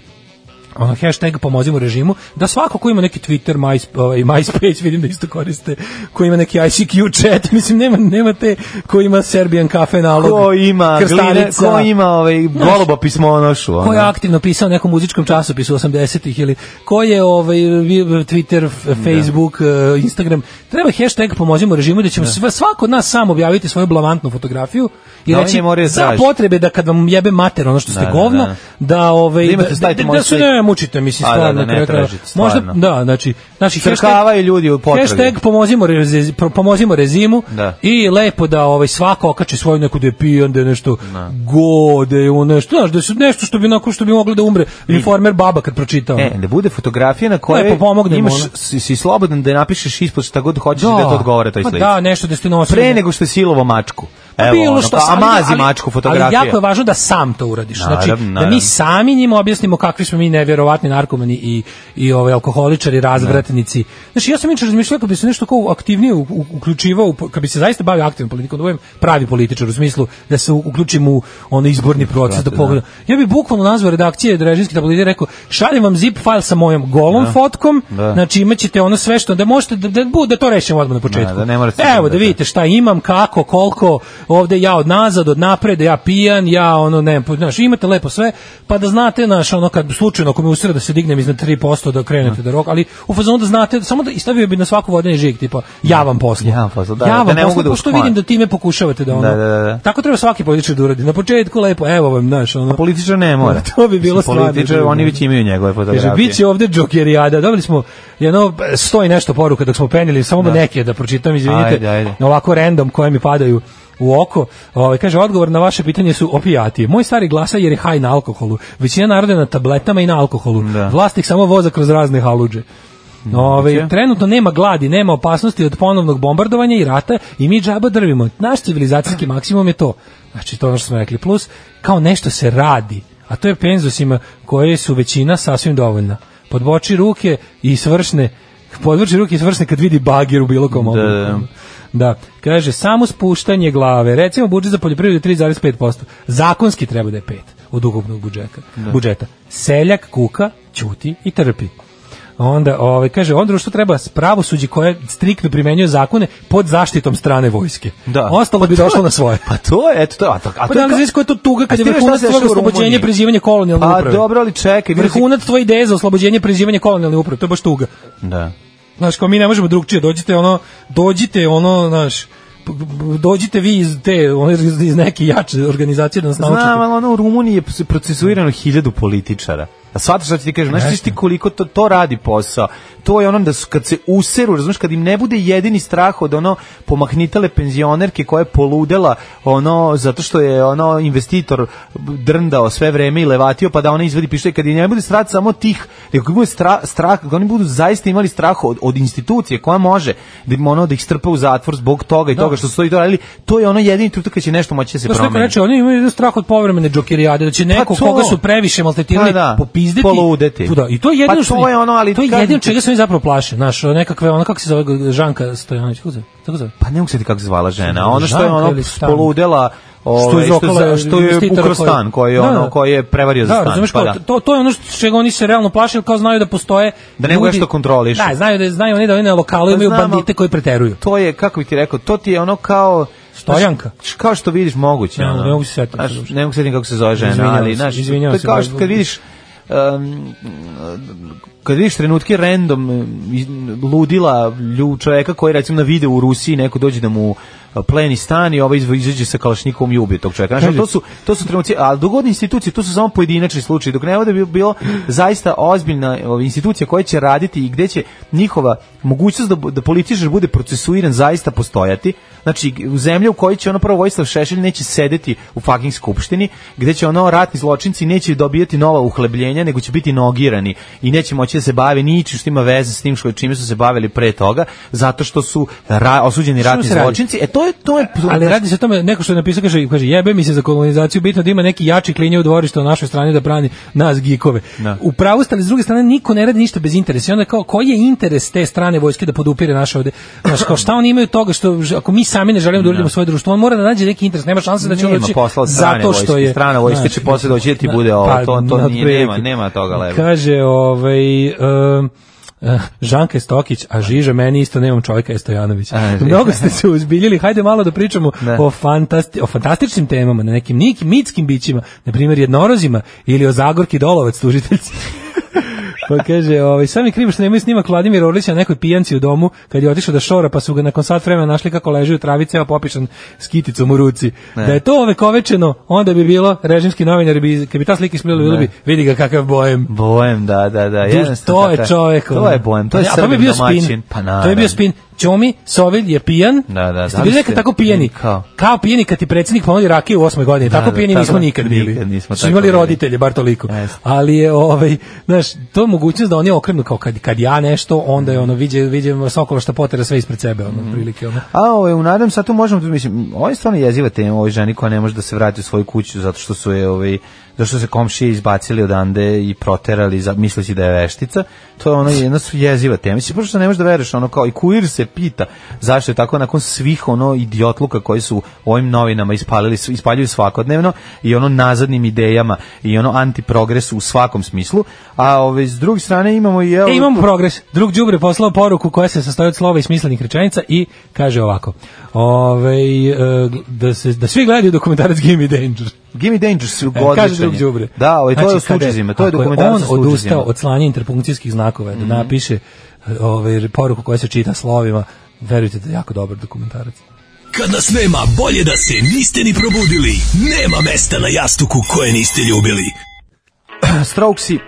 [SPEAKER 5] ono hashtag pomozimo režimu, da svako ko ima neki Twitter, MySpace, ovaj, MySpace vidim da isto koriste, ko ima neki ICQ chat, mislim nema, nema te ko ima Serbian kafe nalog,
[SPEAKER 6] Ko ima, gline,
[SPEAKER 5] krstanica.
[SPEAKER 6] ko ima ovaj, goloba pismonošu?
[SPEAKER 5] Ko je
[SPEAKER 6] ono?
[SPEAKER 5] aktivno pisao nekom muzičkom časopisu 80-ih ili ko je ovaj vi- Twitter, f-
[SPEAKER 6] Da.
[SPEAKER 5] Facebook, eh, Instagram. Treba hashtag pomozimo režimu da ćemo sve- svako od nas sam objaviti svoju blamantnu fotografiju i
[SPEAKER 6] Da oni
[SPEAKER 5] reći
[SPEAKER 6] ne moraju da
[SPEAKER 5] za
[SPEAKER 6] traže."
[SPEAKER 5] potrebe da kad vam jebe mater ono što ste
[SPEAKER 6] da,
[SPEAKER 5] govna
[SPEAKER 6] da.
[SPEAKER 5] da ovaj
[SPEAKER 6] Da imate, stavite moju
[SPEAKER 5] su
[SPEAKER 6] sliku.
[SPEAKER 5] ne, ne mučite, mislim,
[SPEAKER 6] A, da,
[SPEAKER 5] stvarno.
[SPEAKER 6] da, ne
[SPEAKER 5] na kraju krajeva.
[SPEAKER 6] tražite, stvarno.
[SPEAKER 5] Možda, da, znači, znači,
[SPEAKER 6] Crkavaju ljudi u potragi.
[SPEAKER 5] Hashtag pomozimo, rezi, pro- pomozimo rezimu
[SPEAKER 6] Da.
[SPEAKER 5] i lepo da ovaj, svako okači svoju neku depiju, onda je nešto go, da je ono nešto, znaš, da su nešto što bi, onako, što bi moglo da umre. Informer baba kad pročitao.
[SPEAKER 6] Ne, da bude fotografija na kojoj
[SPEAKER 5] Lepo pomognemo,
[SPEAKER 6] imaš,
[SPEAKER 5] ono.
[SPEAKER 6] si, si slobodan da napišeš ispod šta god hoćeš da, da to odgovore toj
[SPEAKER 5] Pa
[SPEAKER 6] slici.
[SPEAKER 5] Da, nešto da ste nosili.
[SPEAKER 6] Pre nego što je silovo mačku.
[SPEAKER 5] Pa
[SPEAKER 6] Evo,
[SPEAKER 5] bilo
[SPEAKER 6] ono,
[SPEAKER 5] što,
[SPEAKER 6] pa, a
[SPEAKER 5] ali-
[SPEAKER 6] mazi
[SPEAKER 5] ali-
[SPEAKER 6] mačku fotografija.
[SPEAKER 5] Ali jako je važno da sam to uradiš. Znači,
[SPEAKER 6] Naravno,
[SPEAKER 5] da
[SPEAKER 6] naravno.
[SPEAKER 5] mi sami njima objasnimo kakvi smo mi nevjerovatni narkomani i, i ovaj, alkoholičari,
[SPEAKER 6] Da.
[SPEAKER 5] razvratnici. Znači, ja sam inače razmišljao kako bi se nešto kao aktivnije u- u- uključivao, u po- kad bi se zaista bavio aktivnom politikom, da budem pravi političar u smislu da se u- uključim u ono izborni proces, da
[SPEAKER 6] Brate,
[SPEAKER 5] pogledam. Ja bih bukvalno nazvao redakcije režimske tabloide i rekao, šaljem vam zip file sa mojom golom
[SPEAKER 6] Da.
[SPEAKER 5] fotkom,
[SPEAKER 6] Da.
[SPEAKER 5] znači imaćete ono sve što, da možete, da, da, bu- da to rešimo odmah na početku.
[SPEAKER 6] Da, da ne morate-
[SPEAKER 5] Evo, da
[SPEAKER 6] da, da.
[SPEAKER 5] vidite šta imam, kako, koliko, ovde ja od nazad, od napred, ja pijan, ja ono, ne, znaš, imate lepo sve, pa da znate, znaš, ono, kad slučajno, ako mi usre da se dignem iznad 3%, da krenete da rok, ali u fazonu da znate, samo da i stavio bi na svaku vodeni žig, tipa, ja vam poslu.
[SPEAKER 6] Ja vam posla, da,
[SPEAKER 5] ja
[SPEAKER 6] da
[SPEAKER 5] vam
[SPEAKER 6] ne
[SPEAKER 5] posla,
[SPEAKER 6] mogu da
[SPEAKER 5] pošto
[SPEAKER 6] usklone.
[SPEAKER 5] vidim da time pokušavate da ono,
[SPEAKER 6] Da, da, da, da.
[SPEAKER 5] tako treba svaki političar da uradi, na početku lepo, evo vam, znaš, ono,
[SPEAKER 6] Pa Političar ne mora.
[SPEAKER 5] to bi bilo
[SPEAKER 6] Mislim,
[SPEAKER 5] stvarno.
[SPEAKER 6] Političar,
[SPEAKER 5] čudno.
[SPEAKER 6] oni već imaju njegove
[SPEAKER 5] Kaže,
[SPEAKER 6] fotografije.
[SPEAKER 5] bit će ovde džokerijada. Dobili smo jedno sto i nešto poruka dok smo penjeli, samo da. neke da pročitam, izvinite,
[SPEAKER 6] Ajde, ajde.
[SPEAKER 5] ovako random koje mi padaju u oko. Ovaj kaže odgovor na vaše pitanje su opijati. Moj stari glasa jer je haj na alkoholu. Većina naroda je na tabletama i na alkoholu.
[SPEAKER 6] Da.
[SPEAKER 5] Vlasnik samo voza kroz razne haludže.
[SPEAKER 6] Mhm.
[SPEAKER 5] Ove, Ovaj, trenutno nema gladi, nema opasnosti od ponovnog bombardovanja i rata i mi džaba drvimo. Naš civilizacijski maksimum je to. Znači, to je ono što smo rekli. Plus, kao nešto se radi, a to je penzusima koje su većina sasvim dovoljna. Podboči ruke i svršne, podvrči ruke i svršne kad vidi bagir u bilo kom
[SPEAKER 6] Da,
[SPEAKER 5] obliku.
[SPEAKER 6] da.
[SPEAKER 5] Da, kaže, samo spuštanje glave. Recimo, budžet za poljoprivredu je 3,5%. Zakonski treba da je 5 od ukupnog budžeta.
[SPEAKER 6] Da.
[SPEAKER 5] budžeta. Seljak, kuka, ćuti i trpi. Onda, ovaj, kaže, onda što treba pravosuđe koje striktno primenjuje zakone pod zaštitom strane vojske.
[SPEAKER 6] Da.
[SPEAKER 5] Ostalo bi
[SPEAKER 6] Pa to
[SPEAKER 5] došlo
[SPEAKER 6] je-
[SPEAKER 5] na svoje.
[SPEAKER 6] Pa to je, eto to. A to, a
[SPEAKER 5] Pa
[SPEAKER 6] to
[SPEAKER 5] da
[SPEAKER 6] je
[SPEAKER 5] li
[SPEAKER 6] kao-
[SPEAKER 5] znaš koja je to tuga kad
[SPEAKER 6] A
[SPEAKER 5] je
[SPEAKER 6] ti znaš šta
[SPEAKER 5] vrhunac
[SPEAKER 6] se
[SPEAKER 5] tvojeg
[SPEAKER 6] dešava u
[SPEAKER 5] oslobođenja i
[SPEAKER 6] Rumuniji?
[SPEAKER 5] prezivanje kolonijalne
[SPEAKER 6] Pa
[SPEAKER 5] uprave?
[SPEAKER 6] dobro, ali čekaj. vidiš-
[SPEAKER 5] Vrhunac tvoje ideje za oslobođenje i prezivanje kolonijalne uprave, to je baš tuga.
[SPEAKER 6] Da.
[SPEAKER 5] Znaš, kao mi ne možemo drugčije, dođite ono, dođite ono, znaš, p- p- dođite vi iz te, ono, iz iz neke jače organizacije da nas naučite.
[SPEAKER 6] Znam, ali ono u Rumuniji je se procesuirano hiljadu političara. A shvataš šta ću ti kažem, znaš ti koliko to, to radi posao. To je ono da su, kad se useru, razumiješ, kad im ne bude jedini strah od ono pomahnitale penzionerke koja je poludela ono, zato što je ono investitor drndao sve vreme i levatio pa da ona izvedi pištolj, kad im ne bude strah samo tih, nego kad bude stra- strah, kad oni budu zaista imali strah od, od institucije koja može da im ono da ih strpa u zatvor zbog toga i toga što stoji to ali to je ono jedini trenutak kad će nešto moći da se
[SPEAKER 5] Da. Znaš, neko
[SPEAKER 6] promeni.
[SPEAKER 5] reče, oni imaju jedan strah od povremene džokerijade, da će neko
[SPEAKER 6] Pa to.
[SPEAKER 5] koga su previše maltretirali
[SPEAKER 6] Pa da,
[SPEAKER 5] popizdeti.
[SPEAKER 6] poludeti.
[SPEAKER 5] Tu Da, I to je jedino
[SPEAKER 6] Pa
[SPEAKER 5] što
[SPEAKER 6] to je ono, ali
[SPEAKER 5] to je
[SPEAKER 6] kažem
[SPEAKER 5] jedino
[SPEAKER 6] ti-
[SPEAKER 5] čega se oni zapravo plaše, znaš, nekakve, ono kako se zove Žanka Stojanović, kako se zove? Tako zove?
[SPEAKER 6] pa ne mogu se ti kako se zvala žena, ono što je
[SPEAKER 5] Žanka
[SPEAKER 6] ono
[SPEAKER 5] ili Stan?
[SPEAKER 6] poludela
[SPEAKER 5] što
[SPEAKER 6] ovaj,
[SPEAKER 5] je
[SPEAKER 6] što,
[SPEAKER 5] zokala
[SPEAKER 6] za- što je
[SPEAKER 5] investitora
[SPEAKER 6] ukrao stan, koji je,
[SPEAKER 5] Da,
[SPEAKER 6] ono,
[SPEAKER 5] da.
[SPEAKER 6] koji je prevario za
[SPEAKER 5] Da,
[SPEAKER 6] stan.
[SPEAKER 5] razumeš
[SPEAKER 6] pa
[SPEAKER 5] kao,
[SPEAKER 6] da.
[SPEAKER 5] to, to je ono što, čega oni se realno plaše, jer kao znaju da postoje
[SPEAKER 6] Da ne mogu nešto kontrolišu.
[SPEAKER 5] Da, znaju da znaju oni da oni na lokalu
[SPEAKER 6] Pa
[SPEAKER 5] imaju
[SPEAKER 6] znam, ali-
[SPEAKER 5] bandite koji preteruju.
[SPEAKER 6] To je, kako bi ti rekao, to ti je ono kao...
[SPEAKER 5] Stojanka.
[SPEAKER 6] Znaš, Kao što vidiš moguće.
[SPEAKER 5] Ne,
[SPEAKER 6] ono.
[SPEAKER 5] ne mogu se setiti.
[SPEAKER 6] Znaš, ne mogu se setiti kako se zove žena,
[SPEAKER 5] Izvinjavam
[SPEAKER 6] ali
[SPEAKER 5] se,
[SPEAKER 6] znaš, to
[SPEAKER 5] izvinjavam
[SPEAKER 6] je
[SPEAKER 5] se,
[SPEAKER 6] kao
[SPEAKER 5] da-
[SPEAKER 6] što kad vidiš um, kad vidiš trenutke random um, iz- ludila lju čoveka koji recimo na video u Rusiji neko dođe da mu uh, pleni stan i ovaj izva- izađe sa kalašnikom i ubije tog čoveka. Znaš, to su, to su trenuci, ali dogodne institucije, to su samo pojedinačni slučaji, dok ne bude bi- bilo zaista ozbiljna ovaj, institucija koja će raditi i gde će njihova mogućnost da, bu- da političar bude procesuiran zaista postojati. Znači, u zemlju u kojoj će ono prvo Vojislav Šešelj neće sedeti u fucking skupštini, gde će ono ratni zločinci neće dobijati nova uhlebljenja, nego će biti nogirani i neće moći da se bave ničim što ima veze s tim što čime su se bavili pre toga, zato što su ra- osuđeni ratni
[SPEAKER 5] se radi?
[SPEAKER 6] zločinci. E to je to je
[SPEAKER 5] Ali radi se o tome, neko što je napisao, kaže, kaže, jebe mi se za kolonizaciju, bitno da ima neki jači klinje u dvorištu na našoj strani da brani nas gikove.
[SPEAKER 6] Da.
[SPEAKER 5] U pravu ste, ali s druge strane, niko ne radi ništa bez interesa. I onda kao, koji je interes te strane vojske da podupire naše ovde? Znaš, kao šta oni imaju od toga što, ž- ako mi sami ne želimo da uradimo svoje društvo, on mora da nađe neki interes, nema šanse da će on
[SPEAKER 6] Nema
[SPEAKER 5] doći
[SPEAKER 6] posla od strane
[SPEAKER 5] zato što
[SPEAKER 6] vojske.
[SPEAKER 5] je...
[SPEAKER 6] Strana vojske
[SPEAKER 5] znaš,
[SPEAKER 6] će posle doći da ti bude ovo, to- to
[SPEAKER 5] na
[SPEAKER 6] nije- nema-
[SPEAKER 5] otprilike.
[SPEAKER 6] nema toga leba.
[SPEAKER 5] Kaže, ovaj... em, eh, Žanka je Stokić, a Žiža meni isto nemam čovjeka je Stojanović.
[SPEAKER 6] A, Žiža.
[SPEAKER 5] Mnogo ste se uzbiljili, hajde malo da pričamo
[SPEAKER 6] Da.
[SPEAKER 5] o, fantasti, o fantastičnim temama, na nekim nikim mitskim bićima, na primjer jednorozima ili o Zagorki Dolovac, tužiteljci. Pa kaže, ovaj, sam je krivo što nemaju snimak Vladimir Orlić na nekoj pijanci u domu kad je otišao da šora, pa su ga nakon sat vremena našli kako leži u travi ceo popišan s kiticom u ruci.
[SPEAKER 6] Ne.
[SPEAKER 5] Da je to ovekovečeno, onda bi bilo režimski novinar bi kad bi ta slika isplivila, bilo
[SPEAKER 6] Ne.
[SPEAKER 5] bi vidi ga kakav bojem.
[SPEAKER 6] Bojem, da, da, da.
[SPEAKER 5] Duž,
[SPEAKER 6] jednostavno
[SPEAKER 5] to je
[SPEAKER 6] tako.
[SPEAKER 5] čovjek.
[SPEAKER 6] To je bojem, to je
[SPEAKER 5] A to bi
[SPEAKER 6] srbin
[SPEAKER 5] bio
[SPEAKER 6] domaćin.
[SPEAKER 5] spin.
[SPEAKER 6] Pa
[SPEAKER 5] to je
[SPEAKER 6] naravno.
[SPEAKER 5] bio spin. Ćomi, Sovilj je pijan.
[SPEAKER 6] Da, da,
[SPEAKER 5] Jeste bili nekad
[SPEAKER 6] zamislite.
[SPEAKER 5] tako pijeni? Kao,
[SPEAKER 6] Kao.
[SPEAKER 5] pijeni kad ti predsjednik ponudi rakiju u osmoj godini.
[SPEAKER 6] Da,
[SPEAKER 5] tako
[SPEAKER 6] da,
[SPEAKER 5] pijeni
[SPEAKER 6] tako
[SPEAKER 5] nismo
[SPEAKER 6] da,
[SPEAKER 5] nikad bili.
[SPEAKER 6] nikad nismo
[SPEAKER 5] Su
[SPEAKER 6] tako
[SPEAKER 5] imali
[SPEAKER 6] bili.
[SPEAKER 5] roditelje, bar toliko.
[SPEAKER 6] Jeste.
[SPEAKER 5] Ali je, ovaj, znaš, to je mogućnost da oni okrenu kao kad, kad ja nešto, onda je ono, viđe, viđe Sokola što potera sve ispred sebe, ono,
[SPEAKER 6] Mhm.
[SPEAKER 5] prilike, ono.
[SPEAKER 6] A ovo je, u nadam sad tu možemo, mislim, ovo je stvarno jeziva tema ovoj ženi koja ne može da se vrati u svoju kuću zato što su je, ovaj, zato što se komšije izbacili odande i proterali za, misleći da je veštica. To je ono jedna su jeziva tema. Mislim, prosto ne možeš da veruješ, ono kao i kurir se pita zašto je tako nakon svih ono idiotluka koji su u ovim novinama ispalili, su- ispaljuju svakodnevno i ono nazadnim idejama i ono antiprogresu u svakom smislu. A ove, s druge strane imamo i...
[SPEAKER 5] E, imamo progres. Drug Đubre poslao poruku koja se sastoji od slova i smislenih rečenica i kaže ovako. Ovaj e, da, se, da svi gledaju dokumentarac Gimme Danger.
[SPEAKER 6] Gimme Danger su
[SPEAKER 5] E, Kaže
[SPEAKER 6] odličan
[SPEAKER 5] drug
[SPEAKER 6] je.
[SPEAKER 5] Đubre. Znači,
[SPEAKER 6] Da, ovaj, to je u
[SPEAKER 5] kada
[SPEAKER 6] Slučajevima, to je
[SPEAKER 5] ako
[SPEAKER 6] dokumentarac
[SPEAKER 5] on
[SPEAKER 6] o Slučajevima.
[SPEAKER 5] odustao od slanja interpunkcijskih znakova,
[SPEAKER 6] Mhm.
[SPEAKER 5] da napiše e, ovaj, poruku koja se čita slovima, verujte da je jako dobar dokumentarac.
[SPEAKER 7] Kad nas nema, bolje da se niste ni probudili. Nema mesta na jastuku koje niste ljubili.
[SPEAKER 6] Strokesi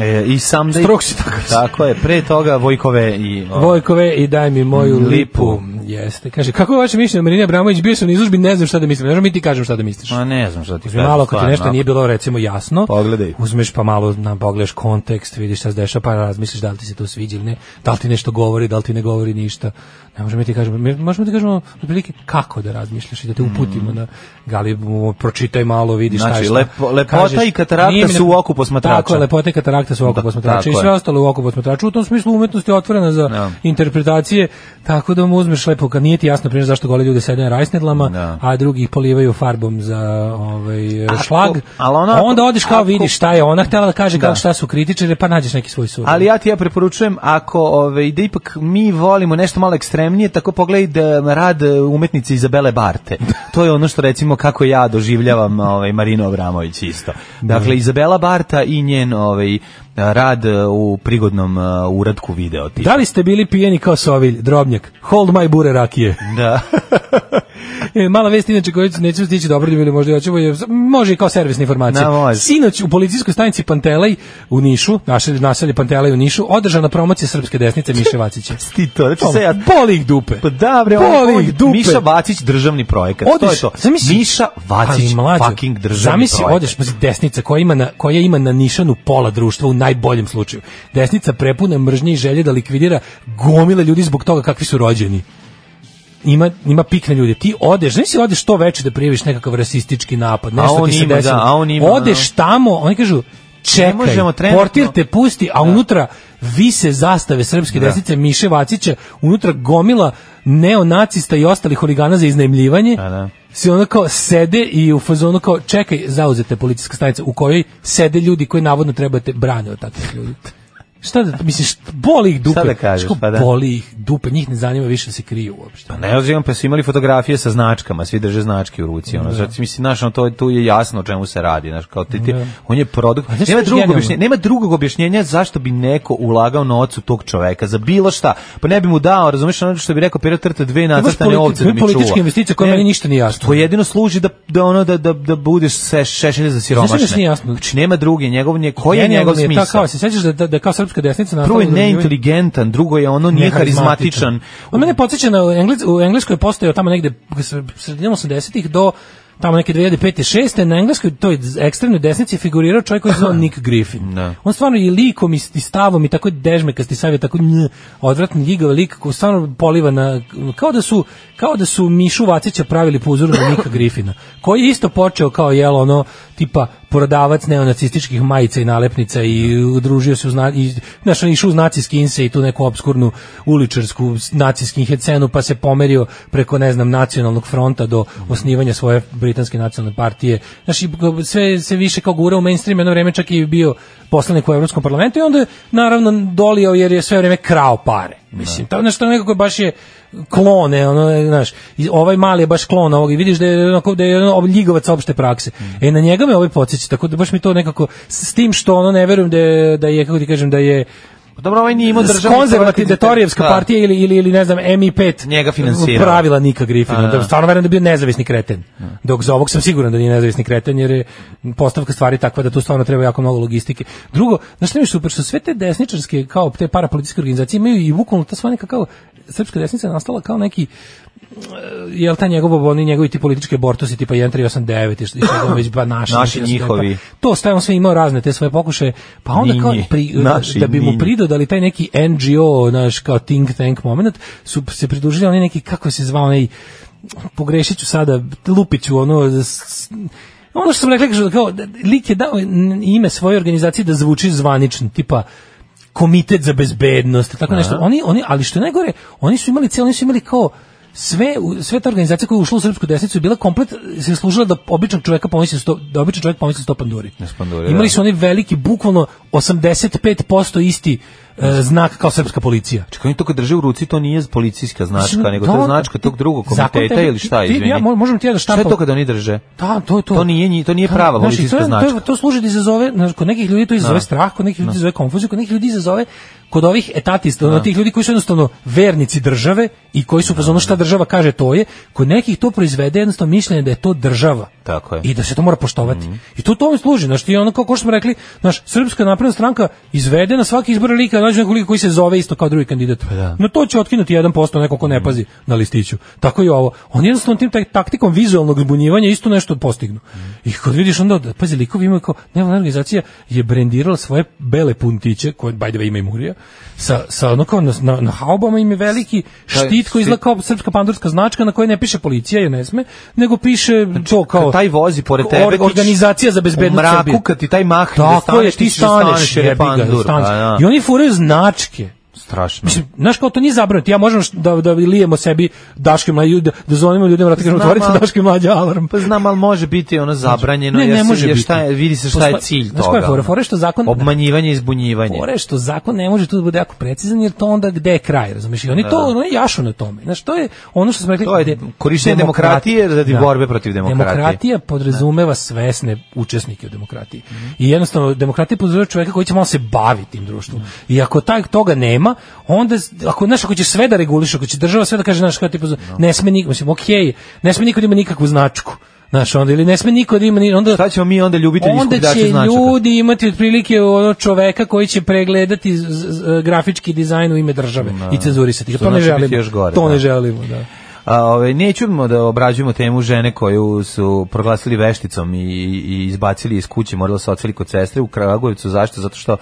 [SPEAKER 6] e, i Someday.
[SPEAKER 5] Strokesi, tako je.
[SPEAKER 6] Tako je, pre toga Vojkove i... ovaj, o,
[SPEAKER 5] Vojkove i daj mi moju
[SPEAKER 6] Mm,
[SPEAKER 5] lipu.
[SPEAKER 6] lipu.
[SPEAKER 5] Jeste. Kaže, kako je vaše mišljenje o Marini Abramović? Bio sam na izložbi, ne znam šta da mislim. Ne znam mi ti kažem šta da misliš.
[SPEAKER 6] Ma ne znam šta ti
[SPEAKER 5] Uzmi
[SPEAKER 6] kažem.
[SPEAKER 5] malo kad ti
[SPEAKER 6] stvarno.
[SPEAKER 5] nešto nije bilo recimo jasno,
[SPEAKER 6] Pogledaj.
[SPEAKER 5] uzmeš pa malo na pogledaš kontekst, vidiš šta se dešava, pa razmisliš da li ti se to sviđa ili ne, da li ti nešto govori, da li ti ne govori ništa. Ne možemo ti kažemo, mi- možemo ti kažemo otprilike kako da razmišljaš i da te uputimo na galibu, pročitaj malo, vidi šta
[SPEAKER 6] Hmm. Znači,
[SPEAKER 5] je šta.
[SPEAKER 6] lepo- lepota i katarakta
[SPEAKER 5] nije mi
[SPEAKER 6] su u oku posmatrača.
[SPEAKER 5] Tako je, lepota i katarakta su u oku
[SPEAKER 6] Da,
[SPEAKER 5] posmatrača i
[SPEAKER 6] tako
[SPEAKER 5] sve
[SPEAKER 6] je.
[SPEAKER 5] ostalo u oku posmatrača. U tom smislu umetnost je otvorena za
[SPEAKER 6] Da.
[SPEAKER 5] interpretacije, tako da mu uzmeš lepo, kad nije ti jasno primjer zašto gole ljude sede na rajsnedlama,
[SPEAKER 6] Da.
[SPEAKER 5] a drugi ih polivaju farbom za ovaj,
[SPEAKER 6] Ako-
[SPEAKER 5] šlag,
[SPEAKER 6] ali ono
[SPEAKER 5] a
[SPEAKER 6] ako-
[SPEAKER 5] onda odeš kao
[SPEAKER 6] ako-
[SPEAKER 5] vidiš šta je ona htela da kaže,
[SPEAKER 6] Da.
[SPEAKER 5] kako šta su kritičari, pa nađeš neki svoj sud.
[SPEAKER 6] Ali ja ti ja preporučujem, ako ove, ide ipak mi volimo nešto malo ekstremnije, tako pogledaj da rad e, umetnice Izabele Barte. To je ono što recimo kako ja doživljavam ovaj, Marino Abramović isto.
[SPEAKER 5] Da.
[SPEAKER 6] Dakle, Izabela Barta i njen ovaj, rad e, u prigodnom e, uradku video. tipa.
[SPEAKER 5] Da li ste bili pijeni kao sovilj, drobnjak? Hold my bure rakije.
[SPEAKER 6] Da.
[SPEAKER 5] E, Mala vest inače koju neću stići dobro ili možda hoćemo je može i kao servisna informacija.
[SPEAKER 6] Da, može.
[SPEAKER 5] Sinoć u policijskoj stanici Pantelej u Nišu, naše naselje Pantelej u Nišu, održana promocija srpske desnice Miše Vacića.
[SPEAKER 6] Ti to, znači se ja
[SPEAKER 5] Boli ih dupe.
[SPEAKER 6] Pa da, bre,
[SPEAKER 5] Boli
[SPEAKER 6] on, on,
[SPEAKER 5] ih dupe.
[SPEAKER 6] Miša Vacić državni projekat. to je to.
[SPEAKER 5] zamisli-
[SPEAKER 6] Miša Vacić
[SPEAKER 5] Ali, mlađo,
[SPEAKER 6] fucking državni
[SPEAKER 5] Zamisli,
[SPEAKER 6] projekat.
[SPEAKER 5] odeš, pazi, desnica koja ima, na, koja ima na nišanu pola društva u najboljem slučaju. Desnica prepuna mržnje i želje da likvidira gomile ljudi zbog toga kakvi su rođeni. Ima, ima pikne ljude. Ti odeš, znaš si odeš to veče da prijaviš nekakav rasistički napad, nešto
[SPEAKER 6] on
[SPEAKER 5] ti se
[SPEAKER 6] ima,
[SPEAKER 5] desilo.
[SPEAKER 6] da, a on ima,
[SPEAKER 5] odeš tamo, oni kažu, čekaj,
[SPEAKER 6] možemo trenutno- Da.
[SPEAKER 5] portir te pusti, a unutra vise zastave srpske desnice Miše Vacića, unutra gomila neonacista i ostalih huligana za iznajmljivanje.
[SPEAKER 6] Da, da.
[SPEAKER 5] Se ono kao sede i u fazonu kao čekaj, zauzete policijska stanica u kojoj sede ljudi koji navodno trebate brane od takvih ljudi. Šta da, misliš, boli ih dupe.
[SPEAKER 6] Šta da kažeš,
[SPEAKER 5] Znaš kao,
[SPEAKER 6] pa da.
[SPEAKER 5] Boli ih dupe, njih ne zanima više da se kriju uopšte.
[SPEAKER 6] Pa ne ozivam, pa su imali fotografije sa značkama, svi drže značke u ruci.
[SPEAKER 5] Da.
[SPEAKER 6] Ono, znači, mislim, znaš, ono, to, je- tu je jasno o čemu se radi. Znaš, kao ti, ti, on je produkt.
[SPEAKER 5] Da. A znaš šta
[SPEAKER 6] Nema
[SPEAKER 5] je
[SPEAKER 6] drugog,
[SPEAKER 5] genijalno?
[SPEAKER 6] objašnjenja, nema drugog objašnjenja zašto bi neko ulagao novac u tog čoveka za bilo šta. Pa ne bi mu dao, razumiješ, ono što bi rekao Pirat trte dve nacrtane
[SPEAKER 5] politi-
[SPEAKER 6] ovce da mi čuva.
[SPEAKER 5] politička investicija koja
[SPEAKER 6] Ne,
[SPEAKER 5] meni ništa nije jasna.
[SPEAKER 6] Koja jedino služi da, da, ono, da, da, da budeš se, šešelj za siromašne.
[SPEAKER 5] mi još da nije jasno?
[SPEAKER 6] Znači, nema druge, njegov, nje, koji je
[SPEAKER 5] Genijalno
[SPEAKER 6] njegov
[SPEAKER 5] mi je ta
[SPEAKER 6] smisao?
[SPEAKER 5] Kao, da se sećaš da, da, da kao srpska desnica nastala
[SPEAKER 6] Prvo je
[SPEAKER 5] za iznajmljivanje?
[SPEAKER 6] neinteligentan, drugo je ono nije karizmatičan.
[SPEAKER 5] On mene podsjeća na u Englec, u Engleskoj je postojao tamo negde s- sredinom 80-ih do tamo neke 2005. 6. na engleskoj toj ekstremnoj desnici je figurirao čovjek koji se zvao Nick Griffin.
[SPEAKER 6] Da.
[SPEAKER 5] On stvarno i likom i s- i stavom i tako dežmekasti sav je tako nj, odvratni ljigav lik koji stvarno poliva na kao da su kao da su Mišu Vacića pravili po uzoru na Nika Griffina koji je isto počeo kao jel ono tipa prodavac neonacističkih majica i nalepnica i udružio se u zna, i našao išao u nacijski inse i tu neku obskurnu uličarsku nacijski hecenu pa se pomerio preko ne znam nacionalnog fronta do osnivanja svoje britanske nacionalne partije. Znači sve se više kao gura u mainstream jedno vreme čak i bio poslanik u Evropskom parlamentu i onda je, naravno dolio jer je sve vreme krao pare. Mislim, to nešto nekako baš je klone, ono, znaš, i ovaj mali je baš klon ovog i vidiš da je onako da je ono ob- ljigovac opšte prakse. E na njega me ovaj podsjeća, tako da baš mi to nekako s s tim što ono ne verujem da je, da je kako ti kažem da je
[SPEAKER 6] Dobro, ovaj nije imao državni
[SPEAKER 5] konzervativna
[SPEAKER 6] proračun.
[SPEAKER 5] detorijevska
[SPEAKER 6] Da.
[SPEAKER 5] partija ili, ili, ili ne znam MI5
[SPEAKER 6] Njega finansirao.
[SPEAKER 5] pravila Nika Griffina.
[SPEAKER 6] A, da.
[SPEAKER 5] Da, stvarno verujem da je bio nezavisni kreten. Dok za ovog sam siguran da nije nezavisni kreten jer je postavka stvari takva da tu stvarno treba jako mnogo logistike. Drugo, znaš što mi je super što sve te desničarske kao te parapolitičke organizacije imaju i bukvalno ta sva neka kao srpska desnica je nastala kao neki jel ta njegov oni njegovi ti politički abortusi tipa 1389 i što i što je to već ba naši
[SPEAKER 6] Naši,
[SPEAKER 5] znači,
[SPEAKER 6] njihovi.
[SPEAKER 5] to stavimo sve imao razne te svoje pokušaje pa onda kao
[SPEAKER 6] Ninji.
[SPEAKER 5] pri,
[SPEAKER 6] Naši,
[SPEAKER 5] da bi mu
[SPEAKER 6] ninji.
[SPEAKER 5] pri pridodali taj neki NGO, naš kao think tank moment, su se pridružili oni neki, kako se zvao, onaj, pogrešit ću sada, lupiću, ono, s- ono što sam rekla, kažu, kao, da- lik je dao n- ime svoje organizacije da zvuči zvanično, tipa, komitet za bezbednost, tako nešto. Oni, oni, ali što je najgore, oni su imali cijelo, oni su imali kao, sve, u- sve ta organizacija koja je ušla u srpsku desnicu je bila komplet, se služila da običan čovjeka pomisli sto, da običan čovjek pomisli sto panduri.
[SPEAKER 6] panduri,
[SPEAKER 5] Imali
[SPEAKER 6] da.
[SPEAKER 5] su oni veliki, bukvalno 85% isti e, znak kao srpska policija.
[SPEAKER 6] Čekaj, oni to Znači, kad drže u ruci, to nije policijska značka,
[SPEAKER 5] Mislim,
[SPEAKER 6] nego
[SPEAKER 5] da,
[SPEAKER 6] to je značka tog drugog
[SPEAKER 5] zakon
[SPEAKER 6] komiteta
[SPEAKER 5] tebi-
[SPEAKER 6] ili šta,
[SPEAKER 5] ti- ti-
[SPEAKER 6] izvini.
[SPEAKER 5] ja mo- možemo ti ja da
[SPEAKER 6] Šta je
[SPEAKER 5] štampam-
[SPEAKER 6] to kad oni drže?
[SPEAKER 5] Da, to je to.
[SPEAKER 6] To nije nji- to nije prava
[SPEAKER 5] znaš, i
[SPEAKER 6] policijska
[SPEAKER 5] to je- To,
[SPEAKER 6] značka.
[SPEAKER 5] je- to služi da izazove, znaš, kod nekih ljudi to izazove
[SPEAKER 6] Da.
[SPEAKER 5] strah, kod nekih ljudi izazove konfuziju, kod nekih ljudi izazove kod ovih etatista, ono, tih ljudi koji su jednostavno vernici države i koji su pozvano šta država kaže to je, kod nekih to proizvede jednostavno mišljenje da je to država.
[SPEAKER 6] Tako je.
[SPEAKER 5] I da se to mora poštovati.
[SPEAKER 6] Mhm.
[SPEAKER 5] I to tome služi. Znaš, ti ono kao, kao što smo rekli, znaš, Srpska napredna stranka izvede na svaki izbor lika, nađe nekog lika koji se zove isto kao drugi kandidat.
[SPEAKER 6] da. Mhm.
[SPEAKER 5] No to će otkinuti 1% neko ko ne pazi na listiću. Tako i ovo. On jednostavno tim tak- taktikom vizualnog zbunjivanja isto nešto postignu.
[SPEAKER 6] Mhm.
[SPEAKER 5] I kad vidiš onda, da- pazi, likovi imaju kao, nevladna organizacija je brendirala svoje bele puntiće, koje, by the way, ima i Murija, sa, sa ono kao na, na, na haubama im je veliki
[SPEAKER 6] Taj
[SPEAKER 5] štit koji izgleda kao srpska pandurska značka na kojoj ne piše policija, jer ne sme, nego piše to kao
[SPEAKER 6] Znači, Kad taj vozi pored
[SPEAKER 5] Or-
[SPEAKER 6] tebe, ti ćeš-
[SPEAKER 5] organizacija za
[SPEAKER 6] u
[SPEAKER 5] bezbednost
[SPEAKER 6] mraku,
[SPEAKER 5] Srbije.
[SPEAKER 6] kad ti taj mahne da
[SPEAKER 5] Tako
[SPEAKER 6] staneš,
[SPEAKER 5] je,
[SPEAKER 6] ti
[SPEAKER 5] ti
[SPEAKER 6] ćeš da staneš,
[SPEAKER 5] staneš,
[SPEAKER 6] jer je
[SPEAKER 5] jebi ga, da
[SPEAKER 6] pandur,
[SPEAKER 5] staneš.
[SPEAKER 6] pa da.
[SPEAKER 5] I oni furaju značke.
[SPEAKER 6] Strašno.
[SPEAKER 5] Mislim, znaš kao to nije zabranjeno, ja možem š- da, da lijemo sebi daške mlađe, da, da zvonimo ljudima, vrati kažemo,
[SPEAKER 6] Znam,
[SPEAKER 5] otvorite
[SPEAKER 6] ali-
[SPEAKER 5] daške mlađe alarm.
[SPEAKER 6] Pa znam, ali može biti ono zabranjeno,
[SPEAKER 5] Znači, Ne,
[SPEAKER 6] jer
[SPEAKER 5] ne
[SPEAKER 6] se-
[SPEAKER 5] može
[SPEAKER 6] jer
[SPEAKER 5] biti.
[SPEAKER 6] šta je, vidi se šta je
[SPEAKER 5] Pospa-
[SPEAKER 6] cilj toga.
[SPEAKER 5] znaš koja je fora? Fora je što zakon-
[SPEAKER 6] Obmanjivanje i zbunjivanje.
[SPEAKER 5] Fore što zakon ne može tu da bude jako precizan, jer to onda gde je kraj, razumiješ? I oni to oni jašu na tome. Znaš, to je ono što smo rekli...
[SPEAKER 6] Da, To je
[SPEAKER 5] de- Da.
[SPEAKER 6] korišćenje demokratije radi borbe protiv demokratije.
[SPEAKER 5] Demokratija podrazumeva svesne učesnike u demokratiji. I jednostavno, demokratija podrazumeva čoveka koji će malo se baviti tim društvom. I ako taj toga nema, onda, s- ako, znaš, ako će sve da reguliše, ako će država sve da kaže, znaš, kao ti podrazum- ne sme niko, mislim, okej, ne sme niko da ima nikakvu značku. Znaš, onda, ili ne sme niko da ima, ni- onda,
[SPEAKER 6] Šta ćemo mi onda ljubitelji
[SPEAKER 5] onda
[SPEAKER 6] iskupljači
[SPEAKER 5] će
[SPEAKER 6] značaka?
[SPEAKER 5] ljudi imati otprilike ono čoveka koji će pregledati z- z- grafički dizajn u ime države i cenzurisati. ga.
[SPEAKER 6] Što
[SPEAKER 5] To ne
[SPEAKER 6] znači biti
[SPEAKER 5] želimo.
[SPEAKER 6] još gore,
[SPEAKER 5] to
[SPEAKER 6] da.
[SPEAKER 5] ne želimo, da.
[SPEAKER 6] A, ove, nećemo da obrađujemo temu žene koju su proglasili vešticom i, i izbacili iz kuće, morala se odseli kod sestre u Kragujevcu. Zašto? Zato što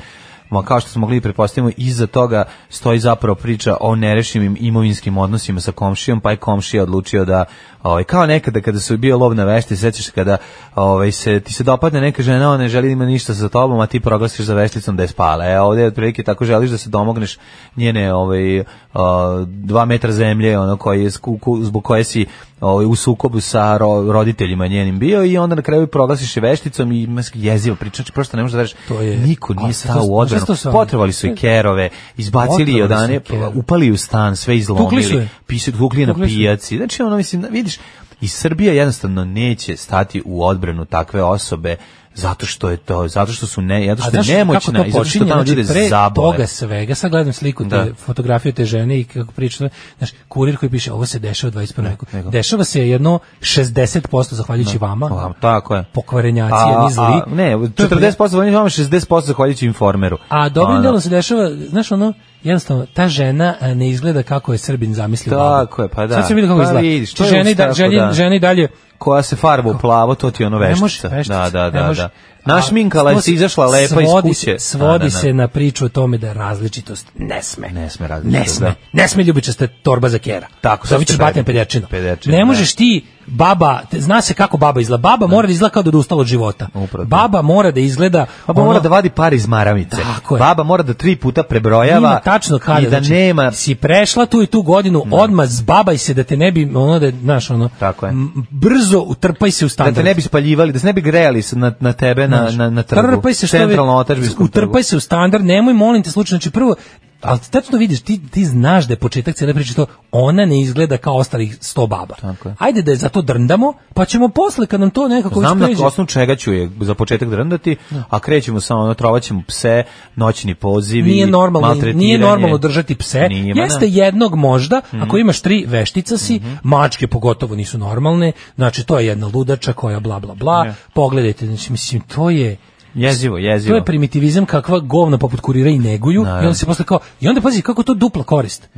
[SPEAKER 6] ma, kao što smo mogli i pretpostavimo, iza toga stoji zapravo priča o nerešivim imovinskim odnosima sa komšijom, pa je komšija odlučio da, ovaj, kao nekada kada su bio lov na vešti, sećaš se kada ovaj, se, ti se dopadne neka žena, ona ne želi da ima ništa sa tobom, a ti proglasiš za vešticom da je spala. E, ovdje otprilike tako želiš da se domogneš njene ovaj, a, dva metra zemlje ono koji je sku- ku- zbog koje si ovaj, u sukobu sa ro- roditeljima njenim bio i onda na kraju proglasiš je vešticom i imaš jezivo priča, znači prosto ne možeš da veriš
[SPEAKER 5] To je-
[SPEAKER 6] niko
[SPEAKER 5] a
[SPEAKER 6] nije
[SPEAKER 5] sad
[SPEAKER 6] stao
[SPEAKER 5] to-
[SPEAKER 6] u odbranu
[SPEAKER 5] znaš šta su oni-
[SPEAKER 6] potrovali su i kerove izbacili
[SPEAKER 5] Potrovali
[SPEAKER 6] je
[SPEAKER 5] su
[SPEAKER 6] odane
[SPEAKER 5] i kerove.
[SPEAKER 6] upali u stan sve
[SPEAKER 5] Tukli su
[SPEAKER 6] izlomili
[SPEAKER 5] je.
[SPEAKER 6] pisu tukli je na
[SPEAKER 5] Tukli su je.
[SPEAKER 6] pijaci znači ono mislim vidiš i Srbija jednostavno neće stati u odbranu takve osobe zato što je to zato što su ne zato
[SPEAKER 5] A
[SPEAKER 6] što
[SPEAKER 5] znaš
[SPEAKER 6] je nemoćna
[SPEAKER 5] kako
[SPEAKER 6] i
[SPEAKER 5] to
[SPEAKER 6] zato što
[SPEAKER 5] počinje?
[SPEAKER 6] tamo
[SPEAKER 5] Znači,
[SPEAKER 6] ljude
[SPEAKER 5] pre
[SPEAKER 6] zabole
[SPEAKER 5] toga svega, sad gledam sliku te
[SPEAKER 6] Da.
[SPEAKER 5] fotografije te žene i kako priča, da, znaš, kurir koji piše ovo se dešava u 21. veku.
[SPEAKER 6] nego.
[SPEAKER 5] Dešava se jedno 60% zahvaljujući vama.
[SPEAKER 6] Vam, tako je.
[SPEAKER 5] Pokvarenjaci,
[SPEAKER 6] A-
[SPEAKER 5] jedni
[SPEAKER 6] a-
[SPEAKER 5] zli.
[SPEAKER 6] Ne, 40% vojnih vama, 60% zahvaljujući informeru.
[SPEAKER 5] A dobrim
[SPEAKER 6] Ono,
[SPEAKER 5] delom se dešava, znaš ono, jednostavno, ta žena a, ne izgleda kako je Srbin zamislio.
[SPEAKER 6] Tako
[SPEAKER 5] babu.
[SPEAKER 6] je, pa da.
[SPEAKER 5] Sad se vidi kako
[SPEAKER 6] Pa
[SPEAKER 5] izgleda.
[SPEAKER 6] vidiš, to
[SPEAKER 5] Znači,
[SPEAKER 6] je
[SPEAKER 5] žena i da,
[SPEAKER 6] tako,
[SPEAKER 5] želje-
[SPEAKER 6] da.
[SPEAKER 5] žena i dalje
[SPEAKER 6] Koja se farba u plavo, to ti je ono
[SPEAKER 5] Ne
[SPEAKER 6] veštica.
[SPEAKER 5] može veštica,
[SPEAKER 6] da, da,
[SPEAKER 5] ne
[SPEAKER 6] da,
[SPEAKER 5] može.
[SPEAKER 6] da. Naš
[SPEAKER 5] A,
[SPEAKER 6] minkala je
[SPEAKER 5] svodi-
[SPEAKER 6] izašla lepa iz
[SPEAKER 5] svodi
[SPEAKER 6] kuće.
[SPEAKER 5] se- Svodi
[SPEAKER 6] Da, da, da.
[SPEAKER 5] se na priču o tome da različitost ne sme.
[SPEAKER 6] Ne sme
[SPEAKER 5] Ne
[SPEAKER 6] različitost,
[SPEAKER 5] sme.
[SPEAKER 6] da.
[SPEAKER 5] Ne sme ljubičasta torba za kera.
[SPEAKER 6] Tako, sad
[SPEAKER 5] Zovit
[SPEAKER 6] ste
[SPEAKER 5] ćeš batina
[SPEAKER 6] rekli.
[SPEAKER 5] pedečinom.
[SPEAKER 6] Pedečinom,
[SPEAKER 5] Ne
[SPEAKER 6] da.
[SPEAKER 5] možeš ti baba, te- zna se kako baba izgleda. Baba mora da izgleda kao da je odustala od života.
[SPEAKER 6] Upravo.
[SPEAKER 5] Baba mora da izgleda
[SPEAKER 6] Baba
[SPEAKER 5] ono-
[SPEAKER 6] mora da vadi par iz maramice.
[SPEAKER 5] Tako je.
[SPEAKER 6] Baba mora da tri puta prebrojava.
[SPEAKER 5] Ima tačno kada,
[SPEAKER 6] I da
[SPEAKER 5] znači,
[SPEAKER 6] nema... Da.
[SPEAKER 5] si prešla tu i tu godinu, odmah zbabaj se da te ne bi, ono da, znaš, ono,
[SPEAKER 6] Tako je.
[SPEAKER 5] m- brzo utrpaj se u
[SPEAKER 6] Da
[SPEAKER 5] standard.
[SPEAKER 6] te ne bi spaljivali, da se ne bi grejali s- na, na tebe, na,
[SPEAKER 5] Znaš,
[SPEAKER 6] na, na trgu.
[SPEAKER 5] Trpaj se što vi-
[SPEAKER 6] Centralno otačbinskom trgu.
[SPEAKER 5] Utrpaj se u standard, nemoj molim te slučajno, znači prvo ali tačno vidiš, ti, ti znaš da je početak cijele priče to, ona ne izgleda kao ostalih sto baba.
[SPEAKER 6] Tako je.
[SPEAKER 5] Ajde da je zato drndamo, pa ćemo posle kad nam to nekako
[SPEAKER 6] Znam na
[SPEAKER 5] ispređe.
[SPEAKER 6] osnovu čega ću je za početak drndati,
[SPEAKER 5] Da.
[SPEAKER 6] a krećemo samo, ono, trovaćemo pse, noćni pozivi,
[SPEAKER 5] Nije normalno,
[SPEAKER 6] maltretiranje.
[SPEAKER 5] nije normalno držati pse.
[SPEAKER 6] Nije, ma
[SPEAKER 5] Jeste
[SPEAKER 6] da. Mhm.
[SPEAKER 5] jednog možda, ako imaš tri veštica si, mačke pogotovo nisu normalne, znači to je jedna ludača koja bla bla bla.
[SPEAKER 6] Ne.
[SPEAKER 5] Pogledajte, znači mislim to je
[SPEAKER 6] Jezivo,
[SPEAKER 5] To
[SPEAKER 6] jezivo.
[SPEAKER 5] je primitivizam kakva govna poput kurira i neguju i onda se posle kao i onda pazi kako to dupla korist.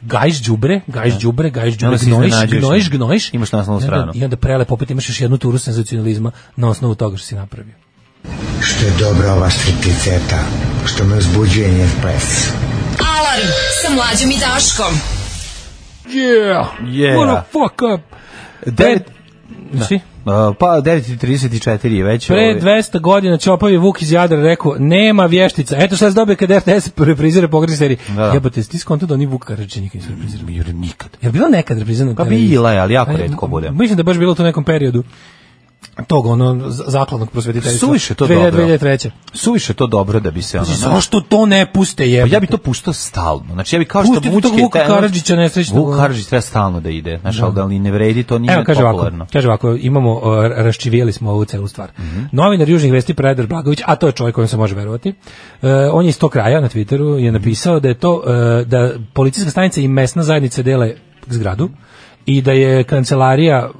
[SPEAKER 5] Gajš đubre, gajš đubre, gajš
[SPEAKER 6] Da. onda
[SPEAKER 5] đubre,
[SPEAKER 6] se
[SPEAKER 5] gnojiš,
[SPEAKER 6] iznenađuješ.
[SPEAKER 5] gnojiš, gnojiš.
[SPEAKER 6] Imaš naslovnu
[SPEAKER 5] I onda-
[SPEAKER 6] stranu.
[SPEAKER 5] I onda prelepo opet imaš još jednu turu senzacionalizma na osnovu toga što si napravio.
[SPEAKER 11] Što je dobra ova stripticeta, što me uzbuđuje njen ples.
[SPEAKER 4] Alarm sa mlađom i Daškom.
[SPEAKER 5] Yeah,
[SPEAKER 6] Yeah.
[SPEAKER 5] fuck up.
[SPEAKER 6] Devet- Da.
[SPEAKER 5] Znači,
[SPEAKER 6] A, Pa 9.34 je već.
[SPEAKER 5] Pre
[SPEAKER 6] ovaj,
[SPEAKER 5] 200 godina Čopav je Vuk iz Jadra rekao, nema vještica. Eto šta se dobije kad RTS reprizira pogrešne serije.
[SPEAKER 6] Da.
[SPEAKER 5] Jebote, ti skonto da oni Vuk Karadžić nikad nisu reprizirali.
[SPEAKER 6] Jure, nikad.
[SPEAKER 5] Jel bilo nekad reprizirano? na
[SPEAKER 6] Pa
[SPEAKER 5] televiziji?
[SPEAKER 6] bila je, ali jako
[SPEAKER 5] Ajde,
[SPEAKER 6] retko bude.
[SPEAKER 5] Mislim da je baš bilo to u nekom periodu tog ono z- zakladnog prosvetiteljstva.
[SPEAKER 6] Suviše to
[SPEAKER 5] 2000,
[SPEAKER 6] dobro.
[SPEAKER 5] 2003.
[SPEAKER 6] Suviše to dobro da bi se ono...
[SPEAKER 5] Zašto to ne puste
[SPEAKER 6] Pa
[SPEAKER 5] jebote?
[SPEAKER 6] ja bi to puštao stalno. Znači ja bi kao što
[SPEAKER 5] Pustite tog
[SPEAKER 6] Vučke
[SPEAKER 5] Vuka
[SPEAKER 6] taj-
[SPEAKER 5] Karadžića nesrećnog.
[SPEAKER 6] Vuk Karadžić treba stalno da ide. Znaš, ali da li ne vredi, to nije
[SPEAKER 5] Evo kaže ovako,
[SPEAKER 6] popularno. Mhm.
[SPEAKER 5] kaže ovako, imamo e, raščivijeli smo ovu celu stvar. Novinar Južnih vesti Predar Blagović, a to je čovjek kojem se može verovati. e, on je iz tog kraja na Twitteru
[SPEAKER 6] Mhm.
[SPEAKER 5] je napisao da je to e, da policijska stanica i mesna zajednica dele zgradu i da je kancelarija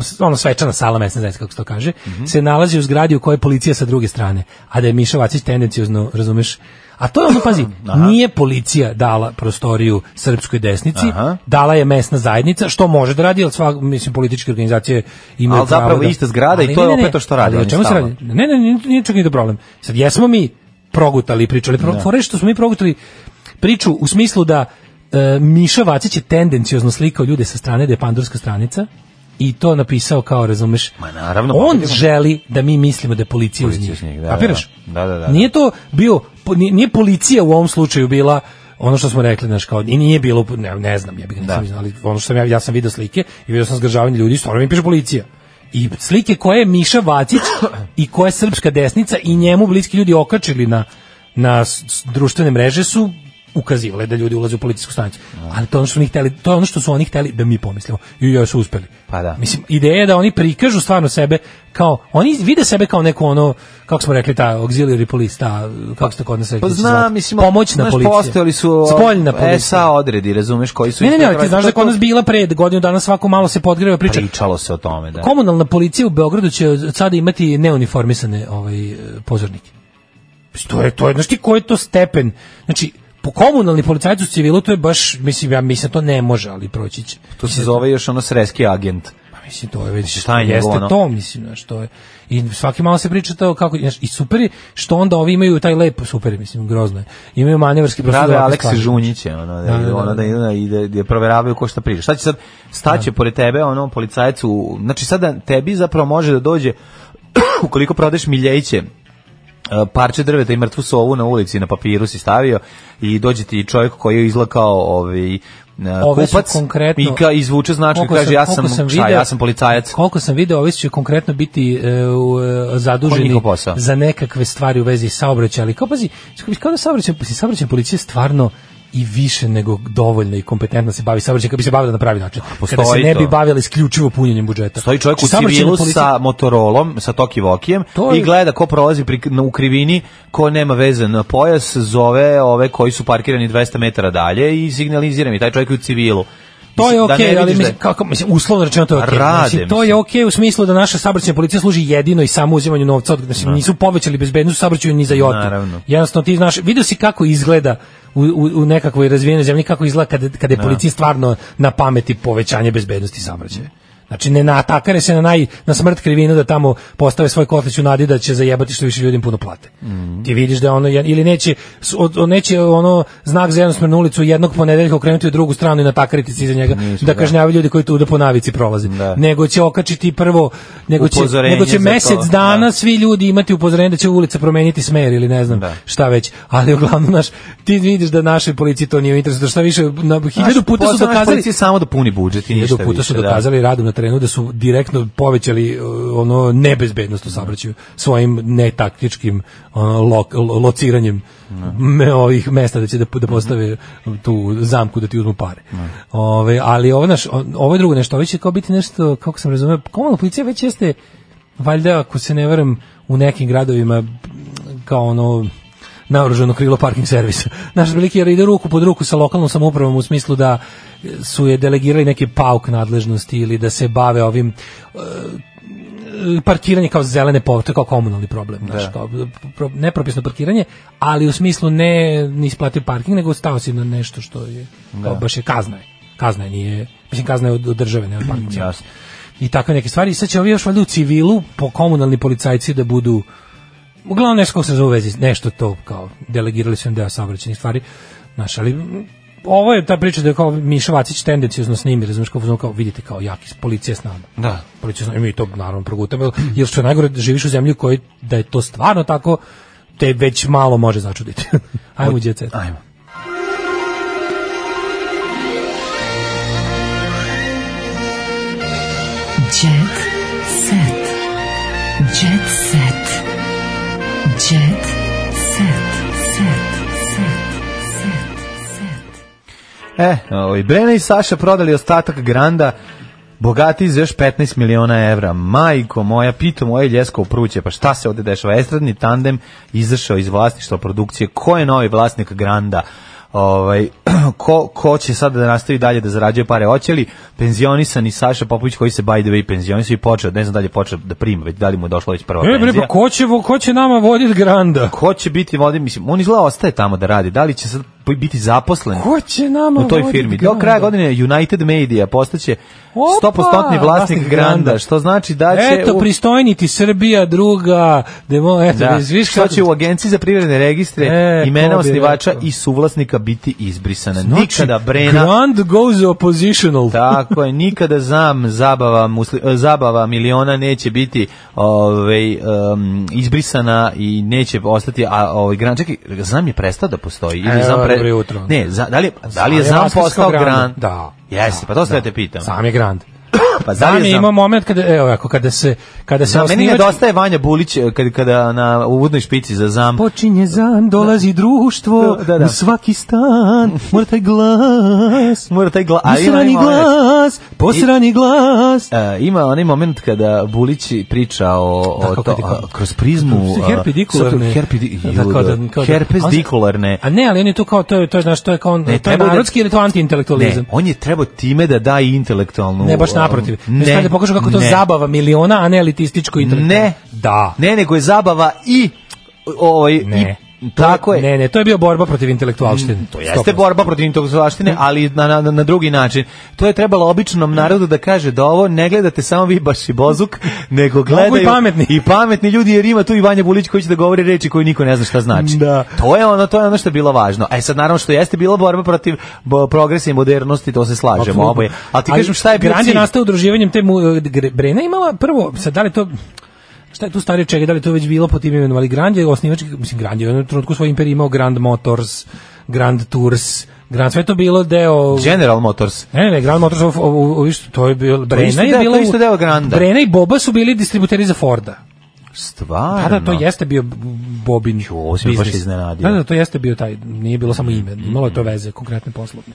[SPEAKER 5] e, s- ono svečana sala mesne zajednice kako se to kaže
[SPEAKER 6] Mhm.
[SPEAKER 5] se nalazi u zgradi u kojoj je policija sa druge strane a da je Miša Vacić tendencijozno razumeš a to je ono pazi nije policija dala prostoriju srpskoj desnici
[SPEAKER 6] Aha.
[SPEAKER 5] dala je mesna zajednica, što može da radi, ali sva, mislim, političke organizacije imaju
[SPEAKER 6] Ali zapravo
[SPEAKER 5] pravo da-
[SPEAKER 6] ista zgrada i
[SPEAKER 5] Ali
[SPEAKER 6] to je
[SPEAKER 5] ne, ne,
[SPEAKER 6] opet to što rade
[SPEAKER 5] ali o
[SPEAKER 6] oni
[SPEAKER 5] čemu se
[SPEAKER 6] stalno.
[SPEAKER 5] radi? Ne, ne, nije- nije čak ni do problem. Sad, jesmo mi progutali priču, ali pro,
[SPEAKER 6] Da.
[SPEAKER 5] fora je što smo mi progutali priču u smislu da e, Miša Vacić je tendencijozno slikao ljude sa strane, da je pandurska stranica, i to napisao kao, razumeš,
[SPEAKER 6] Ma naravno, pa
[SPEAKER 5] on
[SPEAKER 6] vidimo.
[SPEAKER 5] želi da mi mislimo da je policija uz njih.
[SPEAKER 6] Policija uz njih, da,
[SPEAKER 5] Kapiraš?
[SPEAKER 6] da, da, da, da.
[SPEAKER 5] Nije to bio, po- nije nije policija u ovom slučaju bila ono što smo rekli, znaš, kao, i nije bilo, ne, ne znam, ja bih nisam
[SPEAKER 6] Da.
[SPEAKER 5] vidio, ali ono što sam ja, ja sam video slike i video sam zgražavanje ljudi, stvarno mi piše policija. I slike koje je Miša Vacić i koje je srpska desnica i njemu bliski ljudi okačili na, na s- s- društvene mreže su ukazivale da ljudi ulaze u policijsku stanicu.
[SPEAKER 6] Da.
[SPEAKER 5] Ali to je ono što su oni hteli, to je ono što su oni hteli da mi pomislimo. I joj su uspeli.
[SPEAKER 6] Pa da.
[SPEAKER 5] Mislim, ideja je da oni prikažu stvarno sebe kao, oni vide sebe kao neko ono, kako smo rekli, ta auxiliary police, ta, kako ste kod nas rekli,
[SPEAKER 6] Pa
[SPEAKER 5] da se
[SPEAKER 6] zna,
[SPEAKER 5] zvati,
[SPEAKER 6] mislim,
[SPEAKER 5] pomoćna
[SPEAKER 6] znaš,
[SPEAKER 5] policija.
[SPEAKER 6] postojali su e,
[SPEAKER 5] Spoljna policija.
[SPEAKER 6] SA odredi, razumeš, koji su...
[SPEAKER 5] Ne, ne, ne, ali ti
[SPEAKER 6] isto-
[SPEAKER 5] znaš da je kod nas bila pred godinu dana svako malo se podgreva priča.
[SPEAKER 6] Pričalo se o tome, da.
[SPEAKER 5] Komunalna policija u Beogradu će od sada imati neuniformisane ovaj, e, pozornike. Mislim, To je, to je, znaš ti koji je to stepen? Znači, po komunalni policajac u civilu to je baš, mislim, ja mislim, da to ne može, ali proći će.
[SPEAKER 6] To se zove još ono sreski agent.
[SPEAKER 5] Pa mislim to je već
[SPEAKER 6] Mislim, šta je njegovo,
[SPEAKER 5] jeste
[SPEAKER 6] ono?
[SPEAKER 5] to mislim znači to je i svaki malo se priča to kako znaš, i super je što onda ovi imaju taj lep super je, mislim grozno je. Imaju manevarski prostor. za
[SPEAKER 6] Prave
[SPEAKER 5] ovakve
[SPEAKER 6] Aleksi
[SPEAKER 5] stvari.
[SPEAKER 6] Žunjiće, ono, da,
[SPEAKER 5] Da, da, da.
[SPEAKER 6] ono da, ide- da, ide- da proveravaju ko šta priča. Šta će sad,
[SPEAKER 5] Da.
[SPEAKER 6] staće pored tebe, ono, policajac u... Znači, sada tebi zapravo može da dođe, ukoliko prodeš miljeće, e, parče drveta i mrtvu sovu na ulici na papiru si stavio i dođe ti čovjek koji je izlakao ovaj e,
[SPEAKER 5] Ove su
[SPEAKER 6] kupac
[SPEAKER 5] konkretno-
[SPEAKER 6] i ka, izvuče značku i
[SPEAKER 5] Koliko
[SPEAKER 6] kaže ja
[SPEAKER 5] koliko
[SPEAKER 6] sam, šta,
[SPEAKER 5] video-
[SPEAKER 6] ja sam policajac.
[SPEAKER 5] Koliko sam video, ovi će konkretno biti e, u, e,
[SPEAKER 6] Koji
[SPEAKER 5] zaduženi
[SPEAKER 6] njihov posao?
[SPEAKER 5] za nekakve stvari u vezi saobraćaja, ali kao pazi, kao da saobraćaj, saobraćaj policija stvarno i više nego dovoljno i kompetentno se bavi saobraćajem, kad bi se bavila na pravi način. Kada se
[SPEAKER 6] postoji
[SPEAKER 5] ne bi
[SPEAKER 6] to.
[SPEAKER 5] bavili isključivo punjenjem budžeta.
[SPEAKER 6] Stoji čovjek u
[SPEAKER 5] Znači, saobraćajna
[SPEAKER 6] civilu
[SPEAKER 5] policija-
[SPEAKER 6] sa motorolom, sa Toki Vokijem
[SPEAKER 5] To je-
[SPEAKER 6] i gleda ko prolazi pri, na, u krivini, ko nema veze na pojas, zove ove koji su parkirani 200 metara dalje i signalizira mi taj čovjek je u civilu.
[SPEAKER 5] To je
[SPEAKER 6] Mislim, da
[SPEAKER 5] okej,
[SPEAKER 6] ne
[SPEAKER 5] ali
[SPEAKER 6] vidiš
[SPEAKER 5] mislim,
[SPEAKER 6] da je-
[SPEAKER 5] kako, mislim, uslovno rečeno to je okej.
[SPEAKER 6] Rade,
[SPEAKER 5] Mislim, to je
[SPEAKER 6] mislim.
[SPEAKER 5] okej u smislu da naša saobraćajna policija služi jedino i samo uzimanju novca od, mislim, nisu povećali bezbednost u saobraćaju ni za jotu.
[SPEAKER 6] Naravno.
[SPEAKER 5] Da. Jednostavno ti znaš, vidio si kako izgleda u, u, u nekakvoj razvijenoj zemlji, kako izgleda kada, kada je
[SPEAKER 6] Da.
[SPEAKER 5] policiji stvarno na pameti povećanje bezbednosti saobraćaja. Znači, ne natakare se na, naj, na smrt krivinu da tamo postave svoj kotlić u nadi da će zajebati što više ljudima puno plate.
[SPEAKER 6] Mhm.
[SPEAKER 5] Ti vidiš da je ono, jed- ili neće, s- od, od- neće ono znak za jednosmernu ulicu jednog ponedeljka okrenuti u drugu stranu i natakariti se iza njega da kažnjavaju ljudi koji tu da po navici prolaze.
[SPEAKER 6] Da.
[SPEAKER 5] Nego će okačiti prvo, nego će,
[SPEAKER 6] Upozorenje
[SPEAKER 5] nego će
[SPEAKER 6] za to,
[SPEAKER 5] mesec
[SPEAKER 6] da.
[SPEAKER 5] dana svi ljudi imati upozorenje da će ulica promeniti smer ili ne znam
[SPEAKER 6] Da.
[SPEAKER 5] šta već. Ali uglavnom naš ti vidiš da našoj policiji to nije u interesu, da šta više na
[SPEAKER 6] Znaš,
[SPEAKER 5] hiljadu puta su
[SPEAKER 6] posao naš
[SPEAKER 5] dokazali
[SPEAKER 6] policije je samo da puni budžet i ništa
[SPEAKER 5] hiljadu puta su
[SPEAKER 6] više, da.
[SPEAKER 5] dokazali radom na terenu da su direktno povećali uh, ono nebezbednost
[SPEAKER 6] Da.
[SPEAKER 5] u saobraćaju svojim netaktičkim ono, lo, lo- lociranjem me, ovih mesta da će da, da postave tu zamku da ti uzmu pare. Ove, ali ovo, naš, ovo je drugo nešto, ovo će kao biti nešto, kako sam razumio, komunalna policija već jeste valjda ako se ne veram u nekim gradovima kao ono naoružano krilo parking servisa. Naš veliki jer ide ruku pod ruku sa lokalnom samoupravom u smislu da su je delegirali neke pauk nadležnosti ili da se bave ovim e, parkiranje kao zelene povrte, kao komunalni problem, znaš,
[SPEAKER 6] Da.
[SPEAKER 5] kao pro- nepropisno parkiranje, ali u smislu ne nisi platio parking, nego stao si na nešto što je, kao
[SPEAKER 6] Da.
[SPEAKER 5] baš je kazna je. Kazna je, nije, mislim kazna je od, od države, ne od parking servisa. I takve neke stvari. I sad će ovi još valjda u civilu, po komunalni policajci da budu uglavnom nešto kako se zove u vezi, nešto to kao delegirali su im deo saobraćajnih stvari. Znaš, ali m, ovo je ta priča da je kao Miša Vacić tendencijozno snimi, razumiješ kao, kao vidite kao jaki, policija s nama.
[SPEAKER 6] Da.
[SPEAKER 5] Policija s nama, i mi to naravno progutamo, jer- jer što je najgore da živiš u zemlji u kojoj da je to stvarno tako, te već malo može začuditi. Ajmo, u djece. Ajmo.
[SPEAKER 4] Jet set. Jet set. Jet set. Set. Set.
[SPEAKER 6] E, ovaj, Brena i Saša prodali ostatak Granda bogati za još 15 miliona evra. Majko moja, pito moje ljesko pruće, pa šta se ovde dešava? Estradni tandem izašao iz vlasništva produkcije. Ko je novi vlasnik Granda? Ovaj, ko, ko će sada da nastavi dalje da zarađuje pare? Hoće li penzionisani Saša Popović koji se by the way penzionisao i počeo, ne znam da li je počeo da prima, već da li mu je došla već prva
[SPEAKER 5] E, bre,
[SPEAKER 6] penzija?
[SPEAKER 5] pa ko će, vo- ko će nama voditi Granda?
[SPEAKER 6] Ko će biti vodi, mislim, on izgleda ostaje tamo da radi. Da li će sad biti zaposlen?
[SPEAKER 5] Ko će nama
[SPEAKER 6] u toj
[SPEAKER 5] vodit
[SPEAKER 6] firmi. Do
[SPEAKER 5] Granda?
[SPEAKER 6] kraja godine United Media postaće
[SPEAKER 5] Opa,
[SPEAKER 6] 100% vlasnik Granda, što znači da će...
[SPEAKER 5] Eto,
[SPEAKER 6] u-
[SPEAKER 5] pristojniti Srbija druga, demo, eto,
[SPEAKER 6] Da,
[SPEAKER 5] da, viš
[SPEAKER 6] što će u agenciji za privredne registre
[SPEAKER 5] E,
[SPEAKER 6] imena
[SPEAKER 5] ko bi
[SPEAKER 6] osnivača
[SPEAKER 5] rekao.
[SPEAKER 6] i suvlasnika biti izbrisana.
[SPEAKER 5] Znači,
[SPEAKER 6] nikada Brena, Da.
[SPEAKER 5] Grand goes oppositional.
[SPEAKER 6] tako je, nikada zam zabava, musli, eh, zabava miliona neće biti ovaj, em, izbrisana i neće ostati, a ovaj, Grand, čekaj, zam je prestao da postoji? Ili
[SPEAKER 5] Evo,
[SPEAKER 6] zam pre...
[SPEAKER 5] dobro jutro.
[SPEAKER 6] Ne, za- da, li, je- da li je
[SPEAKER 5] Zam je
[SPEAKER 6] zam
[SPEAKER 5] vlasničko
[SPEAKER 6] postao
[SPEAKER 5] Granda.
[SPEAKER 6] Grand?
[SPEAKER 5] Da.
[SPEAKER 6] Jeste, pa to sve te pitam.
[SPEAKER 5] Sam je Grand.
[SPEAKER 6] Pa da
[SPEAKER 5] Sam
[SPEAKER 6] li
[SPEAKER 5] je
[SPEAKER 6] je zam
[SPEAKER 5] imao moment kada, evo, ovako, kada se, kada se
[SPEAKER 6] Da, meni
[SPEAKER 5] osnivač-
[SPEAKER 6] nedostaje Vanja Bulić eh, kad, kada na uvodnoj špici za zam.
[SPEAKER 5] Počinje zan, dolazi društvo,
[SPEAKER 6] Da, da, da.
[SPEAKER 5] u svaki stan, mora taj glas,
[SPEAKER 6] Mora taj glas.
[SPEAKER 5] posrani
[SPEAKER 6] ovaj-
[SPEAKER 5] glas, posrani
[SPEAKER 6] E,
[SPEAKER 5] glas.
[SPEAKER 6] eh, ima onaj moment kada Bulić priča o, o
[SPEAKER 5] Tako,
[SPEAKER 6] to,
[SPEAKER 5] kad je Da, kao-
[SPEAKER 6] a, kroz prizmu eh, a,
[SPEAKER 5] herpedikularne.
[SPEAKER 6] sad, herpedi-
[SPEAKER 5] Da, kao da-
[SPEAKER 6] ju,
[SPEAKER 5] kao da-
[SPEAKER 6] herpes
[SPEAKER 5] on se-
[SPEAKER 6] dikularne.
[SPEAKER 5] A ne, ali on je tu kao, to je, to je, znaš, to je kao, on,
[SPEAKER 6] Ne,
[SPEAKER 5] to je
[SPEAKER 6] trebao da-
[SPEAKER 5] narodski ili to antiintelektualizam?
[SPEAKER 6] Ne, on je trebao time da da i intelektualnu...
[SPEAKER 5] Ne, baš
[SPEAKER 6] um,
[SPEAKER 5] naprotiv. Ne, da pokažu kako je to
[SPEAKER 6] ne.
[SPEAKER 5] zabava miliona, a ne elitističko i
[SPEAKER 6] Ne.
[SPEAKER 5] Da.
[SPEAKER 6] Ne, nego je zabava i ovaj
[SPEAKER 5] Ne.
[SPEAKER 6] i, tako je. Mm,
[SPEAKER 5] Ne, ne, to je bio borba protiv intelektualštine.
[SPEAKER 6] To jeste borba protiv intelektualštine, ali na, na, na drugi način. To je trebalo običnom narodu da kaže da ovo ne gledate samo vi baš i bozuk, nego gledaju
[SPEAKER 5] i pametni.
[SPEAKER 6] i pametni ljudi, jer ima tu i Vanja Bulić koji će da govori reči koje niko ne zna šta znači.
[SPEAKER 5] Da.
[SPEAKER 6] To je ono, to je ono što je bilo važno. E sad naravno što jeste bila borba protiv bo, progresa i modernosti, to se slažemo
[SPEAKER 5] Apsolutno.
[SPEAKER 6] oboje. Ali ti kažem šta je bio
[SPEAKER 5] Grand je
[SPEAKER 6] cilj?
[SPEAKER 5] nastao udruživanjem te mu, e, gre- Brena je imala prvo, sad da li to šta je tu starije čega, da li to već bilo po tim imenom, ali Grand je osnivački, mislim Grand je u jednom trenutku svoj imperij imao Grand Motors, Grand Tours, Grand, sve je to bilo deo...
[SPEAKER 6] General Motors.
[SPEAKER 5] Ne, ne, Grand Motors, ovo- ovo- ovo isto- to je bilo,
[SPEAKER 6] isto
[SPEAKER 5] Brena je
[SPEAKER 6] deo-
[SPEAKER 5] bila...
[SPEAKER 6] to isto
[SPEAKER 5] u-
[SPEAKER 6] deo Granda.
[SPEAKER 5] Brena i Boba su bili distributeri za Forda.
[SPEAKER 6] Stvarno.
[SPEAKER 5] Da, da, to jeste bio Bobin
[SPEAKER 6] Jo, Pa, ovo si me baš
[SPEAKER 5] biznis.
[SPEAKER 6] iznenadio. Mhm.
[SPEAKER 5] Da, da, to jeste bio taj, nije bilo samo ime, imalo je to veze, konkretne poslovne.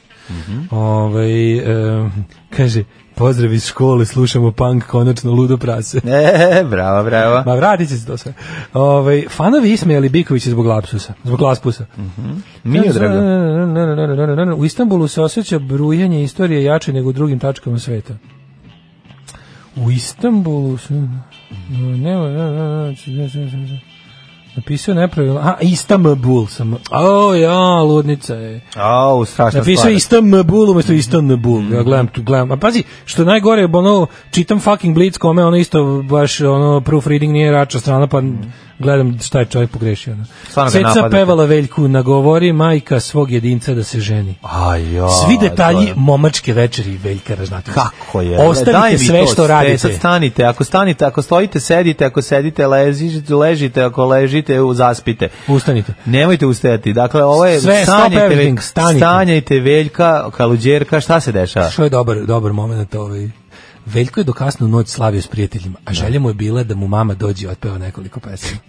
[SPEAKER 5] Ovaj, em, kaže, pozdrav iz škole, slušamo punk, konačno ludo prase.
[SPEAKER 6] E, bravo, bravo.
[SPEAKER 5] Ma vratit će se to sve. Ovaj, fanovi ismejali Bikovića zbog lapsusa, zbog laspusa.
[SPEAKER 6] Mhm. Miodraga.
[SPEAKER 5] U Istanbulu se osjeća brujanje istorije jače nego u drugim tačkama sveta. U Istanbulu se... Nema, ne, ne, ne, ne, ne, ne. Napisao nepravilno. A, Istanbul sam. O, ja, ludnica je.
[SPEAKER 6] Au, strašna
[SPEAKER 5] Napisao
[SPEAKER 6] stvar.
[SPEAKER 5] je Istanbul umesto Istanbul. Ja gledam tu, gledam. A pazi, što je najgore, ono, čitam fucking Blitz kome, ono isto baš, ono, proofreading nije rača strana, pa gledam šta je čovjek pogrešio. Ono.
[SPEAKER 6] Stvarno ga
[SPEAKER 5] Ceca
[SPEAKER 6] napadate.
[SPEAKER 5] pevala Veljku, nagovori majka svog jedinca da se ženi.
[SPEAKER 6] Ajo,
[SPEAKER 5] Svi detalji
[SPEAKER 6] to je-
[SPEAKER 5] momačke večeri i Veljka Ražnatović.
[SPEAKER 6] Kako je? Daj mi
[SPEAKER 5] Ostavite sve
[SPEAKER 6] to,
[SPEAKER 5] što
[SPEAKER 6] ste-
[SPEAKER 5] radite.
[SPEAKER 6] Sad stanite, ako stanite, ako stojite, sedite, ako sedite, ležite, ležite ako ležite, u- zaspite.
[SPEAKER 5] Ustanite.
[SPEAKER 6] Nemojte ustajati. Dakle, ovo je
[SPEAKER 5] Sve, stop
[SPEAKER 6] sanjajte,
[SPEAKER 5] everything, stanite.
[SPEAKER 6] stanjajte Veljka, Kaluđerka, šta se dešava?
[SPEAKER 5] Što je dobar, dobar moment ovaj. Veljko je do kasnu noć slavio s prijateljima, a želja mu je bila da mu mama dođe i otpeva nekoliko pesama.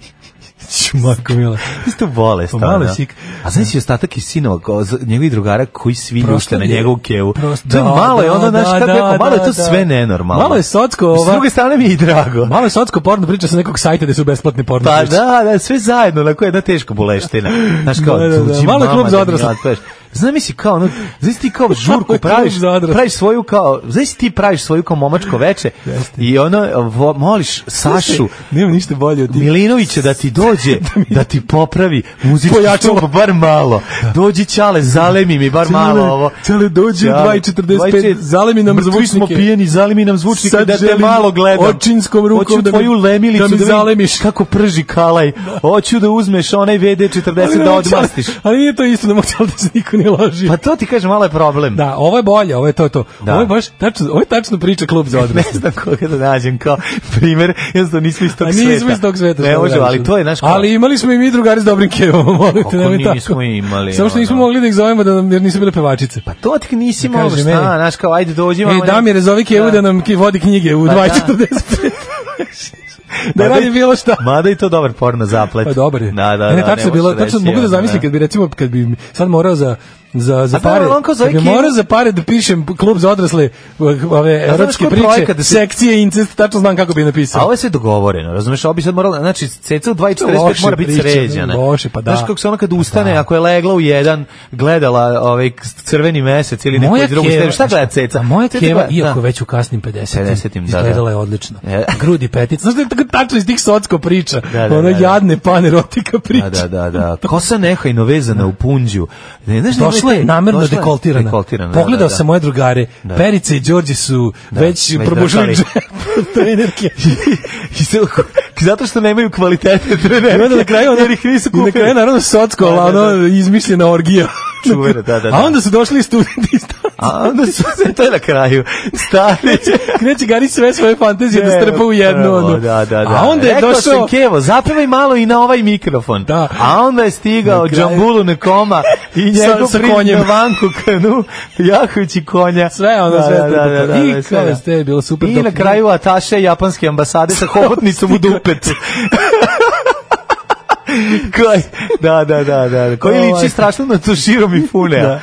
[SPEAKER 5] Čumako mila.
[SPEAKER 6] Isto bolest.
[SPEAKER 5] Pa malo
[SPEAKER 6] ono.
[SPEAKER 5] sik.
[SPEAKER 6] da. A znaš i ostatak i sinova, ko- z- njegovih drugara koji svi ljušte na
[SPEAKER 5] Prostor je-
[SPEAKER 6] njegovu kevu.
[SPEAKER 5] prostor-
[SPEAKER 6] To je
[SPEAKER 5] da,
[SPEAKER 6] malo je
[SPEAKER 5] da, da,
[SPEAKER 6] ono, znaš, kako
[SPEAKER 5] da,
[SPEAKER 6] je, rekao, malo je to
[SPEAKER 5] da,
[SPEAKER 6] sve
[SPEAKER 5] da.
[SPEAKER 6] nenormalno.
[SPEAKER 5] Malo je socko
[SPEAKER 6] S
[SPEAKER 5] ova-
[SPEAKER 6] druge strane mi je i drago.
[SPEAKER 5] Malo je socko porno priča sa nekog sajta gde su besplatne porno
[SPEAKER 6] Pa
[SPEAKER 5] priče.
[SPEAKER 6] da, da, sve zajedno, onako jedna teška boleština. Znaš kao,
[SPEAKER 5] Da, da, da,
[SPEAKER 6] tuđi
[SPEAKER 5] malo je
[SPEAKER 6] mama
[SPEAKER 5] klub za
[SPEAKER 6] da mi
[SPEAKER 5] odrasle.
[SPEAKER 6] otpeš. Znaš misli kao, ono, znaš ti kao
[SPEAKER 5] Malo
[SPEAKER 6] žurku
[SPEAKER 5] je klub
[SPEAKER 6] praviš,
[SPEAKER 5] za odrasle.
[SPEAKER 6] praviš svoju kao, znaš ti praviš svoju kao momačko veče i ono, vo- moliš Sašu,
[SPEAKER 5] Nema ništa bolje od tih.
[SPEAKER 6] Milinovića da ti dođe, da ti popravi muzički
[SPEAKER 5] Pojačalo.
[SPEAKER 6] stup, bar malo. Dođi Čale, zalemi mi bar malo
[SPEAKER 5] Čale,
[SPEAKER 6] ovo.
[SPEAKER 5] Čale, dođi u
[SPEAKER 6] Čale,
[SPEAKER 5] 2.45, zalemi nam
[SPEAKER 6] mrtvi smo
[SPEAKER 5] zvučnike.
[SPEAKER 6] pijeni, zalemi nam zvučnike
[SPEAKER 5] Sad
[SPEAKER 6] da te
[SPEAKER 5] želim
[SPEAKER 6] malo gledam.
[SPEAKER 5] očinskom rukom
[SPEAKER 6] Hoću
[SPEAKER 5] da mi-
[SPEAKER 6] tvoju lemilicu
[SPEAKER 5] da mi
[SPEAKER 6] vidim
[SPEAKER 5] zalemiš.
[SPEAKER 6] Kako prži kalaj. Hoću da uzmeš onaj VD40 da odmastiš.
[SPEAKER 5] Ali nije to isto, ne mogu da se niko ne loži.
[SPEAKER 6] Pa to ti kažem, malo je problem.
[SPEAKER 5] Da, ovo je bolje, ovo je to to.
[SPEAKER 6] Da.
[SPEAKER 5] Ovo je baš tačno, ovo je tačno priča klub za
[SPEAKER 6] Ne
[SPEAKER 5] odrasle.
[SPEAKER 6] znam koga da nađem kao primer, jednostavno nismo iz tog
[SPEAKER 5] A
[SPEAKER 6] sveta.
[SPEAKER 5] nismo iz tog sveta.
[SPEAKER 6] Ne
[SPEAKER 5] šta
[SPEAKER 6] možemo,
[SPEAKER 5] da
[SPEAKER 6] ali
[SPEAKER 5] radiš.
[SPEAKER 6] to je naš
[SPEAKER 5] Ali imali smo i mi drugari s dobrim kevom, molite,
[SPEAKER 6] Kako
[SPEAKER 5] nemoj tako.
[SPEAKER 6] nismo imali,
[SPEAKER 5] Samo što nismo
[SPEAKER 6] ono.
[SPEAKER 5] mogli da ih zovemo da nam, jer nisu bile pevačice.
[SPEAKER 6] Pa to ti nisi
[SPEAKER 5] Da
[SPEAKER 6] mogao
[SPEAKER 5] kaže
[SPEAKER 6] šta,
[SPEAKER 5] meni.
[SPEAKER 6] znaš kao, ajde dođi.
[SPEAKER 5] E, Damire, zove Kevu da nam ki- vodi knjige u
[SPEAKER 6] Pa da.
[SPEAKER 5] 2.45. da radi bilo šta.
[SPEAKER 6] Mada i to dobar porno zaplet.
[SPEAKER 5] Pa dobar je.
[SPEAKER 6] Da, da,
[SPEAKER 5] ne,
[SPEAKER 6] da.
[SPEAKER 5] tačno je
[SPEAKER 6] može
[SPEAKER 5] bilo,
[SPEAKER 6] reći,
[SPEAKER 5] tačno mogu da
[SPEAKER 6] ono,
[SPEAKER 5] zamislim
[SPEAKER 6] da.
[SPEAKER 5] kad bi recimo kad bi mi sad morao za za za
[SPEAKER 6] A pa znam,
[SPEAKER 5] pare.
[SPEAKER 6] on kao zove
[SPEAKER 5] Kad bi
[SPEAKER 6] Kevu.
[SPEAKER 5] morao za pare da pišem klub za odrasle eh, ove
[SPEAKER 6] znaš
[SPEAKER 5] erotske
[SPEAKER 6] koji
[SPEAKER 5] priče,
[SPEAKER 6] projekat da si-
[SPEAKER 5] sekcije incest, tačno znam kako bi napisao.
[SPEAKER 6] A ovo je sve dogovoreno, razumeš? Ovo bi sad morala, znači, ceca u
[SPEAKER 5] Loše
[SPEAKER 6] 2.45 mora biti
[SPEAKER 5] priča,
[SPEAKER 6] sređena.
[SPEAKER 5] loše, pa da.
[SPEAKER 6] Znaš kako se ona kad ustane, ako je legla u jedan, gledala ovaj crveni mesec ili neku
[SPEAKER 5] Moja
[SPEAKER 6] drugu
[SPEAKER 5] keva,
[SPEAKER 6] stvar. Šta gleda ceca?
[SPEAKER 5] A moja
[SPEAKER 6] Ceca
[SPEAKER 5] keva,
[SPEAKER 6] gleda-
[SPEAKER 5] iako
[SPEAKER 6] da.
[SPEAKER 5] već u kasnim 50-im,
[SPEAKER 6] 50-im, da, da.
[SPEAKER 5] izgledala je odlično.
[SPEAKER 6] E.
[SPEAKER 5] Grudi petic, znaš da je tako tačno iz tih socko priča,
[SPEAKER 6] Da, da,
[SPEAKER 5] ono
[SPEAKER 6] da, da.
[SPEAKER 5] jadne panerotika priča.
[SPEAKER 6] Da, da, da, da. Kosa nehajno vezana u punđu. Ne, znaš,
[SPEAKER 5] Došla je
[SPEAKER 6] nemojte-
[SPEAKER 5] namerno
[SPEAKER 6] došla je
[SPEAKER 5] dekoltirana.
[SPEAKER 6] dekoltirana, da,
[SPEAKER 5] Pogledao
[SPEAKER 6] da, da.
[SPEAKER 5] sam moje drugare,
[SPEAKER 6] Da.
[SPEAKER 5] Perica i Đorđe su
[SPEAKER 6] Da,
[SPEAKER 5] već
[SPEAKER 6] već
[SPEAKER 5] probušili
[SPEAKER 6] drkali.
[SPEAKER 5] džep od trenerke.
[SPEAKER 6] I se- zato što nemaju kvalitete
[SPEAKER 5] I onda na kraju, ono,
[SPEAKER 6] jer ih nisu
[SPEAKER 5] i
[SPEAKER 6] kupili.
[SPEAKER 5] na kraju naravno socko,
[SPEAKER 6] Da,
[SPEAKER 5] ali
[SPEAKER 6] da,
[SPEAKER 5] ono izmišljena orgija.
[SPEAKER 6] Čuvena, da, da, da.
[SPEAKER 5] A onda su došli studenti iz
[SPEAKER 6] A onda su se to je na kraju. Stari.
[SPEAKER 5] Kreće Gari sve svoje fantazije da strpa u jednu.
[SPEAKER 6] Evo,
[SPEAKER 5] ono.
[SPEAKER 6] Da, da, da.
[SPEAKER 5] A onda je
[SPEAKER 6] Rekao
[SPEAKER 5] došao...
[SPEAKER 6] sam Kevo, zapevaj malo i na ovaj mikrofon.
[SPEAKER 5] Da.
[SPEAKER 6] A onda je stigao
[SPEAKER 5] Na kraju-
[SPEAKER 6] Džambulu nekoma i
[SPEAKER 5] Sa-
[SPEAKER 6] njegov
[SPEAKER 5] sa
[SPEAKER 6] princ
[SPEAKER 5] konjem.
[SPEAKER 6] na vanku kanu, jahući konja.
[SPEAKER 5] Sve ono,
[SPEAKER 6] da,
[SPEAKER 5] sve
[SPEAKER 6] da, da, da, da,
[SPEAKER 5] I
[SPEAKER 6] sve,
[SPEAKER 5] kao
[SPEAKER 6] da.
[SPEAKER 5] ste, bilo super.
[SPEAKER 6] I
[SPEAKER 5] dok-
[SPEAKER 6] na kraju Ataše japanske ambasade sa hobotnicom u dupet. Koji, da, da, da, da. Koji
[SPEAKER 5] Ovaj.
[SPEAKER 6] liči strašno na Toshiro Mifune.
[SPEAKER 5] Da.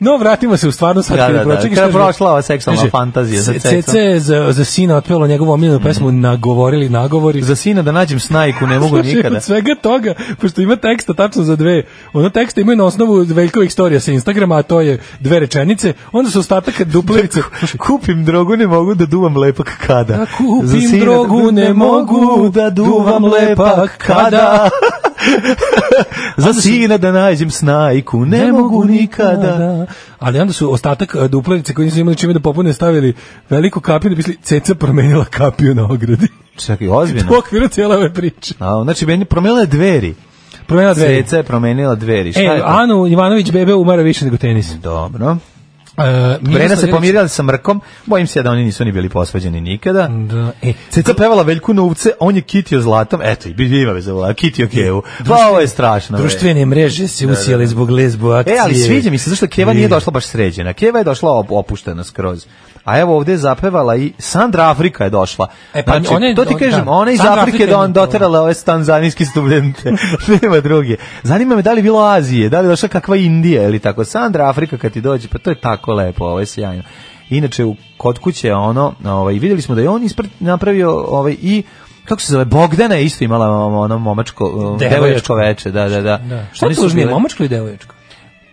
[SPEAKER 5] No, vratimo se u stvarno sad.
[SPEAKER 6] Da,
[SPEAKER 5] kad je
[SPEAKER 6] da, da.
[SPEAKER 5] pročekaj,
[SPEAKER 6] Kad je
[SPEAKER 5] šta je Znači,
[SPEAKER 6] prošla ova seksualna
[SPEAKER 5] Kaže,
[SPEAKER 6] fantazija za
[SPEAKER 5] C-
[SPEAKER 6] cecom.
[SPEAKER 5] CC je za, za sina otpjela njegovu omiljenu pesmu Nagovorili nagovori.
[SPEAKER 6] Za sina da nađem snajku ne mogu
[SPEAKER 5] Slušaj,
[SPEAKER 6] nikada.
[SPEAKER 5] Od svega toga, pošto ima teksta tačno za dve, ono teksta imaju na osnovu Veljkovih storija sa Instagrama, a to je dve rečenice, onda su ostatak duplerice.
[SPEAKER 6] Kupim drogu, ne mogu da duvam lepak kada.
[SPEAKER 5] Da kupim
[SPEAKER 6] Za sina da
[SPEAKER 5] drogu, ne mogu da duvam lepak kada.
[SPEAKER 6] Za sina da nađem snajku, ne mogu nikada.
[SPEAKER 5] Ali onda su ostatak e, duplerice koji nisu imali čime da popune stavili veliku kapiju da pisali Ceca promenila kapiju na ogradi.
[SPEAKER 6] Čekaj, ozbiljno.
[SPEAKER 5] U okviru cijela ove priče.
[SPEAKER 6] A, znači, meni promenila je dveri.
[SPEAKER 5] Promenila dve.
[SPEAKER 6] Ceca je promenila dveri. Šta
[SPEAKER 5] E,
[SPEAKER 6] je to?
[SPEAKER 5] Anu Ivanović bebe umara više nego tenis.
[SPEAKER 6] Dobro.
[SPEAKER 5] E,
[SPEAKER 6] Brena Mm. se
[SPEAKER 5] Miroslav Ilić-
[SPEAKER 6] pomirila sa Mrkom, bojim se da oni nisu ni bili posvađeni nikada.
[SPEAKER 5] Da, e,
[SPEAKER 6] Ceca pevala Veljku Novce, on je kitio zlatom, eto, i bi ima veze, vola, kitio Kevu. Pa ovo je strašno. bre.
[SPEAKER 5] Društvene mreže se usijale zbog lesbo akcije.
[SPEAKER 6] E, ali sviđa mi se, zašto Keva nije
[SPEAKER 5] I-
[SPEAKER 6] došla baš sređena. Keva je došla op- opuštena skroz. A evo ovde je zapevala i Sandra Afrika je došla.
[SPEAKER 5] E, pa
[SPEAKER 6] znači,
[SPEAKER 5] ona je-
[SPEAKER 6] to ti
[SPEAKER 5] on-
[SPEAKER 6] kažem,
[SPEAKER 5] da.
[SPEAKER 6] ona iz
[SPEAKER 5] Sandra
[SPEAKER 6] Afrike
[SPEAKER 5] Afrika
[SPEAKER 6] da
[SPEAKER 5] je-
[SPEAKER 6] on doterala ove tanzanijske studente. Nema druge. Zanima me da li je bilo Azije, da li je došla kakva Indija ili tako. Sandra Afrika kad ti dođe, pa to je tako lepo, ovo je sjajno. Inače, u, kod kuće ono, ovaj, vidjeli smo da je on ispred napravio ovaj, i kako se zove, Bogdana je isto imala ono momačko,
[SPEAKER 5] Devojačko.
[SPEAKER 6] devojačko veče, da, da, da.
[SPEAKER 5] Da. Šta je
[SPEAKER 6] Oni su
[SPEAKER 5] tužnije,
[SPEAKER 6] bile-
[SPEAKER 5] momačko ili devoječko?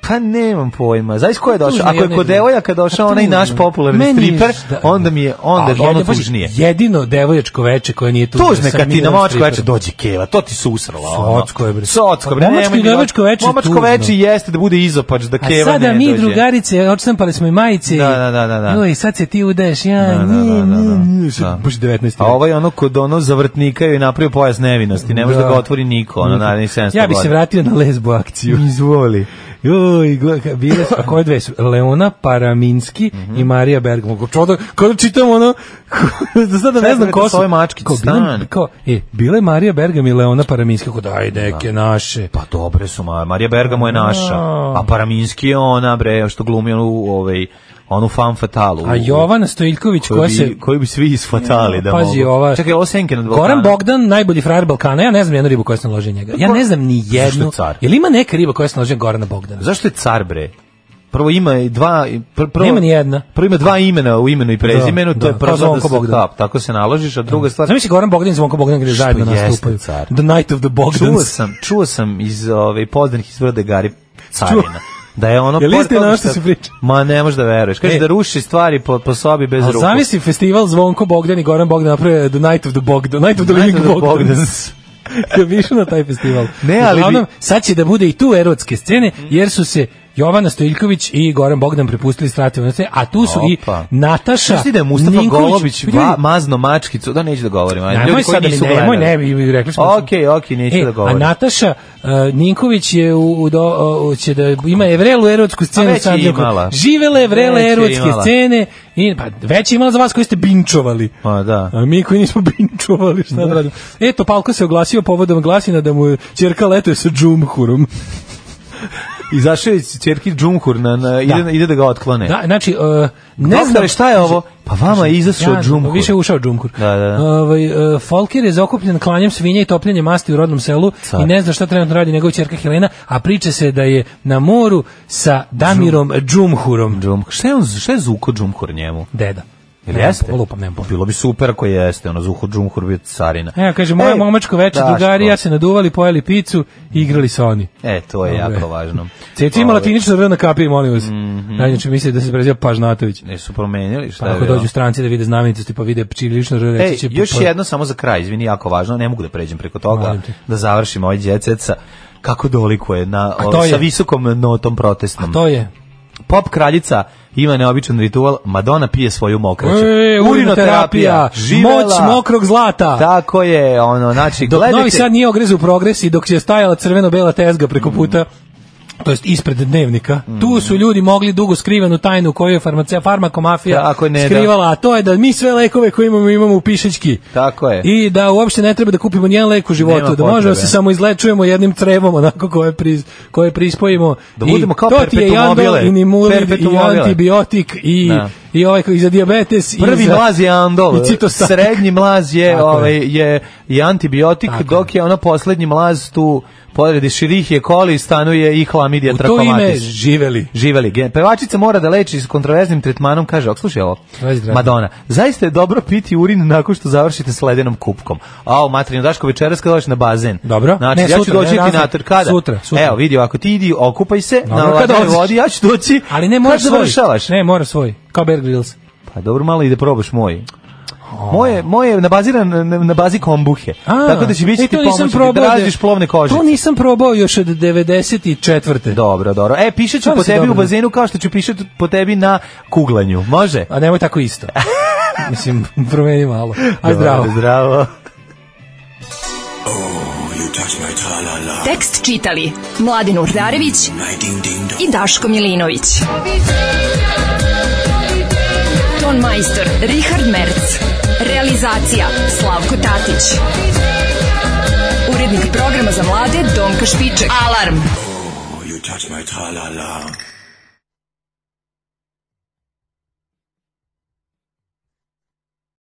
[SPEAKER 6] pa nemam pojma. Znaš ko je došao?
[SPEAKER 5] Tužno,
[SPEAKER 6] Ako
[SPEAKER 5] ja
[SPEAKER 6] je
[SPEAKER 5] ne
[SPEAKER 6] kod
[SPEAKER 5] znam.
[SPEAKER 6] devojaka došao
[SPEAKER 5] Pa
[SPEAKER 6] onaj
[SPEAKER 5] tužno.
[SPEAKER 6] naš popularni
[SPEAKER 5] Meni je da.
[SPEAKER 6] striper,
[SPEAKER 5] šta-
[SPEAKER 6] onda mi je onda
[SPEAKER 5] Ali
[SPEAKER 6] ono
[SPEAKER 5] jedno- pazi,
[SPEAKER 6] tužnije.
[SPEAKER 5] Jedino devoječko veče koje nije tužno.
[SPEAKER 6] Tužne
[SPEAKER 5] sa
[SPEAKER 6] kad ti na
[SPEAKER 5] Milanom
[SPEAKER 6] momačko veče
[SPEAKER 5] Striperom.
[SPEAKER 6] dođe keva, to ti se usrala. ono.
[SPEAKER 5] Socko je, bre.
[SPEAKER 6] Socko, bre.
[SPEAKER 5] Pa momačko
[SPEAKER 6] nemoj
[SPEAKER 5] i
[SPEAKER 6] mi-
[SPEAKER 5] devojčko veče je
[SPEAKER 6] Momačko
[SPEAKER 5] tužno.
[SPEAKER 6] veče jeste da bude izopač, da
[SPEAKER 5] A
[SPEAKER 6] keva ne
[SPEAKER 5] sada mi
[SPEAKER 6] dođe.
[SPEAKER 5] drugarice, odštampali smo i majice.
[SPEAKER 6] Da, da, da, da, da.
[SPEAKER 5] Joj, sad se ti udaješ, ja,
[SPEAKER 6] Da, da, da, da, da. Da.
[SPEAKER 5] Baš 19.
[SPEAKER 6] A ovaj ono kod ono zavrtnika je napravio pojas nevinosti, ne može da,
[SPEAKER 5] Da.
[SPEAKER 6] ga otvori niko, ono narednih 700
[SPEAKER 5] Ja bi se vratio na lesbo akciju.
[SPEAKER 6] Izvoli.
[SPEAKER 5] Joj, gle, ka- bile su, a koje dve su? Leona Paraminski i Marija Bergman. Kao čudo, kao čitam ono, da sada
[SPEAKER 6] Šta
[SPEAKER 5] ne
[SPEAKER 6] je
[SPEAKER 5] znam
[SPEAKER 6] to
[SPEAKER 5] ko
[SPEAKER 6] sa
[SPEAKER 5] su.
[SPEAKER 6] ove mačkice,
[SPEAKER 5] Kao, bile-
[SPEAKER 6] stan?
[SPEAKER 5] kao, e, bile Marija Bergam i Leona Paraminski, kao daj neke naše.
[SPEAKER 6] Pa
[SPEAKER 5] Da.
[SPEAKER 6] dobre su, ma, Marija Bergamo je naša, a Paraminski je ona, bre, što glumi onu, ovaj, onu fan fatalu.
[SPEAKER 5] A Jovana Stojiljković
[SPEAKER 6] koju
[SPEAKER 5] koja
[SPEAKER 6] bi,
[SPEAKER 5] se-
[SPEAKER 6] koju bi svi isfatali da
[SPEAKER 5] Pazi,
[SPEAKER 6] mogu.
[SPEAKER 5] ova-
[SPEAKER 6] Čekaj, ovo senke nad Balkanom.
[SPEAKER 5] Goran Bogdan, najbolji frajer Balkana, ja ne znam jednu ribu koja se naloži njega. Ja ne znam ni
[SPEAKER 6] je
[SPEAKER 5] jednu.
[SPEAKER 6] car?
[SPEAKER 5] Jel ima neka riba koja se naloži na Gorana Bogdana?
[SPEAKER 6] Zašto je car bre? Prvo ima i dva pr- prvo
[SPEAKER 5] Nema ni jedna.
[SPEAKER 6] Prvo ima dva imena u imenu i prezimenu,
[SPEAKER 5] Da,
[SPEAKER 6] to je
[SPEAKER 5] da,
[SPEAKER 6] prvo
[SPEAKER 5] kao
[SPEAKER 6] da
[SPEAKER 5] Zvonko
[SPEAKER 6] se
[SPEAKER 5] Bogdan.
[SPEAKER 6] da, tako se naložiš, a druga stvar.
[SPEAKER 5] Zamisli Goran Bogdan i Zvonko Bogdan gde
[SPEAKER 6] Što
[SPEAKER 5] zajedno
[SPEAKER 6] jeste
[SPEAKER 5] nastupaju.
[SPEAKER 6] car.
[SPEAKER 5] The Night of the
[SPEAKER 6] Čuo
[SPEAKER 5] Bogdans.
[SPEAKER 6] sam, čuo sam iz ovaj, ove poznanih iz vrde da Gari Carina.
[SPEAKER 5] Čuo.
[SPEAKER 6] Da je ono
[SPEAKER 5] Jel
[SPEAKER 6] pored
[SPEAKER 5] istina
[SPEAKER 6] toga
[SPEAKER 5] ono što si pričao?
[SPEAKER 6] Ma ne možeš da veruješ. Kaže
[SPEAKER 5] E.
[SPEAKER 6] da ruši stvari po, po sobi bez
[SPEAKER 5] A
[SPEAKER 6] ruku.
[SPEAKER 5] zamisli festival Zvonko Bogdan i Goran Bogdan naprave The Night of the Bogdan, Night of the
[SPEAKER 6] Night
[SPEAKER 5] Living
[SPEAKER 6] of the
[SPEAKER 5] Bogdans. Ja bi išao na taj festival.
[SPEAKER 6] Ne, ali bi-
[SPEAKER 5] Uglavnom, sad će da bude i tu erotske scene, jer su se Jovana Stojiljković i Goran Bogdan prepustili strati a tu su
[SPEAKER 6] Opa.
[SPEAKER 5] i Nataša
[SPEAKER 6] Znaš ti da je Mustafa
[SPEAKER 5] Ninković-
[SPEAKER 6] Golović
[SPEAKER 5] Pa Ljudi,
[SPEAKER 6] ba, mazno mačkicu? Da, neću da govorim. ajde.
[SPEAKER 5] Nemoj
[SPEAKER 6] Ljudi koji
[SPEAKER 5] sad da mi
[SPEAKER 6] nisu
[SPEAKER 5] ne, nemoj
[SPEAKER 6] gledali.
[SPEAKER 5] ne bi mi rekli smo.
[SPEAKER 6] Okej, okej, neću
[SPEAKER 5] E,
[SPEAKER 6] da
[SPEAKER 5] a
[SPEAKER 6] govorim.
[SPEAKER 5] Nataša uh, Ninković je u, u, do, u će da ima evrelu erotsku
[SPEAKER 6] A
[SPEAKER 5] scenu
[SPEAKER 6] već
[SPEAKER 5] sa
[SPEAKER 6] je
[SPEAKER 5] Andrijom.
[SPEAKER 6] imala.
[SPEAKER 5] Živele evrele
[SPEAKER 6] Već je
[SPEAKER 5] erotske
[SPEAKER 6] imala.
[SPEAKER 5] scene i pa već je imala za vas koji ste binčovali.
[SPEAKER 6] Ma da.
[SPEAKER 5] A mi koji nismo binčovali, šta da radimo? Eto, Palko se oglasio povodom glasina da mu je ćerka letuje sa džumhurom.
[SPEAKER 6] Izašao je čerki Džumhur, na, na, ide, ide da ga otklone.
[SPEAKER 5] Da, znači, uh, ne znam...
[SPEAKER 6] Doktore,
[SPEAKER 5] Znači,
[SPEAKER 6] šta je ovo? Pa vama je izašao
[SPEAKER 5] Ja,
[SPEAKER 6] Džumhur.
[SPEAKER 5] Više je ušao džumkur.
[SPEAKER 6] Da, da, da.
[SPEAKER 5] Ovaj, e, Folker je zakupljen klanjem svinja i topljenjem masti u rodnom selu
[SPEAKER 6] Car.
[SPEAKER 5] i ne zna šta trenutno radi njegova ćerka Helena, a priča se da je na moru sa Damirom Džumhurom.
[SPEAKER 6] Džumhur. Šta je, on, šta je Zuko Džumhur njemu?
[SPEAKER 5] Deda.
[SPEAKER 6] Jel
[SPEAKER 5] Nemam
[SPEAKER 6] jeste?
[SPEAKER 5] pojma, Lupam, nemam pojma.
[SPEAKER 6] Bilo bi super ako jeste, ono Zuko Džumhur bio carina.
[SPEAKER 5] Evo, kaže,
[SPEAKER 6] Ej,
[SPEAKER 5] moje momačko veče,
[SPEAKER 6] Daško.
[SPEAKER 5] drugari, ja se naduvali, pojeli picu i igrali sa oni.
[SPEAKER 6] E, to je
[SPEAKER 5] Dobro
[SPEAKER 6] jako
[SPEAKER 5] je.
[SPEAKER 6] važno.
[SPEAKER 5] Ceca ima
[SPEAKER 6] Ove,
[SPEAKER 5] latinično R na kapiji, molim vas.
[SPEAKER 6] Mhm.
[SPEAKER 5] Najnače misli da se prezio Pažnatović.
[SPEAKER 6] Ne su promenili, šta
[SPEAKER 5] Pa
[SPEAKER 6] je
[SPEAKER 5] ako
[SPEAKER 6] bilo?
[SPEAKER 5] dođu stranci da vide znamenitosti, pa vide čivilično R,
[SPEAKER 6] Ej,
[SPEAKER 5] reći će...
[SPEAKER 6] još
[SPEAKER 5] pa-
[SPEAKER 6] jedno samo za kraj, izvini, jako važno, ne mogu da pređem preko toga,
[SPEAKER 5] Molim te.
[SPEAKER 6] da završim ovaj djececa, kako dolikuje na,
[SPEAKER 5] A
[SPEAKER 6] o,
[SPEAKER 5] to je-
[SPEAKER 6] sa visokom notom protestnom.
[SPEAKER 5] To je...
[SPEAKER 6] Pop kraljica ima neobičan ritual, Madonna pije svoju mokraću.
[SPEAKER 5] E, urinoterapija,
[SPEAKER 6] Znači, živela.
[SPEAKER 5] moć mokrog zlata.
[SPEAKER 6] Tako je, ono, znači,
[SPEAKER 5] Dok
[SPEAKER 6] gledajte.
[SPEAKER 5] Novi Sad nije ogrezao u progresi, dok je stajala crveno-bela tezga preko
[SPEAKER 6] Mm.
[SPEAKER 5] puta, to jest ispred dnevnika, tu su ljudi mogli dugo skrivenu tajnu koju je farmacija, farmakomafija
[SPEAKER 6] Tako je, ne, da.
[SPEAKER 5] skrivala, a to je da mi sve lekove koje imamo, imamo u pišećki.
[SPEAKER 6] Tako je.
[SPEAKER 5] I da uopšte ne treba da kupimo nijedan lek u životu,
[SPEAKER 6] Nema
[SPEAKER 5] da možemo
[SPEAKER 6] potrebe.
[SPEAKER 5] se samo izlečujemo jednim crevom onako koje, pri, koje prispojimo.
[SPEAKER 6] Da budemo kao
[SPEAKER 5] I to ti je jandol
[SPEAKER 6] perpetuumobile.
[SPEAKER 5] i nimulid i
[SPEAKER 6] Perpetuumobile.
[SPEAKER 5] antibiotik i,
[SPEAKER 6] Da.
[SPEAKER 5] i, ovaj, i za diabetes.
[SPEAKER 6] Prvi
[SPEAKER 5] i za,
[SPEAKER 6] mlaz je Andol,
[SPEAKER 5] i citostatik.
[SPEAKER 6] srednji mlaz je,
[SPEAKER 5] Tako je.
[SPEAKER 6] ovaj, je, je antibiotik,
[SPEAKER 5] Tako je.
[SPEAKER 6] dok je ono poslednji mlaz tu pored širih je koli stanuje i hlamidija
[SPEAKER 5] U to ime
[SPEAKER 6] trakomatis.
[SPEAKER 5] živeli.
[SPEAKER 6] Živeli. gen- Pevačica mora da leči s kontroverznim tretmanom, kaže, ok, slušaj ovo,
[SPEAKER 5] Ajde, dragi.
[SPEAKER 6] Madonna, zaista je dobro piti urin nakon što završite s ledenom kupkom. A, o, materinu, Daško, večeras kada dođeš na bazen.
[SPEAKER 5] Dobro.
[SPEAKER 6] Znači,
[SPEAKER 5] Ne,
[SPEAKER 6] ja ću
[SPEAKER 5] sutra,
[SPEAKER 6] doći
[SPEAKER 5] ne,
[SPEAKER 6] ti
[SPEAKER 5] razne-
[SPEAKER 6] na kada?
[SPEAKER 5] sutra, sutra.
[SPEAKER 6] Evo, vidi, ako ti idi, okupaj se,
[SPEAKER 5] Dobro,
[SPEAKER 6] na
[SPEAKER 5] kad
[SPEAKER 6] ledenoj
[SPEAKER 5] dođeš.
[SPEAKER 6] vodi, ja ću doći.
[SPEAKER 5] Ali ne da
[SPEAKER 6] kad
[SPEAKER 5] moraš svoj.
[SPEAKER 6] završavaš.
[SPEAKER 5] Ne, moraš svoj. Kao Bear Grylls.
[SPEAKER 6] Pa dobro, malo i da probaš moj. Moje, moje je nabaziran na, na bazi kombuhe.
[SPEAKER 5] Oh. A,
[SPEAKER 6] Tako da će biti
[SPEAKER 5] e,
[SPEAKER 6] ti
[SPEAKER 5] to nisam
[SPEAKER 6] pomoći da
[SPEAKER 5] probao da-
[SPEAKER 6] razliš plovne kožice.
[SPEAKER 5] To nisam probao još od 94.
[SPEAKER 6] Dobro, dobro. E, pišet ću
[SPEAKER 5] Stvarno
[SPEAKER 6] po
[SPEAKER 5] si
[SPEAKER 6] tebi u
[SPEAKER 5] dobro.
[SPEAKER 6] bazenu kao što ću pišet po tebi na kuglanju. Može?
[SPEAKER 5] A nemoj tako isto. Mislim, promeni malo. Aj zdravo.
[SPEAKER 6] Dobro, Zdravo.
[SPEAKER 4] Tekst čitali Mladin Urdarević i Daško Milinović. Ton majstor Richard Merc. Realizacija Slavko Tatić. Urednik programa za mlade Donka Špiček. Alarm!
[SPEAKER 7] You touch my tra-la-la.